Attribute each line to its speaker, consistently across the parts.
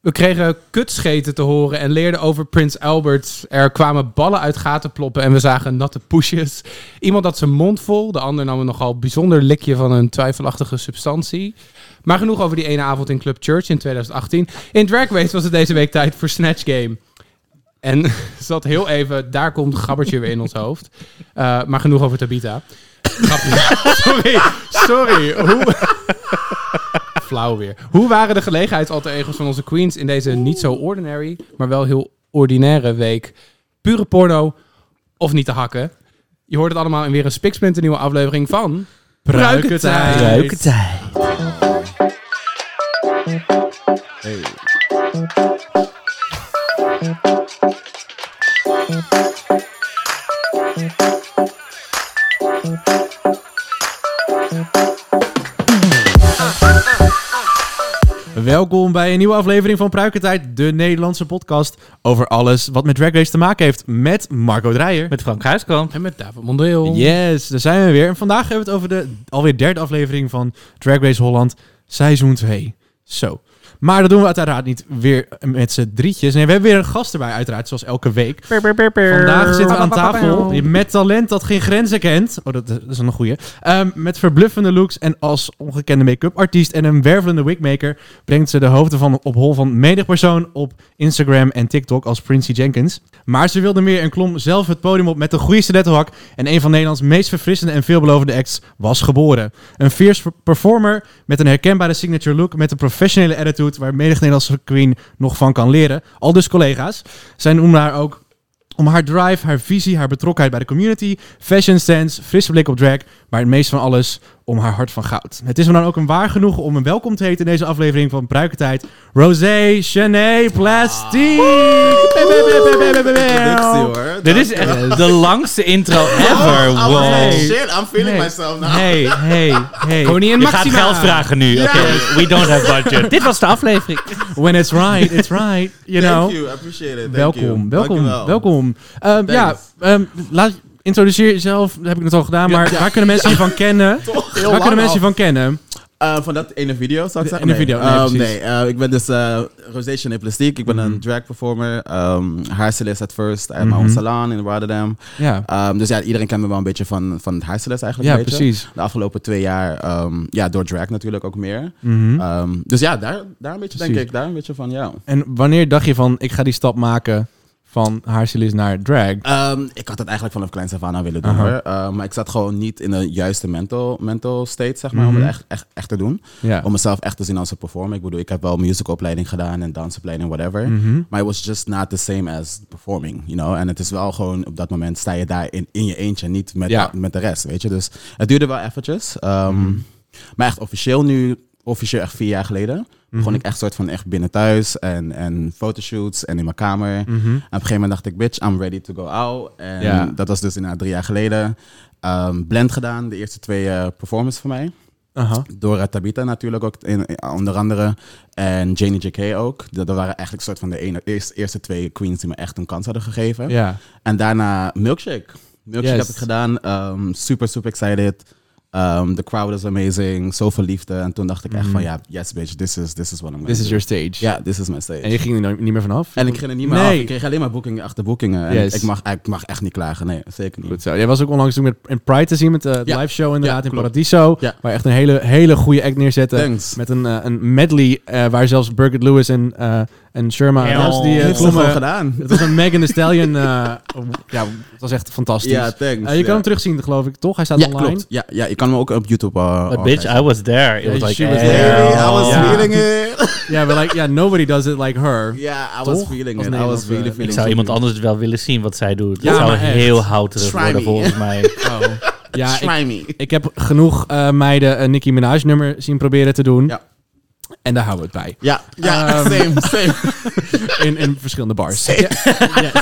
Speaker 1: We kregen kutscheten te horen en leerden over Prins Albert. Er kwamen ballen uit gaten ploppen en we zagen natte poesjes. Iemand had zijn mond vol, de ander nam een nogal bijzonder likje van een twijfelachtige substantie. Maar genoeg over die ene avond in Club Church in 2018. In Drag Race was het deze week tijd voor Snatch Game. En zat heel even, daar komt gabbertje weer in ons hoofd. Eh, maar genoeg over Tabita. Grapje. sorry, sorry. Hoe... Flauw weer. Hoe waren de gelegenheidsalter egos van onze queens in deze niet zo ordinary, maar wel heel ordinaire week? Pure porno of niet te hakken? Je hoort het allemaal in weer een spiksplinter nieuwe aflevering van... Pruikentijd.
Speaker 2: Pruikentijd. Welkom bij een nieuwe aflevering van Pruikentijd, de Nederlandse podcast over alles wat met Drag Race te maken heeft met Marco Dreyer.
Speaker 3: Met Frank Huiskamp.
Speaker 1: En met David Mondeel.
Speaker 2: Yes, daar zijn we weer. En vandaag hebben we het over de alweer derde aflevering van Drag Race Holland, seizoen 2. Zo. Maar dat doen we uiteraard niet weer met z'n drietjes. Nee, we hebben weer een gast erbij, uiteraard, zoals elke week. Vandaag zitten we aan tafel met talent dat geen grenzen kent. Oh, dat, dat is een goeie. Ehm, met verbluffende looks en als ongekende make-up artiest en een wervelende wigmaker... brengt ze de hoofden van op hol van menig persoon op Instagram en TikTok als Princey Jenkins. Maar ze wilde meer en klom zelf het podium op met de goede stilettohak... en een van Nederlands meest verfrissende en veelbelovende acts was geboren. Een fierce performer met een herkenbare signature look... met een professionele attitude waar menig Nederlandse queen nog van kan leren. Al dus collega's. Zij noemde haar ook om haar drive, haar visie, haar betrokkenheid bij de community, fashion sense, frisse blik op drag, maar het meest van alles om haar hart van goud. Het is me dan ook een waar genoegen om een welkom te heten in deze aflevering van Bruikentijd. Rosé Chené Plastic!
Speaker 4: Ah.
Speaker 2: Bam, bam, bam, bam, bam, bam,
Speaker 4: Productie,
Speaker 2: bam.
Speaker 4: hoor.
Speaker 3: Dit is echt de langste intro ever.
Speaker 4: Oh,
Speaker 3: wow.
Speaker 4: oh, shit, I'm feeling myself now.
Speaker 2: Hey, hey, hey.
Speaker 1: Koningin
Speaker 3: Je gaat
Speaker 1: Maxima.
Speaker 3: geld vragen nu. Oké, we don't have budget. Dit was de aflevering.
Speaker 4: Oh,
Speaker 2: When it's right, it's right. You
Speaker 4: Thank
Speaker 2: know.
Speaker 4: you, I appreciate
Speaker 2: nou.
Speaker 4: it. Thank
Speaker 2: Welkom,
Speaker 4: you.
Speaker 2: welkom,
Speaker 4: Dankjewel.
Speaker 2: welkom. Ehm, ja, ehm, laat, introduceer jezelf. Dat heb ik het al gedaan, maar waar kunnen mensen je van kennen?
Speaker 4: Toch? Heel
Speaker 2: Waar kunnen
Speaker 4: lang
Speaker 2: mensen je
Speaker 4: al.
Speaker 2: van kennen?
Speaker 4: Eh, van dat ene video, zou ik
Speaker 2: De
Speaker 4: zeggen?
Speaker 2: ene video, nee,
Speaker 4: Ehm,
Speaker 2: precies. Mm-hmm.
Speaker 4: nee eh, ik ben dus eh Rosé Chanel Plastique. Ik ben een drag performer, ehm hairstylist at first. I have my own salon in Rotterdam.
Speaker 2: Ja,
Speaker 4: Ehm, dus ja, iedereen kent me wel een beetje van, van het hairstylist eigenlijk.
Speaker 2: ja
Speaker 4: een beetje.
Speaker 2: precies.
Speaker 4: De afgelopen twee jaar, ehm, ja, door drag natuurlijk ook meer.
Speaker 2: Mhm.
Speaker 4: Ehm, dus ja, daar, daar een beetje
Speaker 2: Precies.
Speaker 4: denk ik, daar een beetje van, ja.
Speaker 2: En wanneer dacht je van, ik ga die stap maken van haarstylist naar drag?
Speaker 4: Ehm, ik had het eigenlijk vanaf kleins af aan al willen doen
Speaker 2: Aha.
Speaker 4: hoor. Ehm, maar ik zat gewoon niet in de juiste mental, mental state, zeg maar, om
Speaker 2: Mhm.
Speaker 4: het echt, echt, echt te doen.
Speaker 2: Ja.
Speaker 4: Om mezelf echt te zien als een performer. Ik bedoel, ik heb wel musicalopleiding gedaan en dansopleiding, whatever.
Speaker 2: Mhm.
Speaker 4: Maar it was just not the same as performing, you know. En het is wel gewoon, op dat moment sta je daar in, in je eentje, niet met,
Speaker 2: Ja. Mhm.
Speaker 4: met de rest, weet je. Dus het duurde wel eventjes. Ehm, Maar echt officieel nu, officieel echt vier jaar geleden,
Speaker 2: Mhm.
Speaker 4: begon ik echt soort van echt binnen thuis en, en fotoshoots en in mijn kamer.
Speaker 2: Mhm.
Speaker 4: En op een gegeven moment dacht ik, bitch, I'm ready to go out. En
Speaker 2: Ja.
Speaker 4: dat was dus inderdaad drie jaar geleden. Ehm, blend gedaan, de eerste twee eh, performances van mij.
Speaker 2: Aha.
Speaker 4: Door eh, Tabita natuurlijk ook, in, in- onder andere. En Janie J.K. ook. Dat, dat waren eigenlijk soort van de ene, eerst- eerste twee queens die me echt een kans hadden gegeven.
Speaker 2: Ja.
Speaker 4: En daarna Milkshake. Milkshake
Speaker 2: Yes.
Speaker 4: heb ik gedaan. Ehm, super, super excited. Ehm the crowd is amazing. Zoveel liefde. En toen dacht ik echt
Speaker 2: Mhm.
Speaker 4: van, ja, yes bitch, this is, this is what I'm gonna
Speaker 2: This is
Speaker 4: do.
Speaker 2: your stage.
Speaker 4: Ja, this is my stage.
Speaker 2: En je ging er nou niet meer vanaf?
Speaker 4: En ik ging er niet meer
Speaker 2: Nee.
Speaker 4: af. Ik kreeg alleen maar boekingen achter boekingen. En
Speaker 2: Yes.
Speaker 4: ik, mag, ik mag echt niet klagen. Nee, zeker niet.
Speaker 2: Goed zo. Jij was ook onlangs toen met in Pride te zien met eh, de
Speaker 4: Ja.
Speaker 2: live show inderdaad
Speaker 4: Ja,
Speaker 2: in
Speaker 4: klopt.
Speaker 2: Paradiso.
Speaker 4: Ja.
Speaker 2: Waar je echt een hele, hele goede act neerzette.
Speaker 4: Thanks.
Speaker 2: Met een, eh, een medley eh, waar zelfs Birgit Lewis en, eh en Sherma...
Speaker 3: Ja.
Speaker 2: zelfs die, eh,
Speaker 3: Dit
Speaker 4: Heeft ze
Speaker 2: klommen-
Speaker 4: gewoon gedaan.
Speaker 2: Het was een Megan Thee Stallion. eh, ja, het was echt fantastisch.
Speaker 4: Ja, thanks.
Speaker 2: Eh, je kan
Speaker 4: ja.
Speaker 2: hem terugzien, geloof ik, toch? Hij staat
Speaker 4: Ja,
Speaker 2: online.
Speaker 4: klopt. Ja, ja, je kan hem ook op YouTube... eh,
Speaker 3: But
Speaker 4: al
Speaker 3: bitch,
Speaker 4: kijken.
Speaker 3: I was there. It was
Speaker 2: Yeah,
Speaker 3: like,
Speaker 2: she was
Speaker 3: hell.
Speaker 2: there.
Speaker 4: Hey, I was
Speaker 2: Ja.
Speaker 4: feeling it.
Speaker 2: Ja, maar like, ja, nobody does it like her.
Speaker 4: Ja, I was
Speaker 2: Toch?
Speaker 4: feeling
Speaker 2: Als
Speaker 4: it. I was
Speaker 2: Nederlandse-
Speaker 4: really
Speaker 2: Ik
Speaker 4: feeling
Speaker 3: Ik zou
Speaker 4: it.
Speaker 3: iemand anders het wel willen zien wat zij doet.
Speaker 2: Ja,
Speaker 3: dat zou
Speaker 2: maar echt.
Speaker 3: heel houterig
Speaker 4: Try
Speaker 3: worden
Speaker 4: me.
Speaker 3: volgens mij.
Speaker 2: Oh. Ja, ik,
Speaker 4: Try me.
Speaker 2: ik heb genoeg eh, meiden een Nicki Minaj nummer zien proberen te doen.
Speaker 4: Ja.
Speaker 2: En daar houden we het bij.
Speaker 4: Ja, ja
Speaker 2: Ehm,
Speaker 4: um, same, same.
Speaker 2: In, in verschillende bars. Ja, yes.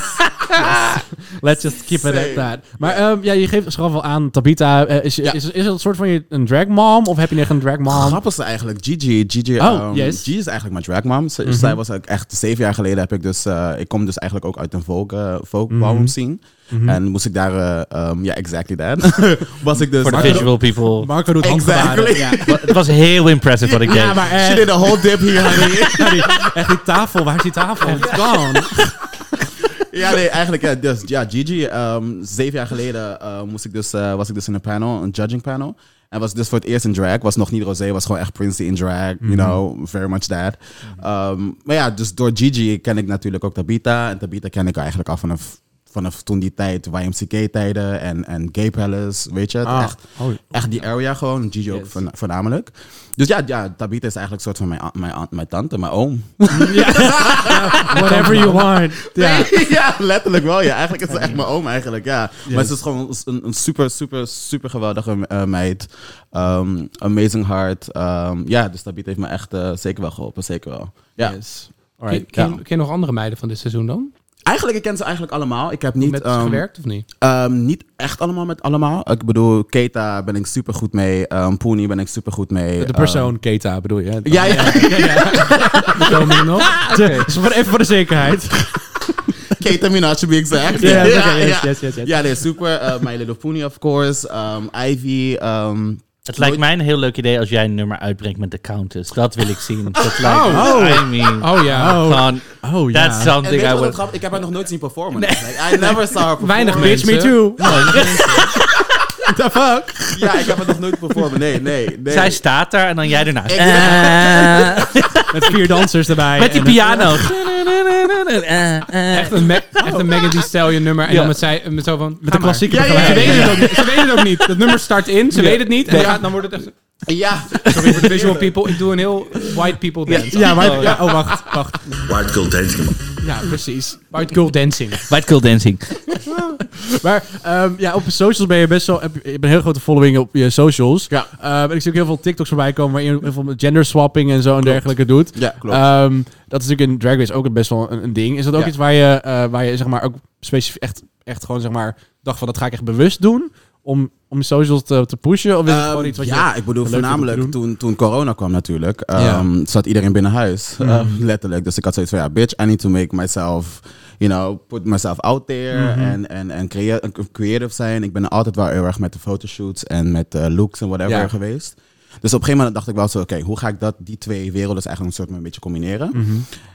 Speaker 2: Let's just keep it at
Speaker 4: Same.
Speaker 2: that. Maar ehm, ja, je geeft schaf wel aan, Tabita, eh, is,
Speaker 4: Ja.
Speaker 2: is, is, is dat een soort van je, een dragmom? Of heb je echt een dragmom?
Speaker 4: Grappig is eigenlijk Gigi. Gigi,
Speaker 2: Oh,
Speaker 4: ehm,
Speaker 2: yes.
Speaker 4: Gigi is eigenlijk mijn dragmom. Ze-
Speaker 2: Mhm.
Speaker 4: Zij was ook echt zeven jaar geleden heb ik dus. eh, ik kom dus eigenlijk ook uit een folk, eh folk ballroom scene.
Speaker 2: Mhm.
Speaker 4: En moest ik daar. eh, ehm, ja, exactly that. was ik dus.
Speaker 3: Voor de visual people.
Speaker 2: Marco doet
Speaker 4: Exactly.
Speaker 2: handgebaren.
Speaker 3: Wa- Het was heel impressive wat ik deed.
Speaker 2: Ja, maar eh,
Speaker 4: She
Speaker 2: echt,
Speaker 4: did a whole dip hier, honey.
Speaker 2: echt die tafel, waar is die tafel? It's gone.
Speaker 4: ja, nee, eigenlijk. Ja, dus, ja Gigi. ehm, zeven jaar geleden eh, moest ik dus, eh, was ik dus in een panel, een judging panel. En was dus voor het eerst in drag. Was nog niet Rosé, was gewoon echt Princey in drag.
Speaker 2: Mhm.
Speaker 4: You know, very much that. Ehm, maar ja, dus door Gigi ken ik natuurlijk ook Tabita. En Tabita ken ik eigenlijk al vanaf, vanaf toen die tijd, YMCK-tijden en, en Gay Palace, weet je. het Echt,
Speaker 2: Oh,
Speaker 4: echt die area gewoon. Gigi ook
Speaker 2: Yes.
Speaker 4: voorn- voornamelijk. Dus ja, ja, Tabita is eigenlijk een soort van mijn, aunt- mijn, aunt- mijn tante, mijn oom.
Speaker 2: whatever you want.
Speaker 4: Ja. ja, letterlijk wel. Ja, eigenlijk is het echt mijn oom eigenlijk, ja. Maar
Speaker 2: Yes.
Speaker 4: ze is gewoon een, een super, super, super geweldige eh, meid. Ehm, amazing heart. Ehm, ja, dus Tabitha heeft me echt eh, zeker wel geholpen, zeker wel. Ja.
Speaker 2: Yes.
Speaker 1: Ken,
Speaker 2: Alright.
Speaker 1: ken,
Speaker 4: ja.
Speaker 1: ken je nog andere meiden van dit seizoen dan?
Speaker 4: Eigenlijk, ik ken ze eigenlijk allemaal. Ik heb
Speaker 1: Die
Speaker 4: niet...
Speaker 1: met ze
Speaker 4: ehm,
Speaker 1: gewerkt of niet?
Speaker 4: Ehm, niet echt allemaal met allemaal. Ik bedoel, Keta ben ik super goed mee. Ehm Poenie ben ik super goed mee.
Speaker 2: De persoon Keta bedoel je?
Speaker 4: Ehm, ja, ja.
Speaker 1: Komen er nog? Oké.
Speaker 2: Dus voor- even voor de zekerheid.
Speaker 4: Keta Minaj, to be exact.
Speaker 2: Ja, oké,
Speaker 4: ja,
Speaker 2: yes,
Speaker 4: ja.
Speaker 2: yes, yes, yes.
Speaker 4: Ja, nee, super. Eh, My Little Poenie, of course. Ehm, Ivy. ehm,
Speaker 3: Het lijkt mij een heel leuk idee als jij een nummer uitbrengt met de Countess. Dat wil ik zien. Dat lijkt me. I mean,
Speaker 1: Oh ja.
Speaker 2: Oh.
Speaker 3: gewoon,
Speaker 2: Oh ja.
Speaker 3: that's
Speaker 4: En
Speaker 3: something
Speaker 4: weet je
Speaker 3: I
Speaker 4: wat het
Speaker 3: would...
Speaker 4: grappig- Ik heb haar nog nooit zien performen. Like, I never saw her perform.
Speaker 1: Weinig
Speaker 2: Bitch, me
Speaker 1: mensen.
Speaker 2: too. The fuck?
Speaker 4: Ja, ik heb het nog nooit performen. Nee, nee, nee.
Speaker 3: Zij staat daar en dan jij ernaast.
Speaker 4: Ik-
Speaker 3: Eh,
Speaker 2: Met vier dansers erbij.
Speaker 3: met die
Speaker 2: en-
Speaker 3: piano. Eh, eh.
Speaker 1: Echt een, Ma- echt een Megan Thee Stallion nummer. En
Speaker 3: Ja.
Speaker 1: dan met, zij, met zo van...
Speaker 2: Met de klassieke
Speaker 4: Ja, ja, ja,
Speaker 1: Ze
Speaker 2: begeleiding.
Speaker 1: weten het ook niet. Ze weten het ook niet. Dat nummer start in. Ze
Speaker 2: Ja.
Speaker 1: weten het niet. En
Speaker 2: Nee.
Speaker 1: dan, gaat, dan wordt het echt...
Speaker 4: Ja.
Speaker 1: Sorry voor de visual people. Ik doe een heel white people dance.
Speaker 2: Ja, maar,
Speaker 3: Oh,
Speaker 2: ja, oh wacht, wacht.
Speaker 5: White Girl Dancing.
Speaker 1: Ja, precies. White girl dancing.
Speaker 3: White girl dancing.
Speaker 2: Maar ehm, ja, op socials ben je best wel... Heb, je je hebt een heel grote following op je socials.
Speaker 4: Ja.
Speaker 2: Ehm, en ik zie ook heel veel TikToks voorbij komen... waarin je heel veel gender swapping en zo en dergelijke doet.
Speaker 4: Ja, klopt.
Speaker 2: Ehm, dat is natuurlijk in Drag Race ook best wel een, een ding. Is dat ook
Speaker 4: Ja.
Speaker 2: iets waar je, eh, waar je zeg maar, ook specifiek echt, echt gewoon zeg maar, dacht van... dat ga ik echt bewust doen om, om je socials te, te pushen? Of is het
Speaker 4: Ehm,
Speaker 2: gewoon iets wat
Speaker 4: ja,
Speaker 2: je...
Speaker 4: ik bedoel
Speaker 2: leuk vindt om te
Speaker 4: voornamelijk
Speaker 2: doen?
Speaker 4: toen, toen corona kwam natuurlijk,
Speaker 2: Ja.
Speaker 4: ehm, zat iedereen binnen huis, Eh, letterlijk. Dus ik had zoiets van, ja, bitch, I need to make myself, you know, put myself
Speaker 2: Mhm.
Speaker 4: out there en, en, en crea- creative zijn. Ik ben altijd wel heel erg met de fotoshoots en met eh, looks en whatever
Speaker 2: Ja.
Speaker 4: geweest. Dus op een gegeven moment dacht ik wel zo, oké, hoe ga ik dat, die twee werelden dus eigenlijk een soort een beetje combineren?
Speaker 2: Mhm.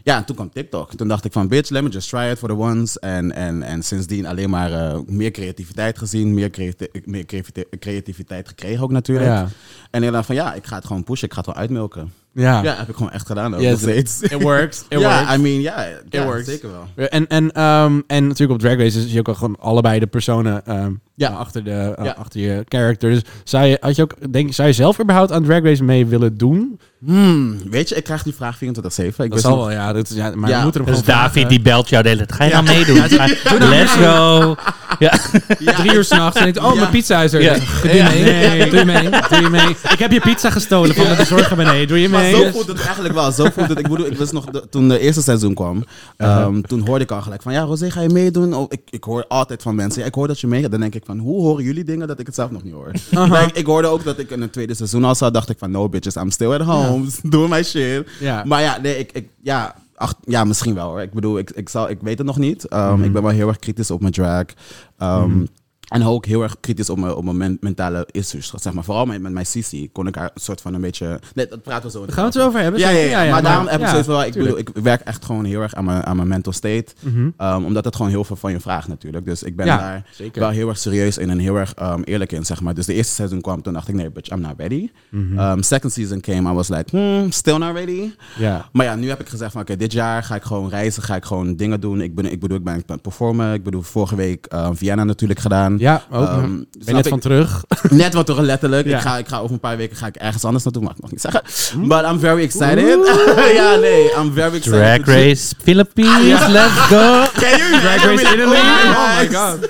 Speaker 4: Ja, en toen kwam TikTok. Toen dacht ik van, bitch, let me just try it for the ones. En, en, en sindsdien alleen maar eh, meer creativiteit gezien, meer, creati- meer creativite- creativiteit gekregen ook natuurlijk.
Speaker 2: Ja.
Speaker 4: En ik dacht van, ja, ik ga het gewoon pushen, ik ga het wel uitmelken.
Speaker 2: Ja.
Speaker 4: Ja, heb ik gewoon echt gedaan ook
Speaker 2: Yes.
Speaker 4: nog steeds.
Speaker 2: It works. It
Speaker 4: ja,
Speaker 2: works.
Speaker 4: I mean, ja, ja,
Speaker 2: works.
Speaker 4: zeker wel.
Speaker 2: En, en, ehm, en natuurlijk op Drag Race zie je ook al gewoon allebei de personen ehm,
Speaker 4: Ja.
Speaker 2: achter, de, eh,
Speaker 4: Ja.
Speaker 2: achter je character. Dus zou je, had je ook, denk, zou je zelf überhaupt aan Drag Race mee willen doen?
Speaker 4: Hmm, weet je, ik krijg die vraag 24-7. Ik
Speaker 2: Dat
Speaker 4: wist
Speaker 2: zal
Speaker 4: nog-
Speaker 2: wel, ja. Dat, is- ja maar
Speaker 4: Ja.
Speaker 2: we moeten hem
Speaker 3: Dus
Speaker 2: gewoon
Speaker 3: David
Speaker 2: vragen.
Speaker 3: die belt jou de hele tijd. Ga je nou meedoen? Maar Let's go. Ja.
Speaker 1: Drie uur s'nachts. En denkt, oh,
Speaker 4: Ja.
Speaker 1: mijn pizza is er.
Speaker 3: Ja.
Speaker 1: Doe je mee? Doe je mee?
Speaker 2: Doe je mee? Ik heb je pizza gestolen van de bezorger beneden. Doe je
Speaker 4: Maar
Speaker 2: mee?
Speaker 4: zo voelt het eigenlijk wel. Zo voelt het. Ik bedoel, ik wist nog de- toen de eerste seizoen kwam. ehm, Toen hoorde ik al gelijk van, ja, Rosé, ga je meedoen? Oh, ik, ik hoor altijd van mensen, ja, ik hoor dat je meegaat. Dan denk ik van, hoe horen jullie dingen dat ik het zelf nog niet hoor? Like, ik hoorde ook dat ik in het tweede seizoen al zat. Dacht ik van, no bitches, I'm still at home. Doing my shit.
Speaker 2: Ja.
Speaker 4: Maar ja, nee, ik, ik ja, ach, ja, misschien wel hoor. Ik bedoel, ik, ik, zal, ik weet het nog niet. Ehm, Ik ben wel heel erg kritisch op mijn drag. Ehm, En ook heel erg kritisch op mijn, op mijn men- mentale issues. Zeg maar. Vooral met, met mijn Sisi kon ik haar een soort van een beetje... Nee, dat praten we zo in de
Speaker 2: Gaan we het zo over hebben?
Speaker 4: ja, ja, ja, maar, daarom heb ik
Speaker 2: ja,
Speaker 4: zoiets wel. Ik,
Speaker 2: tuurlijk.
Speaker 4: bedoel, ik werk echt gewoon heel erg aan mijn, aan mijn mental state. um, omdat het gewoon heel veel van je vraagt natuurlijk. Dus ik ben
Speaker 2: Ja,
Speaker 4: daar
Speaker 2: zeker.
Speaker 4: wel heel erg serieus in en heel erg um, eerlijk in, zeg maar. Dus de eerste seizoen kwam, toen dacht ik, nee, bitch, I'm not ready. Um, second season came, I was like, hmm, still not ready.
Speaker 2: Ja.
Speaker 4: Maar ja, nu heb ik gezegd van, oké, dit jaar ga ik gewoon reizen, ga ik gewoon dingen doen. Ik, ben, ik bedoel, ik ben aan het performen. Ik bedoel, vorige week eh Vienna natuurlijk gedaan.
Speaker 2: Ja, ook.
Speaker 4: Ehm,
Speaker 2: ben je
Speaker 4: snap
Speaker 2: net
Speaker 4: ik?
Speaker 2: van terug?
Speaker 4: Net wat toch letterlijk.
Speaker 2: Ja.
Speaker 4: Ik, ga, ik ga over een paar weken ga ik ergens anders naartoe, mag ik nog niet zeggen. But I'm very excited. ja, nee, I'm very excited.
Speaker 3: Drag Race Philippines. Let's go.
Speaker 4: Can you Drag
Speaker 2: Race Italy?
Speaker 4: Oh
Speaker 2: Oh
Speaker 4: my
Speaker 2: my
Speaker 4: god.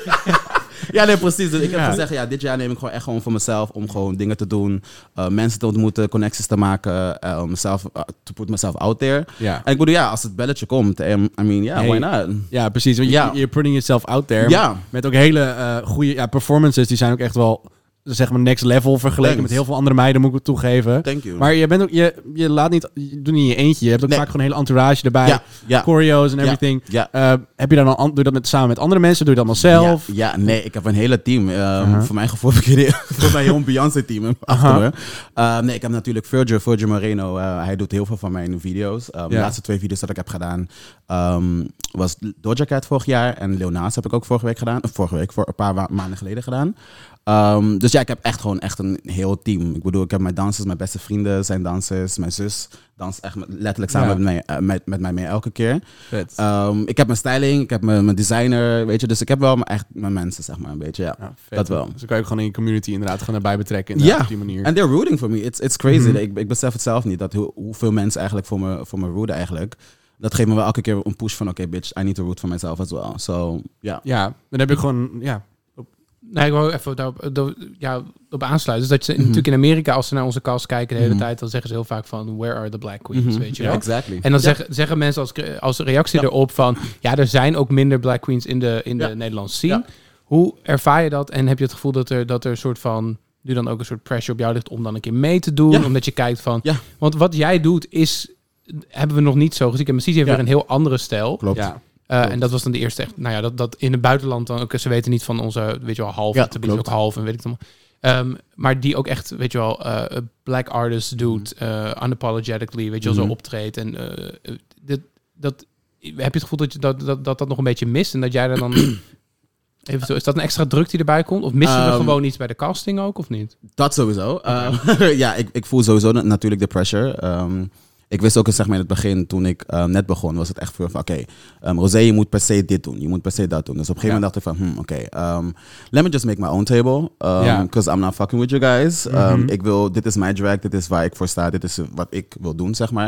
Speaker 4: Ja, nee, precies. Dus ik heb
Speaker 2: Ja.
Speaker 4: gezegd, ja, dit jaar neem ik gewoon echt gewoon voor mezelf om gewoon dingen te doen, eh, mensen te ontmoeten, connecties te maken, eh, om mezelf, eh, to put myself out there.
Speaker 2: Ja.
Speaker 4: En ik bedoel, ja, als het belletje komt, em, I mean, ja,
Speaker 2: Hey.
Speaker 4: why not?
Speaker 2: Ja, precies. Want
Speaker 4: Ja.
Speaker 2: je you're putting yourself out there.
Speaker 4: Ja.
Speaker 2: Met ook hele eh, goede ja, performances. Die zijn ook echt wel, zeg maar, next level vergeleken
Speaker 4: Thanks.
Speaker 2: met heel veel andere meiden, moet ik het toegeven.
Speaker 4: Thank you.
Speaker 2: Maar je, bent ook, je, je laat niet, je doet niet in je eentje. Je hebt ook
Speaker 4: Nee.
Speaker 2: vaak gewoon een hele entourage erbij.
Speaker 4: ja, ja,
Speaker 2: Choreo's en
Speaker 4: Ja.
Speaker 2: everything.
Speaker 4: ja.
Speaker 2: Eh, heb je dan al, an- doe je dat met, samen met andere mensen? Doe je dat dan zelf? Uh-huh.
Speaker 4: Ja, ja, nee, ik heb een hele team. Ehm,
Speaker 2: Aha.
Speaker 4: Voor mijn gevoel heb ik een- voor mijn heel Beyoncé-team
Speaker 2: Uh-huh.
Speaker 4: achter me. Ehm, nee, ik heb natuurlijk Virgil, Virgil Moreno. eh, hij doet heel veel van mijn video's. Ehm, De
Speaker 2: Ja.
Speaker 4: laatste twee video's dat ik heb gedaan ehm, was Doja Cat vorig jaar en Lil Nas heb ik ook vorige week gedaan. Eh, Vorige week, voor een paar wa- maanden geleden gedaan. Ehm, dus ja, ik heb echt gewoon echt een heel team. Ik bedoel, ik heb mijn dansers, mijn beste vrienden zijn dansers. Mijn zus danst echt met- letterlijk samen
Speaker 2: Ja.
Speaker 4: met, mij, eh, met, met mij mee elke keer.
Speaker 2: Vet.
Speaker 4: Ehm, ik heb mijn styling, ik heb mijn, mijn designer, weet je. Dus ik heb wel mijn, echt mijn mensen, zeg maar, een beetje, ja.
Speaker 2: Ja, vet.
Speaker 4: Dat wel.
Speaker 2: Dus dan kan je ook gewoon in je community inderdaad gewoon erbij betrekken. inderdaad,
Speaker 4: Ja.
Speaker 2: Op die manier.
Speaker 4: En they're rooting for me. It's, it's crazy.
Speaker 2: Mhm.
Speaker 4: ik, ik besef het zelf niet, dat hoe- hoeveel mensen eigenlijk voor me, voor me rooten eigenlijk. Dat geeft me wel elke keer een push van, oké bitch, I need to root for myself as well. So, ja.
Speaker 2: ja, dan heb ik gewoon, ja.
Speaker 1: Nee, ik wou even daarop do- ja, op aansluiten. Dus dat je natuurlijk in Amerika, als ze naar onze cast kijken de hele
Speaker 4: Mhm.
Speaker 1: tijd, dan zeggen ze heel vaak van where are the black queens,
Speaker 4: Mhm.
Speaker 1: weet je
Speaker 4: Ja,
Speaker 1: wel?
Speaker 4: exactly.
Speaker 1: En dan zeggen, zeggen mensen als, cre- als reactie erop van... ja, er zijn ook minder black queens in de, in de
Speaker 4: Ja.
Speaker 1: Nederlandse scene.
Speaker 4: Ja.
Speaker 1: Hoe ervaar je dat? En heb je het gevoel dat er, dat er een soort van... nu dan ook een soort pressure op jou ligt om dan een keer mee te doen?
Speaker 4: Ja.
Speaker 1: Omdat je kijkt van...
Speaker 4: Ja.
Speaker 1: Want wat jij doet is... hebben we nog niet zo gezien. En Precies heeft
Speaker 2: Ja.
Speaker 1: weer een heel andere stijl.
Speaker 4: Klopt.
Speaker 2: Ja.
Speaker 1: Eh,
Speaker 4: klopt.
Speaker 1: en dat was dan de eerste echt... Nou ja, dat, dat in het buitenland dan ook... Ze weten niet van onze, weet je wel, half.
Speaker 4: Ja,
Speaker 1: Ja, is ook
Speaker 4: klopt.
Speaker 1: half en weet ik het allemaal. Ehm, maar die ook echt, weet je wel, eh, black artist doet,
Speaker 4: Mm.
Speaker 1: eh, unapologetically, weet je wel,
Speaker 4: Mhm.
Speaker 1: zo optreedt. En eh, eh, dit, dat, heb je het gevoel dat, je, dat, dat, dat dat nog een beetje mist en dat jij daar dan... Eventueel, is dat een extra druk die erbij komt? Of missen we
Speaker 4: Ehm, oh,
Speaker 1: gewoon iets bij de casting ook, of niet?
Speaker 4: Dat sowieso. Eh, ja, ik, ik voel sowieso na- natuurlijk de pressure. Ehm, ik wist ook zeg maar, in het begin, toen ik eh, net begon, was het echt voor van... Oké, ehm, Rosé, je moet per se dit doen. Je moet per se dat doen. Dus op een gegeven moment dacht ik van... Hmm, Oké, ehm, let me just make my own table.
Speaker 2: Ja.
Speaker 4: Because I'm not fucking with you guys. Ehm,
Speaker 2: Mhm.
Speaker 4: Ik wil... Dit is mijn drag. Dit is waar ik voor sta. Dit is eh, wat ik wil doen, zeg maar.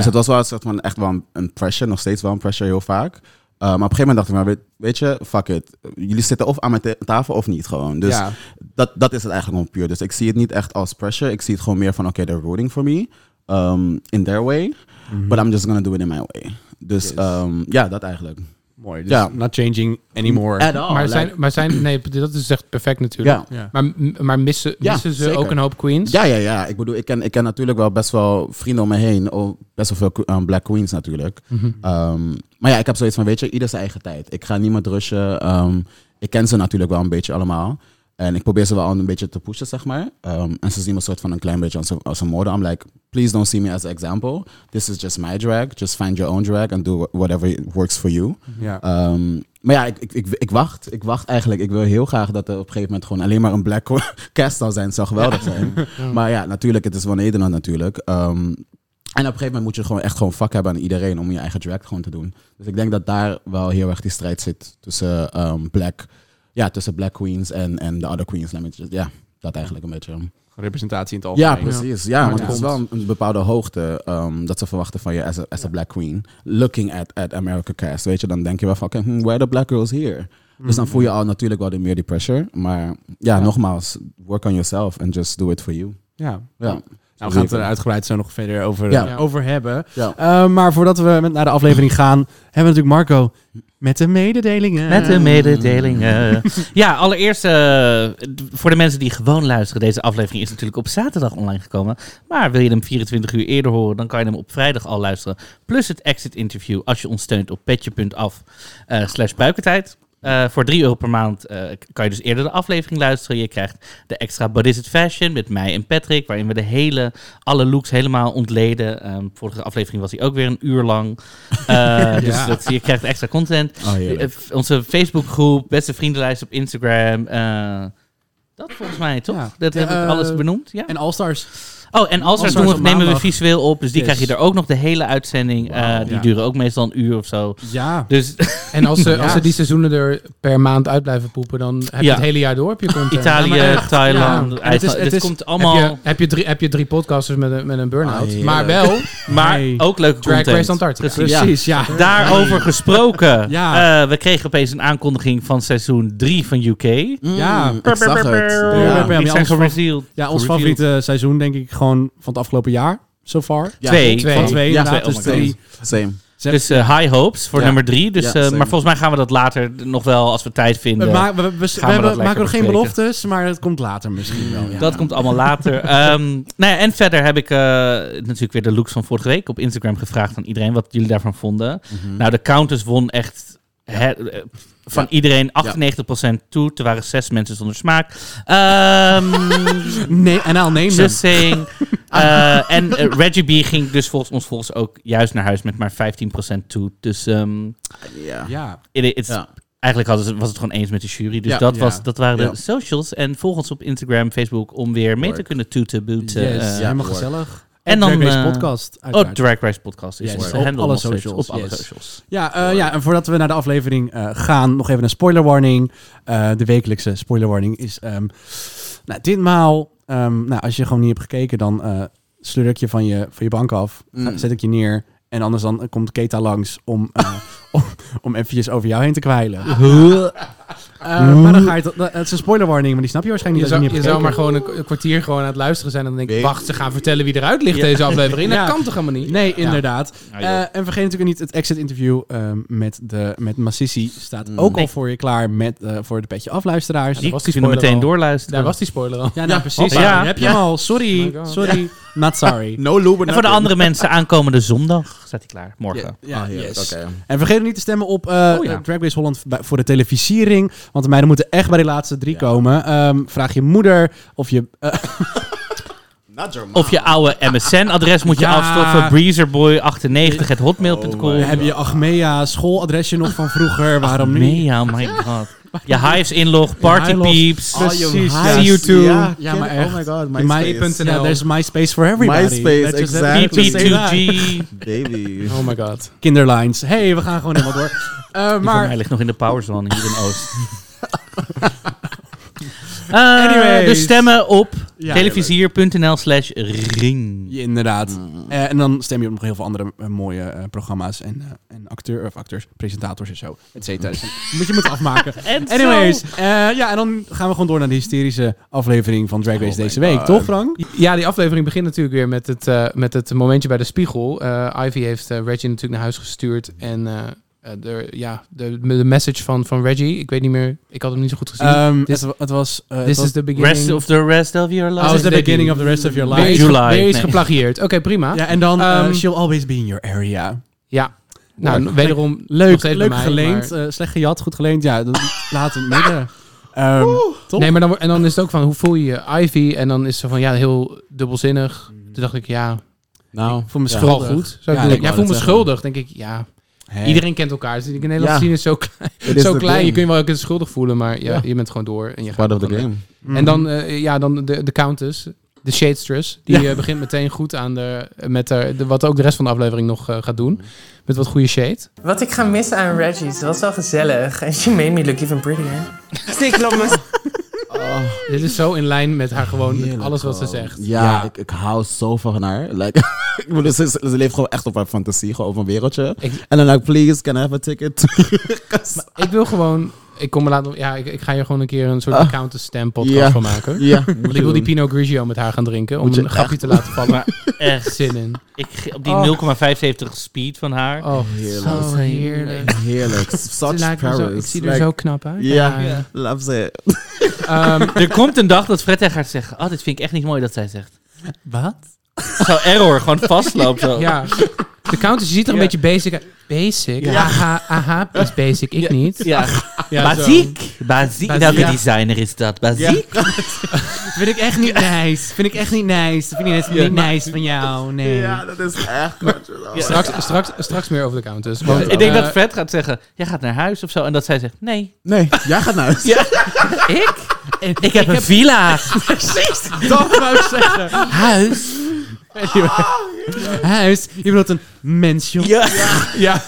Speaker 2: Ja.
Speaker 4: het was wel een soort van echt wel een, een pressure. Nog steeds wel een pressure, heel vaak. Eh, maar op een gegeven moment dacht ik, maar weet, weet je, fuck it. Jullie zitten of aan mijn te- tafel of niet gewoon. Dus
Speaker 2: ja.
Speaker 4: dat, dat is het eigenlijk gewoon puur. Dus ik zie het niet echt als pressure. Ik zie het gewoon meer van, oké, they're rooting for me. um, in their way.
Speaker 1: Mhm.
Speaker 4: But I'm just gonna do it in my way. Dus
Speaker 2: Yes.
Speaker 4: um, ja, dat eigenlijk.
Speaker 2: Mooi. Dus
Speaker 4: Ja.
Speaker 2: not changing anymore.
Speaker 4: At all,
Speaker 1: maar,
Speaker 4: like-
Speaker 1: zijn, maar zijn... Nee, dat is echt perfect natuurlijk.
Speaker 4: Ja.
Speaker 2: ja.
Speaker 1: Maar, m- maar missen,
Speaker 4: Ja,
Speaker 1: missen ze
Speaker 4: zeker.
Speaker 1: ook een hoop queens?
Speaker 4: Ja, ja, ja. Ik bedoel, ik ken, ik ken natuurlijk wel best wel vrienden om me heen. oh, Best wel veel que- um, black queens natuurlijk.
Speaker 1: Mhm.
Speaker 4: Um, maar ja, ik heb zoiets van, weet je, ieder zijn eigen tijd. Ik ga niemand rushen. Um, ik ken ze natuurlijk wel een beetje allemaal. En ik probeer ze wel een beetje te pushen, zeg maar. Um, en ze zien me soort van een klein beetje als een, als een model. I'm like, please don't see me as an example. This is just my drag. Just find your own drag and do whatever works for you.
Speaker 2: Ja.
Speaker 4: Ehm, maar ja, ik, ik, ik, ik wacht. Ik wacht eigenlijk. Ik wil heel graag dat er op een gegeven moment gewoon alleen maar een black cast zou zijn. Het zou geweldig zijn. Maar ja, natuurlijk, het is wel Nederland natuurlijk. Ehm, en op een gegeven moment moet je gewoon echt gewoon vak hebben aan iedereen om je eigen drag gewoon te doen. Dus ik denk dat daar wel heel erg die strijd zit tussen ehm, black, ja, tussen black queens en, en de other queens. Let me just- Ja, dat eigenlijk een beetje.
Speaker 2: Representatie in het
Speaker 4: Ja,
Speaker 2: algemeen.
Speaker 4: precies. Ja, want
Speaker 2: ja.
Speaker 4: het is wel een, een bepaalde hoogte ehm, dat ze verwachten van je as a, as a black queen. Looking at, at America cast, weet je, dan denk je wel van, oké, hmm, where are the black girls here? Dus dan voel je al natuurlijk wel de- meer die pressure. Maar ja, nogmaals, work on yourself and just do it for you.
Speaker 2: Ja.
Speaker 4: Ja.
Speaker 2: Nou, we gaan het er uitgebreid zo nog verder over,
Speaker 4: Ja.
Speaker 2: eh, over hebben.
Speaker 4: Ja.
Speaker 2: Eh, maar voordat we met- naar de aflevering gaan, hebben we natuurlijk Marco met de mededelingen.
Speaker 3: Met de mededelingen. ja, allereerst eh, d- voor de mensen die gewoon luisteren. Deze aflevering is natuurlijk op zaterdag online gekomen. Maar wil je hem 24 uur eerder horen, dan kan je hem op vrijdag al luisteren. Plus het exit interview als je ons steunt op petje.af eh, slash buikentijd. Eh, voor 3 euro per maand eh, k- kan je dus eerder de aflevering luisteren. Je krijgt de extra But Is It Fashion met mij en Patrick. Waarin we de hele, alle looks helemaal ontleden. Ehm, vorige aflevering was hij ook weer een uur lang. Eh, Dus
Speaker 2: Ja.
Speaker 3: dat, je krijgt extra content.
Speaker 4: Oh, heerlijk.
Speaker 3: Eh, f- Onze Facebookgroep, beste vriendenlijst op Instagram. eh, dat volgens mij, toch?
Speaker 2: Ja.
Speaker 3: Dat heb ik
Speaker 2: Eh,
Speaker 3: alles benoemd. Ja.
Speaker 2: En All-Stars.
Speaker 3: Oh, en All-Stars
Speaker 2: All-Stars
Speaker 3: doen
Speaker 2: op
Speaker 3: we, nemen we
Speaker 2: maandag.
Speaker 3: visueel op. Dus die
Speaker 2: Yes.
Speaker 3: krijg je er ook nog de hele uitzending. eh,
Speaker 2: Wauw,
Speaker 3: die
Speaker 2: ja.
Speaker 3: duren ook meestal een uur of zo.
Speaker 2: Ja.
Speaker 3: Dus
Speaker 1: En als ze,
Speaker 2: Ja.
Speaker 1: als ze die seizoenen er per maand uit blijven poepen, dan heb je
Speaker 3: Ja.
Speaker 1: het hele jaar door. Heb je content.
Speaker 3: Italië,
Speaker 2: maar echt,
Speaker 3: Thailand,
Speaker 2: ja. En het
Speaker 3: IJsland.
Speaker 2: is- het
Speaker 3: Het
Speaker 2: is-
Speaker 3: komt
Speaker 1: Heb
Speaker 3: allemaal...
Speaker 1: je, heb, je drie, heb je drie podcasters met een, met een burn-out.
Speaker 4: Ah,
Speaker 1: maar wel
Speaker 3: maar
Speaker 2: Nee.
Speaker 3: ook leuke
Speaker 1: Drag
Speaker 3: content.
Speaker 1: Race Antarctica.
Speaker 3: Precies.
Speaker 2: Precies, ja.
Speaker 3: Daarover gesproken.
Speaker 2: Ja.
Speaker 3: eh, we kregen opeens een aankondiging van seizoen 3 van UK.
Speaker 2: Ja.
Speaker 4: Mm, ik zag
Speaker 2: brr,
Speaker 4: het.
Speaker 2: brr.
Speaker 3: Die
Speaker 4: Ja.
Speaker 3: zijn
Speaker 2: Ons favor-
Speaker 3: gereveeld.
Speaker 2: Ja, ons
Speaker 3: Gereveeld.
Speaker 2: favoriete seizoen, denk ik, gewoon van het afgelopen jaar, so far.
Speaker 4: Ja,
Speaker 3: Twee.
Speaker 1: Twee.
Speaker 2: Van twee,
Speaker 4: Ja,
Speaker 2: inderdaad.
Speaker 3: twee,
Speaker 2: dus
Speaker 3: oh my
Speaker 2: drie.
Speaker 3: God.
Speaker 4: Same.
Speaker 3: Dus eh, high hopes voor
Speaker 4: Ja.
Speaker 3: nummer 3. Dus,
Speaker 4: Ja,
Speaker 3: eh,
Speaker 4: same.
Speaker 3: maar volgens mij gaan we dat later nog wel, als we tijd
Speaker 2: We,
Speaker 3: vinden.
Speaker 2: ma- Eh, we, we- we
Speaker 3: dat
Speaker 2: hebben-
Speaker 3: lekker
Speaker 2: maken nog geen
Speaker 3: bespreken.
Speaker 2: beloftes, maar het komt later misschien wel. Ja.
Speaker 3: Dat komt allemaal later. Ehm, nou ja, en verder heb ik eh, natuurlijk weer de looks van vorige week op Instagram gevraagd aan iedereen wat jullie daarvan vonden. Nou, de Countess won echt hè, eh, van
Speaker 4: Mhm. Ja.
Speaker 3: iedereen 98% toe. Er waren zes mensen zonder smaak. Ehm
Speaker 2: Nee, en al neem
Speaker 3: Just saying. Eh, en eh, Reggie B ging dus volgens ons volgens ook juist naar huis met maar 15% toe. Dus ehm,
Speaker 4: Ja.
Speaker 2: Ja.
Speaker 3: it- it's-
Speaker 4: Ja.
Speaker 3: eigenlijk hadden ze, was het gewoon eens met de jury. Dus
Speaker 4: Ja.
Speaker 3: dat,
Speaker 2: Ja.
Speaker 3: was, dat waren de
Speaker 4: Ja.
Speaker 3: socials. En volg ons op Instagram, Facebook om weer mee te
Speaker 4: Word.
Speaker 3: kunnen toeten,
Speaker 2: Yes,
Speaker 3: booten. eh,
Speaker 4: Ja,
Speaker 2: helemaal
Speaker 4: hoor.
Speaker 2: gezellig.
Speaker 3: En
Speaker 2: En dan...
Speaker 3: dan,
Speaker 2: Drag Race
Speaker 3: eh,
Speaker 2: podcast,
Speaker 3: Oh,
Speaker 2: uiteraard.
Speaker 3: Drag Race Podcast is
Speaker 2: Yes,
Speaker 3: de
Speaker 2: op
Speaker 3: handle
Speaker 2: alle
Speaker 3: nog steeds,
Speaker 2: socials,
Speaker 3: Op alle
Speaker 2: yes.
Speaker 3: socials.
Speaker 2: Ja, eh, ja, en voordat we naar de aflevering eh, gaan, nog even een spoiler warning. Eh, de wekelijkse spoiler warning is... ehm nou, ditmaal, ehm, nou, als je gewoon niet hebt gekeken, dan eh sleur ik je van je, van je bank af.
Speaker 4: Mm.
Speaker 2: Eh, Zet ik je neer. En anders dan eh, komt Keta langs om, eh, om, om eventjes over jou heen te kwijlen. Eh, maar dan ga je... het- Het is een spoiler warning, maar die snap je waarschijnlijk
Speaker 1: Je
Speaker 2: niet. als
Speaker 1: zou, je
Speaker 2: je, niet hebt
Speaker 1: zou maar
Speaker 2: gekeken.
Speaker 1: gewoon een k- een kwartier gewoon aan het luisteren zijn. En dan denk ik,
Speaker 4: Nee.
Speaker 1: wacht, ze gaan vertellen wie eruit ligt deze aflevering.
Speaker 2: Ja.
Speaker 1: Dat kan toch helemaal niet?
Speaker 2: Nee, inderdaad.
Speaker 3: Nou, joh.
Speaker 2: Eh, en vergeet natuurlijk niet het exit interview ehm, met, de, met Massissi. Staat
Speaker 4: Mm.
Speaker 2: ook al
Speaker 3: Nee.
Speaker 2: voor je klaar met, eh, voor de petje afluisteraars.
Speaker 1: dat
Speaker 3: die
Speaker 1: was die
Speaker 3: kunnen
Speaker 1: spoiler
Speaker 3: meteen
Speaker 1: al.
Speaker 3: doorluisteren.
Speaker 1: Daar was die spoiler al.
Speaker 2: Ja, nou,
Speaker 4: Ja,
Speaker 2: precies.
Speaker 3: hoppa.
Speaker 2: Ja,
Speaker 3: Ja.
Speaker 2: heb je hem al. Sorry,
Speaker 1: Oh my God.
Speaker 2: sorry, not sorry.
Speaker 4: No luber
Speaker 3: en voor de andere mensen aankomende zondag staat hij klaar. Morgen.
Speaker 2: Ja,
Speaker 4: Ah, heerlijk.
Speaker 2: yes.
Speaker 4: Oké.
Speaker 2: En vergeet ook niet te stemmen op eh
Speaker 3: Oh, ja.
Speaker 2: eh, Drag Race Holland bij- voor de televisiering. Want de meiden moeten echt bij die laatste drie
Speaker 4: Ja.
Speaker 2: komen. Ehm, vraag je moeder of je... eh,
Speaker 4: Not your mom.
Speaker 3: Of je oude MSN-adres moet je
Speaker 2: Ja.
Speaker 3: afstoffen. Breezerboy98.hotmail.com.
Speaker 4: Oh,
Speaker 2: heb je Achmea schooladresje nog van vroeger? Waarom
Speaker 3: Nee,
Speaker 2: niet?
Speaker 3: ja, oh my god. Je Hives-inlog, Party
Speaker 2: Hive-log.
Speaker 3: Peeps.
Speaker 4: All your
Speaker 2: Precies,
Speaker 4: hives.
Speaker 2: see you too.
Speaker 4: Ja,
Speaker 2: Ja,
Speaker 4: kid,
Speaker 2: maar echt.
Speaker 4: Oh my god,
Speaker 2: Die
Speaker 4: MySpace.
Speaker 1: my-
Speaker 2: Ja, there's MySpace for everybody.
Speaker 4: MySpace,
Speaker 2: Let's just have
Speaker 4: exactly.
Speaker 2: it. Say that.
Speaker 3: PP2G.
Speaker 4: Baby.
Speaker 1: Oh my god.
Speaker 2: Kinderlines. hey, we gaan gewoon helemaal door. Eh,
Speaker 3: Maar...
Speaker 2: maar
Speaker 3: mij ligt nog in de powerzone hier in Oost. Eh,
Speaker 2: Anyways.
Speaker 3: dus stemmen op
Speaker 2: Ja,
Speaker 3: televisier.nl slash ring.
Speaker 2: Ja, inderdaad.
Speaker 1: Mm.
Speaker 2: Eh, en dan stem je op nog heel veel andere eh, mooie eh, programma's en, eh, en acteur, of acteurs, presentators en zo, et cetera. Dus
Speaker 1: Mm.
Speaker 2: dan moet je moeten afmaken.
Speaker 3: En zo.
Speaker 2: Anyways, eh, ja, en dan gaan we gewoon door naar de hysterische aflevering van
Speaker 1: Oh
Speaker 2: Drag Race deze week, toch Frank?
Speaker 1: Ja, die aflevering begint natuurlijk weer met het, eh, met het momentje bij de spiegel. Eh, Ivy heeft eh, Reggie natuurlijk naar huis gestuurd. En eh, eh, de, ja, de, de message van, van Reggie, ik weet niet meer, ik had hem niet zo goed gezien.
Speaker 2: Ehm,
Speaker 1: This-
Speaker 2: het, wa- het was... eh, het
Speaker 1: This
Speaker 2: was
Speaker 1: is the beginning.
Speaker 3: Rest of the rest of your
Speaker 2: Oh, this is
Speaker 3: life.
Speaker 2: the
Speaker 1: the
Speaker 2: beginning of the rest of your
Speaker 1: Weer
Speaker 2: life.
Speaker 1: is, ge-
Speaker 3: July,
Speaker 1: weer is
Speaker 3: nee.
Speaker 1: geplagieerd. Oké, prima. Ja,
Speaker 2: Ja, en dan eh,
Speaker 1: Ehm,
Speaker 2: she'll always be in your area.
Speaker 1: nou,
Speaker 2: leuk.
Speaker 1: wederom nog
Speaker 2: Leuk,
Speaker 1: steeds
Speaker 2: leuk
Speaker 1: bij mij,
Speaker 2: geleend,
Speaker 1: maar-
Speaker 2: eh, slecht gejat, goed geleend. Ja, dat laat het midden. Ehm, top.
Speaker 1: Nee, maar dan, wo- en dan is het ook van, hoe voel je je Ivy? En dan is ze van, ja, heel dubbelzinnig. Toen dacht ik, ja,
Speaker 4: Nou,
Speaker 2: voor mijn
Speaker 1: vooral
Speaker 2: schuldig.
Speaker 1: goed. Zou ik
Speaker 2: Mhm. Ja,
Speaker 1: doen.
Speaker 2: ik
Speaker 1: Jij
Speaker 2: wou
Speaker 1: voelt me
Speaker 2: dat zeggen.
Speaker 1: schuldig, denk ik, ja.
Speaker 2: Hey.
Speaker 1: Iedereen kent elkaar. Dus in Nederland
Speaker 4: Ja.
Speaker 1: zien is zo klein.
Speaker 4: It is
Speaker 1: zo
Speaker 4: the
Speaker 1: klein. Je
Speaker 4: game.
Speaker 1: kunt je wel een keer schuldig voelen, maar ja,
Speaker 4: Ja.
Speaker 1: je bent gewoon door. En je gaat
Speaker 4: Part of the
Speaker 1: gewoon
Speaker 4: game.
Speaker 1: door. En
Speaker 2: Mm.
Speaker 4: Mhm.
Speaker 1: dan, eh, ja, dan de, de Countess, de Shadestress. Die
Speaker 2: Ja.
Speaker 1: eh, begint meteen goed aan de, met haar- de, wat ook de rest van de aflevering nog eh, gaat doen. Met wat goede shade.
Speaker 5: Wat ik ga missen aan Reggie's, was wel gezellig. En she made me look even prettier. Ik loop mijn
Speaker 1: Dit is zo in lijn met haar gewoon, met
Speaker 4: Heerlijk
Speaker 1: alles wat ze
Speaker 4: gewoon.
Speaker 1: zegt.
Speaker 4: Ja, Ik, ik hou zo van haar. Like, ik bedoel, ze, ze leeft gewoon echt op haar fantasie, gewoon over een wereldje.
Speaker 1: Ik-
Speaker 4: En dan like, please, can I have a ticket? 'Cause-
Speaker 1: Ik wil gewoon, ik kom me later, ja, ik, ik ga hier gewoon een keer een soort Countess stem podcast
Speaker 4: Ah. Ja.
Speaker 1: van maken.
Speaker 4: ja, moet
Speaker 1: Want
Speaker 4: je
Speaker 1: ik wil die
Speaker 4: doen.
Speaker 1: Pinot Grigio met haar gaan drinken, om
Speaker 4: Moet je
Speaker 1: een grapje te laten vallen.
Speaker 3: Echt.
Speaker 1: Zin in.
Speaker 3: Ik, ge- op
Speaker 2: Oh.
Speaker 3: die 0,75 speed van haar.
Speaker 1: Oh,
Speaker 4: Heerlijk.
Speaker 1: zo heerlijk.
Speaker 4: Heerlijk. Such
Speaker 1: Lijkt me
Speaker 4: Paris.
Speaker 1: zo- ik zie er
Speaker 4: Like,
Speaker 1: zo knap uit.
Speaker 4: Ja, loves it.
Speaker 1: Ehm,
Speaker 2: Oh.
Speaker 3: Er komt een dag dat Fred tegen haar zegt... Oh, dit vind ik echt niet mooi dat zij zegt.
Speaker 2: Wat?
Speaker 3: Zo error, gewoon vastloopt zo.
Speaker 1: ja. De counters, je ziet er een
Speaker 3: Ja.
Speaker 1: beetje basic uit. Basic? Aha, aha, is basic. Ik niet.
Speaker 3: Ja.
Speaker 1: zo.
Speaker 3: Baziek. Baziek.
Speaker 1: Baziek.
Speaker 3: Welke
Speaker 1: Ja.
Speaker 3: designer is dat? Baziek.
Speaker 2: Vind ik echt niet nice. Vind ik echt niet nice. Dat vind ik echt niet nice van jou. Nee.
Speaker 4: Ja, dat is echt wat
Speaker 1: Straks, straks, straks meer over de counters. Want,
Speaker 3: Ik denk
Speaker 1: eh,
Speaker 3: dat Fred gaat zeggen, jij gaat naar huis of zo. En dat zij zegt, nee,
Speaker 4: Nee, jij gaat naar huis.
Speaker 3: ik? Ik heb een villa.
Speaker 2: Dat wou ik zeggen.
Speaker 3: Huis.
Speaker 2: Huis, je bedoelt een mens, joh.
Speaker 3: Ja,
Speaker 1: Ja,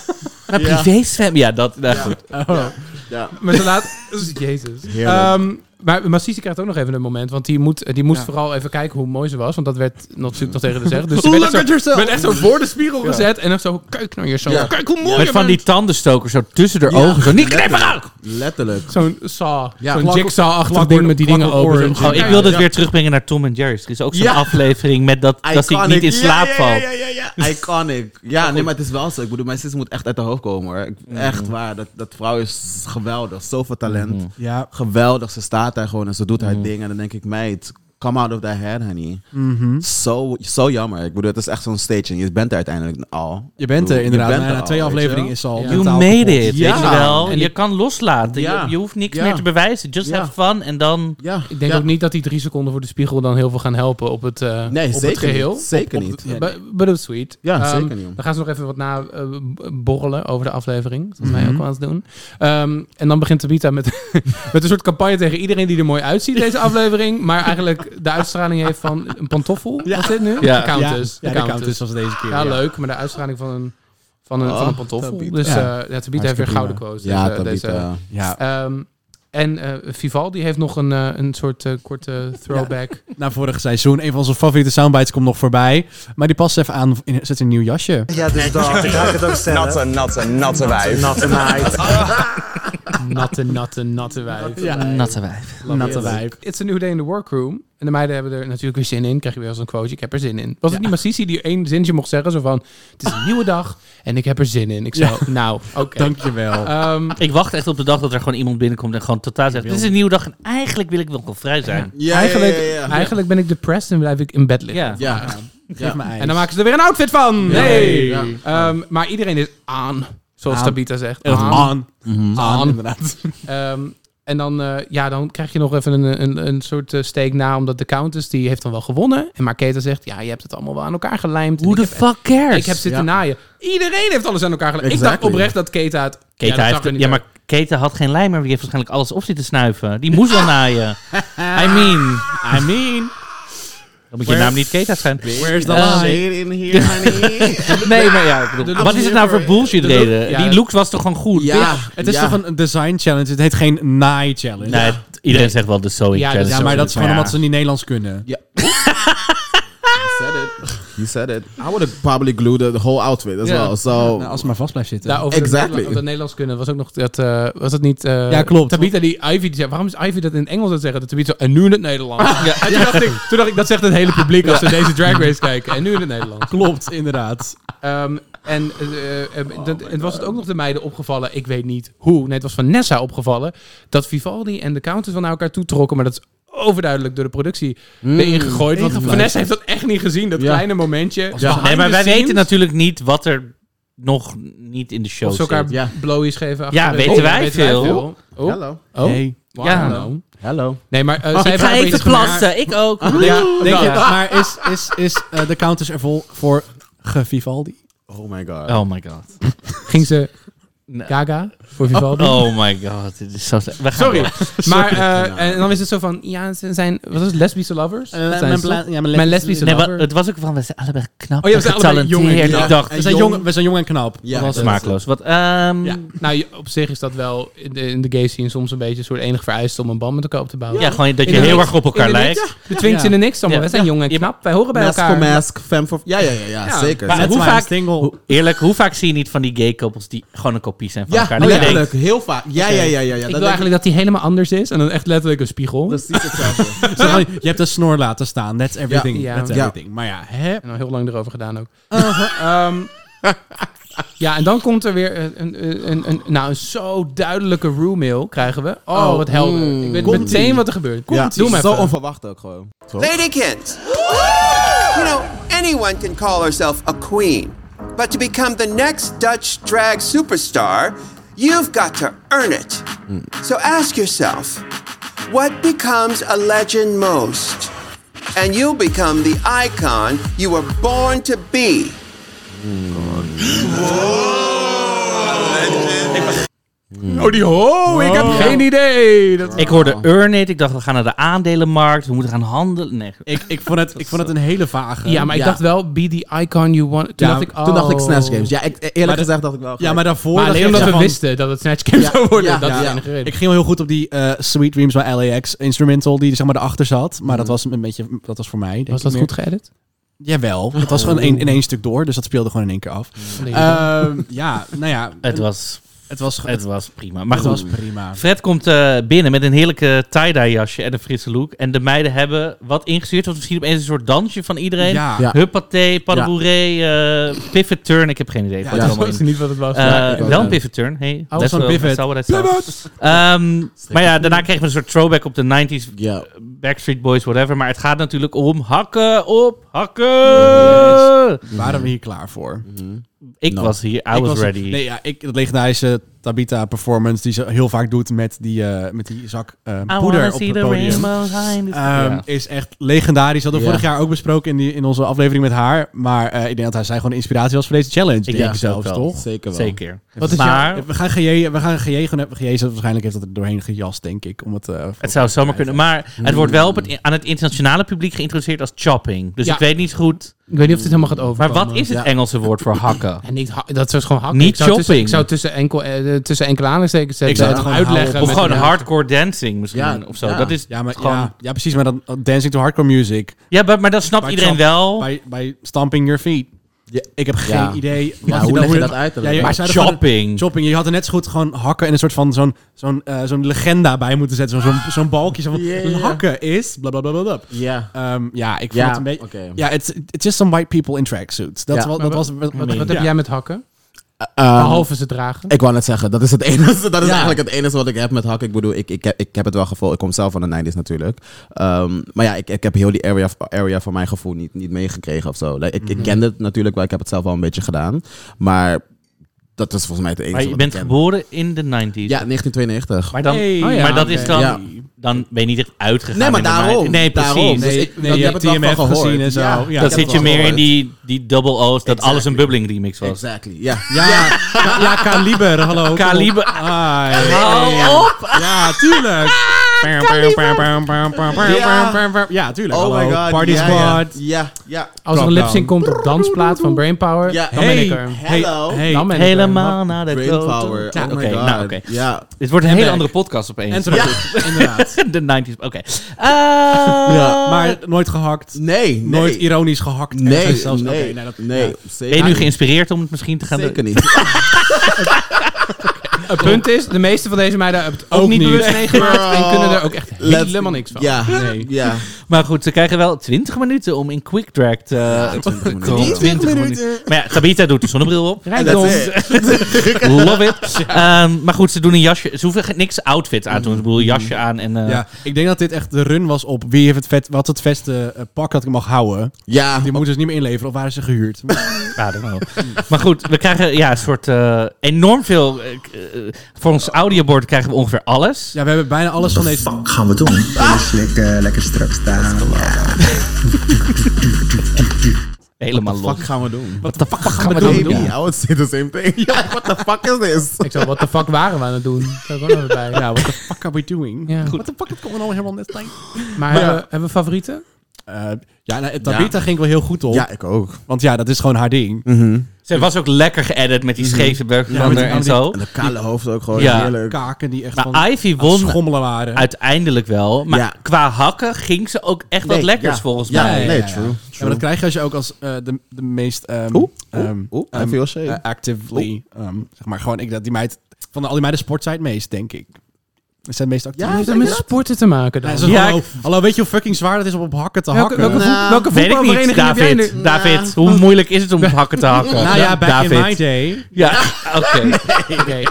Speaker 3: maar
Speaker 4: Ja.
Speaker 3: privé zwem. Ja, dat, nou
Speaker 4: Ja.
Speaker 3: goed.
Speaker 2: Oh.
Speaker 4: Ja.
Speaker 1: maar ze laat... Jezus.
Speaker 4: Heerlijk.
Speaker 1: Ehm, maar Massisi krijgt ook nog even een moment, want die moet, die moest
Speaker 2: Ja.
Speaker 1: vooral even kijken hoe mooi ze was, want dat werd natuurlijk nog tegen de zeggen. Dus ze werd
Speaker 2: Oh, Look
Speaker 1: echt zo-
Speaker 2: at yourself!
Speaker 1: werd echt zo voor de spiegel gezet en dan zo, kijk naar jezelf,
Speaker 4: Ja.
Speaker 1: kijk hoe mooi
Speaker 3: Met
Speaker 1: je
Speaker 3: van die
Speaker 1: bent.
Speaker 3: tandenstokers zo tussen de
Speaker 4: Ja.
Speaker 3: ogen. Zo, niet
Speaker 4: Letterlijk.
Speaker 3: knippen ook!
Speaker 4: Letterlijk.
Speaker 1: Zo'n saw,
Speaker 2: Ja,
Speaker 1: zo'n
Speaker 2: Clock-
Speaker 1: jigsaw-achtig
Speaker 2: Clockwork-
Speaker 1: ding met die dingen
Speaker 2: Clockwork
Speaker 1: open.
Speaker 2: Orange.
Speaker 3: Oh, ik
Speaker 1: Ja.
Speaker 3: wil dit
Speaker 4: ja.
Speaker 3: weer terugbrengen naar Tom en Jerry's. Er is ook zo'n
Speaker 4: Ja.
Speaker 3: aflevering met dat, dat ik niet in slaap
Speaker 4: ja,
Speaker 3: val.
Speaker 4: Ja, ja, ja, ja, ja. Iconic. Ja, Mhm. nee, maar het is wel zo. Ik bedoel, mijn zus moet echt uit de hoofd komen hoor. Ik- Echt waar. Dat, dat vrouw is geweldig. Zoveel talent.
Speaker 2: Ja.
Speaker 4: Geweldig. Ze staat daar gewoon en ze doet haar ding. En dan denk ik, meid, come out of that head, honey.
Speaker 6: Mm-hmm.
Speaker 4: Zo zo jammer. Ik bedoel, het is echt zo'n staging. Je bent er uiteindelijk al.
Speaker 2: Je bent er
Speaker 4: Je
Speaker 2: inderdaad.
Speaker 4: bent
Speaker 2: Na-
Speaker 4: er
Speaker 2: na twee
Speaker 4: al, weet je
Speaker 2: afleveringen
Speaker 4: wel.
Speaker 2: is ze al
Speaker 3: You
Speaker 2: mentaal
Speaker 3: made
Speaker 2: kapot.
Speaker 3: it,
Speaker 4: Ja.
Speaker 3: weet je wel.
Speaker 1: En
Speaker 3: je
Speaker 1: ik-
Speaker 3: kan loslaten.
Speaker 4: Ja.
Speaker 3: Je, je hoeft niks
Speaker 4: Ja.
Speaker 3: meer te bewijzen. Just
Speaker 4: Ja.
Speaker 3: have fun en dan...
Speaker 4: Ja.
Speaker 1: Ik denk
Speaker 4: ja.
Speaker 1: ook niet dat die drie seconden voor de spiegel dan heel veel gaan helpen op het, eh,
Speaker 4: Nee,
Speaker 1: op
Speaker 4: zeker
Speaker 1: het
Speaker 4: niet.
Speaker 1: geheel.
Speaker 4: Zeker
Speaker 1: Op- op-
Speaker 4: niet.
Speaker 1: bu- But it was sweet.
Speaker 4: Ja,
Speaker 1: Ehm,
Speaker 4: zeker niet.
Speaker 1: Dan gaan ze nog even wat na eh, b- borrelen over de aflevering. Dat
Speaker 4: Mhm.
Speaker 1: wij ook wel eens doen. Ehm, en dan begint Tabita met, met een soort campagne tegen iedereen die er mooi uitziet deze aflevering. Maar eigenlijk de uitstraling heeft van een pantoffel. Was dit nu?
Speaker 3: Ja.
Speaker 1: De Countess.
Speaker 2: dus.
Speaker 1: de
Speaker 2: Ja, de
Speaker 1: Countess.
Speaker 2: Countess was deze keer.
Speaker 1: Ja, leuk. Maar de uitstraling van een, van een,
Speaker 4: Oh,
Speaker 1: van een pantoffel.
Speaker 4: Tabitha.
Speaker 1: Dus eh
Speaker 2: Ja.
Speaker 1: ja. Tabita heeft weer
Speaker 2: Hartstikke
Speaker 1: gouden
Speaker 2: prima.
Speaker 1: quotes.
Speaker 4: Ja,
Speaker 1: eh,
Speaker 4: eh.
Speaker 1: deze, deze,
Speaker 4: Tabitha.
Speaker 2: Ja.
Speaker 1: Ehm, en eh, Vivaldi heeft nog een, eh, een soort eh, korte throwback.
Speaker 2: Na vorig seizoen, een van onze favoriete soundbites komt nog voorbij. Maar die past even aan, in, zet in een nieuw jasje.
Speaker 6: Ja, dus dat. Ik ga het ook stellen.
Speaker 7: Natte, natte, natte wijf.
Speaker 6: Natte meid.
Speaker 1: Natte, natte, natte wijf.
Speaker 4: Ah,
Speaker 3: Natte wijf.
Speaker 2: Natte wijf.
Speaker 1: It's a new day in the workroom. En de meiden hebben er natuurlijk weer zin in. Krijg je weer als een quote. Ik heb er zin in. Was het niet Massisi die één zinnetje mocht zeggen? Zo van, het is een nieuwe dag en ik heb er zin in. Ik zo, nou, oké.
Speaker 2: Dankjewel.
Speaker 1: Ehm,
Speaker 3: Ik wacht echt op de dag dat er gewoon iemand binnenkomt en gewoon totaal zegt... Dit is een nieuwe dag en eigenlijk wil ik nog wel vrij zijn.
Speaker 4: Ja,
Speaker 1: eigenlijk,
Speaker 4: ja, ja, ja.
Speaker 1: eigenlijk ben ik depressed en blijf ik in bed liggen.
Speaker 3: Ja.
Speaker 4: Ja.
Speaker 2: Geef me ijs.
Speaker 1: En dan maken ze er weer een outfit van. Nee.
Speaker 2: Nee.
Speaker 4: Ja.
Speaker 1: Ehm, maar iedereen is aan. Zoals
Speaker 2: Aan.
Speaker 1: Tabita zegt.
Speaker 2: Echt aan. Aan,
Speaker 1: Aan.
Speaker 2: inderdaad.
Speaker 1: Ehm, en dan, eh, ja, dan krijg je nog even een, een, een soort eh, steek na, omdat de Countess die heeft dan wel gewonnen. En Marketa zegt, ja, je hebt het allemaal wel aan elkaar gelijmd. En
Speaker 3: Who
Speaker 1: ik
Speaker 3: the
Speaker 1: heb-
Speaker 3: fuck cares?
Speaker 1: Ik heb zitten naaien. Iedereen heeft alles aan elkaar gelijmd. Ik dacht
Speaker 4: Exactly.
Speaker 1: oprecht dat Keta het...
Speaker 3: Keta
Speaker 1: dat zag
Speaker 3: heeft,
Speaker 1: er niet
Speaker 3: ja,
Speaker 1: uit.
Speaker 3: maar Keta had geen lijm, maar die heeft waarschijnlijk alles op zitten snuiven. Die moest wel naaien. I mean, I mean. Dan moet je naam niet Keta zijn.
Speaker 2: Where's the
Speaker 3: Eh,
Speaker 2: line?
Speaker 4: Shade in here, honey.
Speaker 3: Nee, maar ja, ik bedoel, wat is het nou voor bullshit
Speaker 1: look-
Speaker 3: reden?
Speaker 1: ja.
Speaker 3: Die looks was toch gewoon goed?
Speaker 4: Ja.
Speaker 2: Het is
Speaker 4: ja.
Speaker 2: toch een design challenge? Het heet geen naai challenge.
Speaker 3: Nee, het- iedereen zegt wel de sewing
Speaker 1: Ja, dat-
Speaker 3: challenge.
Speaker 2: Ja, maar dat is gewoon
Speaker 3: ja.
Speaker 2: omdat ze niet Nederlands kunnen.
Speaker 4: Ja. you said it. You said it. I would have probably glued the, the whole outfit as
Speaker 1: Ja.
Speaker 4: well. So
Speaker 2: Nou, als het maar vast blijft zitten.
Speaker 1: Ja, oh, over
Speaker 4: Exactly.
Speaker 1: het Nederlands- over het Nederlands kunnen was ook nog dat eh, was het niet eh,
Speaker 2: Ja, klopt.
Speaker 1: Tabitha die Ivy die zei waarom is Ivy dat in het Engels aan het zeggen dat Tabitha zo, en nu in het Nederlands ja. en toen, dacht ik, toen dacht ik dat zegt het hele publiek als ze deze drag race kijken en nu in het Nederlands
Speaker 2: Klopt, inderdaad.
Speaker 1: Ehm, en eh, eh, dat- het was het ook nog de meiden opgevallen, ik weet niet hoe. Nee, het was van Nessa opgevallen dat Vivaldi en de Countess wel naar elkaar toe trokken. Maar dat is overduidelijk door de productie erin gegooid. Want
Speaker 2: ingevleid.
Speaker 1: Vanessa heeft dat echt niet gezien, dat
Speaker 4: Hmm. Ja.
Speaker 1: kleine momentje.
Speaker 3: Nee, maar wij weten
Speaker 1: natuurlijk
Speaker 3: natuurlijk niet wat er nog niet in de show
Speaker 1: Of ze elkaar
Speaker 3: zit.
Speaker 4: Ja.
Speaker 1: blowies geven. achter
Speaker 3: Ja,
Speaker 1: de-
Speaker 3: weten wij veel.
Speaker 1: Oh,
Speaker 4: Hello.
Speaker 1: oh.
Speaker 2: Hey.
Speaker 1: Wow.
Speaker 3: Ja.
Speaker 4: Hello.
Speaker 1: Nee, maar eh, zij
Speaker 3: Oh, Ik
Speaker 1: waren
Speaker 3: ga even
Speaker 1: bezig met haar-
Speaker 3: plassen, ik ook.
Speaker 2: Denk, denk je,
Speaker 3: Ja.
Speaker 2: maar is, is, is eh, de counters er vol voor gevivaldi?
Speaker 4: Oh my god.
Speaker 3: Oh my god.
Speaker 1: Ging ze
Speaker 3: Nee.
Speaker 1: Gaga voor Vivaldi?
Speaker 3: Oh my god, dit is zo... We gaan
Speaker 1: Sorry.
Speaker 3: door.
Speaker 1: Maar eh, en dan is het zo van, ja, ze zijn, wat is het, lesbische lovers?
Speaker 3: Eh,
Speaker 1: Wat zijn ze? Mijn lesbische
Speaker 3: Nee,
Speaker 1: lover.
Speaker 3: wa- het was ook van, we zijn allebei knap
Speaker 1: Oh ja, we
Speaker 3: en
Speaker 1: zijn allebei
Speaker 3: getalenteerd.
Speaker 1: jong en knap.
Speaker 3: Ik dacht,
Speaker 2: We zijn, jong, we zijn jong en knap.
Speaker 4: Ja,
Speaker 3: wat
Speaker 4: dat is
Speaker 3: smaakloos. Wat, ehm,
Speaker 1: Ja.
Speaker 3: ja.
Speaker 1: Nou, je- op zich is dat wel in de, in de gay scene soms een beetje een soort enige vereiste om een band met elkaar op te bouwen.
Speaker 3: gewoon dat je
Speaker 1: In de
Speaker 3: heel
Speaker 1: mix.
Speaker 3: erg op elkaar
Speaker 1: In de
Speaker 3: lijkt.
Speaker 1: mix. De twinks
Speaker 2: Ja.
Speaker 1: in de niks allemaal.
Speaker 3: Ja.
Speaker 1: Wij zijn jong en
Speaker 3: Ja.
Speaker 1: knap. Wij horen bij
Speaker 4: Mask
Speaker 1: elkaar.
Speaker 4: for mask, femme for... Ja, ja, ja, ja,
Speaker 1: Ja.
Speaker 4: zeker.
Speaker 3: Maar
Speaker 2: That's
Speaker 3: hoe
Speaker 2: why I'm
Speaker 3: vaak-
Speaker 2: single.
Speaker 3: Eerlijk, hoe vaak zie je niet van die gay koppels die gewoon een kopie zijn van
Speaker 4: ja,
Speaker 3: elkaar? Dat je denkt,
Speaker 4: letterlijk. Heel vaak. Ja, ja, ja, ja. ja.
Speaker 1: Ik wil eigenlijk dat hij helemaal anders is. En dan echt letterlijk een spiegel. En
Speaker 4: precies hetzelfde.
Speaker 2: Zo van, je hebt een snor laten staan. That's everything.
Speaker 1: Ja.
Speaker 2: That's
Speaker 4: Ja.
Speaker 2: everything. Maar ja, hè?
Speaker 1: dan heel lang erover gedaan ook. Ehm, ja, en dan komt er weer een, een, een, een, nou, een zo duidelijke roommail krijgen we. Oh,
Speaker 4: Oh,
Speaker 1: wat helder.
Speaker 4: mm.
Speaker 1: Ik weet
Speaker 4: Komt-ie.
Speaker 1: meteen wat er gebeurt.
Speaker 4: ja,
Speaker 1: Doe maar
Speaker 4: Zo
Speaker 1: even.
Speaker 4: onverwacht ook gewoon.
Speaker 8: Ladykids! You know, anyone can call herself a queen, but to become the next Dutch drag superstar, you've got to earn it. So ask yourself what becomes a legend most? And you'll become the icon you were born to be.
Speaker 1: Oh, die ho, ik heb
Speaker 2: Wow.
Speaker 1: geen idee. Dat
Speaker 3: Ik
Speaker 4: Oh.
Speaker 3: hoorde earn it. Ik dacht, we gaan naar de aandelenmarkt. We moeten gaan handelen. Nee.
Speaker 2: Ik, ik, vond het, ik vond het een hele vage.
Speaker 1: ja, maar ik
Speaker 4: Ja.
Speaker 1: dacht wel, be the icon you want. Toen
Speaker 2: Ja,
Speaker 1: dacht ik,
Speaker 4: Toen dacht ik
Speaker 1: oh.
Speaker 4: Snatch Games. Ja, ik, eerlijk
Speaker 2: Maar dat-
Speaker 4: gezegd dacht ik wel.
Speaker 2: ja, maar daarvoor...
Speaker 1: Maar
Speaker 2: dacht
Speaker 1: alleen
Speaker 2: ik
Speaker 1: omdat
Speaker 2: echt
Speaker 1: we
Speaker 2: van-
Speaker 1: wisten dat het Snatch Games
Speaker 4: Ja,
Speaker 1: zou worden.
Speaker 4: ja,
Speaker 1: dat is
Speaker 4: ja.
Speaker 1: de enige reden.
Speaker 2: Ik ging wel heel goed op die eh, Sweet Dreams by LAX instrumental die zeg maar erachter zat. Maar dat was een beetje, dat was voor mij. denk
Speaker 1: Hmm. Was
Speaker 2: ik
Speaker 1: dat
Speaker 2: meer.
Speaker 1: goed geëdit?
Speaker 2: Jawel. Het was gewoon in, in één stuk door, dus dat speelde gewoon in één keer af.
Speaker 1: Hmm. Nee.
Speaker 2: Ehm, ja, nou ja.
Speaker 3: Het was,
Speaker 2: het was, het,
Speaker 3: het was prima. Maar
Speaker 2: het
Speaker 3: goed.
Speaker 2: was prima.
Speaker 3: Fred komt eh, binnen met een heerlijke tie-dye jasje en een frisse look. En de meiden hebben wat ingestuurd. Wat misschien opeens een soort dansje van iedereen.
Speaker 2: Ja.
Speaker 4: Ja.
Speaker 3: Huppatee, paddenboeré, eh pivot turn. Ik heb geen idee.
Speaker 2: Ja,
Speaker 3: wat er
Speaker 1: dat
Speaker 3: allemaal
Speaker 1: was
Speaker 3: in-
Speaker 1: niet wat het was.
Speaker 3: Eh,
Speaker 1: Ja.
Speaker 4: ik ook,
Speaker 3: wel een
Speaker 4: ja.
Speaker 3: pivot turn. Hey,
Speaker 1: Oh,
Speaker 3: that's
Speaker 2: zo'n
Speaker 3: what-
Speaker 2: pivot.
Speaker 3: that's what I saw. Ehm, maar ja, daarna kregen we een soort throwback op de 90s.
Speaker 4: Ja.
Speaker 3: Backstreet Boys, whatever. Maar het gaat natuurlijk om hakken op hakken.
Speaker 4: Mhm.
Speaker 2: Waren we hier klaar voor?
Speaker 3: Ik
Speaker 4: No.
Speaker 3: was hier, I
Speaker 2: Ik
Speaker 3: was,
Speaker 2: was-
Speaker 3: ready.
Speaker 2: Nee, ja, ik, dat legendarische Tabita performance die ze heel vaak doet met die, eh, met die zak eh,
Speaker 3: I
Speaker 2: poeder
Speaker 3: wanna
Speaker 2: op
Speaker 3: see
Speaker 2: het
Speaker 3: the
Speaker 2: podium.
Speaker 3: rainbow high in the sky.
Speaker 2: Ehm,
Speaker 3: Ja.
Speaker 2: Is echt legendarisch. Hadden we
Speaker 4: Ja.
Speaker 2: vorig jaar ook besproken in, die, in onze aflevering met haar. Maar eh, ik denk dat hij zij gewoon inspiratie was voor deze challenge. denk
Speaker 3: denk
Speaker 2: ik
Speaker 3: het
Speaker 2: zelfs,
Speaker 3: ook wel.
Speaker 2: toch?
Speaker 4: Zeker wel.
Speaker 3: Zeker.
Speaker 1: Wat is
Speaker 3: maar
Speaker 2: We gaan GJ, we gaan GJ gewoon hebben. GJ is- waarschijnlijk heeft dat er doorheen gejast, denk ik. Om het, eh, voor-
Speaker 3: het zou zomaar kunnen. Maar het wordt wel op het, aan het internationale publiek geïntroduceerd als chopping. Dus
Speaker 1: Ja.
Speaker 3: ik weet niet goed.
Speaker 1: Ik weet niet of dit helemaal gaat over.
Speaker 3: Maar wat is het Engelse woord voor hakken?
Speaker 1: En niet ha- dat is gewoon hakken.
Speaker 3: Niet
Speaker 1: ik zou tussen-
Speaker 3: shopping.
Speaker 1: ik zou tussen enkel, eh, tussen enkel aanhalingstekens zetten.
Speaker 2: Ik zou het
Speaker 1: en
Speaker 2: gewoon houden
Speaker 3: Of
Speaker 1: met
Speaker 3: gewoon
Speaker 1: elkaar.
Speaker 3: hardcore dancing misschien
Speaker 4: Ja,
Speaker 3: of zo.
Speaker 4: ja.
Speaker 3: Dat is
Speaker 2: Ja, maar,
Speaker 3: gewoon...
Speaker 2: ja,
Speaker 3: Ja,
Speaker 2: ja, precies. Maar dan dan dancing to hardcore music.
Speaker 3: maar, maar dat snapt
Speaker 2: Bij
Speaker 3: iedereen
Speaker 2: chop-
Speaker 3: wel.
Speaker 2: Bij, bij stomping your feet.
Speaker 4: Ja.
Speaker 2: Ik heb geen
Speaker 4: Ja.
Speaker 2: idee. wat
Speaker 4: Ja, hoe
Speaker 2: dan-
Speaker 4: leg je dat uit?
Speaker 2: Ja, je-
Speaker 3: Maar
Speaker 2: zou er gewoon-
Speaker 3: chopping.
Speaker 2: Chopping. Je had er net zo goed gewoon hakken en een soort van zo'n zo'n eh, zo'n legenda bij moeten zetten. Zo'n zo'n zo'n balkje. Zo van,
Speaker 4: Ja, ja.
Speaker 2: Hakken is... blablabla.
Speaker 4: Ja.
Speaker 2: Ehm, ja, ik vond
Speaker 4: Ja,
Speaker 2: het een beetje...
Speaker 4: oké.
Speaker 2: Ja, it's, it's just some white people in tracksuits. Dat,
Speaker 4: Ja.
Speaker 2: is wat,
Speaker 1: Maar
Speaker 2: dat was...
Speaker 1: Wat, wat,
Speaker 2: ja.
Speaker 1: heb jij met hakken?
Speaker 4: Ehm,
Speaker 1: Behalve ze dragen.
Speaker 4: Ik wou net zeggen, dat is, het enige, dat is
Speaker 2: Ja.
Speaker 4: eigenlijk het enige wat ik heb met hak. Ik bedoel, ik, ik, heb, ik heb het wel gevoel. Ik kom zelf van de 90s natuurlijk. Ehm, maar ja, ik, ik heb heel die area, area van mijn gevoel niet, niet meegekregen of zo. Like, ik, ik kende het natuurlijk wel, ik heb het zelf wel een beetje gedaan. Maar dat is volgens mij het enige
Speaker 3: Maar je
Speaker 4: wat
Speaker 3: bent
Speaker 4: ik ken.
Speaker 3: geboren in de 90s.
Speaker 4: Ja, 1992.
Speaker 3: Maar, dan,
Speaker 2: Hey.
Speaker 1: Oh ja,
Speaker 3: maar dat is
Speaker 1: oké.
Speaker 3: dan...
Speaker 4: Ja.
Speaker 3: Dan ben je niet echt uitgegaan.
Speaker 4: Nee, maar
Speaker 3: in de
Speaker 4: daarom.
Speaker 3: 90s. Nee, precies.
Speaker 4: Daarom. Dus ik-
Speaker 2: nee, je
Speaker 4: ik heb
Speaker 2: hebt
Speaker 4: het wel
Speaker 2: TMF
Speaker 4: van gehoord.
Speaker 2: gezien en zo. Ja,
Speaker 4: Ja,
Speaker 2: Dan
Speaker 4: ik
Speaker 3: Dan
Speaker 4: heb
Speaker 3: zit
Speaker 4: het
Speaker 3: je
Speaker 4: wel
Speaker 3: meer in
Speaker 4: gehoord.
Speaker 3: die, die double O's, dat alles een bubbling remix was.
Speaker 4: Exactly, ja.
Speaker 2: Ja, ja, ja, Kaliber, hallo. kom op.
Speaker 3: Kaliber.
Speaker 2: Ai.
Speaker 4: Oh,
Speaker 3: Hou op!
Speaker 2: Ja, tuurlijk. Ja, tuurlijk.
Speaker 4: Oh
Speaker 2: hallo.
Speaker 4: my god.
Speaker 2: Party
Speaker 4: ja, ja.
Speaker 2: Squad.
Speaker 4: Ja, ja.
Speaker 1: Als er een
Speaker 2: Drop
Speaker 1: lipsync komt op dansplaat van Brainpower,
Speaker 4: Ja.
Speaker 1: dan ben ik er.
Speaker 2: Hey,
Speaker 4: Hello.
Speaker 2: hey.
Speaker 1: Dan ben ik er.
Speaker 3: Helemaal naar de
Speaker 4: Brain power.
Speaker 3: Ja,
Speaker 4: Oh my
Speaker 3: oké,
Speaker 4: god.
Speaker 3: nou, oké.
Speaker 4: Ja.
Speaker 3: Dit wordt een hele
Speaker 2: back.
Speaker 3: andere podcast opeens.
Speaker 2: En terug. Inderdaad.
Speaker 3: de 90s. Oké. Eh,
Speaker 2: Maar nooit gehakt.
Speaker 4: Nee, Ah. nee.
Speaker 2: Nooit ironisch gehakt. En
Speaker 4: Nee,
Speaker 2: zelfs- oké,
Speaker 4: nee,
Speaker 2: nee, dat-
Speaker 4: nee.
Speaker 3: ben je nu geïnspireerd om het misschien te gaan
Speaker 4: Zeker
Speaker 3: doen?
Speaker 4: niet.
Speaker 1: Het punt is, de meeste van deze meiden hebben het ook,
Speaker 2: Ook
Speaker 1: niet
Speaker 2: niet.
Speaker 1: bewust meegemaakt en
Speaker 4: Girl,
Speaker 1: kunnen er ook echt
Speaker 4: let's-
Speaker 1: helemaal niks van.
Speaker 4: Ja,
Speaker 2: Nee.
Speaker 4: ja.
Speaker 3: Maar goed, ze krijgen wel 20 minuten om in quick drag te eh,
Speaker 4: 20
Speaker 3: te
Speaker 4: minuten.
Speaker 3: komen.
Speaker 4: 20
Speaker 3: Maar ja, Tabitha doet de zonnebril op.
Speaker 1: Rijkdom.
Speaker 4: That's it.
Speaker 3: Love it. Ehm, maar goed, ze doen een jasje. Ze hoeven geen- niks outfit aan te doen. Ze bedoel, jasje aan en... eh,
Speaker 2: Ja, ik denk dat dit echt de run was op wie heeft het vet, wat het beste eh, pak dat ik mag houden.
Speaker 4: Ja,
Speaker 2: Die moeten ze dus niet meer inleveren of waren ze gehuurd?
Speaker 3: I don't know. maar goed, we krijgen ja, een soort eh, enorm veel. eh, k- eh, voor ons audiobord krijgen we ongeveer alles.
Speaker 2: Ja, we hebben bijna alles van deze.
Speaker 7: Wat gaan we doen? Is lekker, eh, lekker strak staan.
Speaker 3: Helemaal los.
Speaker 4: Wat gaan we doen?
Speaker 3: Wat de fuck gaan we
Speaker 4: Baby,
Speaker 3: dan doen?
Speaker 4: I would say the same thing. Ja, what the fuck is this?
Speaker 1: Ik zou, what the fuck waren we aan het doen? Zou ik ook nog even bij.
Speaker 2: Ja, what the fuck are we doing?
Speaker 1: Ja.
Speaker 2: What the fuck, dat komt nou helemaal net tijd.
Speaker 1: Maar hebben, we- hebben we favorieten?
Speaker 2: ja, nou, Tabitha ging wel heel goed op.
Speaker 4: Ja, Mhm. ik ook.
Speaker 2: Want ja, dat is gewoon haar ding.
Speaker 3: Ze was ook lekker geëdit met die scheve burgerlander
Speaker 2: met
Speaker 3: en
Speaker 2: die-
Speaker 3: zo.
Speaker 4: En de kale hoofd ook gewoon
Speaker 3: Ja.
Speaker 4: heerlijk.
Speaker 2: Kaken die echt van aan
Speaker 3: Maar Ivy
Speaker 2: het
Speaker 3: won
Speaker 2: schommelen waren.
Speaker 3: uiteindelijk wel. Maar
Speaker 4: Ja.
Speaker 3: qua hakken ging ze ook echt wat
Speaker 4: Nee,
Speaker 3: lekkers
Speaker 4: ja.
Speaker 3: volgens
Speaker 4: Ja,
Speaker 3: mij.
Speaker 4: nee,
Speaker 2: ja, ja.
Speaker 4: true.
Speaker 2: Ja,
Speaker 4: true.
Speaker 2: maar dat krijg je als je ook als eh, de, de meest... ehm,
Speaker 4: Oeh,
Speaker 2: ehm,
Speaker 4: oeh, I
Speaker 2: ehm,
Speaker 4: feel shame.
Speaker 2: eh, actively,
Speaker 1: Oh.
Speaker 2: ehm, zeg maar gewoon, ik, dat die meid... Van al die meiden sport zij het meest, denk ik. Ze zijn het meest actief.
Speaker 4: Ja,
Speaker 1: Heeft
Speaker 4: zeker.
Speaker 1: dat met sporten te maken dan?
Speaker 2: Ja,
Speaker 3: Ja,
Speaker 2: hallo,
Speaker 3: ik-
Speaker 2: hallo, weet je hoe fucking zwaar het is om op hakken te
Speaker 1: Welke,
Speaker 2: hakken?
Speaker 1: welke,
Speaker 4: Nou,
Speaker 1: voet- welke
Speaker 3: Weet ik niet,
Speaker 1: voetbalvereniging heb jij
Speaker 3: David.
Speaker 1: nu?
Speaker 3: David, hoe moeilijk is het om hakken te hakken?
Speaker 2: nou ja, back in my
Speaker 3: David.
Speaker 2: day.
Speaker 3: Ja, oké.
Speaker 1: Oké.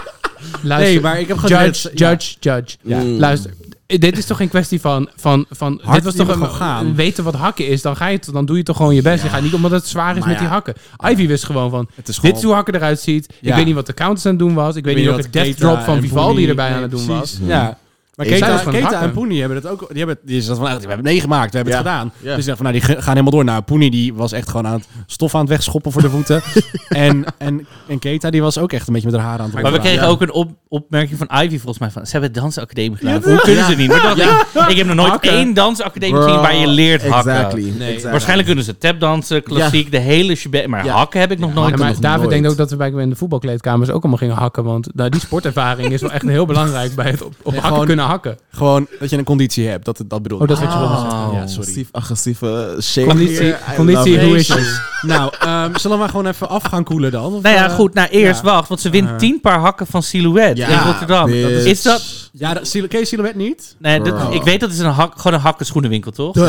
Speaker 1: Luister,
Speaker 2: Nee, maar ik heb gewoon...
Speaker 1: judge, judge, judge.
Speaker 2: Ja. Mm.
Speaker 1: Luister, eh, dit is toch geen kwestie van... van, van
Speaker 2: Hard
Speaker 1: dit was
Speaker 2: die
Speaker 1: toch
Speaker 2: moet gewoon gaan.
Speaker 1: Weten wat hakken is, dan, ga je, het- dan doe je toch gewoon je best. Je gaat niet omdat het zwaar is
Speaker 2: Maar
Speaker 1: met
Speaker 2: ja.
Speaker 1: die hakken. Ivy wist gewoon van,
Speaker 2: Het
Speaker 1: dit
Speaker 2: is gewoon-
Speaker 1: is hoe hakken eruit ziet.
Speaker 2: Ja.
Speaker 1: Ik weet niet wat de counters aan het doen was. Ik weet
Speaker 2: Weet
Speaker 1: niet
Speaker 2: je
Speaker 1: of
Speaker 2: wat
Speaker 1: het death
Speaker 2: Keita
Speaker 1: drop van
Speaker 2: en
Speaker 1: Vivaldi
Speaker 2: Boelie-
Speaker 1: erbij
Speaker 2: nee,
Speaker 1: aan het doen
Speaker 2: precies.
Speaker 1: was.
Speaker 2: Ja. Maar
Speaker 1: Zij was
Speaker 2: Keita,
Speaker 1: van het
Speaker 2: Keita
Speaker 1: hakken.
Speaker 2: en Poenie hebben dat ook... Die hebben, die is dat van, we hebben het meegemaakt, we hebben het
Speaker 4: Ja.
Speaker 2: gedaan.
Speaker 4: Ja.
Speaker 2: Dus ik dacht van, nou, die gaan helemaal door. Nou, Poenie die was echt gewoon aan het stof aan het wegschoppen voor de voeten. en, en, en Keita die was ook echt een beetje met haar haren aan het
Speaker 3: Maar we
Speaker 2: ronddraaien.
Speaker 3: kregen ook een op- opmerking van Ivy volgens mij van... Ze hebben dansacademie gedaan. Hoe kunnen ze niet? Maar dat ik, ik heb nog nooit één dansacademie gezien waar je leert hakken.
Speaker 4: Exactly. exactly.
Speaker 3: Waarschijnlijk kunnen ze tapdansen, klassiek, de hele shebang. Maar
Speaker 4: Ja.
Speaker 3: hakken heb ik nog nooit.
Speaker 1: Ja, maar
Speaker 4: nog
Speaker 1: David
Speaker 4: nooit.
Speaker 1: denkt ook dat we bij in de voetbalkleedkamers ook allemaal gingen hakken. Want nou, die sportervaring is wel echt heel belangrijk bij het op, op hakken
Speaker 2: gewoon-
Speaker 1: kunnen hakken.
Speaker 2: Gewoon dat je een conditie hebt, dat, dat bedoel ik.
Speaker 1: Oh, dat is wat je wilde
Speaker 3: Oh.
Speaker 2: Ja, sorry.
Speaker 4: Passief agressieve shake.
Speaker 1: Conditie,
Speaker 4: here. I
Speaker 1: conditie
Speaker 4: love it.
Speaker 1: hoe is je?
Speaker 2: nou, ehm, zullen we maar gewoon even af gaan koelen dan? Of,
Speaker 3: Nou ja,
Speaker 2: eh,
Speaker 3: goed. Nou, eerst
Speaker 2: ja.
Speaker 3: wacht. Want ze wint tien paar hakken van Silhouette
Speaker 4: Ja,
Speaker 3: in Rotterdam.
Speaker 4: bitch.
Speaker 3: Is, dat...
Speaker 2: Ja, dat, sil- ken je Silhouette niet?
Speaker 3: Nee, dat-
Speaker 4: Bro.
Speaker 3: ik weet dat is een hak, gewoon een hakkenschoenenwinkel, toch?
Speaker 2: De,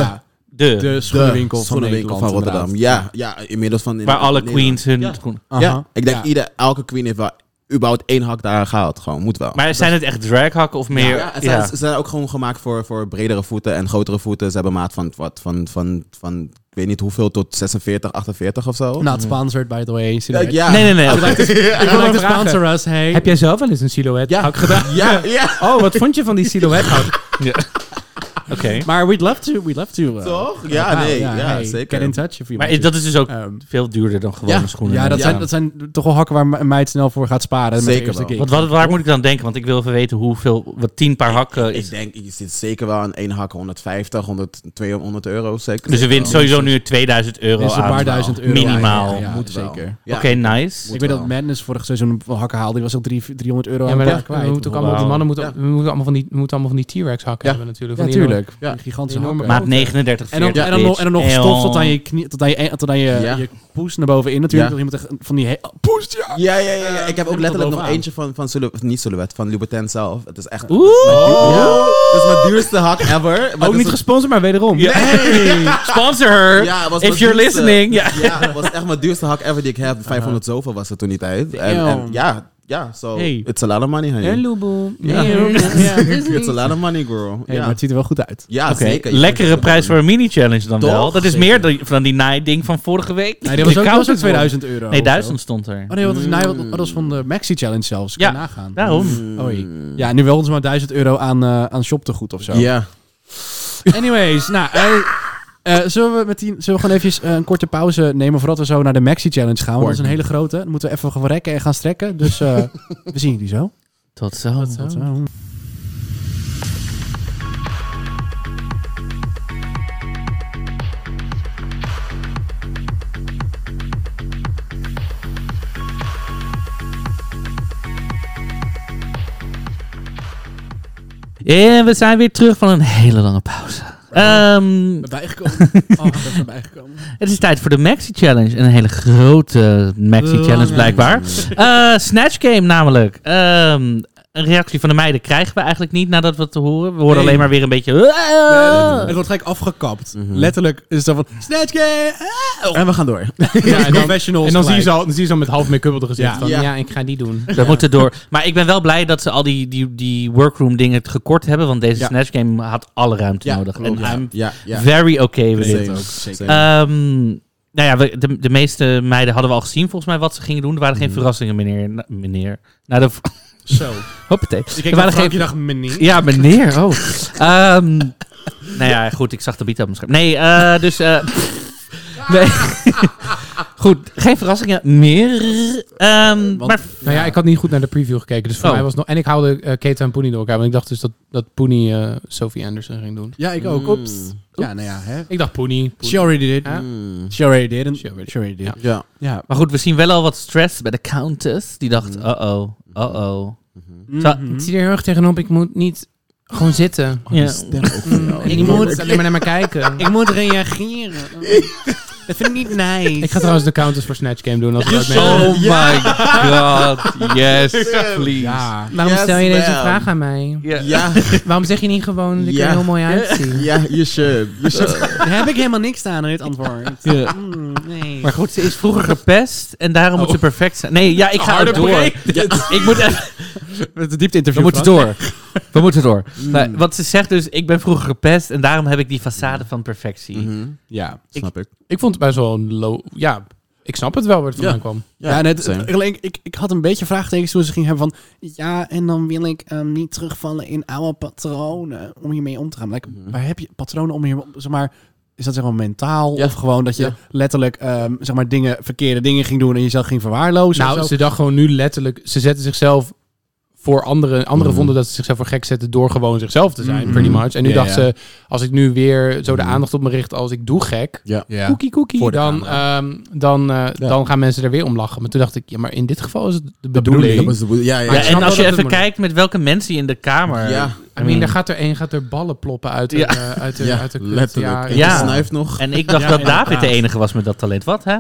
Speaker 3: De.
Speaker 2: de
Speaker 4: De
Speaker 2: schoenenwinkel van
Speaker 4: schoenenwinkel
Speaker 2: Nederland,
Speaker 4: van Rotterdam.
Speaker 2: inderdaad.
Speaker 4: Ja, ja, inmiddels van... in-
Speaker 3: waar alle
Speaker 4: Nederland.
Speaker 3: queens hun
Speaker 4: Ja.
Speaker 3: schoenen...
Speaker 2: Aha.
Speaker 4: Ja, ik denk
Speaker 2: Ja.
Speaker 4: ieder, elke queen heeft wel überhaupt één hak daar gehaald. Gewoon, moet wel.
Speaker 3: Maar zijn het echt draghakken of meer...
Speaker 4: Ja, het zijn, ze zijn ook gewoon gemaakt voor, voor bredere voeten en grotere voeten. Ze hebben maat van, wat, van, van, van, ik weet niet hoeveel, tot 46, 48 of zo. Eh,
Speaker 2: Not sponsored, by the way. Silhouette.
Speaker 4: ja.
Speaker 3: Nee, nee, nee. oké.
Speaker 2: Ik wil
Speaker 1: maar
Speaker 2: ook
Speaker 1: vragen.
Speaker 2: sponsor us, hey.
Speaker 1: Heb jij zelf wel eens een silhouette
Speaker 4: Ja.
Speaker 1: hak gedaan?
Speaker 4: Ja, ja.
Speaker 1: Oh, wat vond je van die silhouette hak?
Speaker 3: Oké.
Speaker 2: Maar we'd love to, we'd love to. eh,
Speaker 4: Toch? Ja, nee, ja,
Speaker 2: hey,
Speaker 4: zeker.
Speaker 2: Get in touch if you
Speaker 3: Maar
Speaker 2: want
Speaker 3: is- dat is dus ook
Speaker 2: to. Ehm,
Speaker 3: veel duurder dan gewone
Speaker 2: ja,
Speaker 3: schoenen.
Speaker 2: ja, dat,
Speaker 4: Ja.
Speaker 2: Zijn, dat zijn toch wel hakken waar me- een meid snel voor gaat sparen.
Speaker 4: Zeker
Speaker 2: met de eerste
Speaker 4: wel.
Speaker 2: gig.
Speaker 3: Want wat, waar moet ik dan denken? Want ik wil even weten hoeveel... Wat tien paar hakken
Speaker 4: Ik
Speaker 3: is.
Speaker 4: denk, je zit zeker wel aan één hak 150, 100, 200 euro zeker.
Speaker 3: Dus ze wint sowieso nu 2000 euro
Speaker 2: Dit is een
Speaker 3: aan.
Speaker 2: paar duizend euro.
Speaker 3: Minimaal.
Speaker 2: Ja, ja, ja,
Speaker 4: Moet wel.
Speaker 2: zeker.
Speaker 4: Ja.
Speaker 3: Oké, nice.
Speaker 2: Ik weet dat
Speaker 4: wel.
Speaker 2: Madness vorig seizoen een hakken haalde. Die was al drie- 300 euro
Speaker 1: Ja,
Speaker 2: aan
Speaker 1: maar
Speaker 2: elkaar
Speaker 1: dat, we
Speaker 2: kwijt.
Speaker 1: moeten ook allemaal, die mannen moeten,
Speaker 4: Ja.
Speaker 1: we moeten allemaal van die, we moeten allemaal van die T-Rex hakken
Speaker 4: Ja.
Speaker 1: hebben natuurlijk.
Speaker 2: Ja,
Speaker 1: Van die enorme-
Speaker 2: tuurlijk.
Speaker 4: Ja.
Speaker 2: Die Gigantische
Speaker 1: Enorme
Speaker 2: hakken.
Speaker 1: maat.
Speaker 3: Maat 39, 40.
Speaker 2: En dan, en dan nog, en dan nog
Speaker 3: bitch.
Speaker 2: stof tot aan je knie, tot aan je, tot aan je,
Speaker 4: Ja.
Speaker 2: je poes naar bovenin natuurlijk.
Speaker 4: Ja.
Speaker 2: Dat je moet echt van die he- poes, ja.
Speaker 4: Ja, ja, ja, ja. Ik heb
Speaker 2: Eh,
Speaker 4: ook letterlijk nog
Speaker 2: bovenaan.
Speaker 4: eentje van, van Silhouette, niet Silhouette, van Louboutin zelf. Het is echt...
Speaker 3: Oeh!
Speaker 4: Ja, dat is mijn duurste hak ever. Maar
Speaker 1: Ook
Speaker 4: dat
Speaker 1: niet
Speaker 4: is-
Speaker 1: gesponsord, maar wederom.
Speaker 3: Sponsor her!
Speaker 4: Ja, het was
Speaker 3: if
Speaker 4: mijn
Speaker 3: you're
Speaker 4: duurste-
Speaker 3: listening. Ja.
Speaker 4: Ja, het was echt mijn duurste hak ever die ik heb. 500 zoveel was het toen die tijd. En, en
Speaker 2: Damn.
Speaker 4: ja, ja, so
Speaker 2: Hey.
Speaker 4: it's a lot of money, honey.
Speaker 1: Loeboe.
Speaker 4: Ja.
Speaker 2: Ja.
Speaker 4: It's a lot of money, girl.
Speaker 2: Hey,
Speaker 4: ja,
Speaker 2: Maar het ziet er wel goed uit.
Speaker 4: ja
Speaker 3: Oké,
Speaker 4: zeker.
Speaker 3: lekkere prijs voor een mini-challenge dan
Speaker 4: Toch?
Speaker 3: wel. Dat is meer dan, van die naai-ding van vorige week.
Speaker 2: Nee, dat was ook, dat
Speaker 3: Koud
Speaker 2: was ook
Speaker 3: het worden.
Speaker 2: 2000 euro.
Speaker 3: Nee,
Speaker 2: of zo.
Speaker 3: 1000 stond er.
Speaker 2: Oh nee, want dat is, nou- dat was
Speaker 4: Mm.
Speaker 2: van de Maxi Challenge zelfs. Kan
Speaker 3: Ja.
Speaker 2: je nagaan.
Speaker 3: Daarom.
Speaker 2: Oei. Ja, nu wel ons maar 1000 euro aan, eh aan shoptegoed of zo.
Speaker 4: Ja.
Speaker 2: Anyways, nou, eh, eh, zullen, we met die, zullen we gewoon even een korte pauze nemen voordat we zo naar de Maxi Challenge gaan? Want dat is een hele grote. Dan moeten we even gaan rekken en gaan strekken. Dus eh, we zien jullie zo. eh,
Speaker 3: Tot zo.
Speaker 2: Tot zo.
Speaker 3: En we zijn weer terug van een hele lange pauze. Ehm,
Speaker 2: bijgekomen. Oh, dat is bijgekomen.
Speaker 3: het is tijd voor de Maxi Challenge. Een hele grote
Speaker 4: Oh.
Speaker 3: Maxi Challenge blijkbaar. Eh, Snatch Game namelijk. Ehm, een reactie van de meiden krijgen we eigenlijk niet nadat we het horen. We horen
Speaker 2: Nee.
Speaker 3: alleen maar weer een beetje...
Speaker 2: Eh,
Speaker 3: "Ah!"
Speaker 2: Het wordt gelijk afgekapt. Letterlijk is het dan van... Snatch game! ah,
Speaker 4: En we gaan door.
Speaker 2: Ja, en professionals
Speaker 1: En dan zie, je ze
Speaker 2: gelijk.
Speaker 1: al, dan zie je ze al met half make-up op de gezicht.
Speaker 2: Ja.
Speaker 1: Van,
Speaker 4: Ja.
Speaker 1: ja. ik ga die doen.
Speaker 3: Dat moet er door. Maar ik ben wel blij dat ze al die, die, die workroom dingen gekort hebben. Want deze
Speaker 4: Ja.
Speaker 3: Snatch Game had alle ruimte
Speaker 4: Ja,
Speaker 3: nodig. En
Speaker 4: klopt. Ja,
Speaker 3: I'm
Speaker 4: ja, ja.
Speaker 3: very okay with it.
Speaker 4: Same, same.
Speaker 3: Ehm, nou ja, we- de, de meeste meiden hadden we al gezien volgens mij wat ze gingen doen. Er waren
Speaker 4: Mm.
Speaker 3: geen verrassingen, meneer. Na- meneer. Nou, de,
Speaker 2: Zo.
Speaker 3: hoppatee.
Speaker 2: Dus ik
Speaker 3: Er
Speaker 2: keek naar
Speaker 3: waren
Speaker 2: Frank, je
Speaker 3: geen...
Speaker 2: dacht, meneer.
Speaker 3: Ja, meneer. Oh. Ehm, nou ja, goed. Ik zag de beat op mijn scherm. Nee, eh, dus... eh, nee. goed, geen verrassingen meer. Ehm,
Speaker 2: Want-
Speaker 3: maar
Speaker 1: Nou ja, ik had niet goed naar de preview gekeken. Dus voor
Speaker 3: Oh.
Speaker 1: mij was nog... En ik haalde eh, Kate en Poenie door elkaar. Want ik dacht dus dat, dat Poenie eh, Sophie Anderson ging doen.
Speaker 2: Ja, ik ook.
Speaker 4: Mm.
Speaker 2: Oeps. Ja, nou ja, hè.
Speaker 1: Ik dacht Poenie. Poenie.
Speaker 2: She already did.
Speaker 1: Ja.
Speaker 4: Mm.
Speaker 2: She already did. and-
Speaker 1: She already-
Speaker 2: She already did.
Speaker 1: Ja.
Speaker 4: Ja.
Speaker 2: Ja.
Speaker 3: Maar goed, we zien wel al wat stress bij de Countess. Die dacht, uh-oh, uh-oh. Zo-
Speaker 1: Ik zie er heel erg tegenop. Ik moet niet gewoon zitten.
Speaker 3: Ja.
Speaker 1: En die moet alleen maar naar me kijken.
Speaker 2: Ik moet reageren. Dat vind ik niet nice.
Speaker 1: Ik ga trouwens de counters voor Snatch Game doen. Als we dat mee-
Speaker 3: Oh my god, yes, please.
Speaker 2: Ja.
Speaker 1: Waarom
Speaker 4: Yes,
Speaker 1: stel je deze
Speaker 4: ma'am.
Speaker 1: vraag aan mij?
Speaker 3: Ja.
Speaker 4: Ja,
Speaker 1: Waarom zeg je niet gewoon dat ik
Speaker 4: Ja.
Speaker 1: er heel mooi uitzie?
Speaker 4: ja, you should. You should.
Speaker 2: Daar heb ik helemaal niks aan in dit antwoord.
Speaker 3: Ja.
Speaker 2: Mm, nee.
Speaker 3: Maar goed, ze is vroeger gepest en daarom moet ze perfect zijn. Nee, ja, ik ga
Speaker 1: Oh. Harde
Speaker 3: er door.
Speaker 1: break.
Speaker 3: Ik moet even,
Speaker 2: Met de diepte
Speaker 3: we
Speaker 2: interview. Hmm.
Speaker 3: moeten door. We moeten door. Nou, wat ze zegt dus, ik ben vroeger gepest en daarom heb ik die façade van perfectie.
Speaker 4: Mhm,
Speaker 2: Ja.
Speaker 4: Snap ik.
Speaker 1: Ik vond het best wel een low... Ja, ik snap het wel waar het vandaan kwam.
Speaker 2: Ja, en het,
Speaker 4: same.
Speaker 2: het- alleen, ik, ik had een beetje vraagtekens toen ze ging hebben van... Ja, en dan wil ik ehm, niet terugvallen in oude patronen om hiermee om te gaan. Like, Waar heb je patronen om hier... Zeg maar, is dat zeg maar mentaal
Speaker 4: Ja.
Speaker 2: of gewoon dat je
Speaker 4: Ja.
Speaker 2: letterlijk ehm, zeg maar dingen, verkeerde dingen ging doen en jezelf ging verwaarlozen?
Speaker 1: Nou,
Speaker 2: of zo?
Speaker 1: ze dacht gewoon nu letterlijk, ze zetten zichzelf voor anderen. Anderen vonden dat ze zichzelf voor gek zetten door gewoon zichzelf te zijn, pretty much. En nu
Speaker 4: Ja,
Speaker 1: dacht
Speaker 4: ja.
Speaker 1: ze, als ik nu weer zo de aandacht op me richt als ik doe gek,
Speaker 4: Ja.
Speaker 2: ja.
Speaker 1: koekie koekie,
Speaker 4: Voor de
Speaker 1: dan, ehm, dan, eh,
Speaker 4: Ja.
Speaker 1: dan gaan mensen er weer om lachen. Maar toen dacht ik, ja, maar in dit geval is het de bedoeling.
Speaker 4: Bedoeling. Dat was- Ja, ja,
Speaker 3: Ja,
Speaker 4: ja.
Speaker 3: en
Speaker 1: wel dat
Speaker 3: als je
Speaker 1: het
Speaker 3: even
Speaker 1: moeilijk-
Speaker 3: kijkt met welke mensen je in de kamer...
Speaker 4: Ja.
Speaker 1: I mean, daar gaat er één, gaat er ballen ploppen uit de,
Speaker 3: Ja.
Speaker 1: eh, uit de,
Speaker 4: Ja,
Speaker 1: uit de kut. Ja,
Speaker 4: letterlijk.
Speaker 3: Ja.
Speaker 4: Ja. Snuift nog.
Speaker 3: En ik dacht dat David de enige was met dat talent. Wat, hè?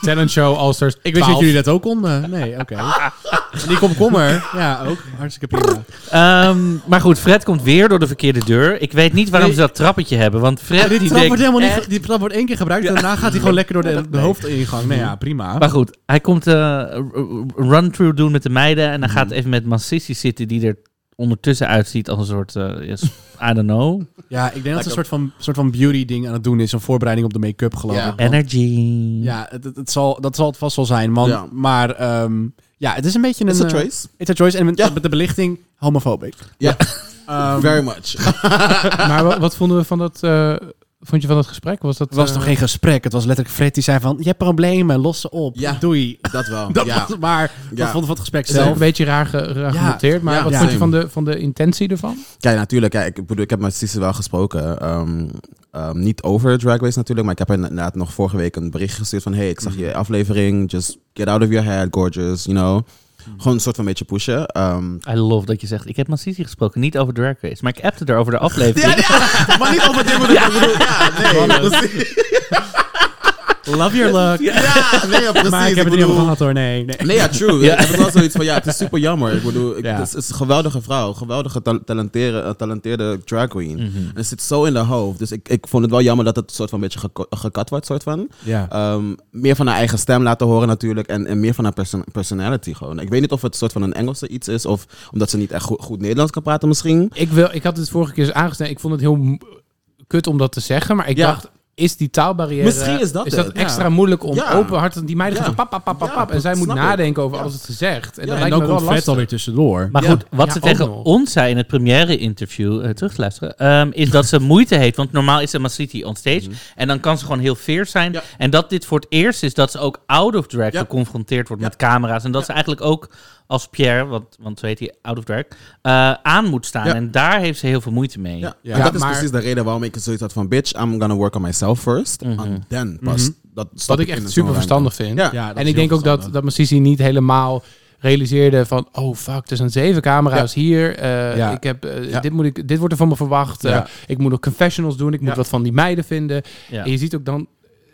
Speaker 1: talent show all stars.
Speaker 2: Ik wist dat jullie dat ook konden. Nee, oké. En Die komkommer, ja, ook hartstikke prima.
Speaker 3: Ehm, maar goed, Fred komt weer door de verkeerde deur. Ik weet niet waarom ze dat trappetje hebben. Want Fred
Speaker 2: Die
Speaker 3: die
Speaker 2: trap
Speaker 3: denkt
Speaker 2: wordt
Speaker 1: Eh,
Speaker 2: helemaal niet,
Speaker 3: echt-
Speaker 2: ge- die trap wordt één keer gebruikt en daarna gaat hij gewoon lekker door de, de hoofdingang. Nee, ja, prima.
Speaker 3: Maar goed, hij komt eh, een run-through doen met de meiden. En dan gaat even met Mansissi zitten, die er ondertussen uitziet als een soort. eh, yes, I don't know.
Speaker 2: Ja, ik denk dat het een soort van, soort van beauty ding aan het doen is. Een voorbereiding op de make-up, geloof
Speaker 4: Ja.
Speaker 2: ik. Want-
Speaker 3: Energy.
Speaker 2: Ja, het, het- het zal, dat zal het vast wel zijn, man.
Speaker 4: Ja.
Speaker 2: Maar ehm, ja, het is een beetje een...
Speaker 4: It's a
Speaker 2: eh,
Speaker 4: choice.
Speaker 2: it's a choice. En met,
Speaker 4: Ja.
Speaker 2: met de belichting, homophobic.
Speaker 4: Ja.
Speaker 2: Ehm,
Speaker 4: Very much.
Speaker 1: Maar wat, wat vonden we van dat, eh, vond je van dat gesprek? Was dat,
Speaker 2: het was
Speaker 1: eh,
Speaker 2: nog geen gesprek. Het was letterlijk Fred die zei van... Je hebt problemen, los ze op.
Speaker 4: Ja.
Speaker 2: Doei.
Speaker 4: Dat wel.
Speaker 2: Dat
Speaker 4: ja.
Speaker 2: was maar... Wat
Speaker 4: Ja.
Speaker 2: vond van het gesprek
Speaker 1: Is ook een
Speaker 2: zelf?
Speaker 1: beetje raar, ge, raar
Speaker 2: Ja.
Speaker 1: genoteerd, maar
Speaker 4: Ja,
Speaker 1: wat
Speaker 2: ja.
Speaker 1: vond je van de, van de intentie ervan?
Speaker 4: Kijk, natuurlijk. Kijk, ik, bedoel, ik heb met Sisse wel gesproken. ehm, ehm, niet over Drag Race natuurlijk, maar ik heb haar inderdaad nog vorige week een bericht gestuurd van... hey, ik zag je aflevering. Just get out of your head, gorgeous, you know. Gewoon een soort van beetje pushen. ehm,
Speaker 3: I love dat je zegt. Ik heb Mansissi gesproken, niet over Drag Race. Maar ik appte er over de aflevering.
Speaker 4: maar Oh, niet over dit moment. ik bedoel, Ja, nee. precies.
Speaker 2: Love your look.
Speaker 4: Ja, nee, ja, precies.
Speaker 2: Maar ik heb het niet over
Speaker 4: bedoel-
Speaker 2: gehad hoor, nee. nee.
Speaker 4: Nee, ja, true. Het was wel zoiets van, ja, het is super jammer. Ik bedoel, ik-
Speaker 2: Ja.
Speaker 4: het, is, het is een geweldige vrouw. Geweldige, talenteerde, talenteerde drag queen. En het zit zo in haar hoofd. Dus ik, ik vond het wel jammer dat het soort van een beetje geko- gekat wordt, soort van.
Speaker 2: Ja.
Speaker 4: Ehm, meer van haar eigen stem laten horen natuurlijk. En, en meer van haar perso- personality gewoon. Ik weet niet of het soort van een Engelse iets is. Of omdat ze niet echt goed, goed Nederlands kan praten misschien.
Speaker 1: Ik, wil, ik had het vorige keer eens aangesneden. Ik vond het heel m- kut om dat te zeggen, maar ik
Speaker 4: Ja.
Speaker 1: dacht... Is die taalbarrière...
Speaker 4: Misschien is dat
Speaker 1: is dat
Speaker 4: het, ja.
Speaker 1: extra moeilijk om
Speaker 4: Ja.
Speaker 1: openhartig... Die meiden
Speaker 4: Ja.
Speaker 1: gaat pap, pap, pap, pap,
Speaker 4: Ja,
Speaker 1: pap. En zij
Speaker 4: dat
Speaker 1: moet
Speaker 4: snap ik.
Speaker 1: nadenken over
Speaker 4: Ja.
Speaker 1: alles wat ze zegt. En
Speaker 4: Ja,
Speaker 1: dat
Speaker 2: En
Speaker 1: lijkt
Speaker 2: dan
Speaker 1: me wel
Speaker 2: komt Fred
Speaker 1: lastig.
Speaker 2: alweer tussendoor.
Speaker 3: Maar
Speaker 4: Ja.
Speaker 3: goed, wat
Speaker 1: Ja,
Speaker 3: ze
Speaker 1: ook
Speaker 3: tegen
Speaker 1: nog.
Speaker 3: ons zei in het première-interview, eh, terug te luisteren, ehm, is dat ze moeite heeft. Want normaal is ze Masiti on stage. En dan kan ze gewoon heel fierce zijn.
Speaker 4: Mhm. Ja.
Speaker 3: En dat dit voor het eerst is dat ze ook out of drag
Speaker 4: Ja.
Speaker 3: geconfronteerd wordt
Speaker 4: Ja.
Speaker 3: met camera's. En dat ze eigenlijk ook als Pierre, want, want zo heet hij, out of drag, eh, aan moet staan.
Speaker 4: Ja.
Speaker 3: En daar heeft ze heel veel moeite mee.
Speaker 4: Ja.
Speaker 2: Ja,
Speaker 4: en dat is
Speaker 1: maar-
Speaker 4: precies de reden waarom ik zoiets had van... Bitch, I'm gonna work on myself first. And then pas. Dat
Speaker 1: Wat
Speaker 4: stap
Speaker 1: ik
Speaker 4: in
Speaker 1: echt
Speaker 4: zo'n
Speaker 1: super
Speaker 4: ruimte.
Speaker 1: verstandig vind.
Speaker 4: Ja.
Speaker 2: Ja, dat
Speaker 1: en
Speaker 2: is
Speaker 1: ik
Speaker 2: heel
Speaker 1: denk ook dat,
Speaker 2: verstandig.
Speaker 1: dat Massisi niet helemaal realiseerde van... Oh fuck, er zijn zeven camera's hier. eh,
Speaker 2: Ja.
Speaker 1: ik heb, eh,
Speaker 4: Ja.
Speaker 1: dit, moet ik, dit wordt er van me verwacht. eh,
Speaker 4: Ja.
Speaker 1: ik moet nog confessionals doen. Ik moet
Speaker 2: Ja.
Speaker 1: wat van die meiden vinden.
Speaker 3: Ja.
Speaker 1: En je ziet ook dan...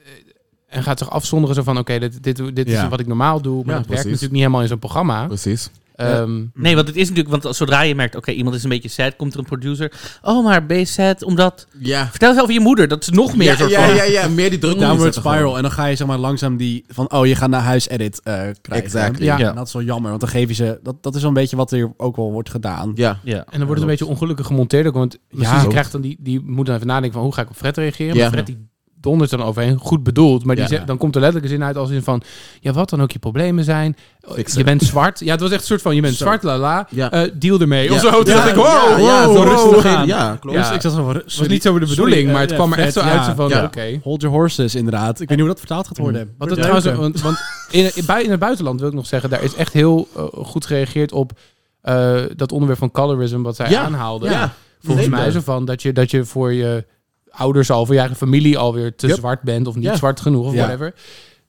Speaker 1: eh, En gaat zich afzonderen zo van... Oké, dit, dit, dit
Speaker 2: Ja.
Speaker 1: is wat ik normaal doe. Maar
Speaker 4: Ja,
Speaker 1: dat werkt
Speaker 4: precies.
Speaker 1: natuurlijk niet helemaal in zo'n programma.
Speaker 4: Precies.
Speaker 1: Ehm,
Speaker 3: Nee, want het is natuurlijk, want als- zodra je merkt, oké, iemand is een beetje sad, komt er een producer. Oh, maar ben je sad omdat...
Speaker 4: Ja.
Speaker 3: Vertel eens over je moeder, dat is nog meer
Speaker 4: Ja,
Speaker 3: soort
Speaker 4: ja,
Speaker 3: van...
Speaker 4: ja, ja, meer die druk op
Speaker 2: Downward
Speaker 4: zetten gewoon.
Speaker 2: spiral. En dan ga je zeg maar langzaam die van oh, je gaat naar huis edit eh krijgen.
Speaker 4: Exactly.
Speaker 1: Ja.
Speaker 2: Ja. En dat is wel jammer, want dan geef je ze. Dat, dat is wel een beetje wat er ook wel wordt gedaan.
Speaker 4: Ja.
Speaker 3: Ja.
Speaker 1: En dan wordt het een beetje ongelukkig gemonteerd ook. Want ja,
Speaker 2: Ja.
Speaker 1: je krijgt dan die, die moet dan even nadenken van hoe ga ik op Fred reageren.
Speaker 4: Ja.
Speaker 1: Maar Fred die dondert dan overheen, goed bedoeld. Maar die
Speaker 4: Ja.
Speaker 1: zegt, dan komt er letterlijk een zin uit als in van... Ja, wat dan ook je problemen zijn. Oh,
Speaker 4: Fix
Speaker 1: Je
Speaker 4: it.
Speaker 1: bent zwart. Ja, het was echt een soort van, je bent
Speaker 4: Zo.
Speaker 1: zwart, la la.
Speaker 4: Ja.
Speaker 1: eh, deal ermee.
Speaker 4: Ja.
Speaker 1: Of zo. Toen
Speaker 4: Ja,
Speaker 1: dacht ik, wow,
Speaker 4: ja,
Speaker 1: wow,
Speaker 4: ja, zo
Speaker 1: wow,
Speaker 4: rustig
Speaker 1: wow.
Speaker 4: in.
Speaker 1: Het
Speaker 4: Ja, klopt.
Speaker 1: Ja.
Speaker 2: ik zat zo van,
Speaker 1: was
Speaker 2: sorry,
Speaker 1: niet zo de
Speaker 2: sorry,
Speaker 1: bedoeling,
Speaker 2: eh,
Speaker 1: maar het
Speaker 2: ja,
Speaker 1: kwam er echt zo
Speaker 2: vet,
Speaker 1: uit
Speaker 2: ja.
Speaker 1: zo van,
Speaker 4: Ja.
Speaker 1: oké.
Speaker 2: Hold your horses, inderdaad. Mm. Ik weet niet hoe dat vertaald gaat worden.
Speaker 1: Wat
Speaker 2: Wordt
Speaker 1: het trouwens,
Speaker 2: leuker.
Speaker 1: want, want in, in- bij, in het buitenland wil ik nog zeggen, daar is echt heel eh, goed gereageerd op eh, dat onderwerp van colorism wat zij
Speaker 4: Ja,
Speaker 1: aanhaalden.
Speaker 4: ja.
Speaker 1: Volgens
Speaker 4: Zeker.
Speaker 1: mij zo van dat je, dat je voor je ouders al, voor je eigen familie alweer te
Speaker 4: Yep.
Speaker 1: zwart bent of niet
Speaker 4: Ja.
Speaker 1: zwart genoeg of
Speaker 2: Ja.
Speaker 1: whatever.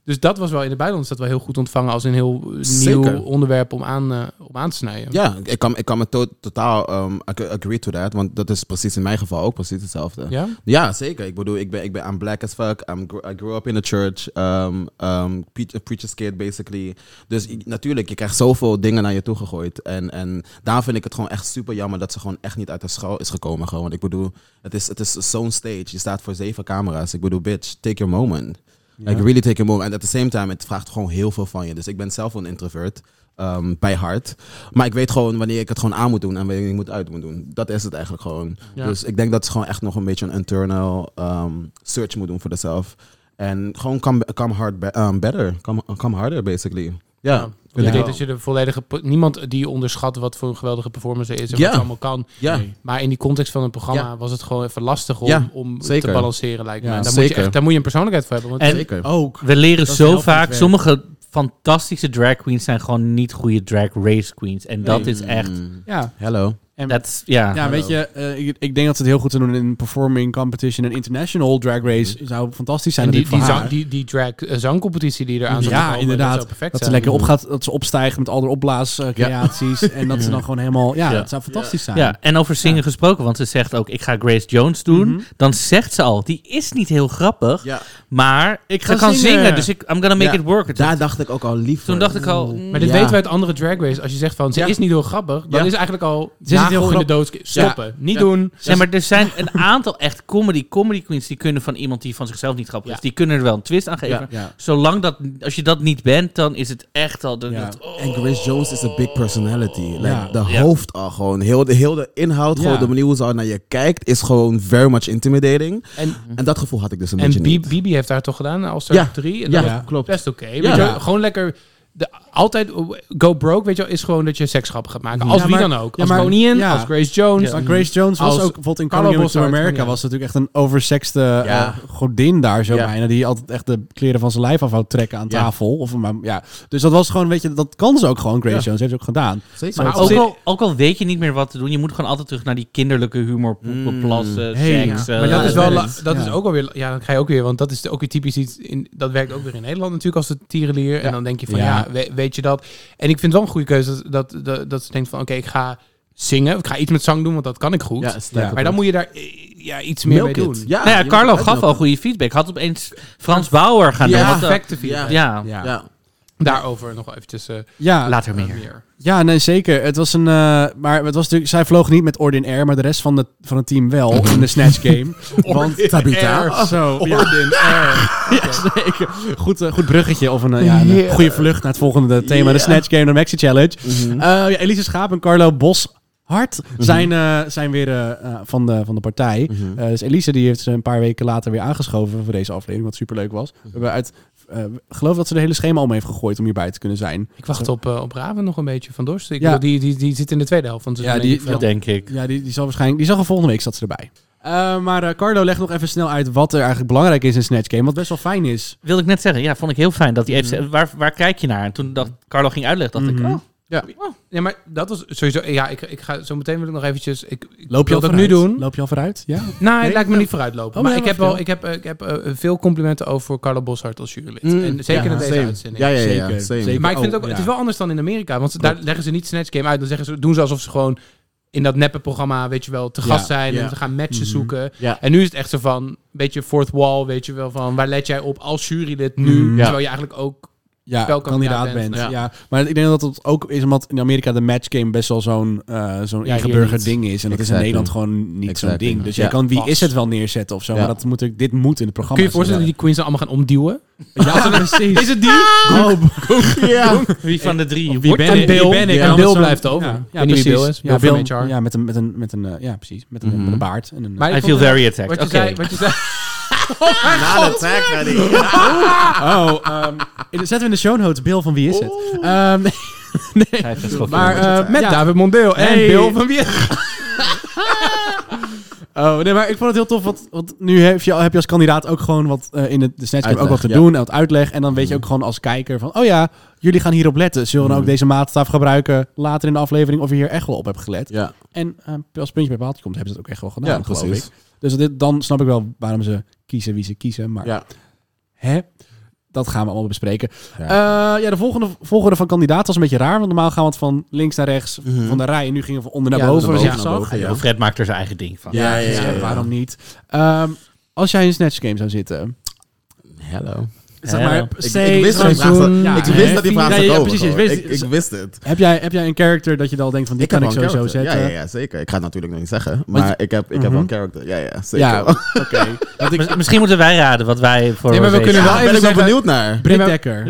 Speaker 1: Dus dat was wel in het buitenland is dat wel heel goed ontvangen als een heel eh,
Speaker 4: Zeker.
Speaker 1: nieuw onderwerp om aan, eh, om aan te snijden.
Speaker 4: Ja, ik kan, ik kan me to- totaal ehm, ag- agree to that, want dat is precies in mijn geval ook precies hetzelfde.
Speaker 1: Ja?
Speaker 4: Ja, zeker. Ik bedoel, ik ben, ik ben I'm black as fuck. I'm gr- I grew up in a church. Um, um, preach- a preacher's kid, basically. Dus i- natuurlijk, je krijgt zoveel dingen naar je toe gegooid. En, en daar vind ik het gewoon echt super jammer dat ze gewoon echt niet uit de schouw is gekomen. Gewoon. Want ik bedoel, het is, het is zo'n stage. Je staat voor zeven camera's. Ik bedoel, bitch, take your moment. Like, really take your moment. And at the same time, het vraagt gewoon heel veel van je. Dus ik ben zelf een introvert. ehm, bij hart. Maar ik weet gewoon wanneer ik het gewoon aan moet doen en wanneer ik het moet uit moet doen. Dat is het eigenlijk gewoon.
Speaker 1: Ja.
Speaker 4: Dus ik denk dat ze gewoon echt nog een beetje een internal ehm, search moet doen voor zichzelf. En gewoon come, come, hard be- um, better. Come, come harder, basically. Ja.
Speaker 1: Ik denk dat je de volledige... po- Niemand die onderschat wat voor een geweldige performance er is en
Speaker 4: Ja.
Speaker 1: wat het allemaal kan.
Speaker 4: Ja.
Speaker 1: Maar in die context van een programma
Speaker 4: Ja.
Speaker 1: was het gewoon even lastig om,
Speaker 4: Ja,
Speaker 1: om
Speaker 4: zeker.
Speaker 1: te balanceren, lijkt me.
Speaker 4: Ja,
Speaker 1: En daar, moet je
Speaker 4: zeker.
Speaker 1: echt, daar moet je een persoonlijkheid voor hebben. Want
Speaker 3: En-
Speaker 4: Zeker.
Speaker 2: Ook.
Speaker 3: We leren
Speaker 2: is
Speaker 3: zo
Speaker 2: heel goed
Speaker 3: vaak,
Speaker 2: werk.
Speaker 3: sommige fantastische drag queens zijn gewoon niet goede drag race queens. En dat is echt,
Speaker 4: Mm,
Speaker 1: ja,
Speaker 4: Hello.
Speaker 3: dat is, ja.
Speaker 2: Ja, weet je, eh, ik, ik denk dat ze het heel goed zou doen in performing competition en international drag race. Zou fantastisch zijn
Speaker 1: Mm. en die,
Speaker 2: natuurlijk
Speaker 1: die,
Speaker 2: voor haar.
Speaker 1: zang, die, die drag eh, zangcompetitie die eraan zou
Speaker 2: ja,
Speaker 1: komen,
Speaker 2: inderdaad.
Speaker 1: Dat
Speaker 2: Dat,
Speaker 1: zou perfect
Speaker 2: ze
Speaker 1: zijn.
Speaker 2: lekker opgaat, dat ze opstijgt met al haar opblaascreaties. en dat ze dan gewoon helemaal... Ja,
Speaker 3: Ja.
Speaker 2: het zou fantastisch zijn.
Speaker 3: Ja, en over zingen gesproken, want ze zegt ook, ik ga Grace Jones doen. Dan zegt ze al, die is niet heel grappig,
Speaker 4: Ja.
Speaker 3: maar ik
Speaker 2: Ik ga
Speaker 3: kan
Speaker 2: zingen.
Speaker 3: zingen, dus ik, I'm gonna make
Speaker 4: Ja,
Speaker 3: it work. Dus
Speaker 4: Daar dacht ik ook al lief
Speaker 3: toen
Speaker 4: voor.
Speaker 3: dacht ik al, mm,
Speaker 1: Maar dit
Speaker 4: Ja.
Speaker 1: weten we uit andere drag races. Als je zegt van, ze
Speaker 4: Ja.
Speaker 1: is niet heel grappig, dan
Speaker 4: Ja.
Speaker 1: is eigenlijk al
Speaker 2: niet
Speaker 1: nagel
Speaker 2: heel
Speaker 1: in de
Speaker 2: grap-
Speaker 1: dood. Stoppen. Niet
Speaker 2: Ja.
Speaker 1: doen.
Speaker 3: Ja, maar er zijn een aantal echt comedy, comedy queens die kunnen van iemand die van zichzelf niet grappig
Speaker 1: Ja.
Speaker 3: is. Die kunnen er wel een twist aan geven.
Speaker 4: Ja, ja.
Speaker 3: Zolang dat, als je dat niet bent, dan is het echt al. dan-
Speaker 2: Ja.
Speaker 3: dat-
Speaker 4: En Grace Jones is a big personality. Like,
Speaker 2: Ja.
Speaker 4: De
Speaker 3: Ja.
Speaker 4: hoofd al gewoon. Heel de, heel de inhoud,
Speaker 2: Ja.
Speaker 4: gewoon de manier hoe ze al naar je kijkt, is gewoon very much intimidating. En, dat gevoel had ik dus een
Speaker 1: En
Speaker 4: beetje
Speaker 1: Bi-
Speaker 4: niet.
Speaker 1: Bibi heeft daar toch gedaan als er
Speaker 4: Ja.
Speaker 1: 3. En
Speaker 4: Ja,
Speaker 1: dat was
Speaker 4: ja, klopt.
Speaker 1: Best oké. Weet
Speaker 4: Ja.
Speaker 1: je wel, Gewoon lekker. De, altijd oh, go broke, weet je wel, is gewoon dat je seksgrappen gaat maken. Als
Speaker 2: Ja,
Speaker 1: wie
Speaker 2: maar-
Speaker 1: dan ook.
Speaker 2: ja,
Speaker 1: als
Speaker 2: maar-
Speaker 1: Bonien,
Speaker 2: ja.
Speaker 1: als Grace Jones.
Speaker 2: Maar Grace Jones was
Speaker 1: Als
Speaker 2: ook bijvoorbeeld in
Speaker 1: Carlo
Speaker 2: Coming in to
Speaker 1: Bossart,
Speaker 2: America
Speaker 1: ja.
Speaker 2: was natuurlijk echt een oversexte eh,
Speaker 4: Ja.
Speaker 2: godin daar zo
Speaker 4: Ja.
Speaker 2: bijna. Die altijd echt de kleren van zijn lijf af wou trekken aan
Speaker 4: Ja.
Speaker 2: tafel. Of, maar, ja. Dus dat was gewoon, weet je, dat kan ze ook gewoon. Grace Jones heeft ze ook gedaan.
Speaker 4: Zeker.
Speaker 1: Maar
Speaker 3: ook,
Speaker 1: op
Speaker 3: al, ook al weet je niet meer wat te doen, je moet gewoon altijd terug naar die kinderlijke humor. Poepen, plassen,
Speaker 2: Hey,
Speaker 3: seks.
Speaker 2: ja.
Speaker 3: eh,
Speaker 1: Maar dat is wel, la-
Speaker 2: Ja.
Speaker 1: dat is
Speaker 2: Ja.
Speaker 1: ook alweer, ja, dan ga je ook weer, want dat is ook weer typisch iets, in, dat werkt ook weer in Nederland natuurlijk als de tierenlier. En dan denk je van, ja,
Speaker 2: Ja.
Speaker 1: we- weet, je dat? En ik vind het wel een goede keuze dat, dat, dat, dat ze denkt van, oké, ik ga zingen, ik ga iets met zang doen, want dat kan ik goed.
Speaker 4: Ja, sterker
Speaker 1: Maar dan moet je daar eh, ja, iets meer mee doen.
Speaker 4: Ja,
Speaker 3: nou
Speaker 4: je
Speaker 3: ja,
Speaker 4: moet
Speaker 3: Carlo
Speaker 4: het
Speaker 3: gaf al goede feedback. Had opeens Frans Bauer gaan doen.
Speaker 4: Ja.
Speaker 3: Wat, eh,
Speaker 1: Perfecte feedback.
Speaker 4: Ja.
Speaker 3: ja.
Speaker 4: Ja.
Speaker 1: Daarover nog eventjes eh,
Speaker 2: Ja,
Speaker 3: later meer.
Speaker 1: meer.
Speaker 2: Ja, nee, zeker. Het was een. eh, maar het was natuurlijk. Zij vloog niet met Ordin Air, maar de rest van, de, van het team wel in de Snatch Game. want Tabitha. Zo. Ordin Air. zeker. Goed, eh, goed bruggetje of een, eh, ja, een
Speaker 1: Heerlijk.
Speaker 2: goede vlucht naar het volgende thema: de Snatch Game, de Maxi Challenge. Eh, ja, Elise Schaap en Carlo Bos. Hart zijn, eh, zijn weer eh, eh, van, de, van de partij. Eh, dus Elise die heeft ze een paar weken later weer aangeschoven voor deze aflevering, wat superleuk was. We hebben uit, eh, geloof dat ze de hele schema om heeft gegooid om hierbij te kunnen zijn.
Speaker 1: Ik wacht
Speaker 2: Zo.
Speaker 1: op, eh, op Raven nog een beetje van Dorst. Ik
Speaker 2: Ja.
Speaker 1: bedoel, die, die, die zit in de tweede helft. Van het
Speaker 2: Ja,
Speaker 1: seizoen,
Speaker 2: die-
Speaker 1: denk ik, van-
Speaker 3: denk ik.
Speaker 2: Ja, die, die zal waarschijnlijk. Die zag er volgende week zat ze erbij. Eh, maar eh, Carlo, leg nog even snel uit wat er eigenlijk belangrijk is in Snatch Game. Wat best wel fijn is.
Speaker 3: Wilde ik net zeggen, ja, vond ik heel fijn dat hij even
Speaker 1: Mm.
Speaker 3: zei, waar, waar kijk je naar? En toen dat Carlo ging uitleggen, dacht ik, oh,
Speaker 1: Ja, maar dat was sowieso... Ja, ik, ik ga zo meteen wil ik nog eventjes... Ik, ik
Speaker 2: Loop je al
Speaker 1: wil dat nu
Speaker 2: vooruit?
Speaker 1: doen.
Speaker 2: Loop je al vooruit? Ja.
Speaker 1: Nou, het
Speaker 2: Nee?
Speaker 1: lijkt me niet vooruitlopen.
Speaker 2: Oh,
Speaker 1: maar
Speaker 2: ja,
Speaker 1: ik heb,
Speaker 2: maar
Speaker 1: wel, ik heb, eh, ik heb eh, veel complimenten over voor Carlo Boshart als jurylid.
Speaker 2: Mm.
Speaker 1: en zeker in deze
Speaker 4: Same.
Speaker 1: uitzending.
Speaker 4: Ja, ja, ja.
Speaker 2: Zeker.
Speaker 4: same.
Speaker 2: Zeker.
Speaker 1: Maar ik vind het ook,
Speaker 2: Oh,
Speaker 1: het
Speaker 2: ja.
Speaker 1: is wel anders dan in Amerika. Want ze- daar leggen ze niet Snatch Game uit. Dan zeggen ze, doen ze alsof ze gewoon in dat neppe programma, weet je wel, te
Speaker 2: Ja. Mhm.
Speaker 1: gast zijn.
Speaker 4: Ja.
Speaker 1: En ze gaan matches zoeken.
Speaker 4: Ja.
Speaker 1: En nu is het echt zo van, een beetje fourth wall, weet je wel. Van, waar let jij op als jurylid nu?
Speaker 2: Mhm. Ja.
Speaker 1: Terwijl je eigenlijk ook...
Speaker 2: Ja,
Speaker 1: Welke
Speaker 2: kandidaat
Speaker 1: kandidaat
Speaker 2: bent.
Speaker 1: bent.
Speaker 2: Ja. maar ik denk dat het ook is omdat in Amerika de match game best wel zo'n eh zo'n
Speaker 1: Ja, hier
Speaker 2: ingeburgerd
Speaker 1: niet.
Speaker 2: ding is. En dat is in
Speaker 4: Exactly.
Speaker 2: Nederland gewoon niet zo'n
Speaker 4: Exactly.
Speaker 2: ding. Dus
Speaker 4: Ja,
Speaker 2: je kan wie
Speaker 1: pas.
Speaker 2: is het wel neerzetten of zo.
Speaker 4: Ja.
Speaker 2: Maar dat moet ik, dit moet in het programma.
Speaker 1: Kun je je voorstellen dat die queens dan allemaal gaan omduwen?
Speaker 2: Ja, precies. Ah!
Speaker 1: Is het die?
Speaker 4: Ja.
Speaker 3: wie van de drie?
Speaker 2: Wie
Speaker 1: Wordt-
Speaker 2: ben
Speaker 1: en
Speaker 2: ik?
Speaker 1: Bill,
Speaker 2: Wie ben ik?
Speaker 1: en
Speaker 2: Ja,
Speaker 1: Bill
Speaker 2: met zo'n-
Speaker 1: blijft over.
Speaker 2: Ja,
Speaker 1: Ik
Speaker 2: ja,
Speaker 1: weet niet wie
Speaker 2: precies.
Speaker 1: Bill is.
Speaker 2: Ja,
Speaker 1: Bill
Speaker 2: Bill,
Speaker 1: van HR.
Speaker 2: ja, met een, met een, met een, eh, ja, precies. Met een,
Speaker 4: Mhm.
Speaker 2: met een baard. En een,
Speaker 1: Maar
Speaker 3: I
Speaker 1: ik
Speaker 3: feel
Speaker 1: vond-
Speaker 3: very attacked.
Speaker 1: Wat
Speaker 3: Oké.
Speaker 1: je zei, wat je zei.
Speaker 4: Na de tag, ready.
Speaker 2: Oh, ehm, in- zetten we in de show notes Bill van wie is het? Ehm,
Speaker 3: Hij heeft een schokje.
Speaker 2: maar eh,
Speaker 1: Met
Speaker 2: ja.
Speaker 1: David Mondeel en
Speaker 2: Hey.
Speaker 1: Bill van Weer.
Speaker 2: Oh, nee, maar ik vond het heel tof, want, want nu heb je, heb je als kandidaat ook gewoon wat eh, in het, de Snatch Game ook wat te
Speaker 4: Uitleg, ja. Mm.
Speaker 2: doen en wat uitleg. En dan weet je ook gewoon als kijker van, oh ja, jullie gaan hierop letten. Zullen we dan ook deze maatstaf gebruiken later in de aflevering of je hier echt wel op hebt gelet?
Speaker 4: Ja,
Speaker 2: En eh, als puntje bij paaltje komt, hebben ze het ook echt wel gedaan,
Speaker 4: ja,
Speaker 2: Nou, geloof
Speaker 4: precies.
Speaker 2: ik. Dus dit, dan snap ik wel waarom ze kiezen wie ze kiezen, maar
Speaker 4: Ja.
Speaker 2: hè? Dat gaan we allemaal bespreken. Ja,
Speaker 4: Ja.
Speaker 2: ja de volgende, volgorde van kandidaat was een beetje raar. Want normaal gaan we het van links naar rechts,
Speaker 4: Mhm.
Speaker 2: van de rij. En nu gingen we van onder naar
Speaker 1: Ja,
Speaker 2: boven.
Speaker 1: naar
Speaker 2: als je het
Speaker 1: boven,
Speaker 2: zag.
Speaker 4: naar boven,
Speaker 3: Ja, Fred maakt er zijn eigen ding van.
Speaker 4: Ja, ja,
Speaker 2: Dus
Speaker 4: ja.
Speaker 2: ja,
Speaker 4: ja.
Speaker 2: waarom niet? Ehm, als jij in een Snatch Game zou zitten,
Speaker 4: Hello.
Speaker 2: zeg
Speaker 3: Ja.
Speaker 2: maar,
Speaker 3: Ik-
Speaker 4: Ik,
Speaker 2: say-
Speaker 4: ik wist dat die vraag zou-
Speaker 2: Ja,
Speaker 4: ik
Speaker 2: hè?
Speaker 4: wist dat die vraag
Speaker 2: Ja,
Speaker 4: zou
Speaker 2: ja,
Speaker 4: komen,
Speaker 2: precies, je
Speaker 4: gewoon.
Speaker 2: wist-
Speaker 4: Ik, ik wist het.
Speaker 2: heb, jij, heb jij een character dat je dan denkt van die kan
Speaker 4: heb
Speaker 2: ik
Speaker 4: wel een
Speaker 2: sowieso
Speaker 4: character.
Speaker 2: zetten?
Speaker 4: Ja, ja, ja, zeker. Ik ga het natuurlijk nog niet zeggen. Maar
Speaker 2: je-
Speaker 4: ik heb, ik heb wel een character. Ja, ja, zeker.
Speaker 2: Ja,
Speaker 4: Ja,
Speaker 2: oké. Want ik-
Speaker 3: Mis- Misschien moeten wij raden wat wij voor
Speaker 1: Nee, maar we
Speaker 3: Rosé-
Speaker 1: kunnen wel
Speaker 4: daar ben
Speaker 1: even
Speaker 4: ik wel
Speaker 1: zeggen-
Speaker 4: benieuwd naar.
Speaker 2: Britt Dekker.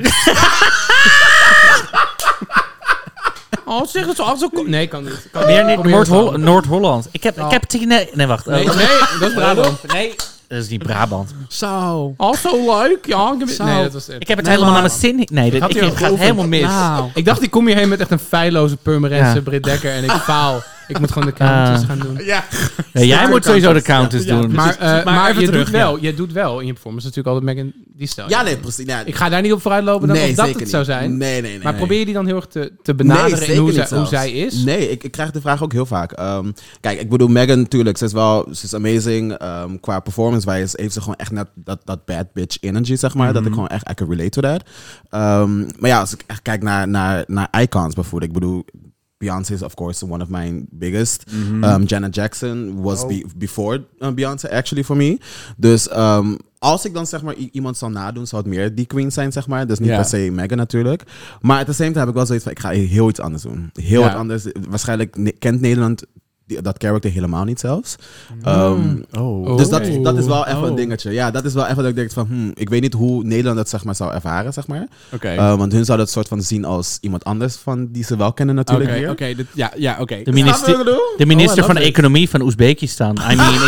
Speaker 1: Oh, zeg het zo. als het- Nee, kan niet. Kan
Speaker 3: Meer
Speaker 1: niet.
Speaker 3: niet
Speaker 1: Probeer het
Speaker 3: Noord-Hol-
Speaker 1: wel.
Speaker 3: Noord-Holland. ik heb,
Speaker 1: Oh.
Speaker 3: ik heb Tina... Nee, wacht.
Speaker 1: Nee,
Speaker 3: Eh,
Speaker 1: nee, dat is Brabant.
Speaker 3: Nee, Dat is niet Brabant.
Speaker 2: Zo.
Speaker 1: Also leuk, ja. Ik, heb-
Speaker 2: Zo.
Speaker 1: nee, dat was echt-
Speaker 3: Ik heb het
Speaker 2: Nee,
Speaker 3: helemaal
Speaker 2: maar-
Speaker 3: naar mijn zin. Nee, dit,
Speaker 1: had
Speaker 3: ik,
Speaker 1: hier
Speaker 3: het gaat
Speaker 1: over-
Speaker 3: helemaal mis.
Speaker 2: Nou.
Speaker 1: ik dacht, ik kom hierheen met echt een feilloze Purmerense
Speaker 3: Ja.
Speaker 1: Brit Dekker en ik faal. Ik moet gewoon de counters
Speaker 3: Ah.
Speaker 1: gaan doen.
Speaker 3: Nee, jij moet sowieso de counters doen.
Speaker 1: Maar, eh, maar,
Speaker 2: even
Speaker 1: je,
Speaker 2: terug,
Speaker 1: doet wel, je doet wel in je performance natuurlijk altijd Megan die stijl.
Speaker 4: Ja, nee, precies. Nee,
Speaker 1: Ik ga daar niet op vooruit lopen dan
Speaker 4: nee,
Speaker 1: of dat
Speaker 4: zeker
Speaker 1: het zou
Speaker 4: niet.
Speaker 1: zijn.
Speaker 4: Nee, nee, nee.
Speaker 1: maar
Speaker 4: nee.
Speaker 1: probeer je die dan heel erg te, te
Speaker 4: Nee,
Speaker 1: benaderen
Speaker 4: zeker
Speaker 1: in hoe
Speaker 4: niet
Speaker 1: zij, hoe
Speaker 4: zelfs.
Speaker 1: zij is?
Speaker 4: Nee, ik, ik krijg de vraag ook heel vaak. Ehm, kijk, ik bedoel, Megan natuurlijk, ze is wel, ze is amazing. ehm, qua performance-wise heeft ze gewoon echt net dat, dat bad bitch energy, zeg maar.
Speaker 1: Mhm.
Speaker 4: Dat ik gewoon echt, I can relate to that. Ehm, maar ja, als ik echt kijk naar, naar, naar icons bijvoorbeeld. Ik bedoel, Beyoncé is of course one of my biggest.
Speaker 1: Mhm.
Speaker 4: Um, Janet Jackson
Speaker 1: Oh.
Speaker 4: was be- before uh, Beyoncé actually for me. Dus ehm, als ik dan zeg maar i- iemand zal nadoen, zou het meer die queen zijn zeg maar. Dus niet
Speaker 2: Ja.
Speaker 4: per se Megan natuurlijk. Maar at the same time heb ik wel zoiets van, ik ga heel iets anders doen. Heel
Speaker 1: Ja.
Speaker 4: wat anders. Waarschijnlijk ne- kent Nederland die- dat character helemaal niet zelfs. Ehm,
Speaker 2: Oh.
Speaker 1: Hmm. Oh.
Speaker 4: Dus dat,
Speaker 1: Oké.
Speaker 4: dat is wel even een
Speaker 2: Oh.
Speaker 4: dingetje. Ja, dat is wel even dat ik denk van, hmm, ik weet niet hoe Nederland dat zeg maar zou ervaren zeg maar.
Speaker 2: Oké.
Speaker 4: Eh, want hun zou dat soort van zien als iemand anders van die ze wel kennen natuurlijk
Speaker 2: Oké,
Speaker 4: hier.
Speaker 2: oké. dit- Ja, ja, oké.
Speaker 3: De, minister,
Speaker 2: Oh,
Speaker 3: de
Speaker 4: Oh,
Speaker 3: minister van Economie van Oezbekistan. I mean, ik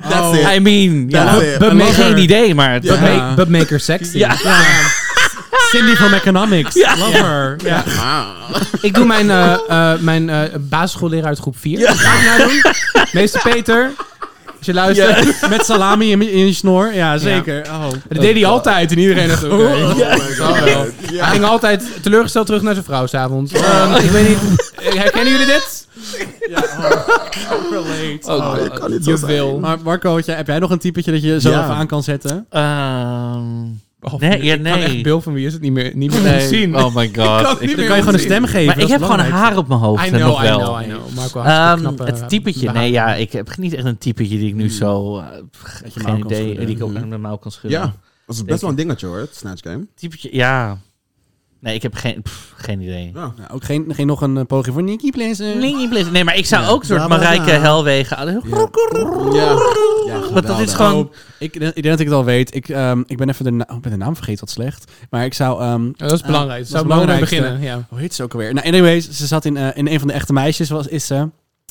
Speaker 3: Oh,
Speaker 4: That's it.
Speaker 3: I mean, ja.
Speaker 4: That's it.
Speaker 1: But
Speaker 3: Nee,
Speaker 1: make,
Speaker 3: geen idee, maar... het-
Speaker 1: but
Speaker 2: Ja.
Speaker 1: make, but make her sexy.
Speaker 3: Ja.
Speaker 2: Cindy from Economics.
Speaker 3: Ja.
Speaker 2: Love her. Ja.
Speaker 1: Ik doe mijn, eh, eh, mijn eh, basisschoolleraar uit groep 4. Ga ik nou doen. Meester Peter, als je luistert.
Speaker 2: Met salami in, in je snor. Ja, zeker. Oh.
Speaker 1: Dat deed hij altijd en iedereen dacht, oké.
Speaker 4: Oh my
Speaker 1: Oh, wel.
Speaker 4: God. Ja.
Speaker 1: Hij ging altijd teleurgesteld terug naar zijn vrouw s'avonds. Ehm, ik weet niet, eh, herkennen jullie dit?
Speaker 2: Relate.
Speaker 1: Oh,
Speaker 4: dat kan niet zo
Speaker 1: je
Speaker 4: zijn.
Speaker 1: wil.
Speaker 2: Maar Marco, had jij- heb jij nog een typetje dat je zo
Speaker 4: Ja.
Speaker 2: even aan kan zetten?
Speaker 3: Ehm,
Speaker 1: Oh,
Speaker 3: nee, ja,
Speaker 1: Ik kan echt
Speaker 3: nee.
Speaker 1: beeld van wie is het niet meer, niet meer zien.
Speaker 3: Oh my god. Ik-
Speaker 2: Dan kan je gewoon een stem geven.
Speaker 3: Maar ik
Speaker 2: dat is
Speaker 3: heb gewoon
Speaker 2: belangrijk.
Speaker 3: haar op mijn hoofd.
Speaker 1: I
Speaker 3: en
Speaker 1: know,
Speaker 3: nog
Speaker 1: I
Speaker 3: wel.
Speaker 1: know, I know. Marco,
Speaker 3: Ehm,
Speaker 1: hartstikke knappe,
Speaker 3: het typetje,
Speaker 1: eh,
Speaker 3: nee, ja, ik heb niet echt een typetje die ik nu zo. eh, pff,
Speaker 2: je mouw
Speaker 3: geen
Speaker 2: kan
Speaker 3: idee.
Speaker 2: schudden.
Speaker 3: Die ik ook met mijn mouw kan schudden.
Speaker 4: Ja, dat is
Speaker 3: Zeker.
Speaker 4: best wel een dingetje hoor, het Snatch Game.
Speaker 3: Typetje, ja. Nee, ik heb geen, pff, geen idee.
Speaker 2: Nou, ook geen, geen nog een eh, poging voor Nicky Plessen.
Speaker 3: Nee, niet blind. Nee, maar ik zou ook een soort
Speaker 4: Bla, bla, bla.
Speaker 3: Marijke Helwegen.
Speaker 4: Ja, ja
Speaker 3: Want dat is
Speaker 4: geweldig.
Speaker 3: gewoon.
Speaker 2: Ik, ik denk dat ik het al weet. Ik, ehm, ik ben even de, na- oh, ik ben de naam vergeten, wat slecht. Maar ik zou... ehm,
Speaker 3: Eh.
Speaker 1: Ja, dat is belangrijk.
Speaker 2: dat is
Speaker 1: Zou ik belangrijk
Speaker 2: belangrijkste.
Speaker 1: beginnen. Ja.
Speaker 2: hoe heet ze ook alweer? Nou, anyways, ze zat in, eh, in een van de echte meisjes. Was, is ze?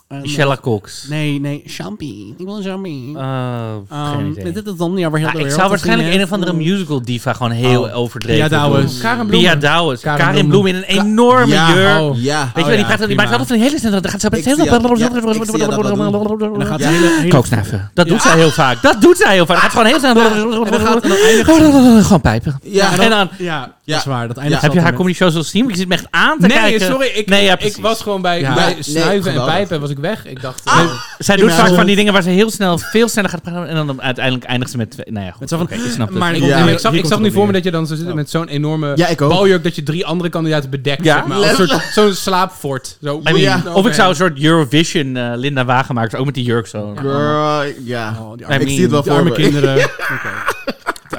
Speaker 2: Eh,
Speaker 3: Michelle Cox.
Speaker 2: Nee, nee. Champi. Ik wil een Champi.
Speaker 3: Eh, geen
Speaker 2: Ehm,
Speaker 3: idee.
Speaker 2: dit is dan niet waar heel de
Speaker 3: Ja, ik
Speaker 2: wereld
Speaker 3: zou
Speaker 2: dat
Speaker 3: waarschijnlijk
Speaker 2: ding
Speaker 3: een of andere
Speaker 2: heeft.
Speaker 3: musical diva gewoon heel
Speaker 2: Oh.
Speaker 3: overdreven.
Speaker 2: Bia Douwens.
Speaker 3: doen.
Speaker 1: Karen Bloemen.
Speaker 3: Bia Douwens.
Speaker 1: Karen
Speaker 3: Karin Bloem
Speaker 1: Bloemen.
Speaker 3: in een enorme
Speaker 4: Ja,
Speaker 3: jurk.
Speaker 1: oh.
Speaker 4: Ja.
Speaker 3: Weet je wel, die, praat, die maakt altijd van die hele snelle... Dan gaat ze op het
Speaker 4: Ik
Speaker 3: hele...
Speaker 4: zie dat, ja, ik zie dat wel
Speaker 2: En dan gaat
Speaker 4: Ja.
Speaker 2: ze hele, hele-
Speaker 3: Kooksnuiven. Dat doet zij heel vaak. Dat doet zij heel vaak. Gaat gewoon heel snel... Gewoon pijpen.
Speaker 4: Ja,
Speaker 3: En dan...
Speaker 2: Ja,
Speaker 4: Ja.
Speaker 2: dat is waar. Dat eindigt
Speaker 4: Ja.
Speaker 3: Heb je
Speaker 2: altijd
Speaker 3: haar
Speaker 2: met-
Speaker 3: comedy show zo zien? Ik zit me echt aan te
Speaker 1: Nee,
Speaker 3: kijken.
Speaker 1: sorry. Ik,
Speaker 3: Nee, ja,
Speaker 1: ik
Speaker 3: precies.
Speaker 1: was gewoon bij,
Speaker 2: Ja.
Speaker 1: bij
Speaker 4: Nee,
Speaker 1: snuiven en
Speaker 4: geweldig.
Speaker 1: pijpen was ik weg. Ik dacht, eh,
Speaker 3: Zij doet vaak
Speaker 2: Ja.
Speaker 3: van die dingen waar ze heel snel, veel sneller gaat praten. En dan uiteindelijk eindigt ze met... twee- Nou ja, goed.
Speaker 2: Het is wel
Speaker 3: Oké,
Speaker 2: van-
Speaker 3: ik snap het.
Speaker 2: Maar
Speaker 1: Ik,
Speaker 2: ik-
Speaker 4: Ja.
Speaker 1: nee, maar ik zag,
Speaker 2: hier
Speaker 1: ik
Speaker 2: komt
Speaker 1: zag
Speaker 2: het
Speaker 1: nu
Speaker 2: op
Speaker 1: voor me
Speaker 2: neer.
Speaker 1: dat je dan zo zit met zo'n enorme
Speaker 4: Ja, ik ook.
Speaker 1: baljurk dat je drie andere kandidaten bedekt.
Speaker 3: Ja.
Speaker 1: zeg maar. Als een soort, zo'n slaapfort. Zo,
Speaker 3: I mean,
Speaker 4: Ja.
Speaker 3: Of ik zou een soort Eurovision eh, Linda Wagenmakers, ook met die jurk zo.
Speaker 4: Girl, ja.
Speaker 2: Oh, die arme,
Speaker 3: I
Speaker 4: ik
Speaker 3: mean,
Speaker 4: zie het wel
Speaker 2: die
Speaker 4: voor
Speaker 2: arme
Speaker 4: me.
Speaker 2: kinderen.
Speaker 3: I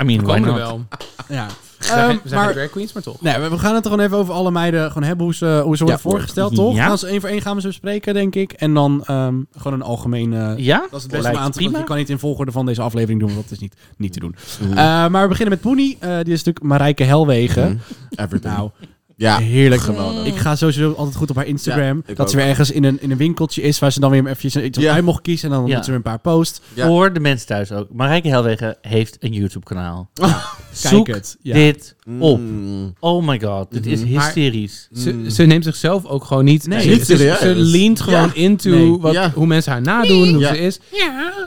Speaker 3: mean, why
Speaker 1: Komen er
Speaker 3: not?
Speaker 1: wel.
Speaker 2: Ja.
Speaker 1: Zijn
Speaker 2: Ehm,
Speaker 1: we zijn
Speaker 2: maar
Speaker 1: geen drag queens, maar toch.
Speaker 2: Nee, we we gaan het er gewoon even over alle meiden gewoon hebben. Hoe ze, hoe ze worden
Speaker 4: Ja.
Speaker 2: voorgesteld, toch?
Speaker 3: Ja.
Speaker 2: Gaan ze één voor één gaan we ze bespreken, denk ik. En dan ehm, gewoon een algemeen... eh,
Speaker 3: Ja?
Speaker 2: dat is het beste om
Speaker 3: Lijkt
Speaker 2: aan te
Speaker 3: prima.
Speaker 2: want Je kan niet in volgorde van deze aflevering doen, want dat is niet, niet te doen.
Speaker 3: Mm.
Speaker 2: Eh, maar we beginnen met Poenie. Eh, die is natuurlijk Marijke Helwegen.
Speaker 3: Mm-hmm.
Speaker 4: Everything.
Speaker 2: Nou,
Speaker 4: ja.
Speaker 2: heerlijk geweldig. Ik ga sowieso altijd goed op haar Instagram.
Speaker 4: Ja, ik
Speaker 2: dat ze
Speaker 4: ook.
Speaker 2: weer ergens in een, in een winkeltje is waar ze dan weer even iets
Speaker 4: Ja.
Speaker 2: uit mocht kiezen. En dan
Speaker 3: Ja.
Speaker 2: doet ze weer een paar posts.
Speaker 4: Ja.
Speaker 3: Voor de mensen thuis ook. Marijke Helwegen heeft een YouTube-kanaal. Zoek
Speaker 2: het, ja.
Speaker 3: dit op.
Speaker 4: Mm.
Speaker 3: Oh my god, dit is
Speaker 1: Maar-
Speaker 3: hysterisch.
Speaker 1: Ze, ze neemt zichzelf ook gewoon niet.
Speaker 2: Nee.
Speaker 1: ze,
Speaker 4: Niet
Speaker 1: ze-
Speaker 4: serieus.
Speaker 1: ze leant gewoon
Speaker 4: Ja.
Speaker 1: into
Speaker 2: Nee.
Speaker 1: Wat,
Speaker 4: Ja.
Speaker 1: hoe mensen haar nadoen, hoe
Speaker 4: Ja.
Speaker 1: ze is.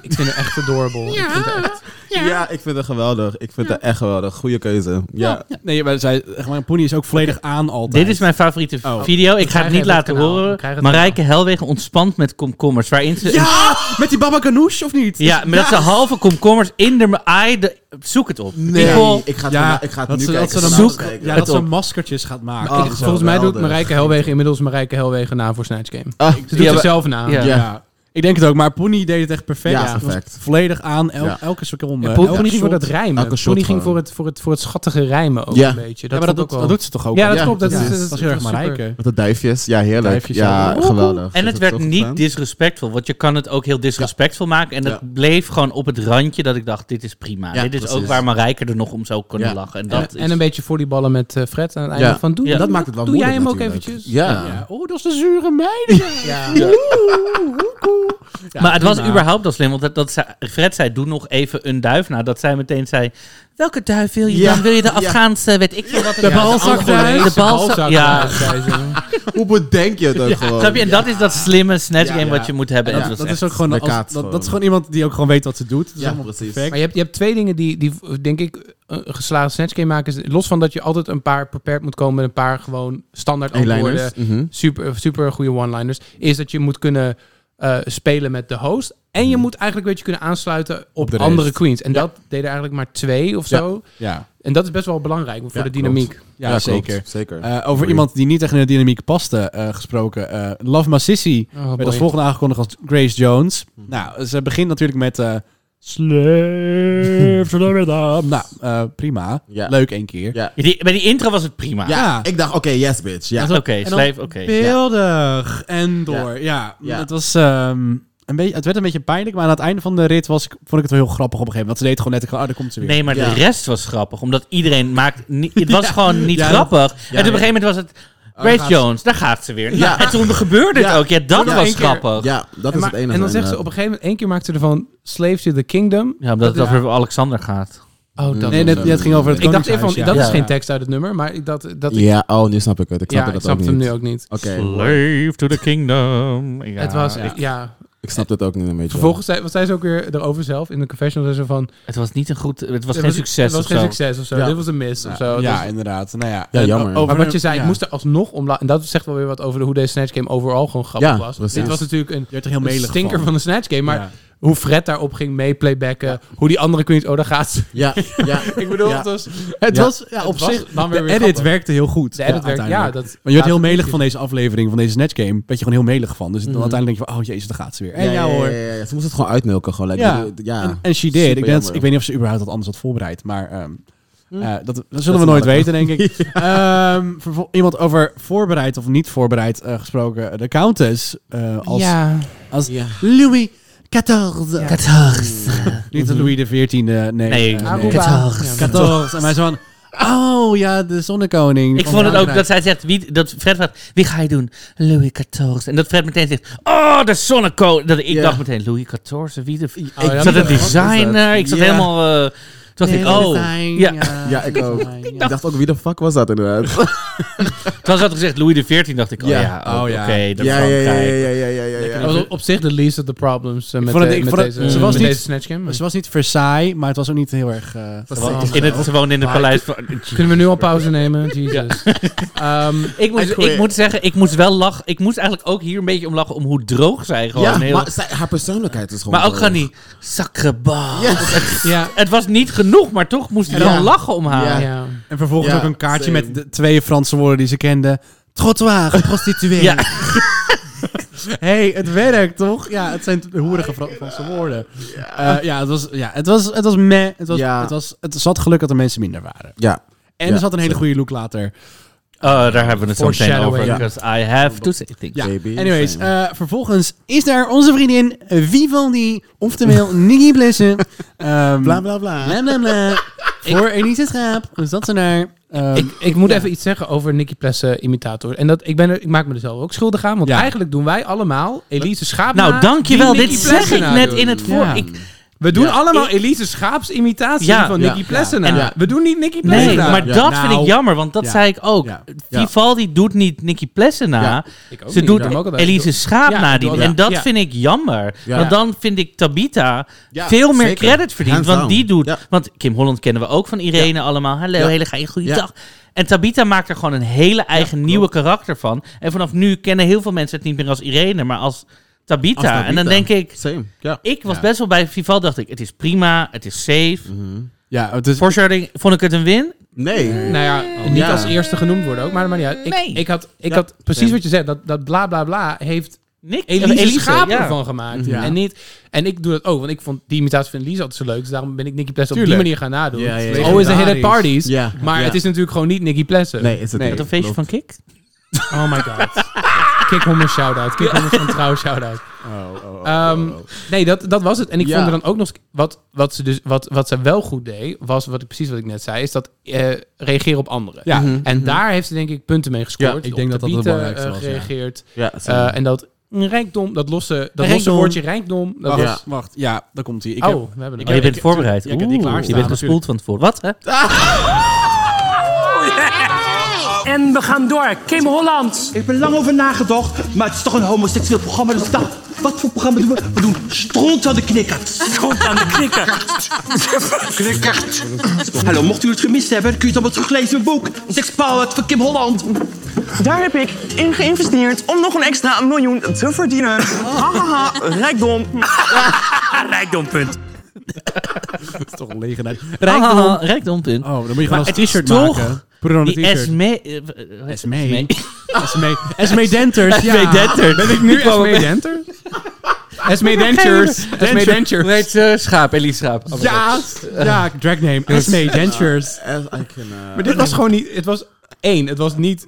Speaker 1: Ik vind haar echt adorable. Ik vind haar echt-
Speaker 4: Ja. ik vind het geweldig. Ik vind het echt geweldig. Goede keuze. Ja.
Speaker 2: Ja. Nee, maar zij, gewoon, Poenie is ook volledig aan altijd.
Speaker 3: Dit is mijn favoriete
Speaker 2: Oh.
Speaker 3: video. Ik ga het
Speaker 1: krijgen
Speaker 3: niet
Speaker 1: het
Speaker 3: laten
Speaker 1: kanaal. We
Speaker 3: horen.
Speaker 1: krijgen het
Speaker 3: Marijke Helwegen ontspant met komkommers. Waarin ze een-
Speaker 2: Ja! Met die baba ganoush, of niet?
Speaker 3: ja, maar dat ze halve komkommers in de eye... de- zoek het op. People,
Speaker 4: ik ga het,
Speaker 2: Ja,
Speaker 4: vandaag- ik ga het
Speaker 2: dat
Speaker 4: nu
Speaker 2: ze,
Speaker 4: kijken.
Speaker 2: dat ze dan
Speaker 4: vanavond
Speaker 2: zoek-
Speaker 4: kijken.
Speaker 2: ja,
Speaker 3: Het
Speaker 2: dat ze
Speaker 3: op.
Speaker 2: maskertjes gaat maken.
Speaker 4: Oh,
Speaker 1: Ik- volgens mij doet
Speaker 4: geweldig.
Speaker 1: Marijke Helwegen inmiddels Marijke Helwegen na voor Snatch Game.
Speaker 4: Ah,
Speaker 1: Ze doet
Speaker 3: Ja,
Speaker 1: zichzelf na.
Speaker 3: ja.
Speaker 2: ja. Ik denk het ook, maar Poenie deed het echt perfect.
Speaker 4: Ja,
Speaker 2: Het was
Speaker 4: perfect.
Speaker 2: Volledig aan, el-
Speaker 4: Ja.
Speaker 2: elke seconde.
Speaker 4: Eh,
Speaker 1: En
Speaker 2: elke
Speaker 1: Pony ging
Speaker 2: shot.
Speaker 1: voor dat rijmen.
Speaker 4: Elke shot
Speaker 1: Pony ging
Speaker 4: gewoon.
Speaker 1: voor het, voor, het, voor het schattige rijmen ook
Speaker 4: Ja.
Speaker 1: een beetje.
Speaker 2: Ja,
Speaker 1: Dat
Speaker 2: maar
Speaker 1: vond ik
Speaker 2: dat, doet-
Speaker 1: ook
Speaker 2: dat
Speaker 1: wel-
Speaker 2: doet ze toch ook?
Speaker 1: Ja,
Speaker 2: al?
Speaker 1: dat
Speaker 4: Ja,
Speaker 1: klopt. Dat
Speaker 4: ja.
Speaker 1: is, dat is-
Speaker 2: Dat is heel erg
Speaker 1: super.
Speaker 2: Marijke.
Speaker 4: Met de duifjes. Ja, heerlijk.
Speaker 2: Duifjes,
Speaker 4: ja,
Speaker 2: ja.
Speaker 4: geweldig.
Speaker 3: En het werd niet disrespectful, want je kan het ook heel disrespectful maken. En het
Speaker 4: Ja.
Speaker 3: bleef gewoon op het randje dat ik dacht, dit is prima.
Speaker 4: Ja,
Speaker 3: dit is ook
Speaker 4: precies.
Speaker 3: waar Marijke er nog om zou kunnen
Speaker 4: Ja.
Speaker 3: lachen. En,
Speaker 1: En,
Speaker 3: dat is,
Speaker 1: en een beetje volleyballen met eh, Fred aan het einde
Speaker 4: Ja.
Speaker 1: van doe,
Speaker 3: Ja.
Speaker 4: Dat maakt het wel
Speaker 1: doe jij
Speaker 4: moeilijk
Speaker 1: hem ook Oh,
Speaker 4: natuurlijk.
Speaker 1: eventjes.
Speaker 4: Ja.
Speaker 2: Oh, dat is de zure meid.
Speaker 1: Ja.
Speaker 2: Oeh, oeh, oeh.
Speaker 3: maar het was überhaupt al slim, want dat, dat ze- Fred zei, doe nog even een duif na. Dat zij meteen zei, welke duif wil je
Speaker 4: Ja,
Speaker 3: dan? Wil je de
Speaker 4: ja.
Speaker 3: Afghaanse, weet ik veel wat. het-
Speaker 2: De balzakduif.
Speaker 3: De balzak, ja.
Speaker 4: Hoe bedenk je het ook gewoon?
Speaker 3: Snap je? En dat is dat slimme Snatch
Speaker 4: Ja,
Speaker 3: Game
Speaker 4: ja.
Speaker 3: wat je moet hebben.
Speaker 4: Ja,
Speaker 3: En dat
Speaker 2: Dat
Speaker 3: is
Speaker 2: is ook gewoon,
Speaker 4: de
Speaker 2: als-
Speaker 4: kaat
Speaker 2: dat,
Speaker 4: gewoon.
Speaker 2: dat is gewoon iemand die ook gewoon weet wat ze doet. Dat is
Speaker 4: Ja,
Speaker 2: allemaal
Speaker 4: precies.
Speaker 2: perfect.
Speaker 1: Maar je hebt, je hebt twee dingen die, die v- denk ik, een geslaagde Snatch Game maken. is- Los van dat je altijd een paar prepared moet komen met een paar gewoon standaard antwoorden.
Speaker 4: Eyeliners. Mhm.
Speaker 1: Super, super goede one-liners. Is dat je moet kunnen eh, spelen met de host. En je moet eigenlijk een beetje kunnen aansluiten op,
Speaker 4: Mhm. de rest.
Speaker 1: andere queens. En dat deden eigenlijk maar twee of
Speaker 4: Ja.
Speaker 1: zo.
Speaker 4: Ja,
Speaker 1: En dat is best wel belangrijk voor
Speaker 4: Ja,
Speaker 1: de
Speaker 4: klopt.
Speaker 1: dynamiek.
Speaker 2: Ja,
Speaker 4: klopt.
Speaker 2: zeker.
Speaker 4: zeker.
Speaker 2: Eh, over iemand die niet echt in de dynamiek paste eh, gesproken. eh, Love My Sissy
Speaker 1: Oh,
Speaker 2: werd
Speaker 1: boy.
Speaker 2: als volgende aangekondigd als Grace Jones. Nou, ze begint natuurlijk met... eh Slave to the rhythm. Nou, eh, prima.
Speaker 4: Ja.
Speaker 2: Leuk één keer.
Speaker 4: ja.
Speaker 3: Die, bij die intro was het prima.
Speaker 4: Ja,
Speaker 2: Ja.
Speaker 4: Ah, ik dacht, oké, yes, bitch. Ja.
Speaker 3: Oké,
Speaker 2: En dan-
Speaker 3: Slave, oké.
Speaker 2: Beeldig. En door. Ja.
Speaker 4: Ja.
Speaker 2: Het was... ehm, een beetje, het werd een beetje pijnlijk, maar aan het einde van de rit was, ik- vond ik het wel heel grappig op een gegeven moment. Want ze deed gewoon net, ik dacht, oh, daar komt ze weer.
Speaker 3: Nee, maar de
Speaker 4: Ja.
Speaker 3: rest was grappig. Omdat iedereen maakt... ni- het was gewoon niet
Speaker 2: Ja, dat-
Speaker 3: grappig. en toen op een
Speaker 4: ja.
Speaker 3: gegeven moment was het...
Speaker 4: daar
Speaker 3: Grace
Speaker 4: gaat
Speaker 3: Jones, daar gaat ze weer. Nou,
Speaker 4: Ja.
Speaker 3: En toen gebeurde het
Speaker 4: Ja.
Speaker 3: ook. Ja, dat
Speaker 1: Ja.
Speaker 3: was
Speaker 1: Eén keer.
Speaker 3: grappig. Ja,
Speaker 4: Ja, dat
Speaker 1: En,
Speaker 4: is
Speaker 1: maar-
Speaker 4: het enige. eh,
Speaker 1: en dan zegt ze op een gegeven moment, één keer maakte ze ervan Slave to the Kingdom.
Speaker 3: omdat het over Alexander gaat.
Speaker 1: Oh, dat
Speaker 2: Nee,
Speaker 1: was-
Speaker 2: net, ja,
Speaker 4: eh,
Speaker 2: het ging over het
Speaker 1: Ik dacht even, van,
Speaker 2: Koningshuis,
Speaker 1: dat
Speaker 2: ja.
Speaker 1: is
Speaker 2: Ja.
Speaker 1: geen tekst uit het nummer, maar ik dacht dat ik, ja,
Speaker 4: Ja, oh, nu snap ik het. Ik snap
Speaker 1: ik
Speaker 4: het
Speaker 1: snap
Speaker 4: ook
Speaker 1: hem
Speaker 4: niet.
Speaker 1: nu ook niet.
Speaker 4: Oké,
Speaker 3: Slave to the kingdom. Ja.
Speaker 1: het was,
Speaker 3: Ja.
Speaker 1: ja.
Speaker 4: ik snap het ook nu een beetje.
Speaker 1: Vervolgens zei, wat zei ze ook weer erover zelf in de confessional. Zei ze van,
Speaker 3: Het was niet een goed... Het was
Speaker 1: Het
Speaker 3: geen succes
Speaker 1: Het was
Speaker 3: of
Speaker 1: geen
Speaker 3: zo.
Speaker 1: succes of zo.
Speaker 4: Ja.
Speaker 1: Dit was een mis of zo.
Speaker 2: Ja,
Speaker 1: Dus-
Speaker 2: inderdaad. Nou ja,
Speaker 4: Ja,
Speaker 2: en
Speaker 4: jammer.
Speaker 2: o-
Speaker 1: maar wat je zei,
Speaker 2: ja.
Speaker 1: ik moest er alsnog om... la- En dat zegt wel weer wat over de- hoe deze Snatch Game overal gewoon grappig
Speaker 4: Ja,
Speaker 1: was.
Speaker 4: precies.
Speaker 1: Dit was natuurlijk een,
Speaker 2: Je werd er heel
Speaker 1: een
Speaker 2: melig
Speaker 1: stinker van.
Speaker 2: van
Speaker 1: de Snatch Game. Maar
Speaker 2: Ja.
Speaker 1: hoe Fred daarop ging meeplaybacken. Hoe die andere queens... Oh, daar gaat ze.
Speaker 4: Ja, ja.
Speaker 1: Ik bedoel,
Speaker 4: Ja.
Speaker 1: het was...
Speaker 2: Het
Speaker 4: Ja.
Speaker 2: was ja, op
Speaker 1: was
Speaker 2: zich.
Speaker 1: dan weer
Speaker 2: de
Speaker 1: weer
Speaker 2: edit
Speaker 1: grappig.
Speaker 2: werkte heel goed.
Speaker 1: De edit werkt, ja.
Speaker 2: uiteindelijk.
Speaker 1: Dat,
Speaker 2: Maar je werd heel
Speaker 1: laat-
Speaker 2: melig van deze aflevering, van deze netgame. Werd je gewoon heel melig van. Dus
Speaker 1: Mhm.
Speaker 2: dan uiteindelijk denk je van, oh jezus, daar gaat ze weer. En ja, hoor.
Speaker 4: ja, ja, ja. Ze moest het gewoon uitmelken. Gewoon, like,
Speaker 2: Ja.
Speaker 4: ja. ja.
Speaker 2: En, en she did.
Speaker 4: Super
Speaker 2: Ik, denk dat ze-
Speaker 4: jammer.
Speaker 2: ik weet niet of ze überhaupt dat anders had voorbereid. Maar ehm,
Speaker 1: Hm.
Speaker 2: eh, dat, dat zullen
Speaker 4: is
Speaker 2: we nooit
Speaker 4: een
Speaker 2: weten, denk ik. Ehm, vervol- iemand over voorbereid of niet voorbereid eh, gesproken. De Countess. eh, als
Speaker 1: Ja.
Speaker 2: als
Speaker 4: Ja.
Speaker 2: Louis XIV.
Speaker 1: Ja.
Speaker 2: Niet de Louis XIV. Nee.
Speaker 3: Nee.
Speaker 2: eh,
Speaker 1: Aruba. Ja.
Speaker 2: XIV. En wij zo van, oh ja, de zonnekoning.
Speaker 3: Ik
Speaker 2: van
Speaker 3: vond het ook
Speaker 2: Frankrijk.
Speaker 3: dat zij zegt, wie, dat Fred vraagt, wie ga je doen? Louis XIV. En dat Fred meteen zegt, oh, de zonnekoning. Dat, ik
Speaker 4: Ja. Ah,
Speaker 3: dacht meteen, Louis XIV, wie de... f-
Speaker 1: Oh, ja,
Speaker 3: ik zat
Speaker 1: dat-
Speaker 3: een designer, ik zat
Speaker 2: Ja.
Speaker 3: helemaal... eh, toen dacht ik, oh. ja.
Speaker 4: Ja, ik ook. Ik dacht ook, wie de fuck was dat inderdaad?
Speaker 3: Toen had gezegd Louis XIV, dacht ik, oh ja,
Speaker 4: Ja.
Speaker 2: Oh,
Speaker 3: oh,
Speaker 2: ja.
Speaker 3: ja. oké, dat
Speaker 4: Ja, ja, ja,
Speaker 3: Frankrijk.
Speaker 4: ja, ja, ja, ja, ja.
Speaker 1: Dat was op zich de least of the problems eh, met,
Speaker 2: vond het-
Speaker 1: de-
Speaker 2: ik
Speaker 1: met
Speaker 2: vond het-
Speaker 1: deze,
Speaker 2: ze
Speaker 1: met
Speaker 2: was niet-
Speaker 1: deze Snatch Game.
Speaker 2: Ze Dus was niet Versailles, maar het was ook niet heel erg... eh,
Speaker 3: Want In het, ze woonde in het paleis van...
Speaker 1: Kunnen we nu al pauze nemen? Jesus. Ehm,
Speaker 3: Ik moest, ik moet zeggen, ik moest wel lachen. Ik moest eigenlijk ook hier een beetje om lachen om hoe droog zij gewoon
Speaker 4: Ja,
Speaker 3: heel...
Speaker 4: maar
Speaker 3: Maar,
Speaker 4: zij- haar persoonlijkheid is gewoon...
Speaker 3: ook
Speaker 4: zo-
Speaker 3: gewoon die sacre baas.
Speaker 1: ja.
Speaker 3: Het was niet genoeg, maar toch moest ik
Speaker 4: Ja.
Speaker 3: wel lachen om haar.
Speaker 4: Ja.
Speaker 1: ja.
Speaker 2: En vervolgens
Speaker 4: Ja,
Speaker 2: ook een kaartje
Speaker 4: same.
Speaker 2: met de twee Franse woorden die ze kende. Trottoir, geprostitueerd.
Speaker 3: Ja.
Speaker 2: hey, het werkt toch? Ja, het zijn hoerige Fra- Franse woorden. Ja, ja, het, was, ja het, was, het was meh. Het, was,
Speaker 4: Ja.
Speaker 2: het, was, het zat geluk dat er mensen minder waren.
Speaker 4: Ja.
Speaker 2: En
Speaker 4: Ja,
Speaker 2: er zat een hele goede look later.
Speaker 3: Oh, daar hebben we het zo meteen over.
Speaker 1: Foreshadowing.
Speaker 3: Because I have to say things.
Speaker 2: Ja.
Speaker 4: Baby,
Speaker 2: Anyways,
Speaker 4: same.
Speaker 2: eh, vervolgens is daar onze vriendin Vivaldi, oftewel Niggy Blessen. Ehm
Speaker 4: Bla, bla, bla.
Speaker 2: bla, bla, bla. Voor Elise Schaap. Dus dat ze naar. ehm,
Speaker 1: Ik, ik moet even iets zeggen over Nicky Plessen imitator. En dat, ik, ben er, ik maak me er zelf ook schuldig aan. Want
Speaker 2: Ja.
Speaker 1: eigenlijk doen wij allemaal Elise Schaap na
Speaker 3: Nou, dankjewel.
Speaker 1: die
Speaker 3: Dit
Speaker 1: Nicky
Speaker 3: zeg
Speaker 1: Plessen
Speaker 3: ik
Speaker 1: na
Speaker 3: net
Speaker 1: doet.
Speaker 3: in het voor.
Speaker 2: Ja.
Speaker 3: Ik,
Speaker 1: We doen
Speaker 4: Ja.
Speaker 1: allemaal
Speaker 3: Ik-
Speaker 1: Elise Schaaps imitatie
Speaker 3: Ja.
Speaker 1: van
Speaker 4: Ja.
Speaker 1: Nicky Plessen
Speaker 3: Ja.
Speaker 1: na.
Speaker 4: Ja.
Speaker 1: We doen niet Nicky Plessen
Speaker 3: nee,
Speaker 1: na.
Speaker 3: maar
Speaker 4: Ja.
Speaker 3: dat
Speaker 2: Nou,
Speaker 3: vind ik jammer, want dat
Speaker 2: ja.
Speaker 3: zei ik ook.
Speaker 2: Ja.
Speaker 3: Vivaldi doet niet Nicky Plessen na.
Speaker 1: Ik ook
Speaker 3: Ze
Speaker 1: niet.
Speaker 3: doet
Speaker 1: Ik doe hem ook altijd.
Speaker 3: Elise Schaap
Speaker 1: Ja,
Speaker 3: na.
Speaker 1: ik doe
Speaker 3: Die,
Speaker 1: altijd.
Speaker 3: En dat
Speaker 1: Ja.
Speaker 3: vind ik jammer.
Speaker 4: Ja.
Speaker 3: Want dan vind ik Tabita
Speaker 4: Ja,
Speaker 3: veel meer
Speaker 4: zeker.
Speaker 3: credit verdient.
Speaker 4: Hands
Speaker 3: Want
Speaker 4: down.
Speaker 3: die doet...
Speaker 4: Ja.
Speaker 3: Want Kim Holland kennen we ook van Irene allemaal. Hallo,
Speaker 4: Ja.
Speaker 3: hele geile goede
Speaker 4: Ja.
Speaker 3: dag. En Tabita maakt er gewoon een hele eigen nieuwe karakter van. En vanaf nu kennen heel veel mensen het niet meer als Irene, maar als Tabita.
Speaker 4: Als Tabitha.
Speaker 3: En dan denk ik...
Speaker 4: Same, ja. Mhm.
Speaker 3: Ik was best wel bij Vivaldi, dacht ik, het is prima, het is safe.
Speaker 2: ja, het is,
Speaker 3: Foreshadowing, vond ik het een win?
Speaker 4: Nee.
Speaker 1: Nou ja, niet
Speaker 4: Ja.
Speaker 1: als eerste genoemd worden ook. Maar, maar ja, ik,
Speaker 3: Nee.
Speaker 1: ik had, ik
Speaker 4: Ja.
Speaker 1: had precies wat je zegt. Dat, dat bla bla bla heeft
Speaker 3: Nick,
Speaker 1: Elise,
Speaker 3: Elise,
Speaker 1: Schaap
Speaker 3: ja.
Speaker 1: ervan gemaakt.
Speaker 2: Ja.
Speaker 1: En, niet, en ik doe dat ook, want ik vond die imitatie van Elise altijd zo leuk. Dus daarom ben ik Nicky Plessen op die
Speaker 2: Tuurlijk.
Speaker 1: manier gaan nadoen.
Speaker 4: Ja, ja, ja.
Speaker 1: It's Always a hit at parties.
Speaker 4: Ja.
Speaker 1: Maar
Speaker 4: Ja.
Speaker 1: het is natuurlijk gewoon niet Nicky Plessen.
Speaker 4: Nee, is het
Speaker 3: Met
Speaker 4: niet.
Speaker 3: een feestje van Kik?
Speaker 1: Oh my god. Kick Hommers shout-out. Kick Hommers van Trouw shout-out.
Speaker 2: Oh,
Speaker 1: Ehm, Nee, dat, dat was het. En ik
Speaker 4: Ja.
Speaker 1: vond er dan ook nog... eens- Wat, wat, ze dus, wat, wat ze wel goed deed, was wat ik, precies wat ik net zei... is dat eh, reageren op anderen.
Speaker 2: Ja.
Speaker 1: En daar heeft ze denk ik punten mee gescoord.
Speaker 4: Ja, ik
Speaker 2: denk dat dat
Speaker 1: Tabitha,
Speaker 2: het belangrijkste
Speaker 1: eh,
Speaker 2: was, ja.
Speaker 1: gereageerd.
Speaker 4: ja,
Speaker 1: Eh, en dat Een Rijkdom, dat losse, dat losse
Speaker 2: Rijkdom.
Speaker 1: woordje rijkdom. Dat
Speaker 2: Wacht,
Speaker 1: was,
Speaker 2: ja. wacht. Ja, daar komt hij. Ik heb-
Speaker 1: Oh, we hebben
Speaker 2: ik
Speaker 3: Oh,
Speaker 1: hem.
Speaker 3: je
Speaker 2: heb-
Speaker 3: bent
Speaker 2: ik-
Speaker 3: voorbereid.
Speaker 2: ja, ik heb die
Speaker 3: Oeh, je
Speaker 2: klaarstaan
Speaker 3: bent gespoeld van tevoren. Wat, hè?
Speaker 5: En we gaan door. Kim Holland.
Speaker 9: Ik ben lang over nagedacht, maar het is toch een homoseksueel programma. Dus nou, wat voor programma doen we? We doen stront aan de knikkers.
Speaker 5: Komt aan de knikker.
Speaker 9: Hallo, mocht u het gemist hebben, kun je het allemaal teruglezen in mijn boek. Sex Powered van Kim Holland.
Speaker 10: Daar heb ik in geïnvesteerd om nog een extra miljoen te verdienen. Hahaha, rijkdom.
Speaker 5: Rijkdompunt.
Speaker 2: Dat is toch een legenheid.
Speaker 4: Ah.
Speaker 3: Rijkdom. rijkdom, punt.
Speaker 2: Oh, dan moet je gewoon als
Speaker 3: het is
Speaker 2: t-shirt
Speaker 3: toch
Speaker 2: maken. Put it on a
Speaker 3: Die
Speaker 2: t-shirt.
Speaker 3: Esme... eh, eh,
Speaker 2: Esme. Esme.
Speaker 3: E
Speaker 2: Esme Denters.
Speaker 3: Esme
Speaker 2: ja.
Speaker 3: Denter.
Speaker 1: Ben ik nu Esme Denter? Esme Dentures.
Speaker 3: E
Speaker 1: Esme Dentures.
Speaker 3: Nee, het is, eh, Schaap. Elise Schaap. Oh my
Speaker 2: Ja,
Speaker 3: God.
Speaker 2: ja, dragname. Esme Dentures.
Speaker 4: As I can, uh,
Speaker 1: Maar dit was gewoon niet... Het was één, het was niet...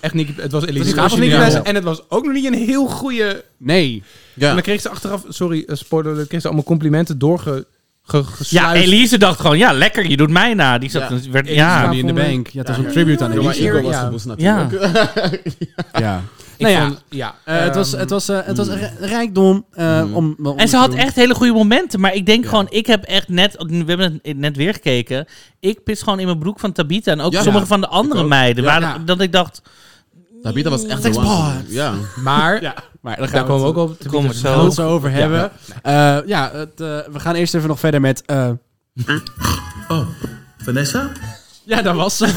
Speaker 1: Echt niet, het was Elise
Speaker 2: Het was
Speaker 1: Schaap als
Speaker 2: niet
Speaker 1: Nicolaas.
Speaker 2: Nicolaas.
Speaker 1: En het was ook nog niet een heel goede...
Speaker 2: Nee.
Speaker 1: En dan kreeg ze achteraf... Sorry, eh, spoiler, dan kreeg ze allemaal complimenten doorge... Ge,
Speaker 3: Ja,
Speaker 1: gesluist.
Speaker 3: Elise dacht gewoon, ja, lekker, je doet mij na. Die zat, ja. Werd, ja.
Speaker 1: Elise-
Speaker 2: Money in the
Speaker 1: vond ik-
Speaker 2: Bank. Ja, het was een tribute aan
Speaker 4: Johan
Speaker 2: Elise.
Speaker 1: Eer-
Speaker 4: Eagle was
Speaker 1: ja.
Speaker 4: de boes natuurlijk.
Speaker 3: Ja.
Speaker 2: Ja.
Speaker 1: Ik
Speaker 2: Nou ja,
Speaker 1: vond- ja.
Speaker 2: eh, het was, het was, eh, het was een rijkdom. eh, om, om
Speaker 3: En
Speaker 2: te
Speaker 3: ze had
Speaker 2: doen.
Speaker 3: echt hele goede momenten. Maar ik denk gewoon, ik heb echt net... We hebben het net weer gekeken. Ik pis gewoon in mijn broek van Tabita. En ook
Speaker 4: Ja.
Speaker 3: sommige
Speaker 4: Ja.
Speaker 3: van de andere meiden.
Speaker 4: Ja.
Speaker 3: waar,
Speaker 2: Ja.
Speaker 3: Dat ik dacht,
Speaker 4: Tabitha was echt
Speaker 2: Sex
Speaker 4: de one.
Speaker 2: Powered.
Speaker 4: Ja.
Speaker 1: Ehm, Maar,
Speaker 2: Ja, maar daar
Speaker 1: daar
Speaker 2: gaan we
Speaker 1: komen we
Speaker 2: het-
Speaker 1: ook op te
Speaker 3: kom
Speaker 1: komen.
Speaker 3: er
Speaker 2: daar gaan we
Speaker 3: zo.
Speaker 2: het zo over hebben. Ja, ja het, eh, we gaan eerst even nog verder met... eh,
Speaker 6: Vanessa?
Speaker 2: ja, dat was ze.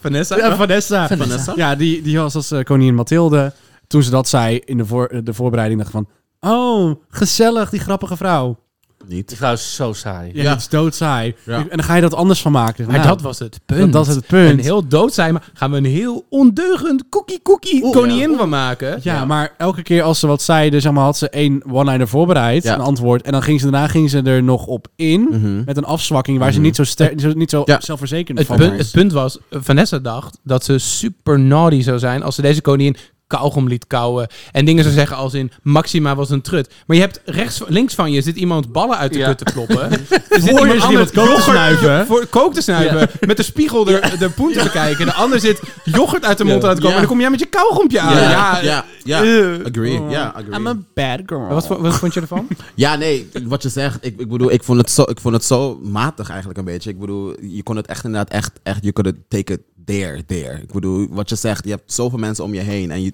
Speaker 1: Vanessa?
Speaker 2: Ja, Oh, Vanessa.
Speaker 4: Vanessa?
Speaker 2: Ja, die, die was als eh, koningin Mathilde. Toen ze dat zei in de, voor, de voorbereiding, dacht ik van... Oh, gezellig, die grappige vrouw.
Speaker 4: Niet.
Speaker 3: Die vrouw is zo saai.
Speaker 2: Ja,
Speaker 4: Ja.
Speaker 2: het is doodsaai.
Speaker 4: Ja.
Speaker 2: En dan ga je dat anders van maken.
Speaker 1: Maar
Speaker 2: Nou,
Speaker 1: dat was het punt.
Speaker 2: dat is het punt.
Speaker 1: En heel dood zijn, maar gaan we een heel ondeugend cookie-cookie
Speaker 4: Oeh,
Speaker 1: koningin
Speaker 4: ja.
Speaker 1: van maken.
Speaker 2: Ja, maar elke keer als ze wat zeiden, zeg maar, had ze één one-liner voorbereid,
Speaker 4: Ja. Mhm.
Speaker 2: een antwoord. En dan ging ze, daarna ging ze er nog op in, met een afzwakking waar ze niet zo, ster- zo- niet zo
Speaker 4: Ja.
Speaker 2: zelfverzekerd
Speaker 1: Het
Speaker 2: van
Speaker 1: punt,
Speaker 2: was.
Speaker 1: het punt was, eh, Vanessa dacht dat ze super naughty zou zijn als ze deze koningin kauwgom liet kauwen. En dingen zou zeggen als in, Maxima was een trut. Maar je hebt rechts, links van je zit iemand ballen uit de kut te kloppen. Er zit
Speaker 2: Voor
Speaker 4: dus
Speaker 2: je zit iemand kook te
Speaker 1: yoghurt
Speaker 2: snuiven.
Speaker 1: Voor kook te snuiven. Met de spiegel er, de poen te kijken. De ander zit yoghurt uit de mond uit te komen.
Speaker 4: Ja.
Speaker 1: En dan kom jij met je kauwgompje aan.
Speaker 4: Ja,
Speaker 1: Ja,
Speaker 4: ja, ja.
Speaker 1: eh,
Speaker 4: Agree. Ja,
Speaker 2: I'm a
Speaker 4: agree.
Speaker 2: bad girl.
Speaker 1: Wat, vond- wat vond je ervan?
Speaker 4: Ja, nee, wat je zegt, ik, ik bedoel, ik vond, het zo, ik vond het zo matig eigenlijk een beetje. Ik bedoel, je kon het echt inderdaad echt, echt je kon het take it there, there. Ik bedoel, wat je zegt, je hebt zoveel mensen om je heen en je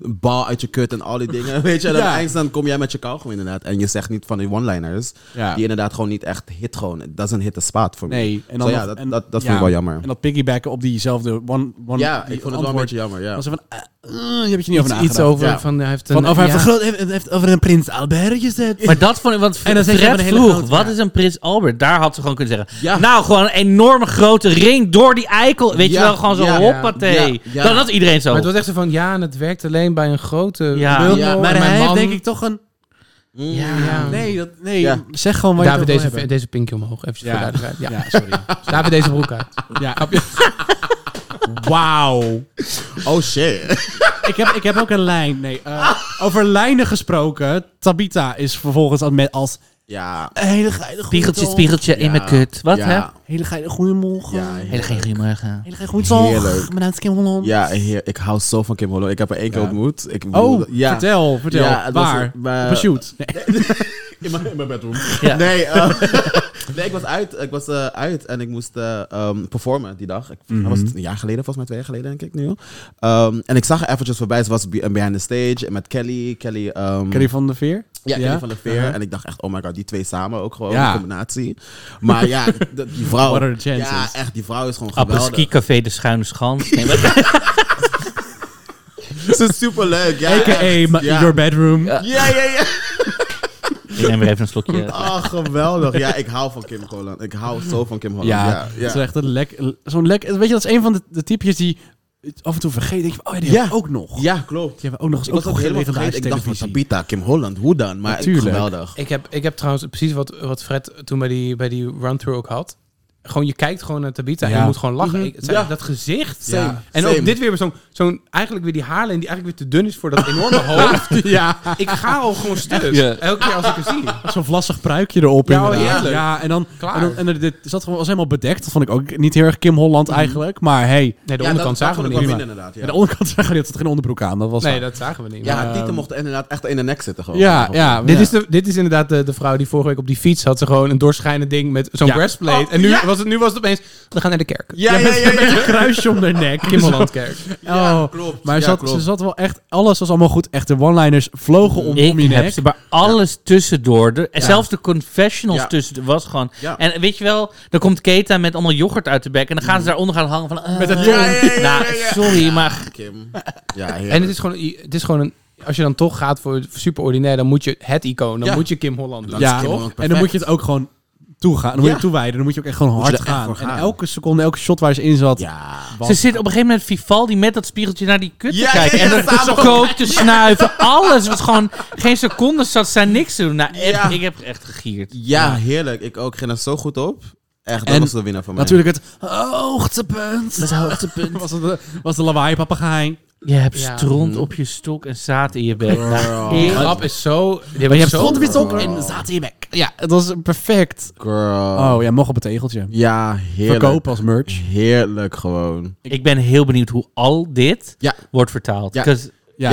Speaker 4: een bal uit je kut en al die dingen, weet je. En
Speaker 2: Ja.
Speaker 4: aan het dan kom jij met je kauwgom inderdaad en je zegt niet van die one-liners,
Speaker 2: Ja.
Speaker 4: die inderdaad gewoon niet echt hit gewoon, it doesn't hit the spot voor
Speaker 2: Nee,
Speaker 4: me. En dan ja,
Speaker 2: nog-
Speaker 4: dat,
Speaker 2: en-
Speaker 4: dat, dat
Speaker 2: ja,
Speaker 4: vond ik wel jammer.
Speaker 2: En dat piggybacken op diezelfde one, one
Speaker 4: ja,
Speaker 2: die
Speaker 4: ik vond het wel een
Speaker 2: antwoord.
Speaker 4: beetje jammer, ja.
Speaker 2: Was ze van, eh, eh, je hebt je niet over
Speaker 1: Iets, iets
Speaker 2: nagedacht.
Speaker 1: over
Speaker 4: Ja.
Speaker 1: van, hij heeft een...
Speaker 2: Van, of hij
Speaker 1: ja.
Speaker 2: heeft, een groot, heeft, heeft over een prins Albert gezet.
Speaker 3: Maar dat vond ik, want
Speaker 2: En dan zeg je
Speaker 3: Fred
Speaker 2: van een hele
Speaker 3: vroeg,
Speaker 2: grote-
Speaker 3: wat
Speaker 2: ja.
Speaker 3: is een Prins Albert? Daar had ze gewoon kunnen zeggen,
Speaker 4: Ja.
Speaker 3: nou, gewoon een enorme grote ring door die eikel. Weet
Speaker 4: Ja,
Speaker 3: je wel, gewoon zo
Speaker 4: ja,
Speaker 3: hoppatee.
Speaker 4: ja, ja.
Speaker 3: Dan had iedereen zo.
Speaker 1: Maar het was echt zo van, ja, en het werkt alleen bij een grote...
Speaker 3: Ja.
Speaker 1: bubbel
Speaker 4: Ja,
Speaker 1: en
Speaker 2: maar
Speaker 1: mijn
Speaker 2: hij heeft
Speaker 1: man-
Speaker 2: denk ik toch een...
Speaker 3: ja.
Speaker 2: Nee, dat, nee
Speaker 4: Ja.
Speaker 2: zeg gewoon wat
Speaker 1: David,
Speaker 2: je
Speaker 1: deze,
Speaker 2: toch wil
Speaker 1: deze pinkje omhoog. Even voor
Speaker 2: hebben.
Speaker 1: duidelijkheid. Ja.
Speaker 2: Ja, sorry.
Speaker 1: David, deze broek uit.
Speaker 2: Ja,
Speaker 1: Wauw.
Speaker 4: Oh shit.
Speaker 2: ik, heb, ik heb ook een lijn. Nee, eh, over lijnen gesproken. Tabita is vervolgens al met als
Speaker 4: ja.
Speaker 2: hele geile
Speaker 3: Spiegeltje,
Speaker 2: goeie tol.
Speaker 3: spiegeltje in mijn kut. Wat,
Speaker 4: ja.
Speaker 3: hè?
Speaker 2: Hele geile goede morgen.
Speaker 4: Ja, ja.
Speaker 3: Hele geen goeiemorgen.
Speaker 2: Hele geile goede tol.
Speaker 4: Heerlijk.
Speaker 2: Mijn naam is Kim Holland.
Speaker 4: Ja, heer, ik hou zo van Kim Holland. Ik heb haar één keer
Speaker 2: Ja.
Speaker 4: ontmoet. Ik
Speaker 2: Oh,
Speaker 4: bedoel, ja.
Speaker 2: vertel, vertel.
Speaker 4: Ja, het was eh,
Speaker 2: Waar?
Speaker 4: een- bij-
Speaker 2: Op een shoot. Nee.
Speaker 4: In mijn, in mijn bedroom.
Speaker 3: Ja.
Speaker 4: Nee, eh, nee, ik was uit. Ik was eh, uit en ik moest eh, ehm, performen die dag. Ik, Dat
Speaker 2: Mhm.
Speaker 4: was een jaar geleden, volgens mij twee jaar geleden, denk ik nu. Ehm, en ik zag haar eventjes voorbij. Ze was be- behind the stage met Kelly. Kelly, ehm,
Speaker 2: Kelly van der Veer?
Speaker 4: ja, Kelly van de Veer.
Speaker 2: Uh-huh.
Speaker 4: En ik dacht echt, oh my god, die twee samen ook gewoon.
Speaker 2: Ja.
Speaker 4: Een combinatie. Maar ja, dat- die vrouw.
Speaker 2: What are the chances?
Speaker 4: Ja, echt, die vrouw is gewoon geweldig.
Speaker 3: Appelski Café de Schuine Schans. Nee, wat-
Speaker 4: Ze is superleuk. Ja,
Speaker 2: A.k.a.
Speaker 4: echt,
Speaker 2: ma-
Speaker 4: ja.
Speaker 2: Your Bedroom.
Speaker 4: Ja, ja, ja.
Speaker 3: Ik neem weer even een slokje.
Speaker 4: Oh, geweldig. Ja, ik hou van Kim Holland. Ik hou zo van Kim Holland.
Speaker 2: Ja,
Speaker 4: Ja,
Speaker 2: dat
Speaker 4: ja.
Speaker 2: is echt een lek... Zo'n lek... Weet je, dat is een van de, de typjes die het af en toe vergeet. Denk je, van, oh ja, die
Speaker 4: Ja.
Speaker 2: hebben we ook nog.
Speaker 4: Ja, klopt.
Speaker 2: Die hebben we ook nog eens
Speaker 4: Ik was
Speaker 2: ook
Speaker 4: ook helemaal
Speaker 2: legendarische
Speaker 4: vergeten. Ik dacht van
Speaker 2: televisie.
Speaker 4: Tabita, Kim Holland, hoe dan? Maar
Speaker 2: Natuurlijk.
Speaker 4: geweldig.
Speaker 1: Ik heb, ik heb trouwens precies wat, wat Fred toen bij die, bij die run-through ook had. Gewoon, je kijkt gewoon naar Tabitha en
Speaker 2: Ja.
Speaker 1: je moet gewoon lachen.
Speaker 2: Mhm.
Speaker 1: Ik- zij-
Speaker 2: Ja.
Speaker 1: Dat gezicht.
Speaker 2: Same,
Speaker 1: En
Speaker 2: same.
Speaker 1: ook dit weer met zo'n, zo'n, eigenlijk weer die haarlijn die eigenlijk weer te dun is voor dat enorme hoofd.
Speaker 2: Ja.
Speaker 1: Ik ga al gewoon stuk.
Speaker 2: Ja.
Speaker 1: Elke keer als ik het zie.
Speaker 2: Zo'n vlassig pruikje erop.
Speaker 1: Ja, oh,
Speaker 2: inderdaad.
Speaker 1: heerlijk.
Speaker 2: Ja, en dan.
Speaker 1: Klaar.
Speaker 2: En, dan, en er- dit zat gewoon was helemaal bedekt. Dat vond ik ook niet heel erg Kim Holland
Speaker 1: Mhm.
Speaker 2: eigenlijk. Maar hey. Nee,
Speaker 1: de onderkant zagen we niet.
Speaker 4: Prima. inderdaad, ja.
Speaker 2: De onderkant zagen we niet. Er zat geen onderbroek aan. Dat was
Speaker 1: Nee, dat zagen we niet.
Speaker 4: Ja,
Speaker 1: Maar,
Speaker 4: haar tieten
Speaker 1: ehm,
Speaker 4: mochten inderdaad echt in de nek zitten gewoon.
Speaker 1: Ja, ja. Dit,
Speaker 4: ja.
Speaker 1: Is de, dit is inderdaad de, de vrouw die vorige week op die fiets had. Ze gewoon een doorschijnend ding met zo'n
Speaker 2: Ja.
Speaker 1: breastplate.
Speaker 2: Oh,
Speaker 1: en nu,
Speaker 2: ja.
Speaker 1: was het, nu was het opeens... We gaan naar de kerk.
Speaker 2: Ja, ja, ja, Met een kruisje om de nek.
Speaker 1: Kim Hollandkerk.
Speaker 2: Zo.
Speaker 1: Ja,
Speaker 2: Oh,
Speaker 1: klopt.
Speaker 2: Maar
Speaker 1: Ja,
Speaker 2: zat,
Speaker 1: klopt.
Speaker 2: ze zat wel echt... Alles was allemaal goed. Echt, de one-liners vlogen om,
Speaker 3: Ik
Speaker 2: om je
Speaker 3: heb
Speaker 2: nek.
Speaker 3: ze bij alles tussendoor. De, en Zelfs de confessionals
Speaker 2: Ja.
Speaker 3: tussen was gewoon...
Speaker 2: Ja.
Speaker 3: En weet je wel, dan komt Keta met allemaal yoghurt uit de bek... en dan gaan ze daaronder gaan hangen van... eh,
Speaker 1: Met dat
Speaker 3: nou,
Speaker 1: tong. Ja, ja, ja, ja.
Speaker 3: sorry, maar...
Speaker 1: en het is gewoon, het is gewoon een... Als je dan toch gaat voor super ordinair, dan moet je het icoon. Dan
Speaker 2: Ja.
Speaker 1: moet je Kim Holland. doen,
Speaker 2: Ja,
Speaker 1: toch?
Speaker 2: en dan moet je het ook gewoon toegaan. Dan moet je
Speaker 1: Ja.
Speaker 2: het toewijden. Dan moet je ook echt gewoon
Speaker 1: Moet je
Speaker 2: hard
Speaker 1: er echt
Speaker 2: gaan.
Speaker 1: voor gaan.
Speaker 2: En elke seconde, elke shot waar ze in zat... was-
Speaker 3: Ze zit op een gegeven moment Vivaldi met dat spiegeltje naar die kut te
Speaker 2: Ja,
Speaker 3: kijken.
Speaker 2: ja, ja,
Speaker 3: en dan
Speaker 2: samen.
Speaker 3: kook te snuiven. Alles was gewoon... Geen seconde zat zij niks te doen. Nou, echt, ik heb echt gegierd.
Speaker 4: Ja, heerlijk. Ik ook. Ging er zo goed op. Echt, dat
Speaker 2: En
Speaker 4: was de winnaar van mij.
Speaker 2: Natuurlijk het hoogtepunt.
Speaker 3: Het hoogtepunt.
Speaker 2: was, het, de- was de lawaai papegaai.
Speaker 3: Je hebt stront op je stok en zaad in je bek. Nou,
Speaker 1: Die
Speaker 3: ik-
Speaker 1: grap is zo... die
Speaker 2: Maar je hebt
Speaker 1: zo-
Speaker 2: grond wist ook en zaten in je bek. Ja, het was perfect.
Speaker 4: Girl.
Speaker 2: Oh ja, mocht op het tegeltje.
Speaker 4: Ja, heerlijk.
Speaker 2: Verkopen als merch.
Speaker 4: Heerlijk gewoon.
Speaker 3: Ik ben heel benieuwd hoe al dit wordt vertaald.
Speaker 4: Ja.
Speaker 3: 'Cause-
Speaker 4: ik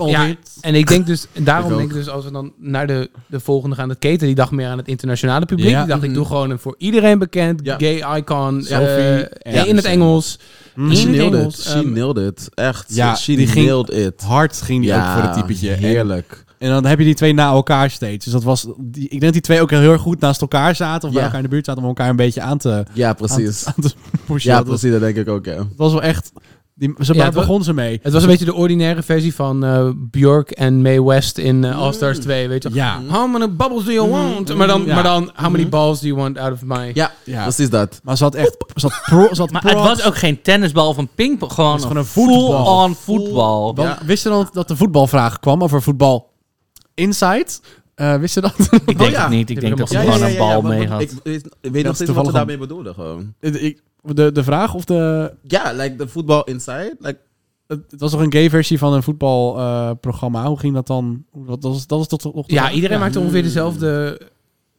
Speaker 4: ook.
Speaker 1: Ja, En ik denk dus, en daarom
Speaker 4: Ik ook.
Speaker 1: denk ik dus, als we dan naar de, de volgende gaan, dat keten die dacht meer aan het internationale publiek.
Speaker 2: Ja. Mhm.
Speaker 1: Die dacht, ik doe gewoon een voor iedereen bekend gay icon.
Speaker 4: Sophie
Speaker 1: eh,
Speaker 4: Anderson.
Speaker 1: in het Engels.
Speaker 2: Mhm.
Speaker 4: Mm. She
Speaker 1: In het
Speaker 4: nailed it.
Speaker 1: Engels.
Speaker 4: She
Speaker 1: ehm,
Speaker 4: nailed it. Echt.
Speaker 2: Ja,
Speaker 4: she
Speaker 2: die ging
Speaker 4: nailed it.
Speaker 2: Hard ging die
Speaker 4: Ja,
Speaker 2: ook voor het typetje. En-
Speaker 4: Heerlijk.
Speaker 2: En, dan heb je die twee na elkaar steeds. Dus dat was, die, ik denk dat die twee ook heel erg goed naast elkaar zaten. Of bij
Speaker 4: Ja.
Speaker 2: elkaar in de buurt zaten om elkaar een beetje aan te
Speaker 4: Ja, precies.
Speaker 2: Aan te, aan te pushen.
Speaker 4: ja,
Speaker 2: Dat was-
Speaker 4: precies. Dat denk ik ook, ja.
Speaker 2: Het was wel echt... Die, ze
Speaker 1: Ja,
Speaker 2: daar
Speaker 1: het wa-
Speaker 2: begon ze mee.
Speaker 1: Het was een beetje de ordinaire versie van eh, Björk en Mae West in eh, All Stars 2, weet je wel.
Speaker 2: Mhm. Ja. Mhm.
Speaker 1: How many bubbles do you want? Maar dan,
Speaker 2: Ja. Mhm.
Speaker 1: maar dan how many balls do you want out of my...
Speaker 4: Ja,
Speaker 2: Ja.
Speaker 4: precies dat.
Speaker 2: Maar ze had echt... Ze had pro, ze had
Speaker 3: Maar het
Speaker 2: props.
Speaker 3: was ook geen tennisbal of een pingpong. Gewoon,
Speaker 2: Het was gewoon een voetbal.
Speaker 3: full-on voetbal.
Speaker 2: Want Wist je dan dat de voetbalvraag kwam over voetbal inside? Eh, wist je dat?
Speaker 3: Ik denk het niet. Ik denk dat ze
Speaker 4: Oh, Ja, ja,
Speaker 3: gewoon
Speaker 4: ja,
Speaker 3: een
Speaker 4: ja,
Speaker 3: bal
Speaker 4: want-
Speaker 3: mee
Speaker 4: want
Speaker 3: had.
Speaker 4: Ik weet, ik
Speaker 2: Dat
Speaker 4: weet nog
Speaker 2: is
Speaker 4: steeds wat
Speaker 2: toevallig
Speaker 4: we
Speaker 2: een-
Speaker 4: daarmee bedoelen gewoon.
Speaker 2: Het- ik- de, de vraag of de...
Speaker 4: Ja, like the football inside. Like,
Speaker 2: Het, het was toch een gay versie van een voetbalprogramma? Hoe ging dat dan? Hoe- Wat, dat was, dat was tot, tot-
Speaker 1: Ja, iedereen maakte ongeveer dezelfde...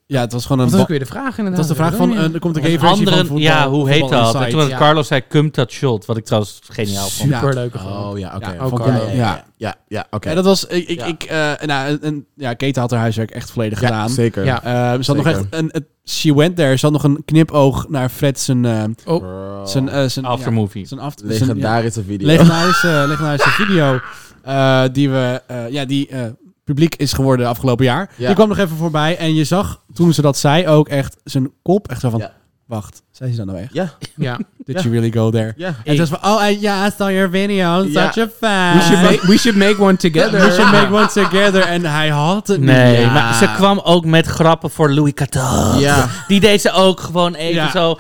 Speaker 2: Ja, het was gewoon een...
Speaker 1: Dat is ook
Speaker 2: ba-
Speaker 1: weer de vraag
Speaker 2: dat
Speaker 1: inderdaad.
Speaker 2: was de vraag van... eh, er komt een gay versie van voetbal.
Speaker 3: ja, hoe heet
Speaker 2: voetbal
Speaker 3: dat?
Speaker 2: inside.
Speaker 3: En toen was
Speaker 1: Ja.
Speaker 3: Carlos zei, cum that shot. Wat ik trouwens geniaal vond.
Speaker 1: Super leuke
Speaker 4: Oh ja, oké.
Speaker 1: Ja, ook
Speaker 4: Vond ik
Speaker 1: wel.
Speaker 4: wel.
Speaker 2: Ja.
Speaker 4: ja, ja, oké.
Speaker 2: En dat was... Ik, ik,
Speaker 4: Ja.
Speaker 2: ik, eh, nou, en, en- ja, Kate had haar huiswerk echt volledig
Speaker 4: Ja,
Speaker 2: gedaan.
Speaker 4: zeker.
Speaker 1: Ja.
Speaker 2: Eh, ze had nog
Speaker 4: Zeker.
Speaker 2: echt een... het- she went there. Ze had nog een knipoog naar Fred zijn... eh,
Speaker 4: Girl.
Speaker 2: zijn, eh, zijn
Speaker 3: Aftermovie.
Speaker 2: ja, zijn after- zijn- ja.
Speaker 4: Legendarische video.
Speaker 2: legendarische, legendarische nou video eh, die we eh, ja, die eh, publiek is geworden afgelopen jaar.
Speaker 4: Ja.
Speaker 2: Die kwam nog even voorbij en je zag toen ze dat zei ook echt zijn kop echt zo van
Speaker 4: Ja.
Speaker 2: wacht, zei ze dat nou echt?
Speaker 4: ja.
Speaker 1: Ja.
Speaker 2: Did
Speaker 4: Ja.
Speaker 2: you really go there?
Speaker 4: Ja.
Speaker 2: En ze was van oh I, yeah, I saw your video, I'm
Speaker 4: Ja.
Speaker 2: such a fan.
Speaker 1: We should, make, we should make one together.
Speaker 2: We should make one together en hij had het
Speaker 3: Nee,
Speaker 2: niet.
Speaker 3: maar ze kwam ook met grappen voor Louis XIV.
Speaker 4: Ja.
Speaker 3: Die deed ze ook gewoon even
Speaker 2: Ja.
Speaker 3: zo...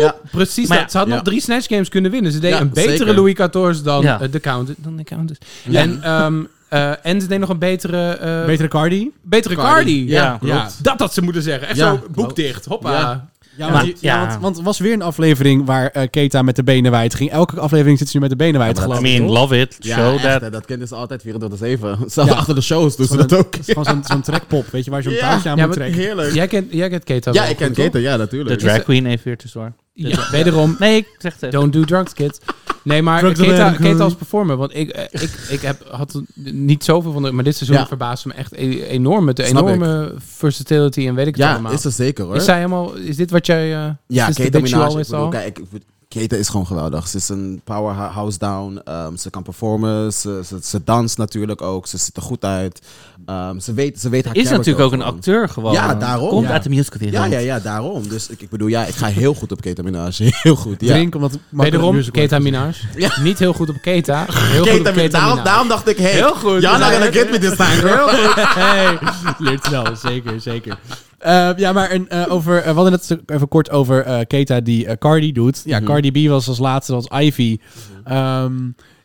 Speaker 4: Ja.
Speaker 1: Precies
Speaker 3: Maar
Speaker 1: dat.
Speaker 3: ja.
Speaker 1: ze had nog
Speaker 4: Ja.
Speaker 1: drie Snatch Games kunnen winnen. Ze deed
Speaker 4: Ja,
Speaker 1: een betere
Speaker 4: zeker.
Speaker 1: Louis XIV dan
Speaker 3: Ja.
Speaker 1: eh, de Count. Dan de Countess.
Speaker 4: Ja.
Speaker 1: En, ehm, eh, en ze deed nog een betere... eh,
Speaker 2: Betere Cardi.
Speaker 1: betere Cardi.
Speaker 4: Cardi.
Speaker 3: Ja,
Speaker 2: Ja.
Speaker 1: Dat had ze moeten zeggen. Echt
Speaker 4: Ja.
Speaker 1: zo, boek dicht. Hoppa.
Speaker 4: Ja.
Speaker 2: Ja,
Speaker 3: Ja,
Speaker 2: want,
Speaker 3: maar-
Speaker 2: ja,
Speaker 3: ja.
Speaker 2: Want, want het was weer een aflevering waar eh, Keta met de benen wijd ging. Elke aflevering zit ze nu met de benen wijd, geloof
Speaker 3: I
Speaker 2: ik.
Speaker 3: mean,
Speaker 2: toch?
Speaker 3: love it.
Speaker 4: Ja,
Speaker 3: Show
Speaker 4: echt,
Speaker 3: that.
Speaker 4: hè, dat kennen ze altijd 24-7. Zelfs
Speaker 2: Ja.
Speaker 4: achter de shows doen ze
Speaker 2: Gewoon
Speaker 4: dat ook.
Speaker 2: Het is gewoon zo'n zo'n trekpop, weet je, waar je zo'n
Speaker 4: Ja.
Speaker 2: touwtje aan
Speaker 1: Ja,
Speaker 2: moet
Speaker 1: maar-
Speaker 2: trekken.
Speaker 4: Heerlijk. Ja,
Speaker 1: Jij kent, jij kent Kate
Speaker 4: ik ken Keten, ja,
Speaker 3: De
Speaker 4: natuurlijk.
Speaker 3: drag queen even weer tussendoor.
Speaker 1: Ja, wederom,
Speaker 3: Nee, ik zeg het even.
Speaker 1: don't do drugs, kids. Nee, maar
Speaker 2: Drugs
Speaker 1: Keta,
Speaker 2: alone.
Speaker 1: Keta als performer. Want ik, eh, ik, ik heb, had niet zoveel van... De, maar dit seizoen
Speaker 4: Ja.
Speaker 1: verbaasde me echt e- enorm. Met de
Speaker 4: Snap
Speaker 1: enorme versatility en weet ik het
Speaker 4: Ja,
Speaker 1: allemaal.
Speaker 4: is dat zeker hoor.
Speaker 1: Is zij helemaal... Is dit wat jij... eh
Speaker 4: Ja,
Speaker 1: sinds de
Speaker 4: Kate
Speaker 1: Big
Speaker 4: Minaj.
Speaker 1: Show
Speaker 4: Ik
Speaker 1: is
Speaker 4: bedoel,
Speaker 1: al?
Speaker 4: kijk, ik- Kate is gewoon geweldig. Ze is een powerhouse down. ehm, ze kan performen. Ze, ze, ze danst natuurlijk ook. Ze ziet er goed uit. Ehm, ze, weet, ze weet haar
Speaker 3: Is
Speaker 4: character
Speaker 3: natuurlijk ook een
Speaker 4: gewoon.
Speaker 3: acteur gewoon.
Speaker 4: Ja, daarom.
Speaker 3: Komt
Speaker 4: Ja.
Speaker 3: uit de musicalwereld.
Speaker 4: Ja, ja, ja, daarom. Dus ik, ik bedoel, ja, ik ga heel goed op Kate Minaj. Heel goed, ja.
Speaker 2: Drink, omdat
Speaker 1: Wederom, Keta
Speaker 2: Ketamine.
Speaker 1: Minaj. Niet heel goed op Keta. Heel goed op Keta
Speaker 4: daarom,
Speaker 1: Minaj.
Speaker 4: daarom dacht ik, hey,
Speaker 1: Heel goed.
Speaker 4: Y'all not
Speaker 1: Ja,
Speaker 4: gonna get me this time, girl.
Speaker 2: hey, leert snel, zeker, zeker. Eh, ja, maar en, eh, over, eh, we hadden het ook even kort over eh, Keta die eh, Cardi doet.
Speaker 4: Mhm.
Speaker 2: Ja, Cardi B was als laatste, dat was Ivy. Ehm,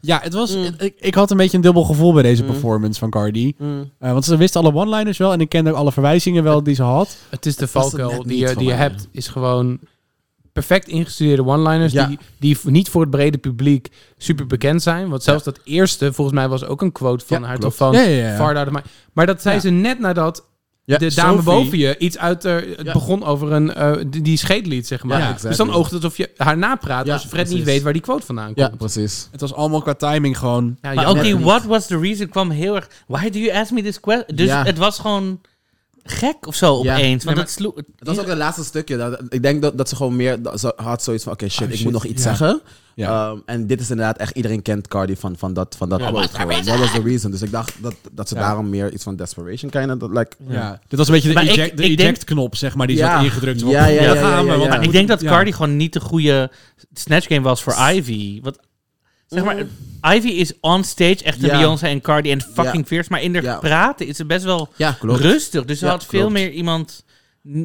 Speaker 2: ja, het was,
Speaker 4: Mm.
Speaker 2: ik, ik had een beetje een dubbel gevoel bij deze performance van Cardi.
Speaker 4: Mm.
Speaker 2: Eh, want ze wist alle one-liners wel en ik kende ook alle verwijzingen wel die ze had.
Speaker 1: Het is de
Speaker 4: was het
Speaker 1: valkuil die
Speaker 4: net niet
Speaker 1: je, die je
Speaker 4: voor mij.
Speaker 1: hebt, is gewoon perfect ingestudeerde one-liners die, die v- niet voor het brede publiek super bekend zijn. Want zelfs dat eerste, volgens mij, was ook een quote van haar toch van
Speaker 2: Ja, ja, ja.
Speaker 1: Far Out of My... Maar dat zei ze net nadat
Speaker 2: Ja,
Speaker 1: de dame
Speaker 2: Sophie-
Speaker 1: boven je iets uit de... Het begon over een, eh, die, die scheetlied, zeg maar.
Speaker 2: Ja,
Speaker 1: Dus dan
Speaker 2: exactly.
Speaker 1: oogt het of je haar napraat
Speaker 2: Ja,
Speaker 1: als Fred niet
Speaker 2: precies.
Speaker 1: weet waar die quote vandaan komt.
Speaker 2: Ja,
Speaker 4: precies.
Speaker 2: Het was allemaal qua timing gewoon...
Speaker 1: Ja,
Speaker 3: Maar ook die what was the reason kwam heel erg... Why do you ask me this question? Dus
Speaker 4: Ja.
Speaker 3: het was gewoon gek of zo
Speaker 4: Ja.
Speaker 3: opeens.
Speaker 4: Nee,
Speaker 3: Want
Speaker 4: maar-
Speaker 3: het sloeg...
Speaker 4: Dat was ook het laatste stukje. Dat, ik denk dat, dat ze gewoon meer dat ze had zoiets van: oké, shit,
Speaker 1: Ah,
Speaker 4: ik moet nog iets
Speaker 2: Ja.
Speaker 4: zeggen.
Speaker 2: Ja.
Speaker 4: Ehm, en dit is inderdaad echt, iedereen kent Cardi van, van dat, van dat
Speaker 2: Ja.
Speaker 4: quote.
Speaker 2: What was the
Speaker 4: gewoon. What was the reason? Dus ik dacht dat, dat ze daarom meer iets van desperation kind of like.
Speaker 2: Ja. Dit was een beetje de
Speaker 3: Maar ik-
Speaker 2: eject- de
Speaker 3: ik denk-
Speaker 2: eject-knop, zeg maar, die
Speaker 4: Ja.
Speaker 2: zat ingedrukt.
Speaker 4: Ja, ja, ja,
Speaker 2: Daar gaan we,
Speaker 4: ja, ja,
Speaker 2: want
Speaker 4: ja.
Speaker 2: we
Speaker 3: Maar ik
Speaker 2: moeten-
Speaker 3: denk dat
Speaker 2: ja.
Speaker 3: Cardi gewoon niet de goede snatch game was voor Ivy. Want zeg maar, Ivy is on stage echt een
Speaker 4: Eh. Ja.
Speaker 3: Beyoncé en Cardi en fucking fierce. Maar in haar
Speaker 4: Ja.
Speaker 3: praten is het best wel
Speaker 4: Ja, klopt.
Speaker 3: rustig. Dus ze
Speaker 4: Ja,
Speaker 3: had veel
Speaker 4: klopt.
Speaker 3: meer iemand...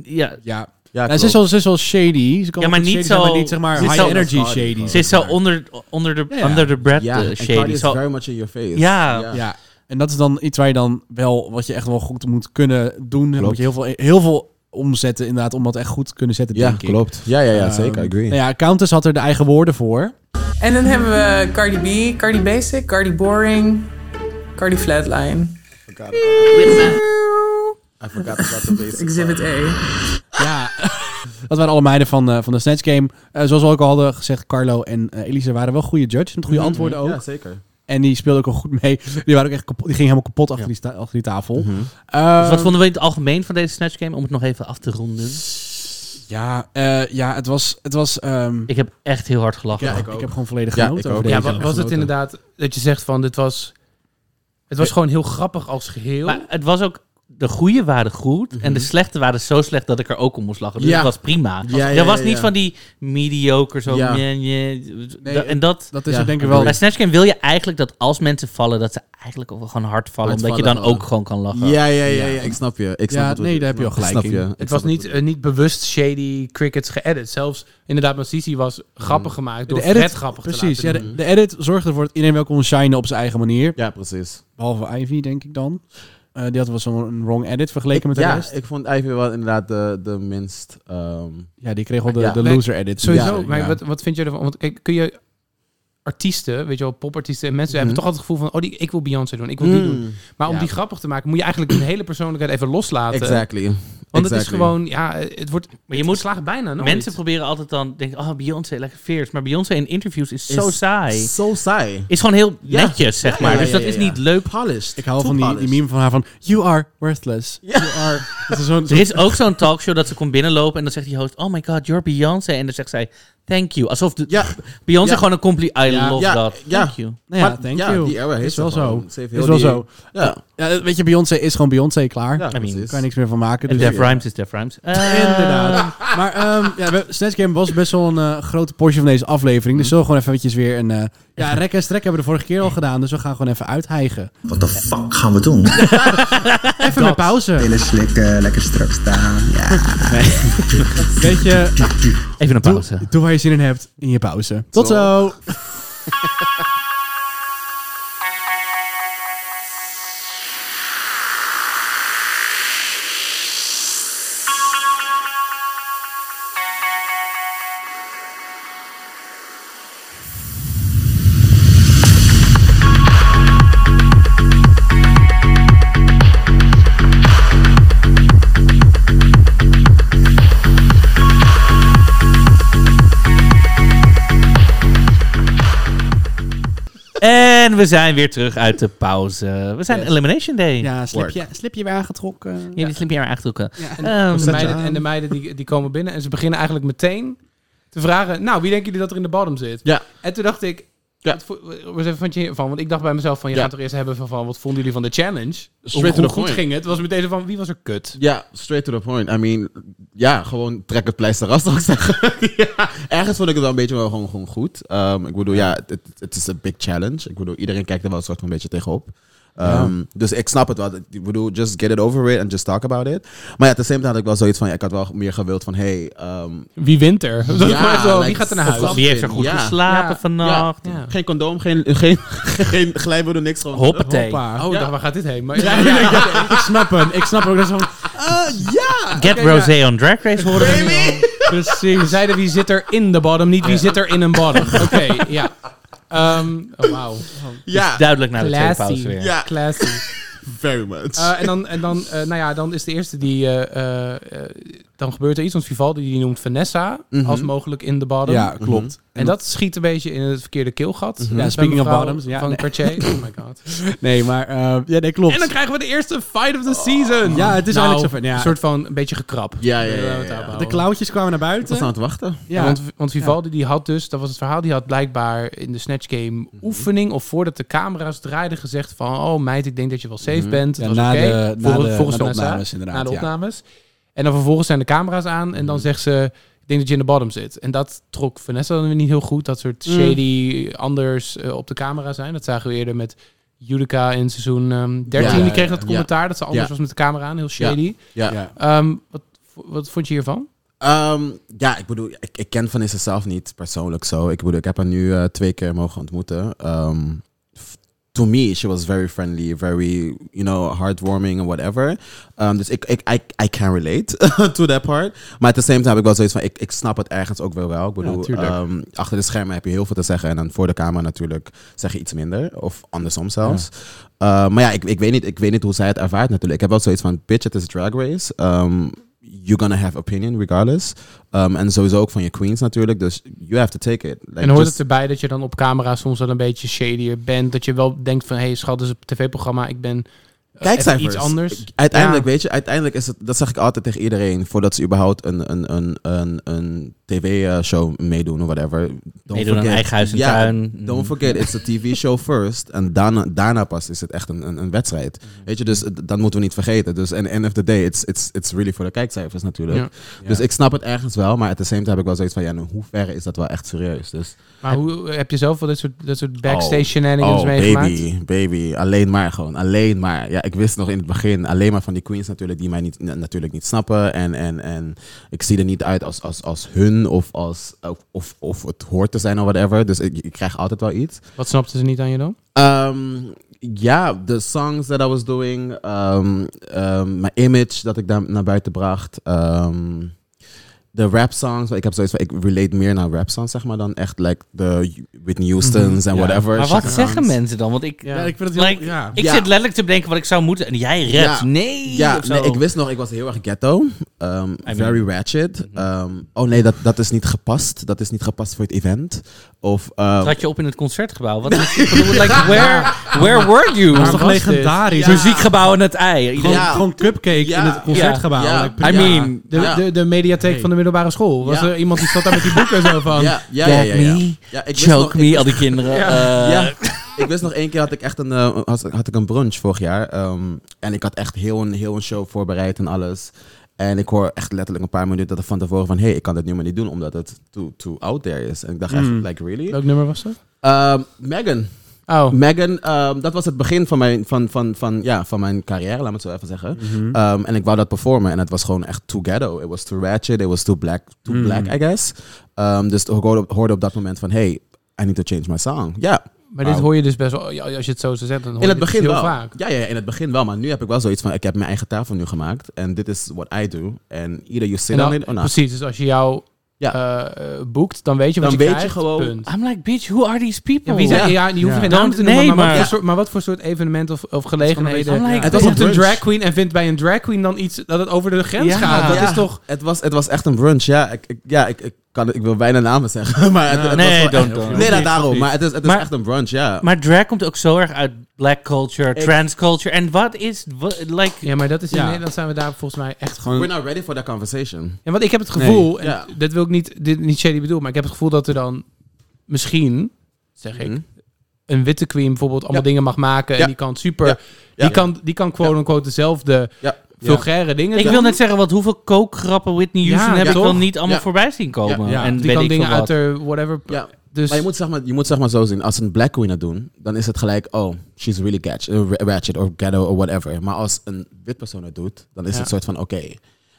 Speaker 3: Ja,
Speaker 2: Ja.
Speaker 4: Ja,
Speaker 2: Ja, Nou, ze, is
Speaker 4: klopt.
Speaker 2: wel, ze is wel shady. Ze kan
Speaker 3: Ja, maar
Speaker 2: wel
Speaker 3: niet
Speaker 2: shady zijn,
Speaker 3: zo-
Speaker 2: maar niet zeg maar
Speaker 3: ze is
Speaker 2: high
Speaker 3: zo-
Speaker 2: energy
Speaker 4: Cardi
Speaker 2: shady.
Speaker 4: gewoon.
Speaker 3: ze is zo onder, onder de
Speaker 2: ja.
Speaker 3: under the breath
Speaker 4: Ja,
Speaker 3: eh,
Speaker 4: en Cardi
Speaker 3: shady.
Speaker 4: is
Speaker 3: Zo-
Speaker 4: very much in your face.
Speaker 3: Ja.
Speaker 2: Ja. En dat is dan iets waar je dan wel, wat je echt wel goed moet kunnen doen. Dan moet je heel veel, heel veel omzetten inderdaad, om dat echt goed te kunnen zetten,
Speaker 4: Ja,
Speaker 2: denk ik.
Speaker 4: klopt. Ja, ja, ja,
Speaker 2: Ehm,
Speaker 4: zeker. I agree.
Speaker 2: Nou ja, Countess had er de eigen woorden voor.
Speaker 5: En dan hebben we Cardi B, Cardi Basic, Cardi Boring, Cardi Flatline.
Speaker 4: I forgot about the basics.
Speaker 5: Exhibit A.
Speaker 2: Ja. dat waren alle meiden van, eh, van de Snatch Game. Eh, zoals we ook al hadden gezegd, Carlo en eh, Elisa waren wel goede judges. Met
Speaker 3: Mhm.
Speaker 2: goede antwoorden ook.
Speaker 4: Ja, zeker.
Speaker 2: En die speelden ook wel goed mee. Die, waren ook echt kapot, die gingen helemaal kapot achter, die, sta- achter die tafel. Ehm,
Speaker 3: Dus wat vonden we in het algemeen van deze Snatch Game? Om het nog even af te ronden.
Speaker 2: Ja, eh, ja, het was... Het was ehm,
Speaker 3: Ik heb echt heel hard gelachen.
Speaker 2: ja, ik, ik heb gewoon volledig
Speaker 4: Ja,
Speaker 2: genoten
Speaker 4: ik
Speaker 2: over
Speaker 4: ook.
Speaker 1: Ja,
Speaker 2: deze.
Speaker 1: wa- was het inderdaad dat je zegt van dit was. Het was gewoon heel grappig als geheel.
Speaker 3: Maar het was ook... De goede waren goed en de slechte waren zo slecht dat ik er ook om moest lachen. Dus
Speaker 4: Mhm. Ja.
Speaker 3: dat was prima.
Speaker 4: Ja, ja,
Speaker 3: dat was
Speaker 4: ja,
Speaker 3: niet
Speaker 4: ja.
Speaker 3: van die mediocre zo.
Speaker 4: Ja.
Speaker 3: meh, meh. Da- en dat...
Speaker 2: Dat is
Speaker 4: Ja,
Speaker 2: er denk ik
Speaker 4: ik
Speaker 2: wel...
Speaker 3: Bij Snatch Game wil je eigenlijk dat als mensen vallen, dat ze eigenlijk ook wel gewoon hard vallen.
Speaker 4: Hard
Speaker 3: omdat je dan
Speaker 4: vallen,
Speaker 3: ook gewoon kan lachen.
Speaker 4: Ja, ja, ja, ja, ik snap je. Ik snap
Speaker 2: Ja,
Speaker 4: het, wat
Speaker 2: nee,
Speaker 4: je-
Speaker 2: daar heb je wel
Speaker 4: ik
Speaker 2: gelijk
Speaker 4: snap
Speaker 2: in.
Speaker 4: je.
Speaker 2: Het
Speaker 4: Ik
Speaker 1: het was
Speaker 4: snap
Speaker 1: niet,
Speaker 4: wat
Speaker 1: eh, niet bewust shady crickets geëdit. Zelfs inderdaad, met Sisi was grappig gemaakt door
Speaker 2: Mm. de edit,
Speaker 1: Fred grappig te
Speaker 2: precies,
Speaker 1: laten
Speaker 2: ja,
Speaker 1: doen.
Speaker 2: de, de edit zorgde ervoor dat iedereen wel kon shinen op zijn eigen manier.
Speaker 4: je- Ja, precies.
Speaker 2: Behalve Ivy, denk ik dan. Eh, die had wel zo'n wrong edit vergeleken met de
Speaker 4: ja,
Speaker 2: rest.
Speaker 4: ik vond Ivy wel inderdaad de, de minst... ehm,
Speaker 2: Ja, die kreeg wel de,
Speaker 4: Ja.
Speaker 2: de
Speaker 1: Nee,
Speaker 2: loser edit.
Speaker 1: Sowieso,
Speaker 2: Ja,
Speaker 1: maar
Speaker 2: ja.
Speaker 1: Wat, wat vind je ervan? Want kijk, kun je artiesten, weet je wel, popartiesten en
Speaker 2: Mhm.
Speaker 1: mensen hebben toch altijd het gevoel van, oh, die, ik wil Beyoncé doen, ik wil
Speaker 2: Mm.
Speaker 1: die doen. Maar om
Speaker 4: Ja.
Speaker 1: die grappig te maken, moet je eigenlijk hun hele persoonlijkheid even
Speaker 2: eh,
Speaker 1: loslaten.
Speaker 4: Exactly.
Speaker 1: Want het is
Speaker 4: Exactly.
Speaker 1: gewoon, ja, het wordt,
Speaker 3: Maar je moet-
Speaker 1: slagen bijna nooit.
Speaker 3: Mensen proberen altijd dan, denken, oh Beyoncé, lekker fierce. Maar Beyoncé in interviews is zo
Speaker 4: Is-
Speaker 3: saai.
Speaker 4: Zo saai.
Speaker 3: Is gewoon heel
Speaker 4: Ja.
Speaker 3: netjes, zeg
Speaker 4: Ja,
Speaker 3: maar.
Speaker 4: ja,
Speaker 3: dus
Speaker 4: ja,
Speaker 3: dat
Speaker 4: ja,
Speaker 3: is
Speaker 4: ja.
Speaker 3: niet leuk.
Speaker 4: Polished.
Speaker 2: Ik hou
Speaker 4: Too
Speaker 2: van die, die
Speaker 4: polished.
Speaker 2: meme van haar van... You are worthless. You are... Dat is zo'n...
Speaker 3: Er is ook zo'n talkshow dat ze komt binnenlopen en dan zegt die host, oh my god, you're Beyoncé. En dan zegt zij, thank you. Alsof de,
Speaker 4: Ja.
Speaker 3: Beyoncé
Speaker 4: Ja.
Speaker 3: gewoon een compliment, I
Speaker 2: Ja.
Speaker 3: love
Speaker 4: Ja.
Speaker 3: that,
Speaker 4: Ja.
Speaker 3: thank you.
Speaker 2: Nou ja,
Speaker 4: Maar-
Speaker 2: thank
Speaker 4: ja,
Speaker 2: you.
Speaker 4: die era heeft
Speaker 2: is wel
Speaker 4: ze gewoon.
Speaker 2: zo.
Speaker 4: Ze heeft
Speaker 2: Is
Speaker 4: heel
Speaker 2: wel
Speaker 4: die-
Speaker 2: zo.
Speaker 4: Ja.
Speaker 2: Ja, weet je, Beyoncé is gewoon Beyoncé, klaar.
Speaker 4: Ja,
Speaker 2: Daar
Speaker 3: mean,
Speaker 4: precies.
Speaker 2: kan je niks meer van maken.
Speaker 3: En
Speaker 2: Dus
Speaker 3: Def Rhymes is Def Rhymes. Eh,
Speaker 2: Inderdaad. maar ehm ja, we- Snatch Game was best wel een eh, grote portie van deze aflevering. Dus zullen we gewoon even eventjes weer een... eh, ja, rek en strek hebben we de vorige keer al gedaan. Dus we gaan gewoon even uithijgen.
Speaker 7: Wat de fuck gaan we doen?
Speaker 2: Even met pauze.
Speaker 7: Pillen slikken, eh, lekker strak staan. Ja.
Speaker 2: Weet je,
Speaker 3: Even een pauze.
Speaker 2: doe waar je zin in hebt in je pauze. Ah, Tot zo.
Speaker 3: En we zijn weer terug uit de pauze. We zijn Elimination Day. Ja,
Speaker 2: Ja, slipje, slipje weer aangetrokken.
Speaker 3: Jullie sliep hier maar aangetrokken.
Speaker 1: En,
Speaker 3: Ehm,
Speaker 1: de meiden, en de meiden die, die komen binnen en ze beginnen eigenlijk meteen te vragen... Nou, wie denken jullie dat er in de bottom zit?
Speaker 4: Ja.
Speaker 1: En toen dacht ik...
Speaker 4: Ja.
Speaker 1: Wat, vo- wat vond je hiervan? Want ik dacht bij mezelf van... Je
Speaker 4: Ja.
Speaker 1: gaat toch eerst hebben van, van... Wat vonden jullie van de challenge? Hoe,
Speaker 4: to
Speaker 1: hoe
Speaker 4: the
Speaker 1: goed
Speaker 4: point.
Speaker 1: ging het? Was meteen zo van... Wie was er kut?
Speaker 4: Ja, straight to the point. I mean, ja, gewoon trek het pleister af, zou ik zeggen. ja. Ergens vond ik het wel een beetje wel gewoon, gewoon goed. Ehm, ik bedoel, ja, het, het is een big challenge. Ik bedoel, iedereen kijkt er wel een soort van een beetje tegenop. Ehm, Dus ik snap het wel. Ik bedoel, just get it over with and just talk about it. Maar ja, tezamen had ik wel zoiets van, ja, ik had wel meer gewild van, hey... ehm,
Speaker 1: Wie wint er? Dat is
Speaker 4: Ja,
Speaker 1: maar zo, wie
Speaker 4: like,
Speaker 1: gaat er naar huis?
Speaker 4: fuck.
Speaker 3: Wie heeft er goed
Speaker 4: Ja.
Speaker 3: geslapen
Speaker 1: Ja.
Speaker 3: vannacht?
Speaker 1: Ja. Ja.
Speaker 4: Geen condoom, geen, geen, geen glijmiddel, niks. Gewoon,
Speaker 3: Hoppatee.
Speaker 2: Hoppa.
Speaker 1: Oh,
Speaker 4: Ja.
Speaker 1: dacht, waar gaat dit heen? Maar, ja, ja, ja.
Speaker 2: Ik snap hem. Ik snap hem. ook. Dat is van...
Speaker 4: Eh, ja!
Speaker 3: Get Rosé on Drag Race horen we nu.
Speaker 1: Precies. We zeiden wie zit er in de bottom, niet wie zit er in een bottom. Oké, ja. Ehm, oh, wauw.
Speaker 3: Ja. Dus duidelijk naar de tweede
Speaker 1: Classy.
Speaker 3: pauze weer.
Speaker 1: Ja. Classy.
Speaker 4: Very much.
Speaker 1: Eh, en dan, en dan, eh, nou ja, dan is de eerste die... eh, eh, eh, dan gebeurt er iets, want Vivaldi die noemt Vanessa
Speaker 2: Mhm.
Speaker 1: als mogelijk in de bottom.
Speaker 2: Ja, klopt.
Speaker 1: Mhm. En dat schiet een beetje in het verkeerde keelgat.
Speaker 2: Mhm. Ja,
Speaker 1: Bij
Speaker 2: speaking of
Speaker 1: mevrouw
Speaker 2: bottoms, ja,
Speaker 1: van
Speaker 2: nee.
Speaker 1: Cartier. Oh my god.
Speaker 2: Nee, maar... eh, ja, nee, klopt.
Speaker 1: En dan krijgen we de eerste fight of the season.
Speaker 2: Ja, het is
Speaker 1: Nou,
Speaker 2: eigenlijk zover. Ja.
Speaker 1: Een soort van een beetje gekrap.
Speaker 4: Ja, ja, ja,
Speaker 1: Laten we het
Speaker 4: ja, ja.
Speaker 1: daarop
Speaker 2: De
Speaker 1: houden.
Speaker 2: klauwtjes kwamen naar buiten.
Speaker 4: was aan het wachten.
Speaker 1: Ja,
Speaker 2: Ja.
Speaker 1: want, want Vivaldi die had dus, dat was het verhaal, die had blijkbaar in de Snatch Game
Speaker 2: Mhm.
Speaker 1: oefening of voordat de camera's draaiden gezegd van, oh meid, ik denk dat je wel safe
Speaker 2: Mhm.
Speaker 1: bent.
Speaker 2: Ja,
Speaker 1: Het was
Speaker 2: na
Speaker 1: oké.
Speaker 2: de- na
Speaker 1: Volgens-
Speaker 2: de-
Speaker 1: volgens
Speaker 2: na de
Speaker 1: NASA,
Speaker 2: opnames inderdaad,
Speaker 1: Na de
Speaker 2: ja. Mhm.
Speaker 1: opnames. En dan vervolgens zijn de camera's aan en dan zegt ze, ik denk dat je in de bottom zit. En dat trok Vanessa dan weer niet heel goed, dat soort
Speaker 2: Mm.
Speaker 1: shady eh, anders eh, op de camera zijn. Dat zagen we eerder met Judica in seizoen ehm 13.
Speaker 4: Ja,
Speaker 1: die kreeg
Speaker 4: ja,
Speaker 1: dat
Speaker 4: ja.
Speaker 1: commentaar, dat ze anders
Speaker 4: Ja.
Speaker 1: was met de camera aan, heel shady.
Speaker 4: Ja.
Speaker 2: Ja.
Speaker 1: Ehm, wat, wat vond je hiervan?
Speaker 4: Ehm, ja, ik bedoel, ik, ik ken Vanessa zelf niet persoonlijk zo. Ik bedoel, ik heb haar nu eh, twee keer mogen ontmoeten. Ehm, f- to me, she was very friendly, very, you know, heartwarming and whatever. Ehm, dus ik, ik, I, I can relate to that part. Maar at the same time heb ik wel zoiets van, ik, ik snap het ergens ook wel wel. Ik bedoel,
Speaker 2: tuurlijk.
Speaker 4: ehm, achter de schermen heb je heel veel te zeggen. En dan voor de camera natuurlijk zeg je iets minder. Of andersom zelfs. Eh, maar ja, ik, ik, weet niet, ik weet niet hoe zij het ervaart natuurlijk. Ik heb wel zoiets van, bitch, het is drag race. Ehm, you're gonna have opinion regardless. Ehm, en sowieso ook van je queens natuurlijk. Dus you have to take it. Like,
Speaker 1: en hoort
Speaker 4: just-
Speaker 1: het erbij dat je dan op camera soms wel een beetje shadier bent? Dat je wel denkt van, hé hey, schat, dit is een tv-programma, ik ben eh, even
Speaker 4: Kijkcijfers.
Speaker 1: iets anders.
Speaker 4: Uiteindelijk,
Speaker 1: Ja.
Speaker 4: weet je, uiteindelijk is het, dat zeg ik altijd tegen iedereen, voordat ze überhaupt een, een, een, een, een tv-show meedoen of whatever. Don't
Speaker 3: Meedoen aan eigen huis en
Speaker 4: Ja,
Speaker 3: tuin.
Speaker 4: Don't forget, it's a tv-show first. En daarna, daarna pas is het echt een, een, een wedstrijd.
Speaker 3: Mhm.
Speaker 4: Weet je, dus eh, dat moeten we niet vergeten. Dus in the end of the day, it's, it's, it's really voor de kijkcijfers natuurlijk. Dus ik snap het ergens wel, maar at the same time heb ik wel zoiets van, ja, in hoeverre is dat wel echt serieus? Dus
Speaker 1: Maar hoe, heb je zelf wel dit soort, dit soort backstage
Speaker 4: Oh.
Speaker 1: shenanigans
Speaker 4: oh,
Speaker 1: meegemaakt?
Speaker 4: baby, baby. Alleen maar gewoon. Alleen maar. Ja, ik wist nog in het begin alleen maar van die queens natuurlijk die mij niet, na- natuurlijk niet snappen. En, en, en ik zie er niet uit als, als, als hun of, als, of, of, of het hoort te zijn of whatever. Dus ik, ik krijg altijd wel iets.
Speaker 1: Wat snapten ze niet aan je dan?
Speaker 4: Ehm, ja, de songs that I was doing. ehm, ehm, mijn image dat ik daar naar buiten bracht. ehm, de rap songs. want Ik heb zoiets van, ik relate meer naar rap songs, zeg maar, dan echt like de Whitney Houston's en
Speaker 2: Ja.
Speaker 4: whatever.
Speaker 3: Mhm. Maar wat
Speaker 4: shit.
Speaker 3: zeggen mensen dan? Want ik,
Speaker 2: Ja, ik vind het heel...
Speaker 3: Like,
Speaker 2: ja.
Speaker 3: ik
Speaker 4: Ja.
Speaker 3: zit letterlijk te bedenken wat ik zou moeten. En jij redt.
Speaker 4: Ja.
Speaker 3: Nee.
Speaker 4: Ja,
Speaker 3: of zo.
Speaker 4: nee, ik wist nog, ik was heel erg ghetto. Um,
Speaker 3: mean-
Speaker 4: very ratchet.
Speaker 1: Mhm.
Speaker 4: Um, oh nee, dat, dat is niet gepast. Dat is niet gepast voor het event. Of, um,
Speaker 3: Trad je op in het concertgebouw? Wat is ik bedoel, like, where, where were you?
Speaker 2: Dat is toch
Speaker 1: was dit?
Speaker 2: legendarisch?
Speaker 4: Ja.
Speaker 3: Muziekgebouw en het ei. Iedereen-
Speaker 2: Gewoon,
Speaker 4: Ja.
Speaker 2: gewoon cupcake
Speaker 4: Ja.
Speaker 2: in het concertgebouw.
Speaker 4: Ja.
Speaker 2: Like,
Speaker 4: Ja.
Speaker 1: I mean, de,
Speaker 4: Ja.
Speaker 1: de, de mediatheek van de middelbare school. Was
Speaker 4: Ja.
Speaker 1: er iemand die zat daar met die boeken zo van?
Speaker 4: ja, ja, ja, ja, ja.
Speaker 3: Grab me,
Speaker 4: Ja, ik wist nog-
Speaker 3: Choke
Speaker 4: ik
Speaker 3: me, al die kinderen. eh,
Speaker 4: Ja, ik wist nog één keer had ik echt een, eh, had, had ik een brunch vorig jaar. ehm, en ik had echt heel een, heel een show voorbereid en alles. En ik hoor echt letterlijk een paar minuten van tevoren van... hé, hey, ik kan dit nu maar niet doen omdat het too, too out there is. En ik dacht
Speaker 1: Mm.
Speaker 4: echt, like, really?
Speaker 1: Welk nummer was dat?
Speaker 4: Ehm, Megan.
Speaker 1: Oh,
Speaker 4: Megan, ehm, dat was het begin van mijn, van, van, van, ja, van mijn carrière, laat me het zo even zeggen.
Speaker 1: Mhm.
Speaker 4: Ehm, en ik wou dat performen en het was gewoon echt too ghetto. It was too ratchet, it was too black, too
Speaker 1: Mhm.
Speaker 4: black I guess. Ehm, dus ik hoorde op, hoorde op dat moment van, hey, I need to change my song. Ja,
Speaker 1: maar dit
Speaker 4: Wauw.
Speaker 1: hoor je dus best wel, ja, als je het zo zou zetten, dan hoor
Speaker 4: oh. in het
Speaker 1: je dit dus
Speaker 4: begin
Speaker 1: heel
Speaker 4: wel.
Speaker 1: vaak.
Speaker 4: Ja, ja, ja, in het begin wel. Maar nu heb ik wel zoiets van, ik heb mijn eigen tafel nu gemaakt. En dit is what I do. En either you
Speaker 1: En
Speaker 4: sit
Speaker 1: dan-
Speaker 4: on it or not.
Speaker 1: precies, dus als je jou
Speaker 4: nou. Ja.
Speaker 1: eh, eh, boekt, dan weet je wat
Speaker 4: Dan
Speaker 1: je
Speaker 4: weet je
Speaker 1: krijgt,
Speaker 4: gewoon-
Speaker 1: punt.
Speaker 3: I'm like, bitch, who are these people?
Speaker 1: Ja, wie zijn, Oh. ja. die hoeven geen naam
Speaker 3: Don't-
Speaker 1: te noemen,
Speaker 3: nee,
Speaker 1: maar, wat
Speaker 3: maar-
Speaker 1: voor soort, maar wat voor soort evenement of, of gelegenheden...
Speaker 3: I'm like,
Speaker 4: Het was
Speaker 1: Het
Speaker 4: een
Speaker 1: is een
Speaker 4: brunch.
Speaker 1: drag queen en vindt bij een drag queen dan iets dat het over de grens
Speaker 3: Ja.
Speaker 1: gaat. Dat
Speaker 4: Ja.
Speaker 1: is toch...
Speaker 4: Het was, het was echt een brunch, ja. Ik, ik- ja, ik, ik, kan, ik wil bijna namen zeggen. Maar het, het was
Speaker 3: nee,
Speaker 4: wel
Speaker 3: don't,
Speaker 4: echt-
Speaker 3: don't.
Speaker 4: Nee, dat
Speaker 2: Niet,
Speaker 4: daarom.
Speaker 2: niet.
Speaker 4: Maar het is, het is
Speaker 3: Maar-
Speaker 4: echt een brunch, ja.
Speaker 3: Maar drag komt ook zo erg uit black culture,
Speaker 4: Ik-
Speaker 3: trans culture. En wat is, wat- like,
Speaker 1: Ja, maar dat is in
Speaker 2: Ja.
Speaker 1: Nederland zijn we daar volgens mij echt gewoon...
Speaker 4: We're not ready for that conversation.
Speaker 1: Ja, want ik heb het gevoel,
Speaker 4: Nee, ja.
Speaker 1: en dat wil ik niet, dit, niet shady bedoelen, maar ik heb het gevoel dat er dan misschien, zeg ik,
Speaker 4: Mhm.
Speaker 1: een witte queen bijvoorbeeld allemaal dingen mag maken en
Speaker 4: Ja.
Speaker 1: die kan super...
Speaker 4: Ja.
Speaker 1: Die,
Speaker 4: Ja.
Speaker 1: Kan, die kan quote-unquote dezelfde
Speaker 4: Ja.
Speaker 1: vulgaire dingen
Speaker 3: ik
Speaker 1: doen.
Speaker 3: wil net zeggen, want hoeveel kookgrappen Whitney
Speaker 1: Ja,
Speaker 3: Houston heb
Speaker 1: ja,
Speaker 3: ik
Speaker 1: toch?
Speaker 3: dan niet allemaal
Speaker 4: Ja.
Speaker 3: voorbij zien komen?
Speaker 2: Ja.
Speaker 3: En
Speaker 1: die
Speaker 3: weet
Speaker 1: kan
Speaker 3: ik
Speaker 1: dingen
Speaker 3: veel
Speaker 1: uit
Speaker 3: wat.
Speaker 1: haar whatever...
Speaker 4: Ja.
Speaker 1: Dus,
Speaker 4: Maar je moet, zeg maar je moet zeg maar zo zien, als een black queen dat doen, dan is het gelijk, oh, she's really gatch, eh, ra- ratchet of ghetto of whatever. Maar als een wit persoon het doet, dan is
Speaker 1: Ja.
Speaker 4: het soort van, oké.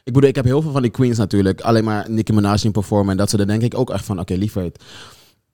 Speaker 4: Ik bedoel, ik heb heel veel van die queens natuurlijk, alleen maar Nicki Minaj in performen en dat soort, dan denk ik ook echt van, oké, lieverd,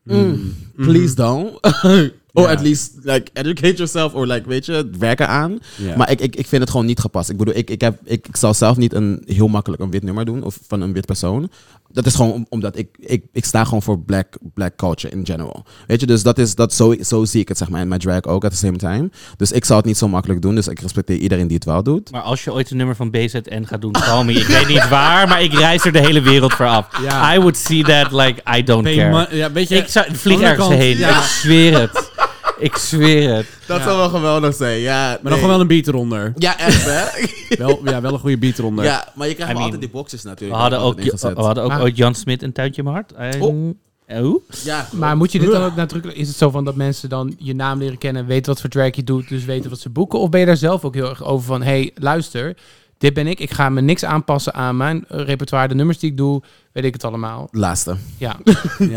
Speaker 4: mm, please don't. Or at least like educate yourself or like weet je, werken aan.
Speaker 11: Ja.
Speaker 4: Maar ik, ik, ik vind het gewoon niet gepast. Ik bedoel, ik, ik, heb, ik, ik zou zelf niet een, heel makkelijk een wit nummer doen of van een wit persoon. Dat is gewoon om- omdat ik, ik, ik sta gewoon voor black, black culture in general. Weet je, dus dat is, dat zo, zo zie ik het zeg maar. En mijn drag ook at the same time. Dus ik zou het niet zo makkelijk doen. Dus ik respecteer iedereen die het wel doet.
Speaker 3: Maar als je ooit een nummer van BZN gaat doen, call me. Ik weet niet waar, maar ik reis er de hele wereld voor af.
Speaker 2: Ja.
Speaker 3: I would see that like I don't
Speaker 2: Ben je
Speaker 3: care.
Speaker 2: man- ja, weet je,
Speaker 3: ik zou, vlieg
Speaker 2: andere
Speaker 3: ergens
Speaker 2: kant,
Speaker 3: heen.
Speaker 2: ja.
Speaker 3: Ik zweer het. Ik zweer het.
Speaker 4: Dat zou wel geweldig zijn, ja. Maar
Speaker 2: dan gewoon wel een beat eronder.
Speaker 4: Ja, echt hè?
Speaker 2: Wel, ja, wel een goede beat eronder.
Speaker 4: Ja, maar je krijgt
Speaker 3: I
Speaker 4: wel
Speaker 3: mean,
Speaker 4: altijd die boxes
Speaker 3: We
Speaker 4: natuurlijk.
Speaker 3: hadden ook,
Speaker 4: Altijd
Speaker 3: we
Speaker 4: ingezet.
Speaker 3: hadden ook
Speaker 1: Maar-
Speaker 3: ooit Jan Smit een tuintje in mijn hart. En-
Speaker 1: Oh.
Speaker 3: en hoe?
Speaker 4: Ja,
Speaker 1: Maar moet je dit dan ook nadrukkelijk... Is het zo van dat mensen dan je naam leren kennen... weten wat voor drag je doet, dus weten wat ze boeken? Of ben je daar zelf ook heel erg over van... hey, luister, dit ben ik. Ik ga me niks aanpassen aan mijn eh, repertoire. De nummers die ik doe, weet ik het allemaal.
Speaker 4: Laatste.
Speaker 1: Ja.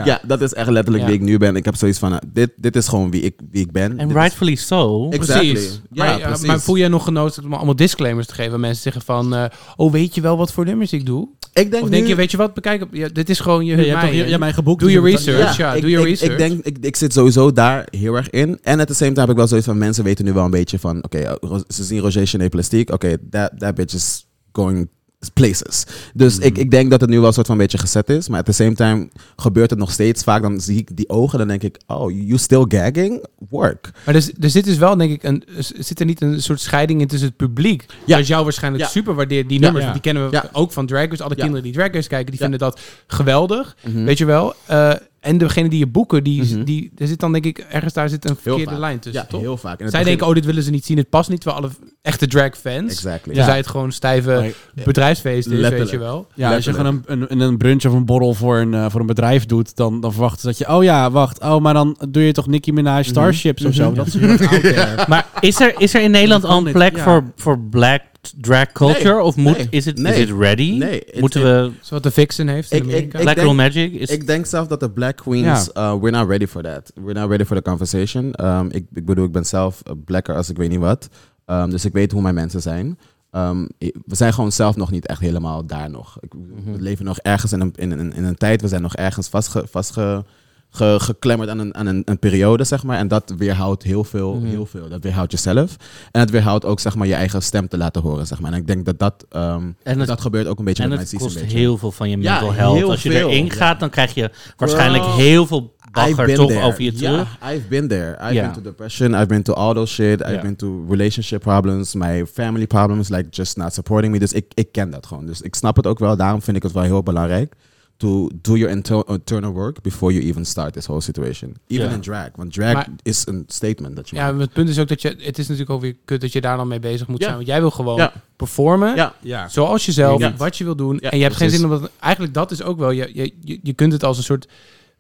Speaker 4: Ja. dat is echt letterlijk
Speaker 1: Ja.
Speaker 4: wie ik nu ben. Ik heb zoiets van, eh, dit, dit is gewoon wie ik, wie ik ben.
Speaker 3: En
Speaker 4: Dit is-
Speaker 3: rightfully so.
Speaker 4: Exactly.
Speaker 1: Precies.
Speaker 4: Ja,
Speaker 1: maar, eh,
Speaker 4: precies.
Speaker 1: maar voel jij nog genoodzaakt om allemaal disclaimers te geven? aan Mensen zeggen van, eh, oh weet je wel wat voor nummers ik doe?
Speaker 4: Ik denk
Speaker 1: of denk
Speaker 4: nu-
Speaker 1: je, weet je wat, bekijk, op- ja, dit is gewoon je,
Speaker 2: Ja, je hebt
Speaker 1: mij.
Speaker 2: toch je- je hebt mij geboekt,
Speaker 1: Doe
Speaker 2: dus
Speaker 1: je
Speaker 2: je moet-
Speaker 1: research, ja.
Speaker 4: ik,
Speaker 1: doe je
Speaker 4: ik-
Speaker 1: research.
Speaker 4: Ik, denk, ik, ik zit sowieso daar heel erg in. En at the same time heb ik wel zoiets van, mensen weten nu wel een beetje van, oké, eh, Ro- ze zien Roger Chenet Plastique, oké, that, that bitch is going places. Dus ik,
Speaker 1: Mhm.
Speaker 4: ik denk dat het nu wel een soort van beetje gezet is. Maar at the same time gebeurt het nog steeds vaak. Dan zie ik die ogen, dan denk ik, oh, you still gagging? Work.
Speaker 1: Maar er, er zit dus wel, denk ik, een, er zit er niet een soort scheiding in tussen het publiek? Dat jou waarschijnlijk
Speaker 4: Ja.
Speaker 1: super waardeert, die
Speaker 4: Ja.
Speaker 1: nummers.
Speaker 4: Ja.
Speaker 1: want Die kennen we
Speaker 4: Ja.
Speaker 1: ook van Drag Race. Alle
Speaker 4: Ja. Mhm.
Speaker 1: kinderen die Drag Race kijken, die vinden dat geweldig. Weet je wel? Eh, en degene die je boeken, die, die, er zit dan denk ik ergens daar zit een verkeerde
Speaker 4: vaak.
Speaker 1: lijn tussen,
Speaker 4: Ja,
Speaker 1: toch?
Speaker 4: heel vaak. In
Speaker 1: Zij
Speaker 4: het begin-
Speaker 1: denken, oh, dit willen ze niet zien. Het past niet, terwijl alle echte drag fans.
Speaker 4: Exactly.
Speaker 1: Tenzij
Speaker 2: Ja.
Speaker 1: het gewoon een stijve
Speaker 4: Nee.
Speaker 1: bedrijfsfeest is, weet
Speaker 4: Letterlijk.
Speaker 1: je wel.
Speaker 2: Ja, als je gewoon een, een, een brunch of een borrel voor een, eh, voor een bedrijf doet, dan, dan verwachten ze dat je... Oh ja, wacht. Oh, maar dan doe je toch Nicki
Speaker 4: Mhm.
Speaker 2: Minaj Starships of zo. Dat is eh, heel erg out there.
Speaker 3: Maar is er, is er in Nederland
Speaker 2: kan
Speaker 3: al een
Speaker 2: dit,
Speaker 3: plek
Speaker 2: ja.
Speaker 3: voor, voor black drag culture?
Speaker 4: Nee,
Speaker 3: of moet,
Speaker 4: nee,
Speaker 3: is, het,
Speaker 4: nee.
Speaker 3: is het ready?
Speaker 4: Nee, het-
Speaker 3: Moeten
Speaker 4: het-
Speaker 3: we...
Speaker 1: Zoals wat de Vixen heeft in
Speaker 4: Ik, ik,
Speaker 1: Amerika.
Speaker 4: ik
Speaker 3: Black
Speaker 4: denk-
Speaker 3: Girl Magic is-
Speaker 4: Ik denk zelf dat de black queens, uh, we're not ready for that. We're not ready for the conversation. Um, ik, ik bedoel, ik ben zelf eh, blacker als ik weet niet wat. Um, dus ik weet hoe mijn mensen zijn. Um, i- we zijn gewoon zelf nog niet echt helemaal daar nog. Ik,
Speaker 3: Mhm.
Speaker 4: We leven nog ergens in een, in, een- in een tijd. We zijn nog ergens vastge, vastge, ge- geklemmerd aan, een, aan een, een periode, zeg maar. En dat weerhoudt heel veel,
Speaker 3: Mhm.
Speaker 4: heel veel. Dat weerhoudt jezelf. En het weerhoudt ook, zeg maar, je eigen stem te laten horen, zeg maar. En ik denk dat dat, ehm,
Speaker 3: En het-
Speaker 4: dat gebeurt ook een beetje
Speaker 3: En
Speaker 4: met
Speaker 3: het
Speaker 4: mijn
Speaker 3: kost
Speaker 4: season.
Speaker 3: heel veel van je
Speaker 4: Ja,
Speaker 3: mental health.
Speaker 4: heel
Speaker 3: Als je
Speaker 4: veel.
Speaker 3: erin
Speaker 4: Ja.
Speaker 3: gaat, dan krijg je waarschijnlijk
Speaker 4: Girl,
Speaker 3: heel veel
Speaker 4: I've
Speaker 3: bagger
Speaker 4: been
Speaker 3: toch
Speaker 4: there.
Speaker 3: over je
Speaker 4: yeah,
Speaker 3: terug.
Speaker 4: I've been there. I've
Speaker 3: Ja.
Speaker 4: been to depression. I've been to all those shit. I've
Speaker 2: Ja.
Speaker 4: been to relationship problems. My family problems. Like just not supporting me. Dus ik, ik ken dat gewoon. Dus ik snap het ook wel. Daarom vind ik het wel heel belangrijk. To do your inter- internal work before you even start this whole situation. Even
Speaker 3: Ja.
Speaker 4: in drag. Want drag
Speaker 1: Maar-
Speaker 4: is een statement dat je
Speaker 1: Ja,
Speaker 4: maakt.
Speaker 1: maar het punt is ook dat je... Het is natuurlijk ook weer kut dat je daar dan mee bezig moet
Speaker 4: Ja.
Speaker 1: zijn. Want jij wil gewoon
Speaker 4: Ja.
Speaker 1: performen.
Speaker 4: Ja.
Speaker 2: Ja.
Speaker 1: Zoals jezelf,
Speaker 4: Ja.
Speaker 1: wat je wil doen.
Speaker 4: Ja,
Speaker 1: en je hebt
Speaker 4: precies.
Speaker 1: geen zin om dat... Eigenlijk dat is ook wel... Je, je- je, je kunt het als een soort...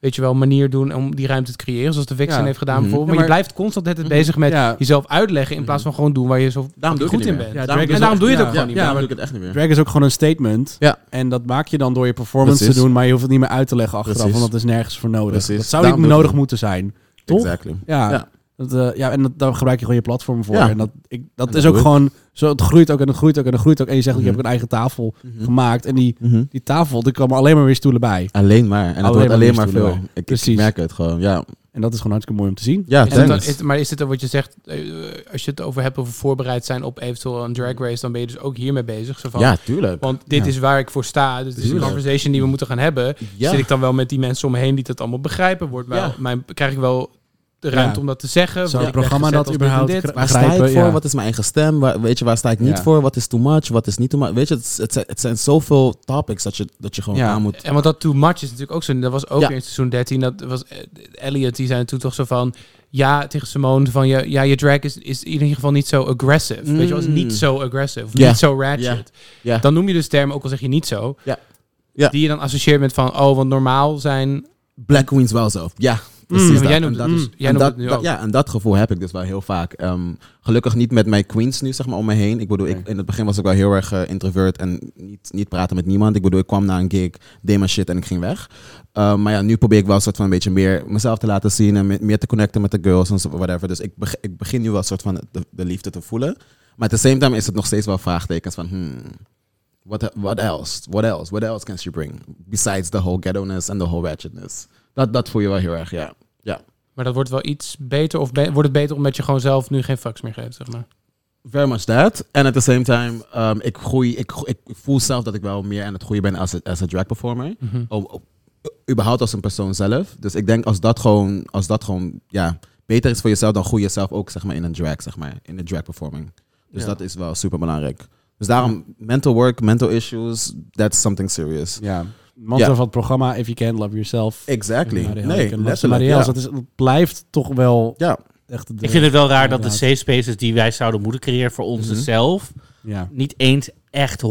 Speaker 1: Weet je wel, manier doen om die ruimte te creëren. Zoals de Vixen
Speaker 2: Ja.
Speaker 1: heeft gedaan
Speaker 4: Mhm.
Speaker 1: bijvoorbeeld.
Speaker 2: Ja,
Speaker 1: maar,
Speaker 2: maar-
Speaker 1: je blijft constant net bezig met
Speaker 2: Ja.
Speaker 1: jezelf uitleggen. In plaats van gewoon doen waar je zo
Speaker 4: doe ik
Speaker 1: goed
Speaker 4: het
Speaker 1: in
Speaker 4: niet meer.
Speaker 1: bent.
Speaker 2: Ja,
Speaker 4: Daarom
Speaker 2: drag
Speaker 1: en daarom
Speaker 2: is ook-
Speaker 1: doe je het
Speaker 2: ja.
Speaker 1: ook gewoon niet
Speaker 4: Ja,
Speaker 1: meer.
Speaker 4: maar doe ik het echt niet meer.
Speaker 2: Drag is ook gewoon een statement.
Speaker 4: Ja.
Speaker 2: En dat maak je dan door je performance
Speaker 4: Precies.
Speaker 2: te doen, maar je hoeft het niet meer uit te leggen achteraf,
Speaker 4: Precies.
Speaker 2: want dat is nergens voor nodig.
Speaker 4: Precies.
Speaker 2: Dat zou
Speaker 4: Daarom
Speaker 2: niet
Speaker 4: doe ik
Speaker 2: nodig
Speaker 4: het.
Speaker 2: moeten zijn. Toch?
Speaker 4: Exactly.
Speaker 2: Ja.
Speaker 4: Ja.
Speaker 2: Dat, eh, ja, en dat, daar gebruik je gewoon je platform voor.
Speaker 4: Ja.
Speaker 2: En dat, ik, dat
Speaker 4: En
Speaker 2: is
Speaker 4: dat
Speaker 2: ook
Speaker 4: doe ik.
Speaker 2: gewoon... Zo, het groeit ook en het groeit ook en het groeit ook. En je zegt, ook, je
Speaker 4: Mhm.
Speaker 2: hebt ook een eigen tafel
Speaker 4: Mhm.
Speaker 2: gemaakt. En die,
Speaker 4: Mhm.
Speaker 2: die tafel, er komen alleen maar weer stoelen bij.
Speaker 4: Alleen maar. En
Speaker 2: Alleen
Speaker 4: het wordt
Speaker 2: maar
Speaker 4: alleen maar
Speaker 2: stoelen
Speaker 4: veel.
Speaker 2: bij.
Speaker 4: Ik, ik
Speaker 2: Precies.
Speaker 4: merk het gewoon. Ja.
Speaker 2: En dat is gewoon hartstikke mooi om te zien.
Speaker 4: Ja,
Speaker 1: Is het dan-
Speaker 4: thanks.
Speaker 1: is- maar is dit dan wat je zegt, eh, als je het over hebt over voorbereid zijn op eventueel een drag race, dan ben je dus ook hiermee bezig. Zo van,
Speaker 4: Ja, tuurlijk.
Speaker 1: Want dit
Speaker 4: Ja.
Speaker 1: is waar ik voor sta. Dus dit is een
Speaker 4: Tuurlijk.
Speaker 1: conversation die we moeten gaan hebben.
Speaker 4: Ja.
Speaker 1: Zit ik dan wel met die mensen om me heen die dat allemaal begrijpen? Wordt wel,
Speaker 4: Ja.
Speaker 1: mijn, krijg ik wel de ruimte
Speaker 2: Ja.
Speaker 1: om dat te zeggen?
Speaker 2: Zo'n
Speaker 1: Word ik
Speaker 2: programma dat
Speaker 1: weggezet als dit en
Speaker 2: überhaupt
Speaker 1: dit?
Speaker 2: krijgt.
Speaker 4: Waar sta ik
Speaker 2: begrijpen,
Speaker 4: voor?
Speaker 2: ja.
Speaker 4: Wat is mijn eigen stem? Waar, weet je, waar sta ik niet
Speaker 2: Ja.
Speaker 4: voor? Wat is too much? Wat is niet too much? Weet je, het, is- het, zijn- het zijn zoveel topics dat je, dat je gewoon
Speaker 2: Ja.
Speaker 4: aan moet...
Speaker 1: En want dat too much is natuurlijk ook zo. Dat was ook
Speaker 4: Ja.
Speaker 1: weer in seizoen 13. Dat was eh, Elliot, die zei toen toch zo van... Ja, tegen Simone, van ja, ja je drag is, is in ieder geval niet zo aggressive. Weet je, was
Speaker 4: Mm.
Speaker 1: niet zo aggressive. of
Speaker 4: Ja.
Speaker 1: Niet zo ratchet.
Speaker 4: Ja.
Speaker 1: Dan noem je dus termen, ook al zeg je niet zo.
Speaker 4: Ja. Ja.
Speaker 1: Die je dan associeert met van, oh, want normaal zijn...
Speaker 4: Black Queens wel zo. Ja, precies
Speaker 1: Ja, maar
Speaker 4: dat.
Speaker 1: jij
Speaker 4: En
Speaker 1: noemt
Speaker 4: dat
Speaker 1: het-
Speaker 4: is-
Speaker 1: mm, jij
Speaker 4: en
Speaker 1: noemt
Speaker 4: dat-
Speaker 1: het nu
Speaker 4: dat-
Speaker 1: ook.
Speaker 4: Ja, en dat gevoel heb ik dus wel heel vaak. Ehm, gelukkig niet met mijn queens nu, zeg maar, om me heen. Ik bedoel, ik, in het begin was ik wel heel erg eh, introvert en niet, niet praten met niemand. Ik bedoel, ik kwam naar een gig, deed mijn shit en ik ging weg. Ehm, maar ja, nu probeer ik wel een soort van een beetje meer mezelf te laten zien en me- meer te connecten met de girls en zo, whatever. Dus ik, beg- ik begin nu wel een soort van de, de liefde te voelen. Maar at the same time is het nog steeds wel vraagtekens van... Hmm, What, what else? What else? What else can she bring? Besides the whole ghetto-ness and the whole ratchetness. Dat, dat voel je wel heel erg, ja. ja.
Speaker 1: Maar dat wordt wel iets beter. Of be- wordt het beter omdat je gewoon zelf nu geen fucks meer geeft, zeg maar.
Speaker 4: Very much that. En at the same time, ehm, ik, groei, ik, gro- ik voel zelf dat ik wel meer aan het groeien ben als, een- als een drag performer.
Speaker 1: Mhm.
Speaker 4: O- o- überhaupt als een persoon zelf. Dus ik denk als dat gewoon, als dat gewoon ja, beter is voor jezelf, dan groei je zelf ook zeg maar, in een drag, zeg maar, in de drag performing. Dus
Speaker 2: Ja.
Speaker 4: dat is wel super belangrijk. Dus daarom, mental work, mental issues, that's something serious. Ja.
Speaker 2: Mantra van het programma, if you can, love yourself.
Speaker 4: Exactly.
Speaker 2: Marielle,
Speaker 4: Nee,
Speaker 2: you can love
Speaker 4: letterlijk,
Speaker 2: somebody
Speaker 4: ja.
Speaker 2: else. Dat, is, dat blijft toch wel
Speaker 4: Ja.
Speaker 2: echt... de-
Speaker 3: Ik vind het wel raar dat de
Speaker 2: inderdaad.
Speaker 3: safe spaces die wij zouden moeten creëren
Speaker 4: Mhm.
Speaker 3: voor onszelf zelf,
Speaker 2: Ja.
Speaker 3: niet eens echt 100%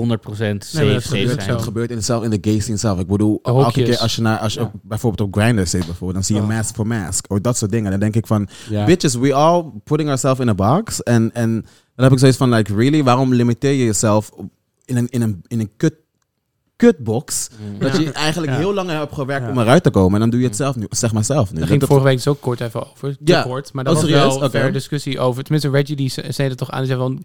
Speaker 3: safe
Speaker 4: het
Speaker 3: space
Speaker 4: gebeurt,
Speaker 3: zijn.
Speaker 4: het gebeurt in, de zelf, in de gay scene zelf. Ik bedoel, elke
Speaker 1: hokjes.
Speaker 4: keer als je, naar, als je op- bijvoorbeeld op Grindr zit, bijvoorbeeld, dan zie je mask for mask. Of dat soort dingen. Dan denk ik van,
Speaker 2: Ja.
Speaker 4: bitches, we all putting ourselves in a box. En, en dan heb ik zoiets van, like, really? Waarom limiteer je jezelf op- in een, in een, in een kut, kutbox?
Speaker 1: Mm.
Speaker 4: Dat je eigenlijk heel lang hebt gewerkt om eruit te komen. En dan doe je het zelf nu, zeg maar zelf nu.
Speaker 1: Daar ging
Speaker 4: Dat-
Speaker 1: vorige week dus ook kort even over. Te
Speaker 4: Ja.
Speaker 1: kort, maar dat
Speaker 4: Oh,
Speaker 1: was
Speaker 4: serieus?
Speaker 1: wel een
Speaker 4: Oké.
Speaker 1: verre discussie over. Tenminste, Reggie die s- sneed het toch aan. Die zei van,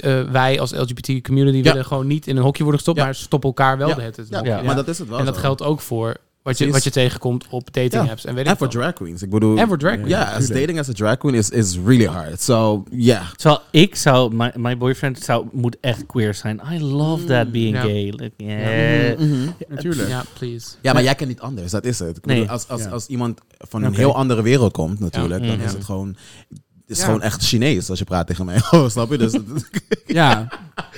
Speaker 1: eh, wij als LGBT community
Speaker 4: Ja.
Speaker 1: willen gewoon niet in een hokje worden gestopt,
Speaker 4: Ja.
Speaker 1: maar stop elkaar wel
Speaker 4: Ja.
Speaker 1: de hele tijd in
Speaker 4: Ja,
Speaker 1: een hokje.
Speaker 4: maar dat is het wel
Speaker 1: En dat
Speaker 4: zo.
Speaker 1: geldt ook voor wat je,
Speaker 4: Precies.
Speaker 1: wat je tegenkomt op dating
Speaker 4: Ja.
Speaker 1: apps en weet
Speaker 4: En
Speaker 1: ik
Speaker 4: voor
Speaker 1: veel.
Speaker 4: drag queens. Ik bedoel,
Speaker 1: En voor drag queens,
Speaker 4: Ja, as
Speaker 1: natuurlijk.
Speaker 4: dating as a drag queen is, is really hard. So, yeah.
Speaker 3: Terwijl ik zou, my, my boyfriend zou, moet echt queer zijn. I love
Speaker 4: Mm,
Speaker 3: that being
Speaker 1: Ja.
Speaker 3: gay. Like, yeah.
Speaker 4: Mhm. Natuurlijk.
Speaker 1: Ja, please.
Speaker 4: Ja, maar jij kan niet anders, dat is het. Ik
Speaker 3: Nee.
Speaker 4: bedoel, als, als, als iemand van een
Speaker 2: Oké.
Speaker 4: heel andere wereld komt, natuurlijk, dan
Speaker 1: Ja.
Speaker 4: is het gewoon. Het
Speaker 2: Ja.
Speaker 4: is gewoon echt Chinees als je praat tegen mij. Oh, snap je? Dus,
Speaker 2: Ja.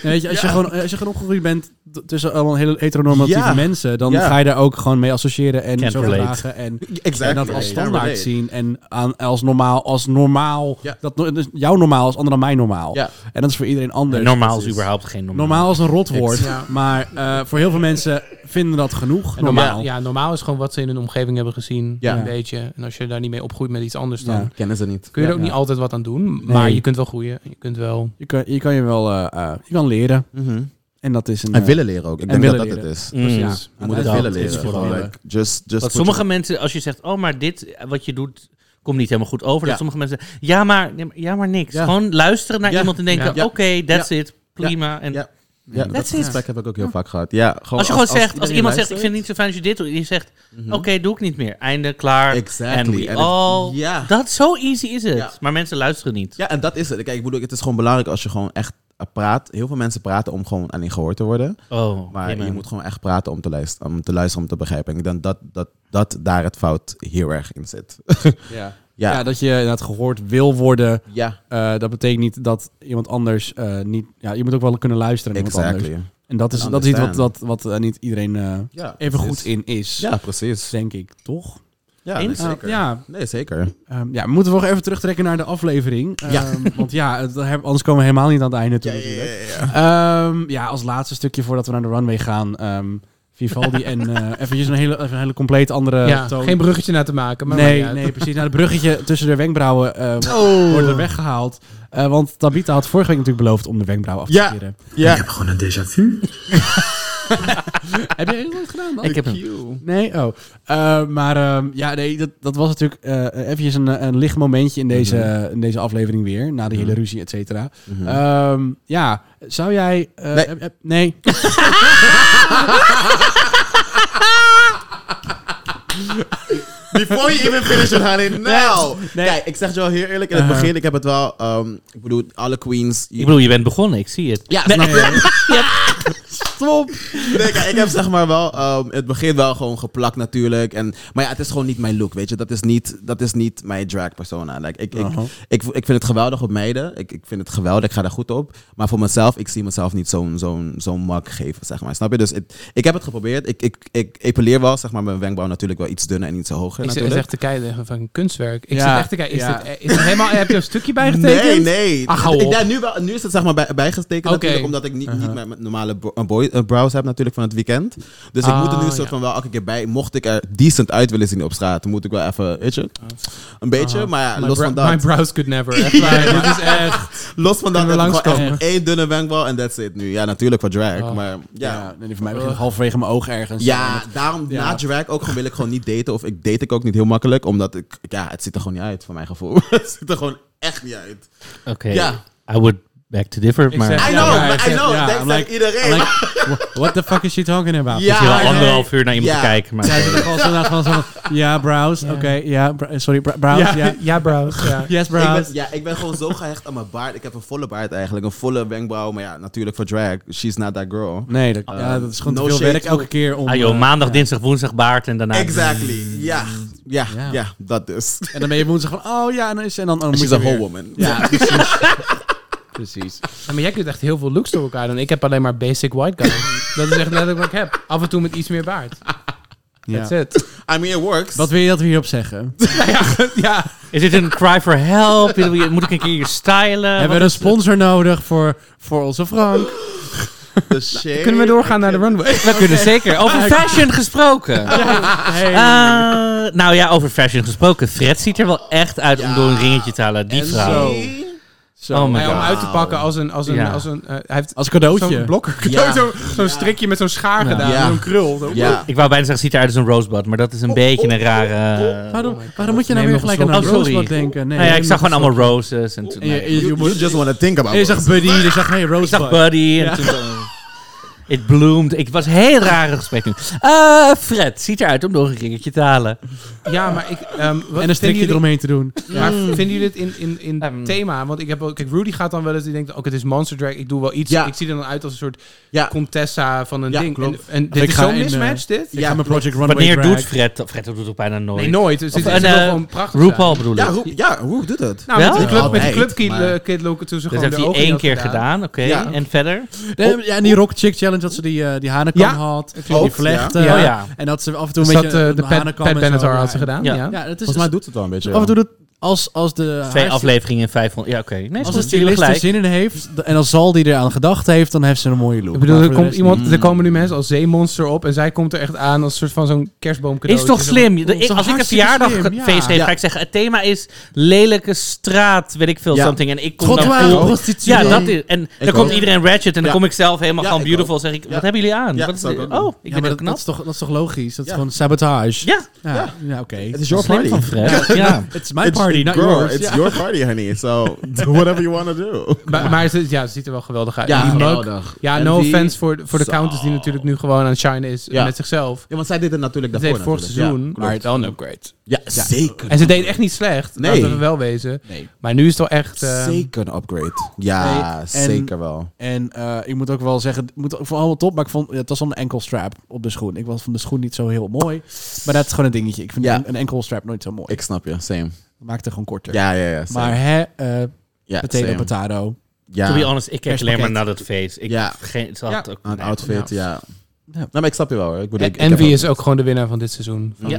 Speaker 2: Ja, weet je, als, Je gewoon, als je gewoon opgegroeid bent t- tussen allemaal hele heteronormatieve
Speaker 4: Ja.
Speaker 2: mensen, dan
Speaker 4: Ja.
Speaker 2: ga je daar ook gewoon mee associëren en
Speaker 3: Can't
Speaker 2: zo
Speaker 3: relate.
Speaker 2: vragen en,
Speaker 4: Exactly.
Speaker 2: en dat als
Speaker 4: Ja,
Speaker 2: standaard
Speaker 4: relate.
Speaker 2: zien en aan, als normaal, als normaal,
Speaker 4: Ja.
Speaker 2: dat, no- dus jouw normaal is ander dan mijn normaal.
Speaker 4: Ja.
Speaker 2: En dat is voor iedereen anders.
Speaker 3: normaal is
Speaker 4: precies.
Speaker 3: überhaupt geen normaal.
Speaker 2: Normaal is een rotwoord,
Speaker 1: Ja.
Speaker 2: maar eh, voor heel veel mensen vinden dat genoeg.
Speaker 1: En normaal,
Speaker 2: Normaal.
Speaker 1: ja, normaal is gewoon wat ze in hun omgeving hebben gezien.
Speaker 4: Ja.
Speaker 1: Een beetje. En als je daar niet mee opgroeit met iets anders, dan
Speaker 2: Ja.
Speaker 4: kennen ze niet.
Speaker 1: kun je er
Speaker 2: Ja.
Speaker 1: ook niet altijd wat aan doen. Maar
Speaker 2: Nee.
Speaker 1: je kunt wel groeien. Je kunt wel...
Speaker 2: Je, kan, je kan je wel eh, eh, je kan leren. En dat is een.
Speaker 4: Mhm. En
Speaker 2: eh,
Speaker 4: willen leren ook. Ik
Speaker 2: en
Speaker 4: denk dat dat
Speaker 2: willen
Speaker 4: het is.
Speaker 3: Mm.
Speaker 2: ja,
Speaker 4: Je moet het
Speaker 2: dat
Speaker 4: willen
Speaker 2: is
Speaker 4: leren.
Speaker 2: vooral,
Speaker 4: Gewoon,
Speaker 2: eh,
Speaker 4: like, just, just
Speaker 3: Want
Speaker 4: put
Speaker 3: sommige mensen, als je zegt, oh, maar dit, eh, wat je doet, komt niet helemaal goed over.
Speaker 4: Ja.
Speaker 3: Dat sommige mensen, ja, maar, nee, maar- ja, maar niks.
Speaker 4: Ja.
Speaker 3: Gewoon luisteren naar
Speaker 4: Ja.
Speaker 3: iemand en denken,
Speaker 4: Ja. Ja.
Speaker 3: oké, that's it, prima. En
Speaker 4: Ja. your- Ja, dat
Speaker 3: That's it.
Speaker 4: gesprek heb ik ook heel vaak gehad. Ja, gewoon
Speaker 3: als je gewoon zegt, als
Speaker 4: iedereen
Speaker 3: iemand zegt, ik vind
Speaker 4: luistert.
Speaker 3: het
Speaker 4: Mhm.
Speaker 3: niet zo fijn als je dit doet. En je zegt, oké, doe ik niet meer. Einde, klaar.
Speaker 4: Exactly.
Speaker 3: En we
Speaker 4: En het-
Speaker 3: all...
Speaker 4: Ja.
Speaker 3: Dat, zo easy is het.
Speaker 4: Ja.
Speaker 3: Maar mensen luisteren niet.
Speaker 4: Ja, en dat is het. Kijk, ik bedoel, het is gewoon belangrijk als je gewoon echt eh, praat. Heel veel mensen praten om gewoon alleen gehoord te worden.
Speaker 3: Oh,
Speaker 4: Maar
Speaker 3: amen.
Speaker 4: je moet gewoon echt praten om te luisteren, om te, luisteren, om te begrijpen. Ik denk dat, dat, dat daar het fout heel erg in zit.
Speaker 2: Ja.
Speaker 4: Ja.
Speaker 2: Ja, dat je inderdaad gehoord wil worden.
Speaker 4: ja,
Speaker 2: Eh, dat betekent niet dat iemand anders eh, niet. Ja, je moet ook wel kunnen luisteren naar iemand
Speaker 4: exactly.
Speaker 2: anders. En dat is,
Speaker 4: En
Speaker 2: dat is iets wat,
Speaker 4: understand.
Speaker 2: dat, wat eh, niet iedereen eh,
Speaker 4: Ja,
Speaker 2: even
Speaker 4: precies.
Speaker 2: goed in is.
Speaker 4: Ja, precies.
Speaker 2: Denk ik, toch?
Speaker 4: Ja,
Speaker 3: Eens?
Speaker 4: nee, zeker.
Speaker 2: ja.
Speaker 4: Nee, zeker.
Speaker 2: Ehm, ja, moeten we nog even terugtrekken naar de aflevering.
Speaker 4: Ja.
Speaker 2: Ehm, want ja, het, daar hebben- anders komen we helemaal niet aan het einde toe. natuurlijk. Ehm, ja, als laatste stukje voordat we naar de runway gaan. ehm, Vivaldi en eh eventjes een hele, even een hele compleet
Speaker 3: Eh,
Speaker 2: andere
Speaker 1: ja,
Speaker 2: toon.
Speaker 1: geen bruggetje naar te maken. Maar
Speaker 2: nee,
Speaker 1: maakt niet uit.
Speaker 2: nee, precies. Nou, de bruggetje tussen de wenkbrauwen eh, wordt- wordt er weggehaald. Eh, want Tabita had vorige week natuurlijk beloofd om de wenkbrauwen af te
Speaker 4: Ja.
Speaker 2: scheren.
Speaker 7: Ik heb gewoon een déjà vu.
Speaker 2: Heb jij dat gedaan dan?
Speaker 3: Ik heb hem.
Speaker 2: Nee, oh. Eh, maar ehm, ja, nee, dat, dat was natuurlijk eh eventjes een, een licht momentje in deze,
Speaker 4: Mhm.
Speaker 2: in deze aflevering weer. Na de hele ruzie, et cetera. Ehm, ja, zou jij... eh,
Speaker 4: Nee.
Speaker 2: heb- heb- nee.
Speaker 4: Before you even finish it, honey, now!
Speaker 2: nee.
Speaker 4: Nou! Kijk, ik zeg het je wel heel eerlijk, in het
Speaker 2: Uh-huh.
Speaker 4: begin, ik heb het wel... ehm, ik bedoel, alle queens...
Speaker 3: Ik bedoel, je bent begonnen, ik zie het.
Speaker 4: ja, snap je? Stop! Nee, kijk, ik heb zeg maar wel... ehm, het begin wel gewoon geplakt natuurlijk. En, maar ja, het is gewoon niet mijn look, weet je. Dat is niet, dat is niet mijn drag persona. Like, ik, ik,
Speaker 2: Uh-huh.
Speaker 4: ik, ik vind het geweldig op meiden. Ik, ik vind het geweldig. Ik ga daar goed op. Maar voor mezelf, ik zie mezelf niet zo'n zo'n zo'n mak geven, zeg maar. Snap je? Dus het- ik heb het geprobeerd. Ik, ik, ik epileer wel, zeg maar, mijn wenkbrauw natuurlijk wel iets dunner en iets hoger.
Speaker 1: Ik zit
Speaker 4: natuurlijk.
Speaker 1: echt te kijken van kunstwerk. Ik
Speaker 2: Ja,
Speaker 1: zit echt te kijken. Is,
Speaker 2: ja.
Speaker 1: dit, eh, is dit helemaal, heb je een stukje bijgetekend?
Speaker 4: Nee, nee.
Speaker 1: Ach, Ah, hou
Speaker 4: ik,
Speaker 1: op.
Speaker 4: ja, nu, wel, nu is het zeg maar bij, bijgestekend
Speaker 1: Oké. Uh-huh.
Speaker 4: natuurlijk, omdat ik niet, niet mijn- mijn normale bro- eh, boy, eh, brows heb natuurlijk van het weekend. Dus ik
Speaker 1: Ah,
Speaker 4: moet er nu een
Speaker 1: ja.
Speaker 4: soort van wel elke keer bij. Mocht ik er decent uit willen zien op straat, moet ik wel even, weet je, een beetje. Maar ja,
Speaker 1: Ah. My
Speaker 4: los
Speaker 1: bro-
Speaker 4: van dat.
Speaker 1: My brows could never. Echt waar, dit is echt...
Speaker 4: Los van dat,
Speaker 1: Kunnen
Speaker 4: heb
Speaker 1: we
Speaker 4: ik gewoon
Speaker 1: langskomen?
Speaker 4: echt één dunne wenkbrauw en that's it nu. Ja, natuurlijk voor drag,
Speaker 1: Oh.
Speaker 4: maar ja.
Speaker 2: Ja, nee, voor mij begint het halverwege mijn oog ergens.
Speaker 4: Ja, daarom
Speaker 2: ja.
Speaker 4: na drag ook gewoon wil ik gewoon niet daten. Of ik date ik ook niet heel makkelijk. Omdat ik, ja, het ziet er gewoon niet uit, van mijn gevoel. het ziet er gewoon echt niet uit.
Speaker 3: Oké.
Speaker 4: Ja.
Speaker 3: I would Back to differ, maar...
Speaker 2: zeg-
Speaker 4: I
Speaker 2: Ja,
Speaker 4: know,
Speaker 2: maar hij
Speaker 4: Oh, I
Speaker 2: zegt-
Speaker 4: know,
Speaker 2: ja,
Speaker 4: dat
Speaker 2: I'm
Speaker 4: zegt
Speaker 2: like-
Speaker 4: iedereen.
Speaker 2: I'm like, wha- what the fuck is she talking about?
Speaker 4: Ja,
Speaker 3: je wel anderhalf
Speaker 4: nee.
Speaker 3: uur naar iemand
Speaker 4: Ja.
Speaker 3: te kijken, maar...
Speaker 2: Zij zitten gewoon zo inderdaad gewoon zo van, ja, browse, oké, ja, br- sorry, br- browse, ja,
Speaker 1: ja browse. Ja.
Speaker 2: yes,
Speaker 4: Ik
Speaker 2: browse.
Speaker 4: ben, ja, ik ben gewoon zo gehecht aan mijn baard. Ik heb een volle baard eigenlijk. Een volle wenkbrauw. Maar ja, natuurlijk voor drag. She's not that girl.
Speaker 2: Nee, dat, ja, dat is gewoon
Speaker 4: No
Speaker 2: te veel
Speaker 4: shade
Speaker 2: werk
Speaker 4: to-
Speaker 2: elke keer om...
Speaker 3: Ah joh,
Speaker 2: eh,
Speaker 3: maandag, dinsdag, woensdag baard en daarna...
Speaker 4: Exactly. Ja, ja,
Speaker 2: Ja.
Speaker 4: ja, dat dus.
Speaker 2: En dan ben je woensdag van, oh ja, en dan is en dan... dan moet
Speaker 4: She's
Speaker 2: je
Speaker 4: a whole
Speaker 2: weer-
Speaker 4: woman.
Speaker 2: Ja, precies. precies.
Speaker 1: Ja, maar jij kunt echt heel veel looks door elkaar doen. Ik heb alleen maar basic white guy. dat is echt letterlijk wat ik heb. Af en toe met iets meer baard.
Speaker 2: Ja.
Speaker 1: That's it.
Speaker 4: I mean, it works.
Speaker 2: Wat wil je dat we hierop zeggen?
Speaker 1: ja.
Speaker 3: Is dit een cry for help? Wil je- Moet ik een keer stylen?
Speaker 2: Hebben we een sponsor nodig voor, voor onze Frank? Nou,
Speaker 4: The shade.
Speaker 1: Kunnen we doorgaan naar de runway?
Speaker 3: We kunnen zeker. Over fashion gesproken. Eh, nou ja, over fashion gesproken. Fred ziet er wel echt uit om door een ringetje te halen. Die vrouw.
Speaker 2: Zo.
Speaker 3: Oh my
Speaker 1: Ja, om
Speaker 3: god.
Speaker 1: uit te pakken als een... Als een,
Speaker 3: Ja.
Speaker 1: als een eh, hij heeft
Speaker 2: Als cadeautje.
Speaker 1: zo'n blokker.
Speaker 4: Ja.
Speaker 1: Zo'n zo'n strikje met zo'n schaar gedaan.
Speaker 4: Ja.
Speaker 1: en Zo'n krul. Zo.
Speaker 4: Ja.
Speaker 3: Ik wou bijna zeggen, ziet eruit als een rosebud, maar dat is een beetje een rare...
Speaker 2: Waarom, waarom moet je nou
Speaker 1: Neem
Speaker 2: weer
Speaker 1: nog een
Speaker 2: gelijk aan
Speaker 3: slok.
Speaker 2: een
Speaker 3: Oh, sorry.
Speaker 2: Rosebud denken? Nee,
Speaker 3: nou ja,
Speaker 2: neem
Speaker 3: ik zag
Speaker 2: nog
Speaker 3: gewoon allemaal roses. En toen,
Speaker 2: een slok. En je, je,
Speaker 4: You, you just want to think about
Speaker 2: en je
Speaker 4: it.
Speaker 2: zag Buddy, je zag hey, Rosebud.
Speaker 3: ik zag Buddy en toen... eh, It bloomed. Ik was een heel rare gesprek nu. Eh, Fred ziet eruit om door een ringetje te halen.
Speaker 1: Ja, maar ik... ehm, wat
Speaker 2: En een
Speaker 1: vinden
Speaker 2: strikje
Speaker 1: jullie-
Speaker 2: eromheen te doen.
Speaker 1: Maar
Speaker 3: Mm.
Speaker 1: vinden jullie dit in, in, in
Speaker 3: Ehm.
Speaker 1: thema? Want ik heb wel, kijk, Rudy gaat dan wel eens, die denkt, ook het is Monster Drag, ik doe wel iets.
Speaker 4: Ja.
Speaker 1: Ik zie er dan uit als een soort
Speaker 4: Ja.
Speaker 1: contessa van een
Speaker 4: Ja,
Speaker 1: ding.
Speaker 4: klopt.
Speaker 1: En, en dit
Speaker 2: ik
Speaker 1: is
Speaker 2: ga
Speaker 1: zo'n
Speaker 2: in, eh,
Speaker 1: mismatch, dit?
Speaker 2: Ik ga mijn Project Runway
Speaker 3: Wanneer
Speaker 2: drag.
Speaker 3: doet Fred... dat? Fred doet het bijna nooit.
Speaker 1: Nee, nooit. Het is,
Speaker 3: Of
Speaker 1: het is
Speaker 3: een,
Speaker 1: wel
Speaker 3: eh,
Speaker 1: gewoon prachtig.
Speaker 3: RuPaul
Speaker 1: zijn.
Speaker 3: bedoel ik.
Speaker 4: Ja, hoe, ja, hoe doet het?
Speaker 1: Nou,
Speaker 3: Wel?
Speaker 1: met die club, met die
Speaker 4: Altijd,
Speaker 1: club kid,
Speaker 4: maar-
Speaker 1: kid look, toen ze
Speaker 3: Dus Dat
Speaker 1: gewoon
Speaker 3: heeft
Speaker 1: de
Speaker 3: hij
Speaker 1: ogen niet
Speaker 3: één
Speaker 1: had
Speaker 3: keer gedaan, oké.
Speaker 4: Ja.
Speaker 3: En verder?
Speaker 2: Nee, ja, en die Rock Chick Challenge, dat ze die, eh die hanenkam
Speaker 1: Ja,
Speaker 2: had. Die
Speaker 4: klopt,
Speaker 2: vlechten.
Speaker 1: ja.
Speaker 3: Oh ja.
Speaker 2: En dat ze af en toe een
Speaker 1: Dus dat,
Speaker 2: beetje
Speaker 1: eh,
Speaker 2: een
Speaker 1: de Pat,
Speaker 2: hanenkam
Speaker 1: Pat
Speaker 2: en zo
Speaker 1: Benatar had ze
Speaker 2: draaien.
Speaker 1: gedaan,
Speaker 3: Ja.
Speaker 1: ja.
Speaker 2: Ja, dat is dus
Speaker 4: Volgens mij doet het wel een beetje.
Speaker 2: Af en toe doet als, als de
Speaker 3: Twee
Speaker 2: haar-
Speaker 3: afleveringen in 500. Ja, oké. Nee,
Speaker 2: als de
Speaker 3: natuurlijk
Speaker 2: stylist er
Speaker 3: gelijk.
Speaker 2: zin in heeft, d- en als Zal die eraan gedacht heeft, dan heeft ze een mooie look.
Speaker 1: Ik bedoel,
Speaker 2: Maar
Speaker 1: er,
Speaker 2: voor de
Speaker 1: komt
Speaker 2: rest
Speaker 1: iemand,
Speaker 3: Mm.
Speaker 2: niet.
Speaker 1: er komen nu mensen als zeemonster op en zij komt er echt aan als soort van zo'n kerstboom
Speaker 3: Is toch slim? De- ik-
Speaker 2: toch
Speaker 3: als ik een
Speaker 2: hartstikke
Speaker 3: verjaardagfeest
Speaker 2: slim, ja.
Speaker 3: feest geef, ga ik zeggen: het thema is lelijke straat, weet ik veel,
Speaker 4: Ja.
Speaker 3: something. En ik kom
Speaker 2: Trottoir,
Speaker 3: dan vol-
Speaker 2: prostituee.
Speaker 3: Ja, dat is. En dan
Speaker 4: ook.
Speaker 3: komt iedereen ratchet en dan
Speaker 4: Ja.
Speaker 3: kom ik zelf helemaal
Speaker 4: Ja,
Speaker 3: gewoon
Speaker 4: ik
Speaker 3: beautiful.
Speaker 4: ook.
Speaker 3: Zeg ik:
Speaker 4: Ja.
Speaker 3: wat hebben jullie aan?
Speaker 4: Ja,
Speaker 3: wat is
Speaker 4: zou ik
Speaker 3: dit?
Speaker 4: ook doen.
Speaker 3: Oh, ik
Speaker 2: Ja,
Speaker 3: ben
Speaker 2: maar
Speaker 3: heel
Speaker 2: dat,
Speaker 3: knap.
Speaker 2: dat is toch, dat is toch logisch? Dat is
Speaker 4: Ja.
Speaker 2: gewoon sabotage?
Speaker 3: ja,
Speaker 2: Ja, ja. oké.
Speaker 4: Het is your
Speaker 3: slim
Speaker 4: party.
Speaker 3: van Fred. Ja.
Speaker 2: It's my party,
Speaker 4: it's
Speaker 2: not
Speaker 4: girl,
Speaker 2: yours.
Speaker 4: It's
Speaker 2: Ja.
Speaker 4: your party, honey. So do whatever you want to do.
Speaker 1: Maar, maar ze, ja, ze ziet er wel geweldig uit.
Speaker 4: Ja,
Speaker 1: Die mug.
Speaker 4: geweldig.
Speaker 1: Ja,
Speaker 4: En
Speaker 1: no
Speaker 4: die-
Speaker 1: offense voor, voor de countess die natuurlijk nu gewoon aan het shine is eh,
Speaker 4: Ja.
Speaker 1: met zichzelf.
Speaker 4: Ja, want zij deed het natuurlijk
Speaker 1: Dat
Speaker 4: daarvoor.
Speaker 1: deed vorig
Speaker 4: natuurlijk.
Speaker 1: seizoen,
Speaker 4: Ja, klopt.
Speaker 1: maar wel een upgrade.
Speaker 4: Ja, zeker.
Speaker 1: En ze deed echt niet slecht,
Speaker 4: Nee.
Speaker 1: laten we wel wezen.
Speaker 4: Nee.
Speaker 1: Maar nu is het wel echt... eh,
Speaker 4: Zeker een upgrade. Ja,
Speaker 2: Nee, en-
Speaker 4: zeker wel.
Speaker 2: En eh, ik moet ook wel zeggen, het moet ook vooral wat top, maar ik vond, ja, het was al een enkel strap op de schoen. Ik was van de schoen niet zo heel mooi, maar dat is gewoon een dingetje. Ik vind
Speaker 4: Ja.
Speaker 2: een, een enkel strap nooit zo mooi.
Speaker 4: Ik snap je, same.
Speaker 2: maakte gewoon korter.
Speaker 4: Ja, ja, ja. same.
Speaker 2: maar hè, eh
Speaker 4: ja,
Speaker 2: potato,
Speaker 4: same.
Speaker 2: potato.
Speaker 4: Ja.
Speaker 3: To be honest, ik kijk alleen maar
Speaker 2: Kerstpakket.
Speaker 3: naar dat face. Ik
Speaker 4: Ja.
Speaker 3: geen, het had ook.
Speaker 4: Aan het
Speaker 3: nee.
Speaker 4: outfit, ja.
Speaker 2: Ja.
Speaker 4: Nou, maar ik snap je wel hoor. Ik bedoel, ik- ik heb
Speaker 1: Envy
Speaker 4: ook-
Speaker 1: is ook gewoon de winnaar van dit seizoen.
Speaker 3: Ja.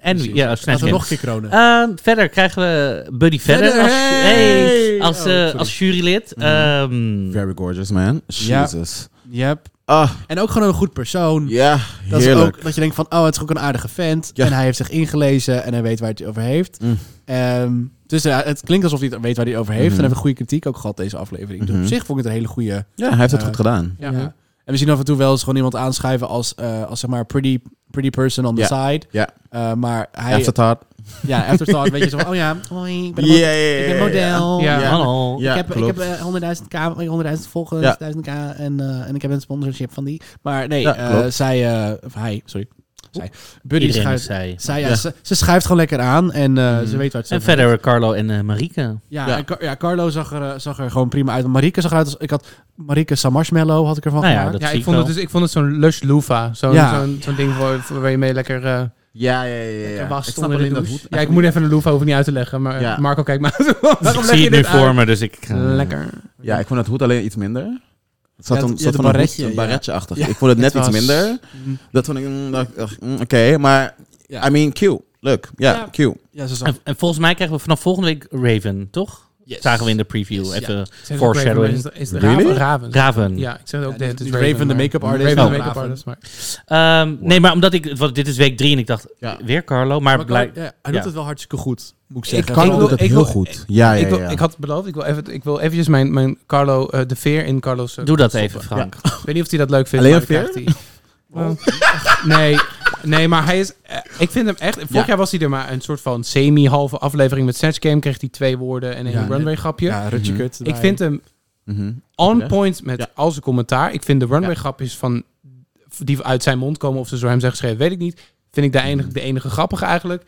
Speaker 3: En ja, snap
Speaker 2: Laten
Speaker 3: je.
Speaker 2: we nog een keer kronen.
Speaker 3: Eh, verder krijgen we Buddy verder,
Speaker 2: Verder,
Speaker 3: als,
Speaker 2: hey!
Speaker 3: hey, als, eh,
Speaker 2: Oh, sorry.
Speaker 3: als jurylid. Ehm,
Speaker 4: Very gorgeous, man.
Speaker 2: Ja.
Speaker 4: Jesus.
Speaker 2: Yep.
Speaker 4: Ah,
Speaker 2: En ook gewoon een goed persoon.
Speaker 4: ja,
Speaker 2: Dat is
Speaker 4: heerlijk.
Speaker 2: ook dat je denkt van, oh, het is ook een aardige vent.
Speaker 4: Ja.
Speaker 2: En hij heeft zich ingelezen en hij weet waar hij het over heeft.
Speaker 4: Mm.
Speaker 2: Ehm, dus ja, het klinkt alsof hij het weet waar hij het over heeft.
Speaker 4: Mhm.
Speaker 2: En hij heeft goede kritiek ook gehad deze aflevering. Dus
Speaker 4: Mhm.
Speaker 2: op zich vond ik het een hele goede.
Speaker 4: Ja, hij heeft het
Speaker 2: Eh,
Speaker 4: goed gedaan.
Speaker 2: Ja. En we zien af en toe wel eens gewoon iemand aanschuiven als, eh, als zeg maar pretty, pretty person on the
Speaker 4: Ja.
Speaker 2: side.
Speaker 4: Ja.
Speaker 2: Eh, maar hij...
Speaker 4: Afterthought.
Speaker 2: Ja, afterthought. weet je, zo van, oh ja, hoi, ik ben een
Speaker 4: Ja,
Speaker 2: mo-
Speaker 4: ja, ja,
Speaker 2: ik ben
Speaker 4: ja,
Speaker 2: model.
Speaker 1: Ja. Ja.
Speaker 3: Hallo.
Speaker 4: Ja,
Speaker 2: ik heb, ik
Speaker 4: klopt.
Speaker 2: heb eh, 100.000 k, 100.000 volgers,
Speaker 4: Ja.
Speaker 2: 1000k en, eh, en ik heb een sponsorship van die. Maar nee,
Speaker 4: Ja,
Speaker 2: eh,
Speaker 4: klopt.
Speaker 2: zij, eh, of hij, sorry, zij, Buddy
Speaker 3: Iedereen is
Speaker 2: schuift,
Speaker 3: zij. Mhm.
Speaker 2: zij, ja,
Speaker 4: Ja.
Speaker 2: Ze, ze schuift gewoon lekker aan en eh, ze weet waar het
Speaker 3: En
Speaker 2: over
Speaker 3: verder Carlo en eh, Marieke.
Speaker 2: Ja,
Speaker 4: Ja.
Speaker 2: en Car- ja, Carlo zag er, eh, zag er gewoon prima uit. Marieke zag eruit als, ik had Marieke Samarshmallow had ik ervan
Speaker 3: Nou ja,
Speaker 2: gemaakt.
Speaker 3: dat
Speaker 1: Ja,
Speaker 3: zie
Speaker 1: ik
Speaker 3: ik
Speaker 1: vond,
Speaker 3: wel.
Speaker 1: het dus, ik vond het zo'n lush loofah. Zo'n
Speaker 2: Ja.
Speaker 1: zo'n zo'n ding waar, waar je mee lekker... eh,
Speaker 4: Ja, ja, ja.
Speaker 1: Lekker
Speaker 4: ja.
Speaker 1: wast
Speaker 4: Ik snap
Speaker 1: onder de
Speaker 4: alleen dat
Speaker 1: douche.
Speaker 4: hoed.
Speaker 1: Ja, ik moet even een loofah hoef ik niet uit te leggen. Maar
Speaker 4: Ja.
Speaker 1: Marco, kijk maar. Waarom
Speaker 3: ik
Speaker 1: leg
Speaker 3: zie
Speaker 1: je
Speaker 3: het nu
Speaker 1: dit uit?
Speaker 3: voor me, dus ik... eh,
Speaker 1: Lekker.
Speaker 4: Ja, ik vond het hoed alleen iets minder. Het
Speaker 2: Ja,
Speaker 4: zat
Speaker 2: het-
Speaker 4: een
Speaker 2: ja,
Speaker 4: soort
Speaker 2: de
Speaker 4: van een
Speaker 2: barretje,
Speaker 4: hoed- een
Speaker 2: ja.
Speaker 4: barretje-achtig.
Speaker 2: Ja.
Speaker 4: Ik vond het net
Speaker 1: Het
Speaker 4: iets
Speaker 1: was-
Speaker 4: minder. Dat vond ik... mm, dacht ik, ach, mm, Oké, maar... I mean, cute. Leuk. Ja,
Speaker 2: Ja.
Speaker 4: cute.
Speaker 2: Ja, ze zag
Speaker 3: en, en volgens mij krijgen we vanaf volgende week Raven, toch? Zagen we in de preview.
Speaker 2: Yes,
Speaker 3: Even
Speaker 1: Ze heeft ook Raven,
Speaker 3: foreshadowing.
Speaker 1: maar Is, is
Speaker 4: Really?
Speaker 1: Raven? Raven.
Speaker 3: Raven.
Speaker 1: Ja, ik zeg het ook. net,
Speaker 2: Ja, die-
Speaker 1: het is
Speaker 2: die Raven, de
Speaker 1: maar-
Speaker 2: make-up artist.
Speaker 1: Raven,
Speaker 2: Oh.
Speaker 1: de make-up
Speaker 2: Raven.
Speaker 1: artist. Maar
Speaker 3: Ehm, nee, maar omdat ik... Want dit is week drie en ik dacht,
Speaker 4: Ja.
Speaker 3: weer Carlo. Maar
Speaker 2: Maar
Speaker 3: blijk,
Speaker 2: Carlo- ja, hij doet
Speaker 3: ja.
Speaker 2: het wel hartstikke goed, moet ik
Speaker 1: Ik
Speaker 2: zeggen.
Speaker 1: kan
Speaker 2: Vooral-
Speaker 1: wil- ik wil-
Speaker 4: goed. Ja, ja,
Speaker 1: ik, wil,
Speaker 4: ja.
Speaker 1: ik had beloofd, ik wil, even, ik wil eventjes mijn, mijn Carlo eh, de Veer in Carlos... eh,
Speaker 3: doe dat
Speaker 1: stoppen.
Speaker 3: even, Frank.
Speaker 1: Ik weet niet of hij dat leuk vindt.
Speaker 4: Alleen
Speaker 1: maar dan krijgt hij- Wow. nee, nee, maar hij is... eh, ik vind hem echt... Vorig
Speaker 4: Ja.
Speaker 1: jaar was hij er maar een soort van semi-halve aflevering met Snatch Game. Kreeg hij twee woorden en een
Speaker 2: Ja,
Speaker 1: runway grapje.
Speaker 2: Ja, Rutje kut.
Speaker 1: ik vind hem
Speaker 4: Mhm.
Speaker 1: On point met al zijn commentaar. Ik vind de runway grapjes van die uit zijn mond komen of ze door hem zijn geschreven, weet ik niet. Vind ik de enige,
Speaker 4: Mhm.
Speaker 1: de enige grappige eigenlijk.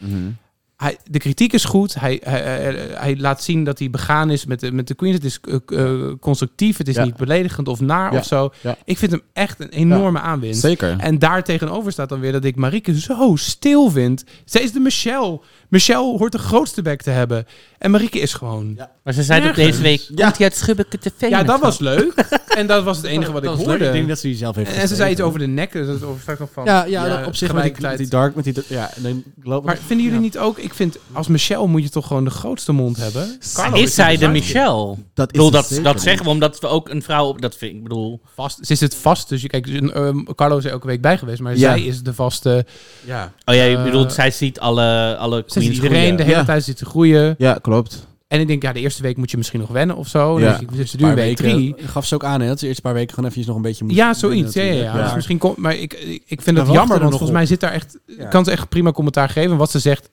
Speaker 1: Hij, de kritiek is goed. Hij, hij, hij- hij laat zien dat hij begaan is met de, met de Queens. Het is eh, eh, constructief. Het is
Speaker 4: Ja.
Speaker 1: niet beledigend of naar
Speaker 4: Ja.
Speaker 1: of zo.
Speaker 4: Ja.
Speaker 1: Ik vind hem echt een enorme aanwinst.
Speaker 4: Zeker.
Speaker 1: En daar tegenover staat dan weer dat ik Marieke zo stil vind. Zij is de Michelle. Michelle hoort de grootste bek te hebben. En Marieke is gewoon...
Speaker 3: Maar ze zei dat
Speaker 1: Nergens.
Speaker 3: deze week komt hij uit Schubbeke TV.
Speaker 1: Ja, dat was leuk. En dat was het enige wat ik
Speaker 2: Dat is leuk.
Speaker 1: hoorde.
Speaker 2: Ik denk dat ze die zelf heeft
Speaker 1: En ze zei
Speaker 2: geschreven.
Speaker 1: iets over de nekken. Dus dat is straks nog van...
Speaker 2: Ja, ja, op zich met die,
Speaker 1: gelijkheid.
Speaker 2: met die dark, met die... Ja, nee, geloof
Speaker 1: Maar vinden jullie niet ook... Ik vind, als Michelle moet je toch gewoon de grootste mond hebben? Carlo
Speaker 3: is zij de
Speaker 1: een
Speaker 3: Michelle?
Speaker 4: Dat
Speaker 3: Dat,
Speaker 4: is
Speaker 3: bedoel,
Speaker 4: ze
Speaker 3: dat,
Speaker 4: zeker.
Speaker 3: dat zeggen we omdat we ook een vrouw... op- Dat vind ik, bedoel...
Speaker 1: Vast, ze is het vast. Dus je, kijk, dus, ehm, Carlo is er elke week bij geweest. Maar
Speaker 4: Ja.
Speaker 1: zij is de vaste...
Speaker 2: Ja.
Speaker 3: Oh ja, je
Speaker 1: Eh,
Speaker 3: bedoelt, zij ziet alle, alle
Speaker 1: Ze ziet
Speaker 3: queens
Speaker 1: iedereen
Speaker 3: groeien.
Speaker 1: de hele
Speaker 4: Ja.
Speaker 1: tijd zit te groeien.
Speaker 4: Ja, klopt.
Speaker 1: En ik denk, ja, de eerste week moet je misschien nog wennen of zo.
Speaker 4: Ja.
Speaker 1: Dus ik, dus ze duurt week drie.
Speaker 2: Gaf ze ook aan, hè? Dat ze eerst een paar weken gewoon even nog een beetje moest...
Speaker 1: Ja, zoiets. Ja, ja, ja.
Speaker 2: Ja.
Speaker 1: Dus misschien komt, maar ik, ik ik vind
Speaker 2: wachten
Speaker 1: het
Speaker 2: er
Speaker 1: jammer,
Speaker 2: nog
Speaker 1: want volgens
Speaker 2: op.
Speaker 1: mij zit daar echt,
Speaker 2: Ja.
Speaker 1: kan ze echt prima commentaar geven. Wat ze zegt,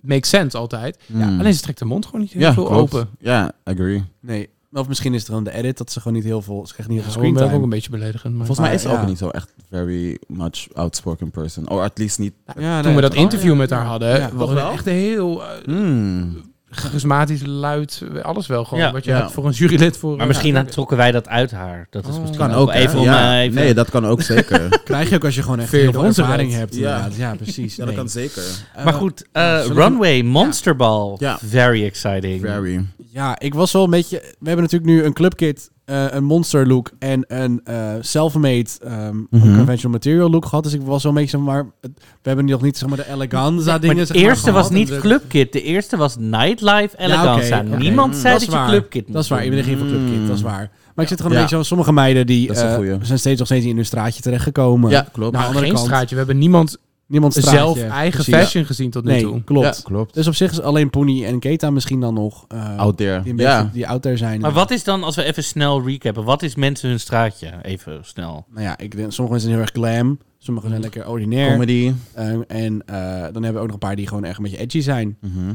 Speaker 1: makes sense altijd.
Speaker 4: Mm.
Speaker 1: Alleen ze trekt haar mond gewoon niet heel
Speaker 4: ja,
Speaker 1: veel
Speaker 4: klopt.
Speaker 1: open.
Speaker 4: Ja, agree.
Speaker 2: Nee. Of misschien is het dan de edit dat ze gewoon niet heel veel... Ze krijgt niet heel veel
Speaker 1: Screen
Speaker 2: screen
Speaker 1: ben ik ook een
Speaker 2: time.
Speaker 1: beetje beledigend. Maar
Speaker 4: Volgens mij is ze
Speaker 2: Ja.
Speaker 4: ook niet zo echt very much outspoken person. Or at least niet...
Speaker 2: Ja,
Speaker 1: toen we
Speaker 2: nee,
Speaker 1: dat
Speaker 2: toch?
Speaker 1: interview met haar hadden,
Speaker 2: Ja.
Speaker 1: was het echt heel eh,
Speaker 4: Mm.
Speaker 1: charismatisch, luid, alles wel gewoon.
Speaker 3: Ja.
Speaker 1: Wat je
Speaker 4: Ja.
Speaker 1: hebt voor een jurylid voor. eh,
Speaker 3: Maar misschien trokken wij dat uit haar. Dat
Speaker 1: Oh.
Speaker 3: is misschien ook,
Speaker 4: hè?
Speaker 3: even om...
Speaker 4: Ja,
Speaker 3: eh, even-
Speaker 4: Nee, dat kan ook zeker.
Speaker 2: Krijg je ook als je gewoon echt
Speaker 1: Veer
Speaker 2: heel veel
Speaker 1: onze
Speaker 2: ervaring
Speaker 1: wet.
Speaker 2: hebt.
Speaker 4: Ja.
Speaker 2: inderdaad. Ja, precies.
Speaker 4: ja, dat
Speaker 2: Nee.
Speaker 4: kan zeker.
Speaker 2: Eh,
Speaker 3: maar goed, eh,
Speaker 2: zullen we-
Speaker 3: Runway, Monsterball.
Speaker 4: Ja.
Speaker 3: Very exciting.
Speaker 4: Very.
Speaker 2: Ja, ik was wel een beetje... We hebben natuurlijk nu een clubkit, eh, een monster look en een eh, self-made ehm, conventional material look gehad. Dus ik was wel een beetje, zeg maar... het- we hebben nog niet, zeg maar, de eleganza
Speaker 3: Maar
Speaker 2: dingen,
Speaker 3: de
Speaker 2: zeg maar,
Speaker 3: eerste was
Speaker 2: gehad.
Speaker 3: niet
Speaker 2: En de-
Speaker 3: Clubkit. De eerste was Nightlife
Speaker 2: oké,
Speaker 3: Eleganza.
Speaker 2: oké.
Speaker 3: Niemand
Speaker 4: Mm,
Speaker 3: zei
Speaker 2: dat
Speaker 3: dat,
Speaker 2: is
Speaker 3: je
Speaker 2: waar.
Speaker 3: Clubkit
Speaker 2: Dat is waar, iedereen ging voor clubkit, dat is waar. Maar ik zit gewoon een
Speaker 4: Ja.
Speaker 2: beetje zo... Sommige meiden die
Speaker 4: Dat is een
Speaker 2: eh,
Speaker 4: goeie.
Speaker 2: zijn steeds nog steeds in hun straatje terechtgekomen.
Speaker 4: Ja, klopt.
Speaker 1: nou,
Speaker 2: aan de andere
Speaker 1: geen
Speaker 2: kant-
Speaker 1: straatje. We hebben niemand
Speaker 2: Niemand straatje.
Speaker 1: zelf eigen
Speaker 2: precies.
Speaker 1: fashion gezien tot nu toe.
Speaker 2: Nee, klopt.
Speaker 4: Ja, klopt.
Speaker 2: Dus op zich is alleen Pony en Keta misschien dan nog... eh,
Speaker 4: Out there.
Speaker 2: Die,
Speaker 4: Ja.
Speaker 2: een beetje- die out there zijn.
Speaker 3: Maar wat is dan, als we even snel recappen, wat is mensen hun straatje? Even snel.
Speaker 2: Nou ja, ik denk, sommige mensen zijn heel erg glam. Sommige zijn lekker ordinair.
Speaker 4: Comedy.
Speaker 2: Ehm, en eh, dan hebben we ook nog een paar die gewoon erg een beetje edgy zijn.
Speaker 4: Mhm.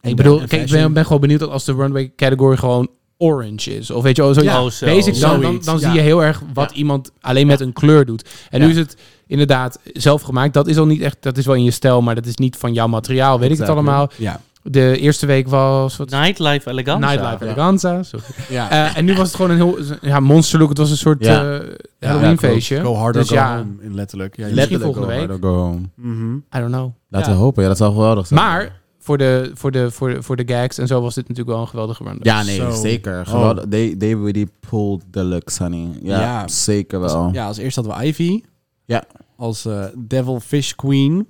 Speaker 2: En
Speaker 1: ik bedoel,
Speaker 2: en
Speaker 1: kijk, ik ben,
Speaker 2: fashion.
Speaker 1: ben gewoon benieuwd dat als de runway category gewoon orange is. Of weet je, wel, zoiets
Speaker 3: Ja, Oh, zo.
Speaker 1: basic, dan, dan, dan
Speaker 2: Zoiets,
Speaker 1: zie
Speaker 2: ja.
Speaker 1: je heel erg wat iemand alleen met een kleur doet. En nu
Speaker 2: Ja.
Speaker 1: is het inderdaad zelf gemaakt. Dat is al niet echt, dat is wel in je stijl, maar dat is niet van jouw materiaal. Weet ik
Speaker 4: Exactly.
Speaker 1: het allemaal.
Speaker 2: Ja.
Speaker 1: De eerste week was wat,
Speaker 3: Nightlife Eleganza.
Speaker 1: Nightlife Eleganza. sorry.
Speaker 2: ja.
Speaker 1: Eh, en nu was het gewoon een heel ja, monster look. Het was een soort
Speaker 4: Ja.
Speaker 1: eh, Halloween feestje.
Speaker 2: Go harder,
Speaker 1: Dus
Speaker 2: go
Speaker 1: ja.
Speaker 2: home, in letterlijk. Ja,
Speaker 1: Let-
Speaker 4: Letterlijk
Speaker 1: volgende
Speaker 4: go
Speaker 1: week.
Speaker 4: hard or go home.
Speaker 2: Mhm.
Speaker 1: I don't know.
Speaker 4: Laten
Speaker 1: Ja.
Speaker 4: we hopen. Ja, dat zou geweldig zijn.
Speaker 1: Maar voor de, voor, de, voor, de, voor de gags en zo was dit natuurlijk wel een geweldige run.
Speaker 4: Ja, nee,
Speaker 2: Zo.
Speaker 4: zeker.
Speaker 2: Oh.
Speaker 4: Geweldig. They, they really pulled the looks, honey. Ja,
Speaker 2: Ja. Dus,
Speaker 4: zeker wel.
Speaker 2: ja, als eerst hadden we Ivy.
Speaker 4: Oh. Ja.
Speaker 2: Als eh, Devil Fish Queen.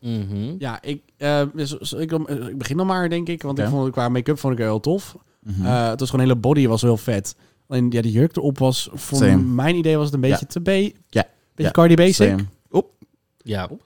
Speaker 4: Mhm.
Speaker 3: Mhm.
Speaker 2: Ja, ik, eh, dus- dus ik, eh, ik begin dan maar, denk ik. Want
Speaker 4: Oké.
Speaker 2: ik vond, qua make-up vond ik haar heel tof.
Speaker 4: Mhm.
Speaker 2: Eh, het was gewoon een hele body, was heel vet. Alleen ja, die jurk erop was, voor
Speaker 4: Same.
Speaker 2: mijn idee was het een beetje te B.
Speaker 4: Ja.
Speaker 2: Beetje Cardi Basic.
Speaker 4: Same.
Speaker 3: Ja.
Speaker 2: Top.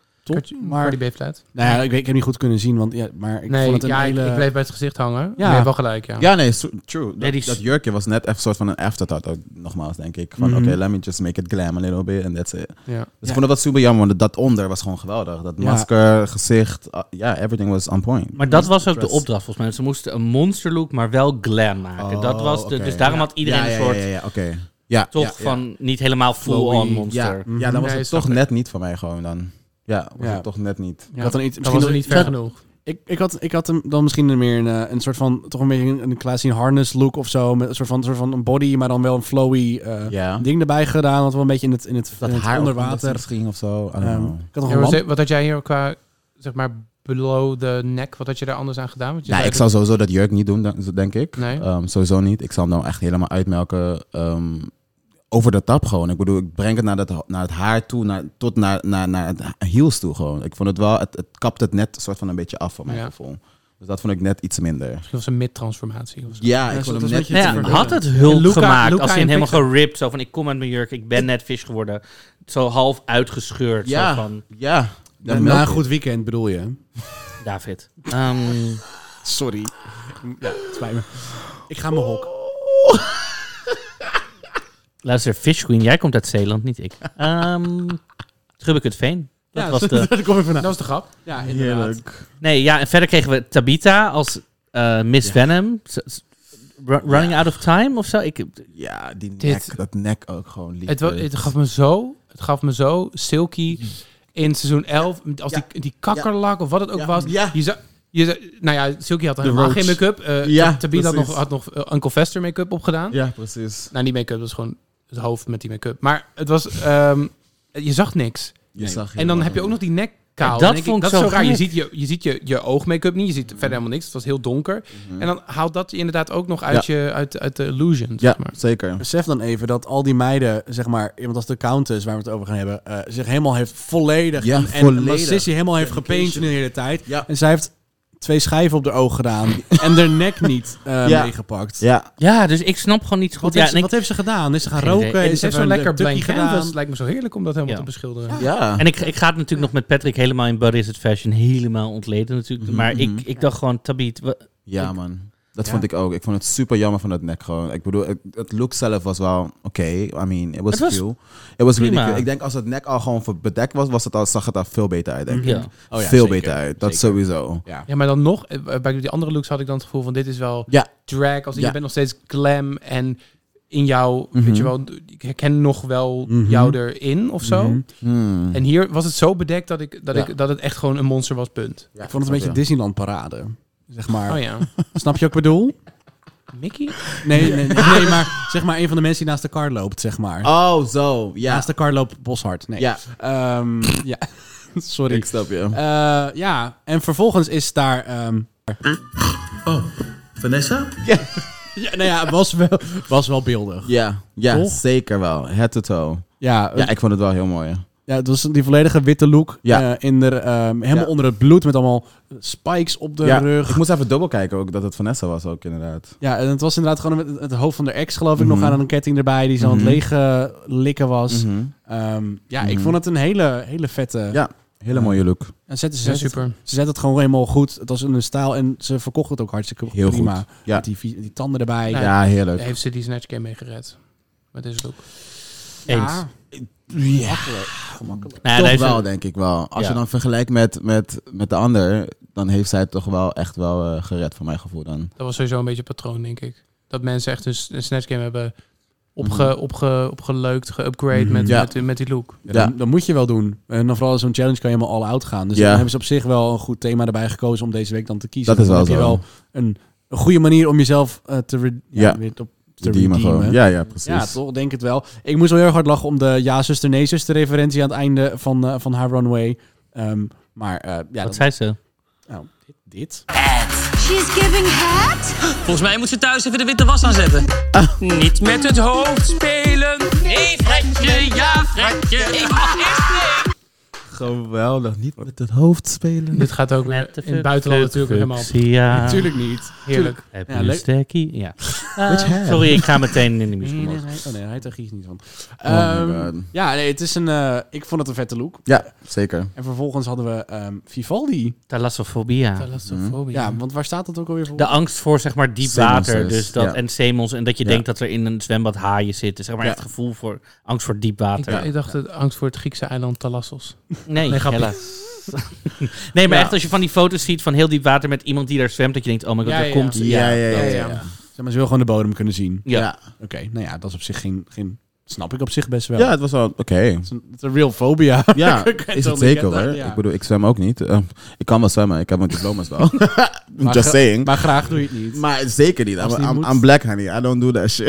Speaker 2: Maar
Speaker 1: Maar die bleef uit.
Speaker 2: Nou ja, ik, weet, ik heb niet goed kunnen zien, want ja, maar ik
Speaker 1: Nee,
Speaker 2: vond het een
Speaker 1: ja, ik-
Speaker 2: hele...
Speaker 1: ik bleef bij het gezicht hangen.
Speaker 2: Ja.
Speaker 1: Ja, je hebt wel gelijk, ja.
Speaker 4: Ja, nee, so- true. Dat,
Speaker 3: Nee, die-
Speaker 4: dat jurkje was net even soort van een afterthought, ook, nogmaals, denk ik. Van,
Speaker 2: Mhm.
Speaker 4: oké, let me just make it glam a little bit and that's it.
Speaker 1: Ja.
Speaker 4: Dus ik vond het wat super jammer, want dat onder was gewoon geweldig. Dat
Speaker 2: Ja.
Speaker 4: masker, gezicht, ah, ja, everything was on point.
Speaker 3: Maar dat was ook de
Speaker 4: Dress.
Speaker 3: opdracht volgens mij. Ze moesten een monster look, maar wel glam maken.
Speaker 4: Oh,
Speaker 3: dat was de,
Speaker 4: oké.
Speaker 3: Dus daarom
Speaker 4: Ja.
Speaker 3: had iedereen
Speaker 4: Ja, ja,
Speaker 3: een soort
Speaker 4: Ja, ja, ja, oké. Ja,
Speaker 3: toch
Speaker 4: ja, ja.
Speaker 3: van niet helemaal full-on
Speaker 4: Flowy.
Speaker 3: monster.
Speaker 4: Ja, ja dan was
Speaker 1: Nee,
Speaker 4: het
Speaker 1: snap
Speaker 4: toch net niet van mij gewoon dan. Ja, was
Speaker 2: Ja.
Speaker 4: het toch net niet.
Speaker 2: had dan iets-
Speaker 1: dat was
Speaker 2: misschien
Speaker 1: er
Speaker 2: nog-
Speaker 1: niet ver
Speaker 2: dat-
Speaker 1: genoeg.
Speaker 2: Ik, ik, had, ik had hem dan misschien meer een, eh, een soort van, toch een beetje een, een classy harness look of zo. Met een soort van, soort van een body, maar dan wel een flowy eh,
Speaker 4: Ja.
Speaker 2: ding erbij gedaan. Had wel een beetje in het, in het, in het onder water.
Speaker 4: misschien of zo. I don't
Speaker 2: Ehm,
Speaker 4: know.
Speaker 2: ik had nog
Speaker 1: Ja,
Speaker 2: een
Speaker 1: maar
Speaker 2: lamp.
Speaker 1: ze- wat had jij hier qua, zeg maar, below the neck, wat had je daar anders aan gedaan? Want je
Speaker 4: Nou,
Speaker 1: zei
Speaker 4: ik
Speaker 1: dat-
Speaker 4: zou sowieso dat jurk niet doen, dan- zo denk ik.
Speaker 1: Nee.
Speaker 4: Ehm, sowieso niet. Ik zal hem nou echt helemaal uitmelken. ehm, over de tap gewoon. Ik bedoel, ik breng het naar, dat, naar het haar toe, naar, tot naar, naar, naar het heels toe gewoon. Ik vond het wel, het, het kapt het net soort van een beetje af van mijn
Speaker 1: Ja.
Speaker 4: gevoel. Dus dat vond ik net iets minder.
Speaker 1: Misschien was een mid-transformatie of zo.
Speaker 4: Ja,
Speaker 2: Ja,
Speaker 4: ik
Speaker 2: zo-
Speaker 4: vond
Speaker 2: dat is
Speaker 4: hem net
Speaker 2: wat je-
Speaker 4: iets
Speaker 3: Nou ja,
Speaker 4: minder.
Speaker 3: had het hulp
Speaker 1: Luca-
Speaker 3: gemaakt
Speaker 1: Luca
Speaker 3: als
Speaker 1: en
Speaker 3: in helemaal
Speaker 1: Pixar.
Speaker 3: geript. Zo van, ik kom uit mijn jurk, ik ben net vis geworden. Zo half uitgescheurd.
Speaker 4: Ja,
Speaker 3: Zo van,
Speaker 4: ja.
Speaker 2: Na,
Speaker 4: Dan
Speaker 2: na
Speaker 4: melk
Speaker 1: nou
Speaker 2: een
Speaker 4: ik.
Speaker 2: goed weekend bedoel je?
Speaker 3: David. Ehm,
Speaker 2: Sorry. Ja, het spijt me. Ik ga mijn hok.
Speaker 3: luister, Fish Queen, jij komt uit Zeeland, niet ik. Ehm het Veen. Dat
Speaker 2: Ja,
Speaker 3: was de...
Speaker 2: daar kom ik
Speaker 1: Dat
Speaker 2: vanaf.
Speaker 1: was de grap.
Speaker 2: Ja,
Speaker 4: Heerlijk.
Speaker 3: Nee, ja, en verder kregen we Tabita als eh, Miss Venom. Ze- ze- Ru- running out of time of zo? Ik,
Speaker 4: ja, die
Speaker 1: Dit-
Speaker 4: nek, dat nek ook gewoon eh, lief.
Speaker 1: Het, wa- het gaf me zo, het gaf me zo,
Speaker 3: Mm.
Speaker 1: Silky in seizoen 11, als die, die kakkerlak of wat het ook was. Je zou, je zou- nou ja, Silky had helemaal
Speaker 4: roach.
Speaker 1: geen make-up. eh
Speaker 4: Ja,
Speaker 1: Tabitha had nog,
Speaker 4: precies.
Speaker 1: had nog eh, Uncle Fester make-up opgedaan.
Speaker 4: Ja, precies.
Speaker 1: Nou, niet make-up, dat is gewoon het hoofd met die make-up. Maar het was, ehm, je zag niks.
Speaker 4: Je zag
Speaker 1: en dan
Speaker 4: helemaal
Speaker 1: heb je ook nog die nek
Speaker 3: Ja,
Speaker 1: kaal.
Speaker 3: dat
Speaker 1: Dan denk ik,
Speaker 3: vond ik
Speaker 1: dat is
Speaker 3: zo
Speaker 1: zo raar. Je
Speaker 3: gek.
Speaker 1: ziet je, je, ziet je, je oogmake-up niet, je ziet verder helemaal niks. Het was heel donker.
Speaker 3: Mhm.
Speaker 1: En dan haalt dat je inderdaad ook nog uit, je, uit, uit de illusion.
Speaker 4: Ja,
Speaker 1: zeg maar.
Speaker 4: zeker.
Speaker 1: Dus-
Speaker 2: Besef dan even dat al die meiden, zeg maar, iemand als de countess waar we het over gaan hebben, eh, zich helemaal heeft volledig
Speaker 4: Ja,
Speaker 2: en, en
Speaker 4: volledig.
Speaker 2: Narcissi helemaal heeft gepaint de
Speaker 4: Dedication.
Speaker 2: hele tijd.
Speaker 4: Ja.
Speaker 2: En zij heeft twee schijven op de oog gedaan en haar nek niet eh,
Speaker 4: Ja.
Speaker 2: meegepakt.
Speaker 4: Ja,
Speaker 3: Ja, dus ik snap gewoon niet zo goed.
Speaker 2: Wat,
Speaker 3: Ja,
Speaker 2: heeft ze,
Speaker 3: en,
Speaker 2: wat
Speaker 3: ik,
Speaker 2: heeft ze gedaan? Is ze gaan
Speaker 3: Geen idee.
Speaker 2: roken?
Speaker 3: En
Speaker 2: Is ze
Speaker 1: Het is zo'n
Speaker 2: even een
Speaker 1: lekker
Speaker 2: tukkie
Speaker 1: blank
Speaker 2: gedaan?
Speaker 1: canvas. Lijkt me zo heerlijk om dat helemaal
Speaker 3: Ja.
Speaker 1: te beschilderen.
Speaker 4: ja.
Speaker 3: en ik, ik ga het natuurlijk nog met Patrick helemaal in Buddy is het Fashion helemaal ontleden natuurlijk. Maar ik, ik dacht gewoon, Tabit, wa-
Speaker 4: Ja, man. Dat vond ik ook. Ik vond het super jammer van dat nek gewoon. Ik bedoel, het, het look zelf was wel oké. I mean, it was,
Speaker 3: Het was
Speaker 4: cool. It was really
Speaker 3: prima.
Speaker 4: cool. Ik denk als het nek al gewoon ver- bedekt was, was het al, zag het er veel beter uit, denk ik.
Speaker 3: ja.
Speaker 2: Oh ja,
Speaker 4: veel
Speaker 2: zeker.
Speaker 4: beter uit. Dat
Speaker 2: Zeker.
Speaker 4: sowieso.
Speaker 2: Ja.
Speaker 1: Ja, maar dan nog, eh, bij die andere looks had ik dan het gevoel van dit is wel
Speaker 4: Ja.
Speaker 1: drag. Als in,
Speaker 4: Ja. Mhm.
Speaker 1: je bent nog steeds glam en in jou, weet je wel, ik herken nog wel jou erin of zo.
Speaker 4: Hmm.
Speaker 1: En hier was het zo bedekt dat, ik, dat,
Speaker 4: Ja.
Speaker 1: ik, dat het echt gewoon een monster was, punt.
Speaker 2: Ik vond het een beetje Disneyland parade. Zeg maar.
Speaker 1: Oh ja,
Speaker 2: Snap je wat ik bedoel?
Speaker 1: Mickey?
Speaker 2: Nee, nee, nee, nee, maar zeg maar een van de mensen die naast de kar loopt, zeg maar.
Speaker 4: Oh, zo. Ja.
Speaker 2: Naast de kar loopt Boshart. Nee.
Speaker 4: Ja.
Speaker 2: Ehm, ja. Sorry.
Speaker 4: Ik snap je.
Speaker 2: Eh, ja, en vervolgens is daar... ehm,
Speaker 7: Oh, Vanessa?
Speaker 2: ja, nou ja, was wel, was wel beeldig.
Speaker 4: Ja, ja
Speaker 2: Toch?
Speaker 4: zeker wel. Head to toe.
Speaker 2: Ja,
Speaker 4: Ja,
Speaker 2: ja,
Speaker 4: ik vond het wel heel mooi. ja.
Speaker 2: het was die volledige witte look.
Speaker 4: Ja.
Speaker 2: eh, in de, ehm, helemaal
Speaker 4: Ja.
Speaker 2: onder het bloed met allemaal spikes op de
Speaker 4: Ja,
Speaker 2: rug.
Speaker 4: ik moest even dubbel kijken ook dat het Vanessa was ook inderdaad.
Speaker 2: Ja, en het was inderdaad gewoon het, het hoofd van de ex, geloof ik,
Speaker 4: Mhm.
Speaker 2: nog aan een ketting erbij. Die zo aan het leeg eh, likken was. Ehm, ja,
Speaker 4: Mhm.
Speaker 2: ik vond het een hele, hele vette...
Speaker 4: Ja, hele mooie look.
Speaker 2: En zetten ze
Speaker 1: Ja,
Speaker 2: super.
Speaker 1: super.
Speaker 2: Ze zet het gewoon helemaal goed. Het was in hun stijl en ze verkocht het ook hartstikke
Speaker 4: Heel
Speaker 2: prima.
Speaker 4: goed. Ja.
Speaker 2: Met die, vi- die tanden erbij.
Speaker 1: Ja.
Speaker 4: Ja, heerlijk.
Speaker 1: Heeft ze die Snatch Game mee gered? Met deze look.
Speaker 3: eens.
Speaker 2: Ja.
Speaker 4: Ja.
Speaker 3: Nou,
Speaker 4: toch
Speaker 3: daar is
Speaker 4: wel,
Speaker 3: een-
Speaker 4: denk ik wel. Als
Speaker 3: Ja.
Speaker 4: je dan vergelijkt met, met, met de ander, dan heeft zij het toch wel echt wel eh, gered, voor mijn gevoel dan.
Speaker 1: Dat was sowieso een beetje een patroon, denk ik. Dat mensen echt een, s- een Snatch Game hebben opge, opge, opgeleukt, geupgrade met,
Speaker 4: Ja.
Speaker 1: met, met die look.
Speaker 2: Ja, Dan, dan moet je wel doen. En dan vooral zo'n challenge kan je helemaal all out gaan. Dus
Speaker 4: Ja.
Speaker 2: dan hebben ze op zich wel een goed thema erbij gekozen om deze week dan te kiezen.
Speaker 4: Dat is
Speaker 2: dan
Speaker 4: wel
Speaker 2: heb
Speaker 4: zo.
Speaker 2: je wel een, een goede manier om jezelf eh, te, re-
Speaker 4: Ja.
Speaker 2: weer op, te
Speaker 4: Die demon
Speaker 2: redeemen.
Speaker 4: gewoon. Ja, ja, precies.
Speaker 2: Ja, toch, denk het wel. Ik moest wel heel erg hard lachen om de ja-zuster, nee-zuster referentie aan het einde van, eh, van haar runway. Ehm, maar eh, ja,
Speaker 3: Wat
Speaker 2: dat,
Speaker 3: zei ze?
Speaker 2: nou, dit, dit.
Speaker 11: She's giving hat?
Speaker 5: Volgens mij moet ze thuis even de witte was aanzetten. Niet met het hoofd spelen. Nee, Fredje, ja, Fredje. Ik mag eerst nee.
Speaker 4: Geweldig. Niet met het hoofd spelen.
Speaker 1: Dit gaat ook in het buitenland natuurlijk helemaal
Speaker 3: Ja,
Speaker 2: Natuurlijk niet.
Speaker 1: heerlijk.
Speaker 3: Heb
Speaker 2: Ja,
Speaker 3: je een
Speaker 2: leuk.
Speaker 3: stekkie? Ja. Eh, sorry, ik ga meteen in de muziek omhoog.
Speaker 2: Oh nee, hij heeft er giet niet van.
Speaker 4: Oh my
Speaker 2: Ehm,
Speaker 4: God.
Speaker 2: ja, nee, het is een. eh, ik vond het een vette look.
Speaker 4: Ja, zeker.
Speaker 2: En vervolgens hadden we ehm, Vivaldi.
Speaker 3: Oh, Thalassofobia.
Speaker 1: Thalassofobia.
Speaker 2: Ja, want waar staat dat ook alweer voor?
Speaker 3: De angst voor zeg maar diep
Speaker 4: Zeemels
Speaker 3: water
Speaker 4: dus,
Speaker 3: dus dat,
Speaker 4: ja.
Speaker 3: en semels. En dat je
Speaker 4: Ja.
Speaker 3: denkt dat er in een zwembad haaien zitten. Zeg maar
Speaker 4: Ja.
Speaker 3: het gevoel voor angst voor diep
Speaker 1: Ik,
Speaker 3: water.
Speaker 1: ik dacht, het angst voor het Griekse eiland Thalassos.
Speaker 3: Nee,
Speaker 1: Nee, grapje.
Speaker 3: helaas. nee, maar
Speaker 1: Ja.
Speaker 3: echt als je van die foto's ziet van heel diep water met iemand die daar zwemt. Dat je denkt, oh my god,
Speaker 1: Ja,
Speaker 3: daar
Speaker 1: ja,
Speaker 3: komt...
Speaker 1: ja.
Speaker 4: Ja, ja, ja.
Speaker 1: dat,
Speaker 4: ja.
Speaker 1: ja.
Speaker 2: Zeg maar, ze wil gewoon de bodem kunnen zien.
Speaker 3: Ja.
Speaker 2: Oké, nou ja, dat is op zich geen, geen. Snap ik op zich best wel.
Speaker 4: Ja, het was wel oké.
Speaker 2: Het is een, het is een real phobia.
Speaker 4: Ja,
Speaker 2: Ik ken
Speaker 4: is
Speaker 2: dat,
Speaker 4: het
Speaker 2: ik
Speaker 4: zeker
Speaker 2: ken dat,
Speaker 4: hoor.
Speaker 2: ja.
Speaker 4: Ik bedoel, ik zwem ook niet. Eh, ik kan wel zwemmen, ik heb mijn diploma's wel.
Speaker 2: Maar
Speaker 4: Just
Speaker 2: gra-
Speaker 4: saying. Maar,
Speaker 2: Maar graag doe je het niet.
Speaker 4: zeker niet. I'm,
Speaker 2: het niet
Speaker 4: I'm-
Speaker 2: moet.
Speaker 4: I'm black, honey. I don't do that shit.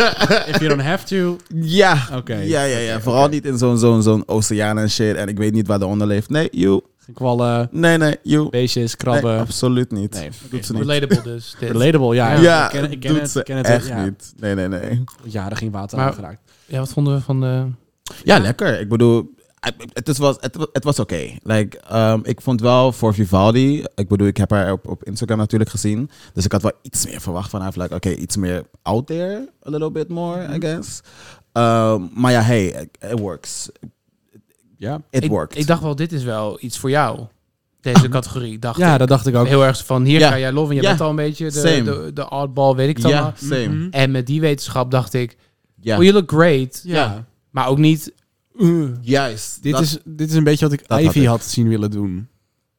Speaker 2: If you don't have to.
Speaker 4: ja.
Speaker 2: Oké.
Speaker 4: Ja, ja, ja. Vooral niet in zo'n zo'n zo'n oceaan en shit. En ik weet niet waar de onder leeft. Nee, you.
Speaker 2: Kwallen,
Speaker 4: Nee, nee, you.
Speaker 2: beestjes,
Speaker 4: Nee,
Speaker 2: krabben.
Speaker 4: absoluut niet.
Speaker 2: Nee,
Speaker 4: doet ze niet.
Speaker 1: Relatable dus. dit.
Speaker 2: Relatable, ja.
Speaker 4: Ja,
Speaker 2: ik ken, ik ken
Speaker 4: doet
Speaker 2: het,
Speaker 4: ze
Speaker 2: ik ken het
Speaker 4: echt
Speaker 2: ja.
Speaker 4: niet. Nee, nee, nee.
Speaker 2: Jaren geen water
Speaker 1: Maar-
Speaker 2: aangeraakt.
Speaker 1: Ja, wat vonden we van de...
Speaker 4: Ja, lekker. Ik bedoel, het is was, het, wa- het was oké. Like, ehm, ik vond wel voor Vivaldi, ik bedoel, ik heb haar op, op Instagram natuurlijk gezien. Dus ik had wel iets meer verwacht van haar. Of Like, oké, iets meer out there, a little bit
Speaker 2: Mhm.
Speaker 4: more, I guess. Ehm, maar ja, hey, it- it works.
Speaker 2: Ja.
Speaker 4: It
Speaker 1: ik,
Speaker 4: worked.
Speaker 1: ik dacht wel, dit is wel iets voor jou. Deze categorie, dacht
Speaker 2: ja,
Speaker 1: ik.
Speaker 2: dat dacht ik ook.
Speaker 1: Heel erg van, hier
Speaker 4: Ja.
Speaker 1: ga jij love in. Je
Speaker 4: Ja.
Speaker 1: bent al een beetje de,
Speaker 4: Same.
Speaker 1: de, de oddball, weet ik het
Speaker 4: ja,
Speaker 1: allemaal.
Speaker 4: same.
Speaker 2: Mhm.
Speaker 1: En met die wetenschap dacht ik,
Speaker 4: Ja,
Speaker 1: oh, you look great.
Speaker 2: Ja.
Speaker 1: Maar ook niet...
Speaker 4: juist.
Speaker 2: Dit,
Speaker 4: Dat-
Speaker 2: is, dit is een beetje wat ik
Speaker 4: dat
Speaker 2: Ivy
Speaker 4: had ik.
Speaker 2: had zien willen doen.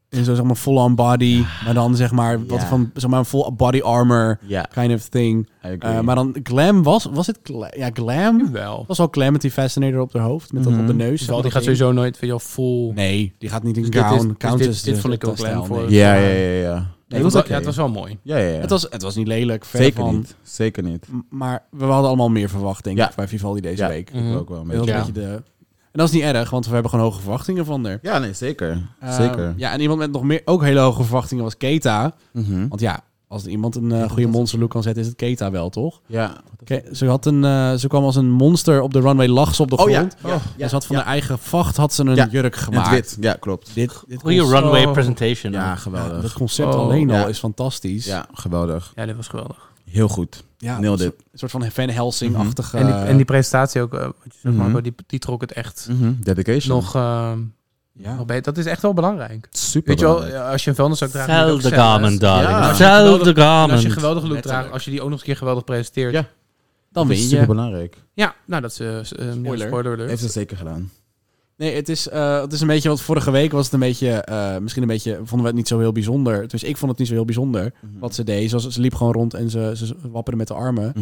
Speaker 2: in zo'n zeg maar full-on body, maar dan zeg maar wat
Speaker 4: Ja.
Speaker 2: van zeg maar een full body armor
Speaker 4: Ja.
Speaker 2: kind of thing.
Speaker 4: agree.
Speaker 2: Eh, maar dan glam was was het gla- ja glam wel. Was wel glam met die fascinator op haar hoofd met dat op de
Speaker 1: Mhm.
Speaker 2: neus.
Speaker 1: Wel, die gaat sowieso nooit van jou full.
Speaker 2: Nee, die gaat niet in
Speaker 1: Dus dit is-
Speaker 2: gown.
Speaker 1: dus
Speaker 2: Gowns
Speaker 1: dit-
Speaker 2: is
Speaker 1: dit
Speaker 2: de-
Speaker 1: vond ik
Speaker 2: dat
Speaker 1: ook glam
Speaker 2: stijl,
Speaker 1: voor-
Speaker 2: nee.
Speaker 4: Ja, ja, ja, ja.
Speaker 1: Nee, het was, wel- ja, het was wel mooi.
Speaker 4: Ja, ja, ja.
Speaker 2: Het was het was niet lelijk. verre
Speaker 4: Zeker
Speaker 2: van.
Speaker 4: niet. Zeker niet.
Speaker 2: M- Maar we hadden allemaal meer verwacht, denk ik,
Speaker 4: Ja.
Speaker 2: bij Vivaldi deze
Speaker 4: Ja,
Speaker 2: week.
Speaker 4: ik Mhm. ook wel een
Speaker 2: Dat was
Speaker 4: beetje.
Speaker 2: een beetje de... En dat is niet erg, want we hebben gewoon hoge verwachtingen van haar.
Speaker 4: Ja, nee, zeker.
Speaker 2: Eh,
Speaker 4: zeker.
Speaker 2: Ja, en iemand met nog meer, ook hele hoge verwachtingen was Keta.
Speaker 4: Mhm.
Speaker 2: Want ja, als er iemand een eh, goede monster look kan zetten, is het Keta wel, toch?
Speaker 4: Ja.
Speaker 2: Ke- ze, had een, eh, ze kwam als een monster op de runway, lag ze op de
Speaker 4: Oh, ja.
Speaker 2: grond.
Speaker 4: Ja, ja,
Speaker 2: en ze had Dus van
Speaker 4: ja.
Speaker 2: haar eigen vacht had ze een
Speaker 4: Ja,
Speaker 2: jurk
Speaker 4: in het
Speaker 2: gemaakt.
Speaker 4: wit. Ja, klopt.
Speaker 2: Dit, dit
Speaker 3: Goede
Speaker 2: concept-
Speaker 3: runway presentation.
Speaker 4: Ja,
Speaker 2: Ja,
Speaker 4: geweldig.
Speaker 2: dat concept alleen al
Speaker 4: Oh, Ja.
Speaker 2: is fantastisch.
Speaker 4: Ja, geweldig.
Speaker 1: Ja, dit was geweldig.
Speaker 4: Heel goed.
Speaker 2: Ja,
Speaker 4: Nailed
Speaker 2: een
Speaker 4: it.
Speaker 2: soort- Een soort van Van Helsing-achtige...
Speaker 1: En, die, en die presentatie ook, eh, wat je zegt,
Speaker 4: Mhm.
Speaker 1: Marco, die, die trok het echt
Speaker 4: Mhm. Dedication.
Speaker 1: nog, eh,
Speaker 2: Ja.
Speaker 1: nog beter. Dat is echt wel belangrijk.
Speaker 4: Super
Speaker 1: Weet je wel, eh, als je een vuilniszak draagt... moet je ook
Speaker 3: Sell the
Speaker 1: gezellig
Speaker 3: garment,
Speaker 1: zijn.
Speaker 3: darling.
Speaker 1: En als je
Speaker 3: Sell
Speaker 1: geweldig-
Speaker 3: the garment.
Speaker 1: en Als je een geweldige look
Speaker 2: Letterlijk.
Speaker 1: draagt, als je die ook nog eens een keer geweldig presenteert...
Speaker 4: Ja.
Speaker 2: dan
Speaker 4: Dat
Speaker 2: win
Speaker 4: is
Speaker 2: je.
Speaker 4: super belangrijk.
Speaker 1: Ja, nou, dat is eh, s- een
Speaker 2: Spoiler.
Speaker 1: spoiler. spoiler alert.
Speaker 4: Heeft ze zeker gedaan.
Speaker 2: Nee, het is, eh, het is een beetje wat vorige week was het een beetje, eh, misschien een beetje, vonden we het niet zo heel bijzonder. Dus ik vond het niet zo heel bijzonder
Speaker 4: Mhm.
Speaker 2: wat ze deed. Ze, was- ze liep gewoon rond en ze, ze wapperde met de armen.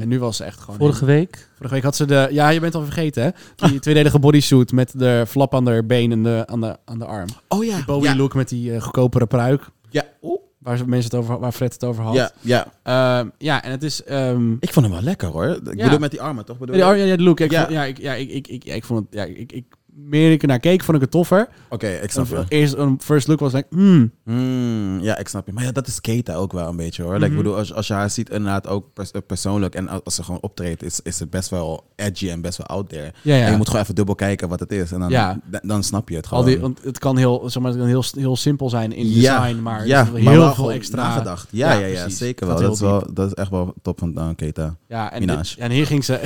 Speaker 2: En nu was ze echt gewoon...
Speaker 3: Vorige week?
Speaker 2: Vorige week had ze de, ja je bent al vergeten hè, die tweedelige bodysuit met de flap aan haar been en de, aan, de, aan de arm.
Speaker 4: Oh ja.
Speaker 2: Die Bowie
Speaker 4: ja.
Speaker 2: look met die eh, goedkopere pruik.
Speaker 4: Ja. Oeh.
Speaker 2: Waar, ze- mensen het over, waar Fred het over had.
Speaker 4: ja, ja.
Speaker 2: Ehm, ja en het is... ehm,
Speaker 4: Ik vond hem wel lekker hoor. Ik
Speaker 2: Ja.
Speaker 4: bedoel met die armen toch? Bedoel
Speaker 2: Ja,
Speaker 4: je?
Speaker 2: ja, ja, de look. Ik
Speaker 4: Ja.
Speaker 2: vond- Ja, ik, ja, ik, ik, ik, ja, ik vond het... Ja, ik, ik, meer ik ernaar keek, vond ik het toffer.
Speaker 4: Oké, ik snap je.
Speaker 2: Eerst een first look was ik, hmm,
Speaker 4: Mm, ja, ik snap je. Maar ja, dat is Keta ook wel een beetje hoor. like, ik
Speaker 2: Mhm.
Speaker 4: bedoel, als, als je haar ziet inderdaad ook pers- eh, persoonlijk en als als ze gewoon optreedt, is, is het best wel edgy en best wel out there.
Speaker 2: Ja, ja.
Speaker 4: En je moet gewoon even dubbel kijken wat het is en dan,
Speaker 2: Ja.
Speaker 4: da- dan snap je het
Speaker 2: al
Speaker 4: gewoon.
Speaker 2: die, want het kan heel, zeg maar, het kan heel, heel simpel zijn in design, maar
Speaker 4: Oh. ja,
Speaker 2: er zit
Speaker 4: maar
Speaker 2: heel
Speaker 4: wel
Speaker 2: veel
Speaker 4: gewoon
Speaker 2: extra
Speaker 4: nagedacht. Ja, ja, ja,
Speaker 2: precies.
Speaker 4: zeker
Speaker 2: Het gaat
Speaker 4: wel. Dat is,
Speaker 2: heel diep.
Speaker 4: wel. dat is echt wel top van eh, Keta.
Speaker 2: Ja, en,
Speaker 4: Minaj.
Speaker 2: dit- ja, en hier ging ze,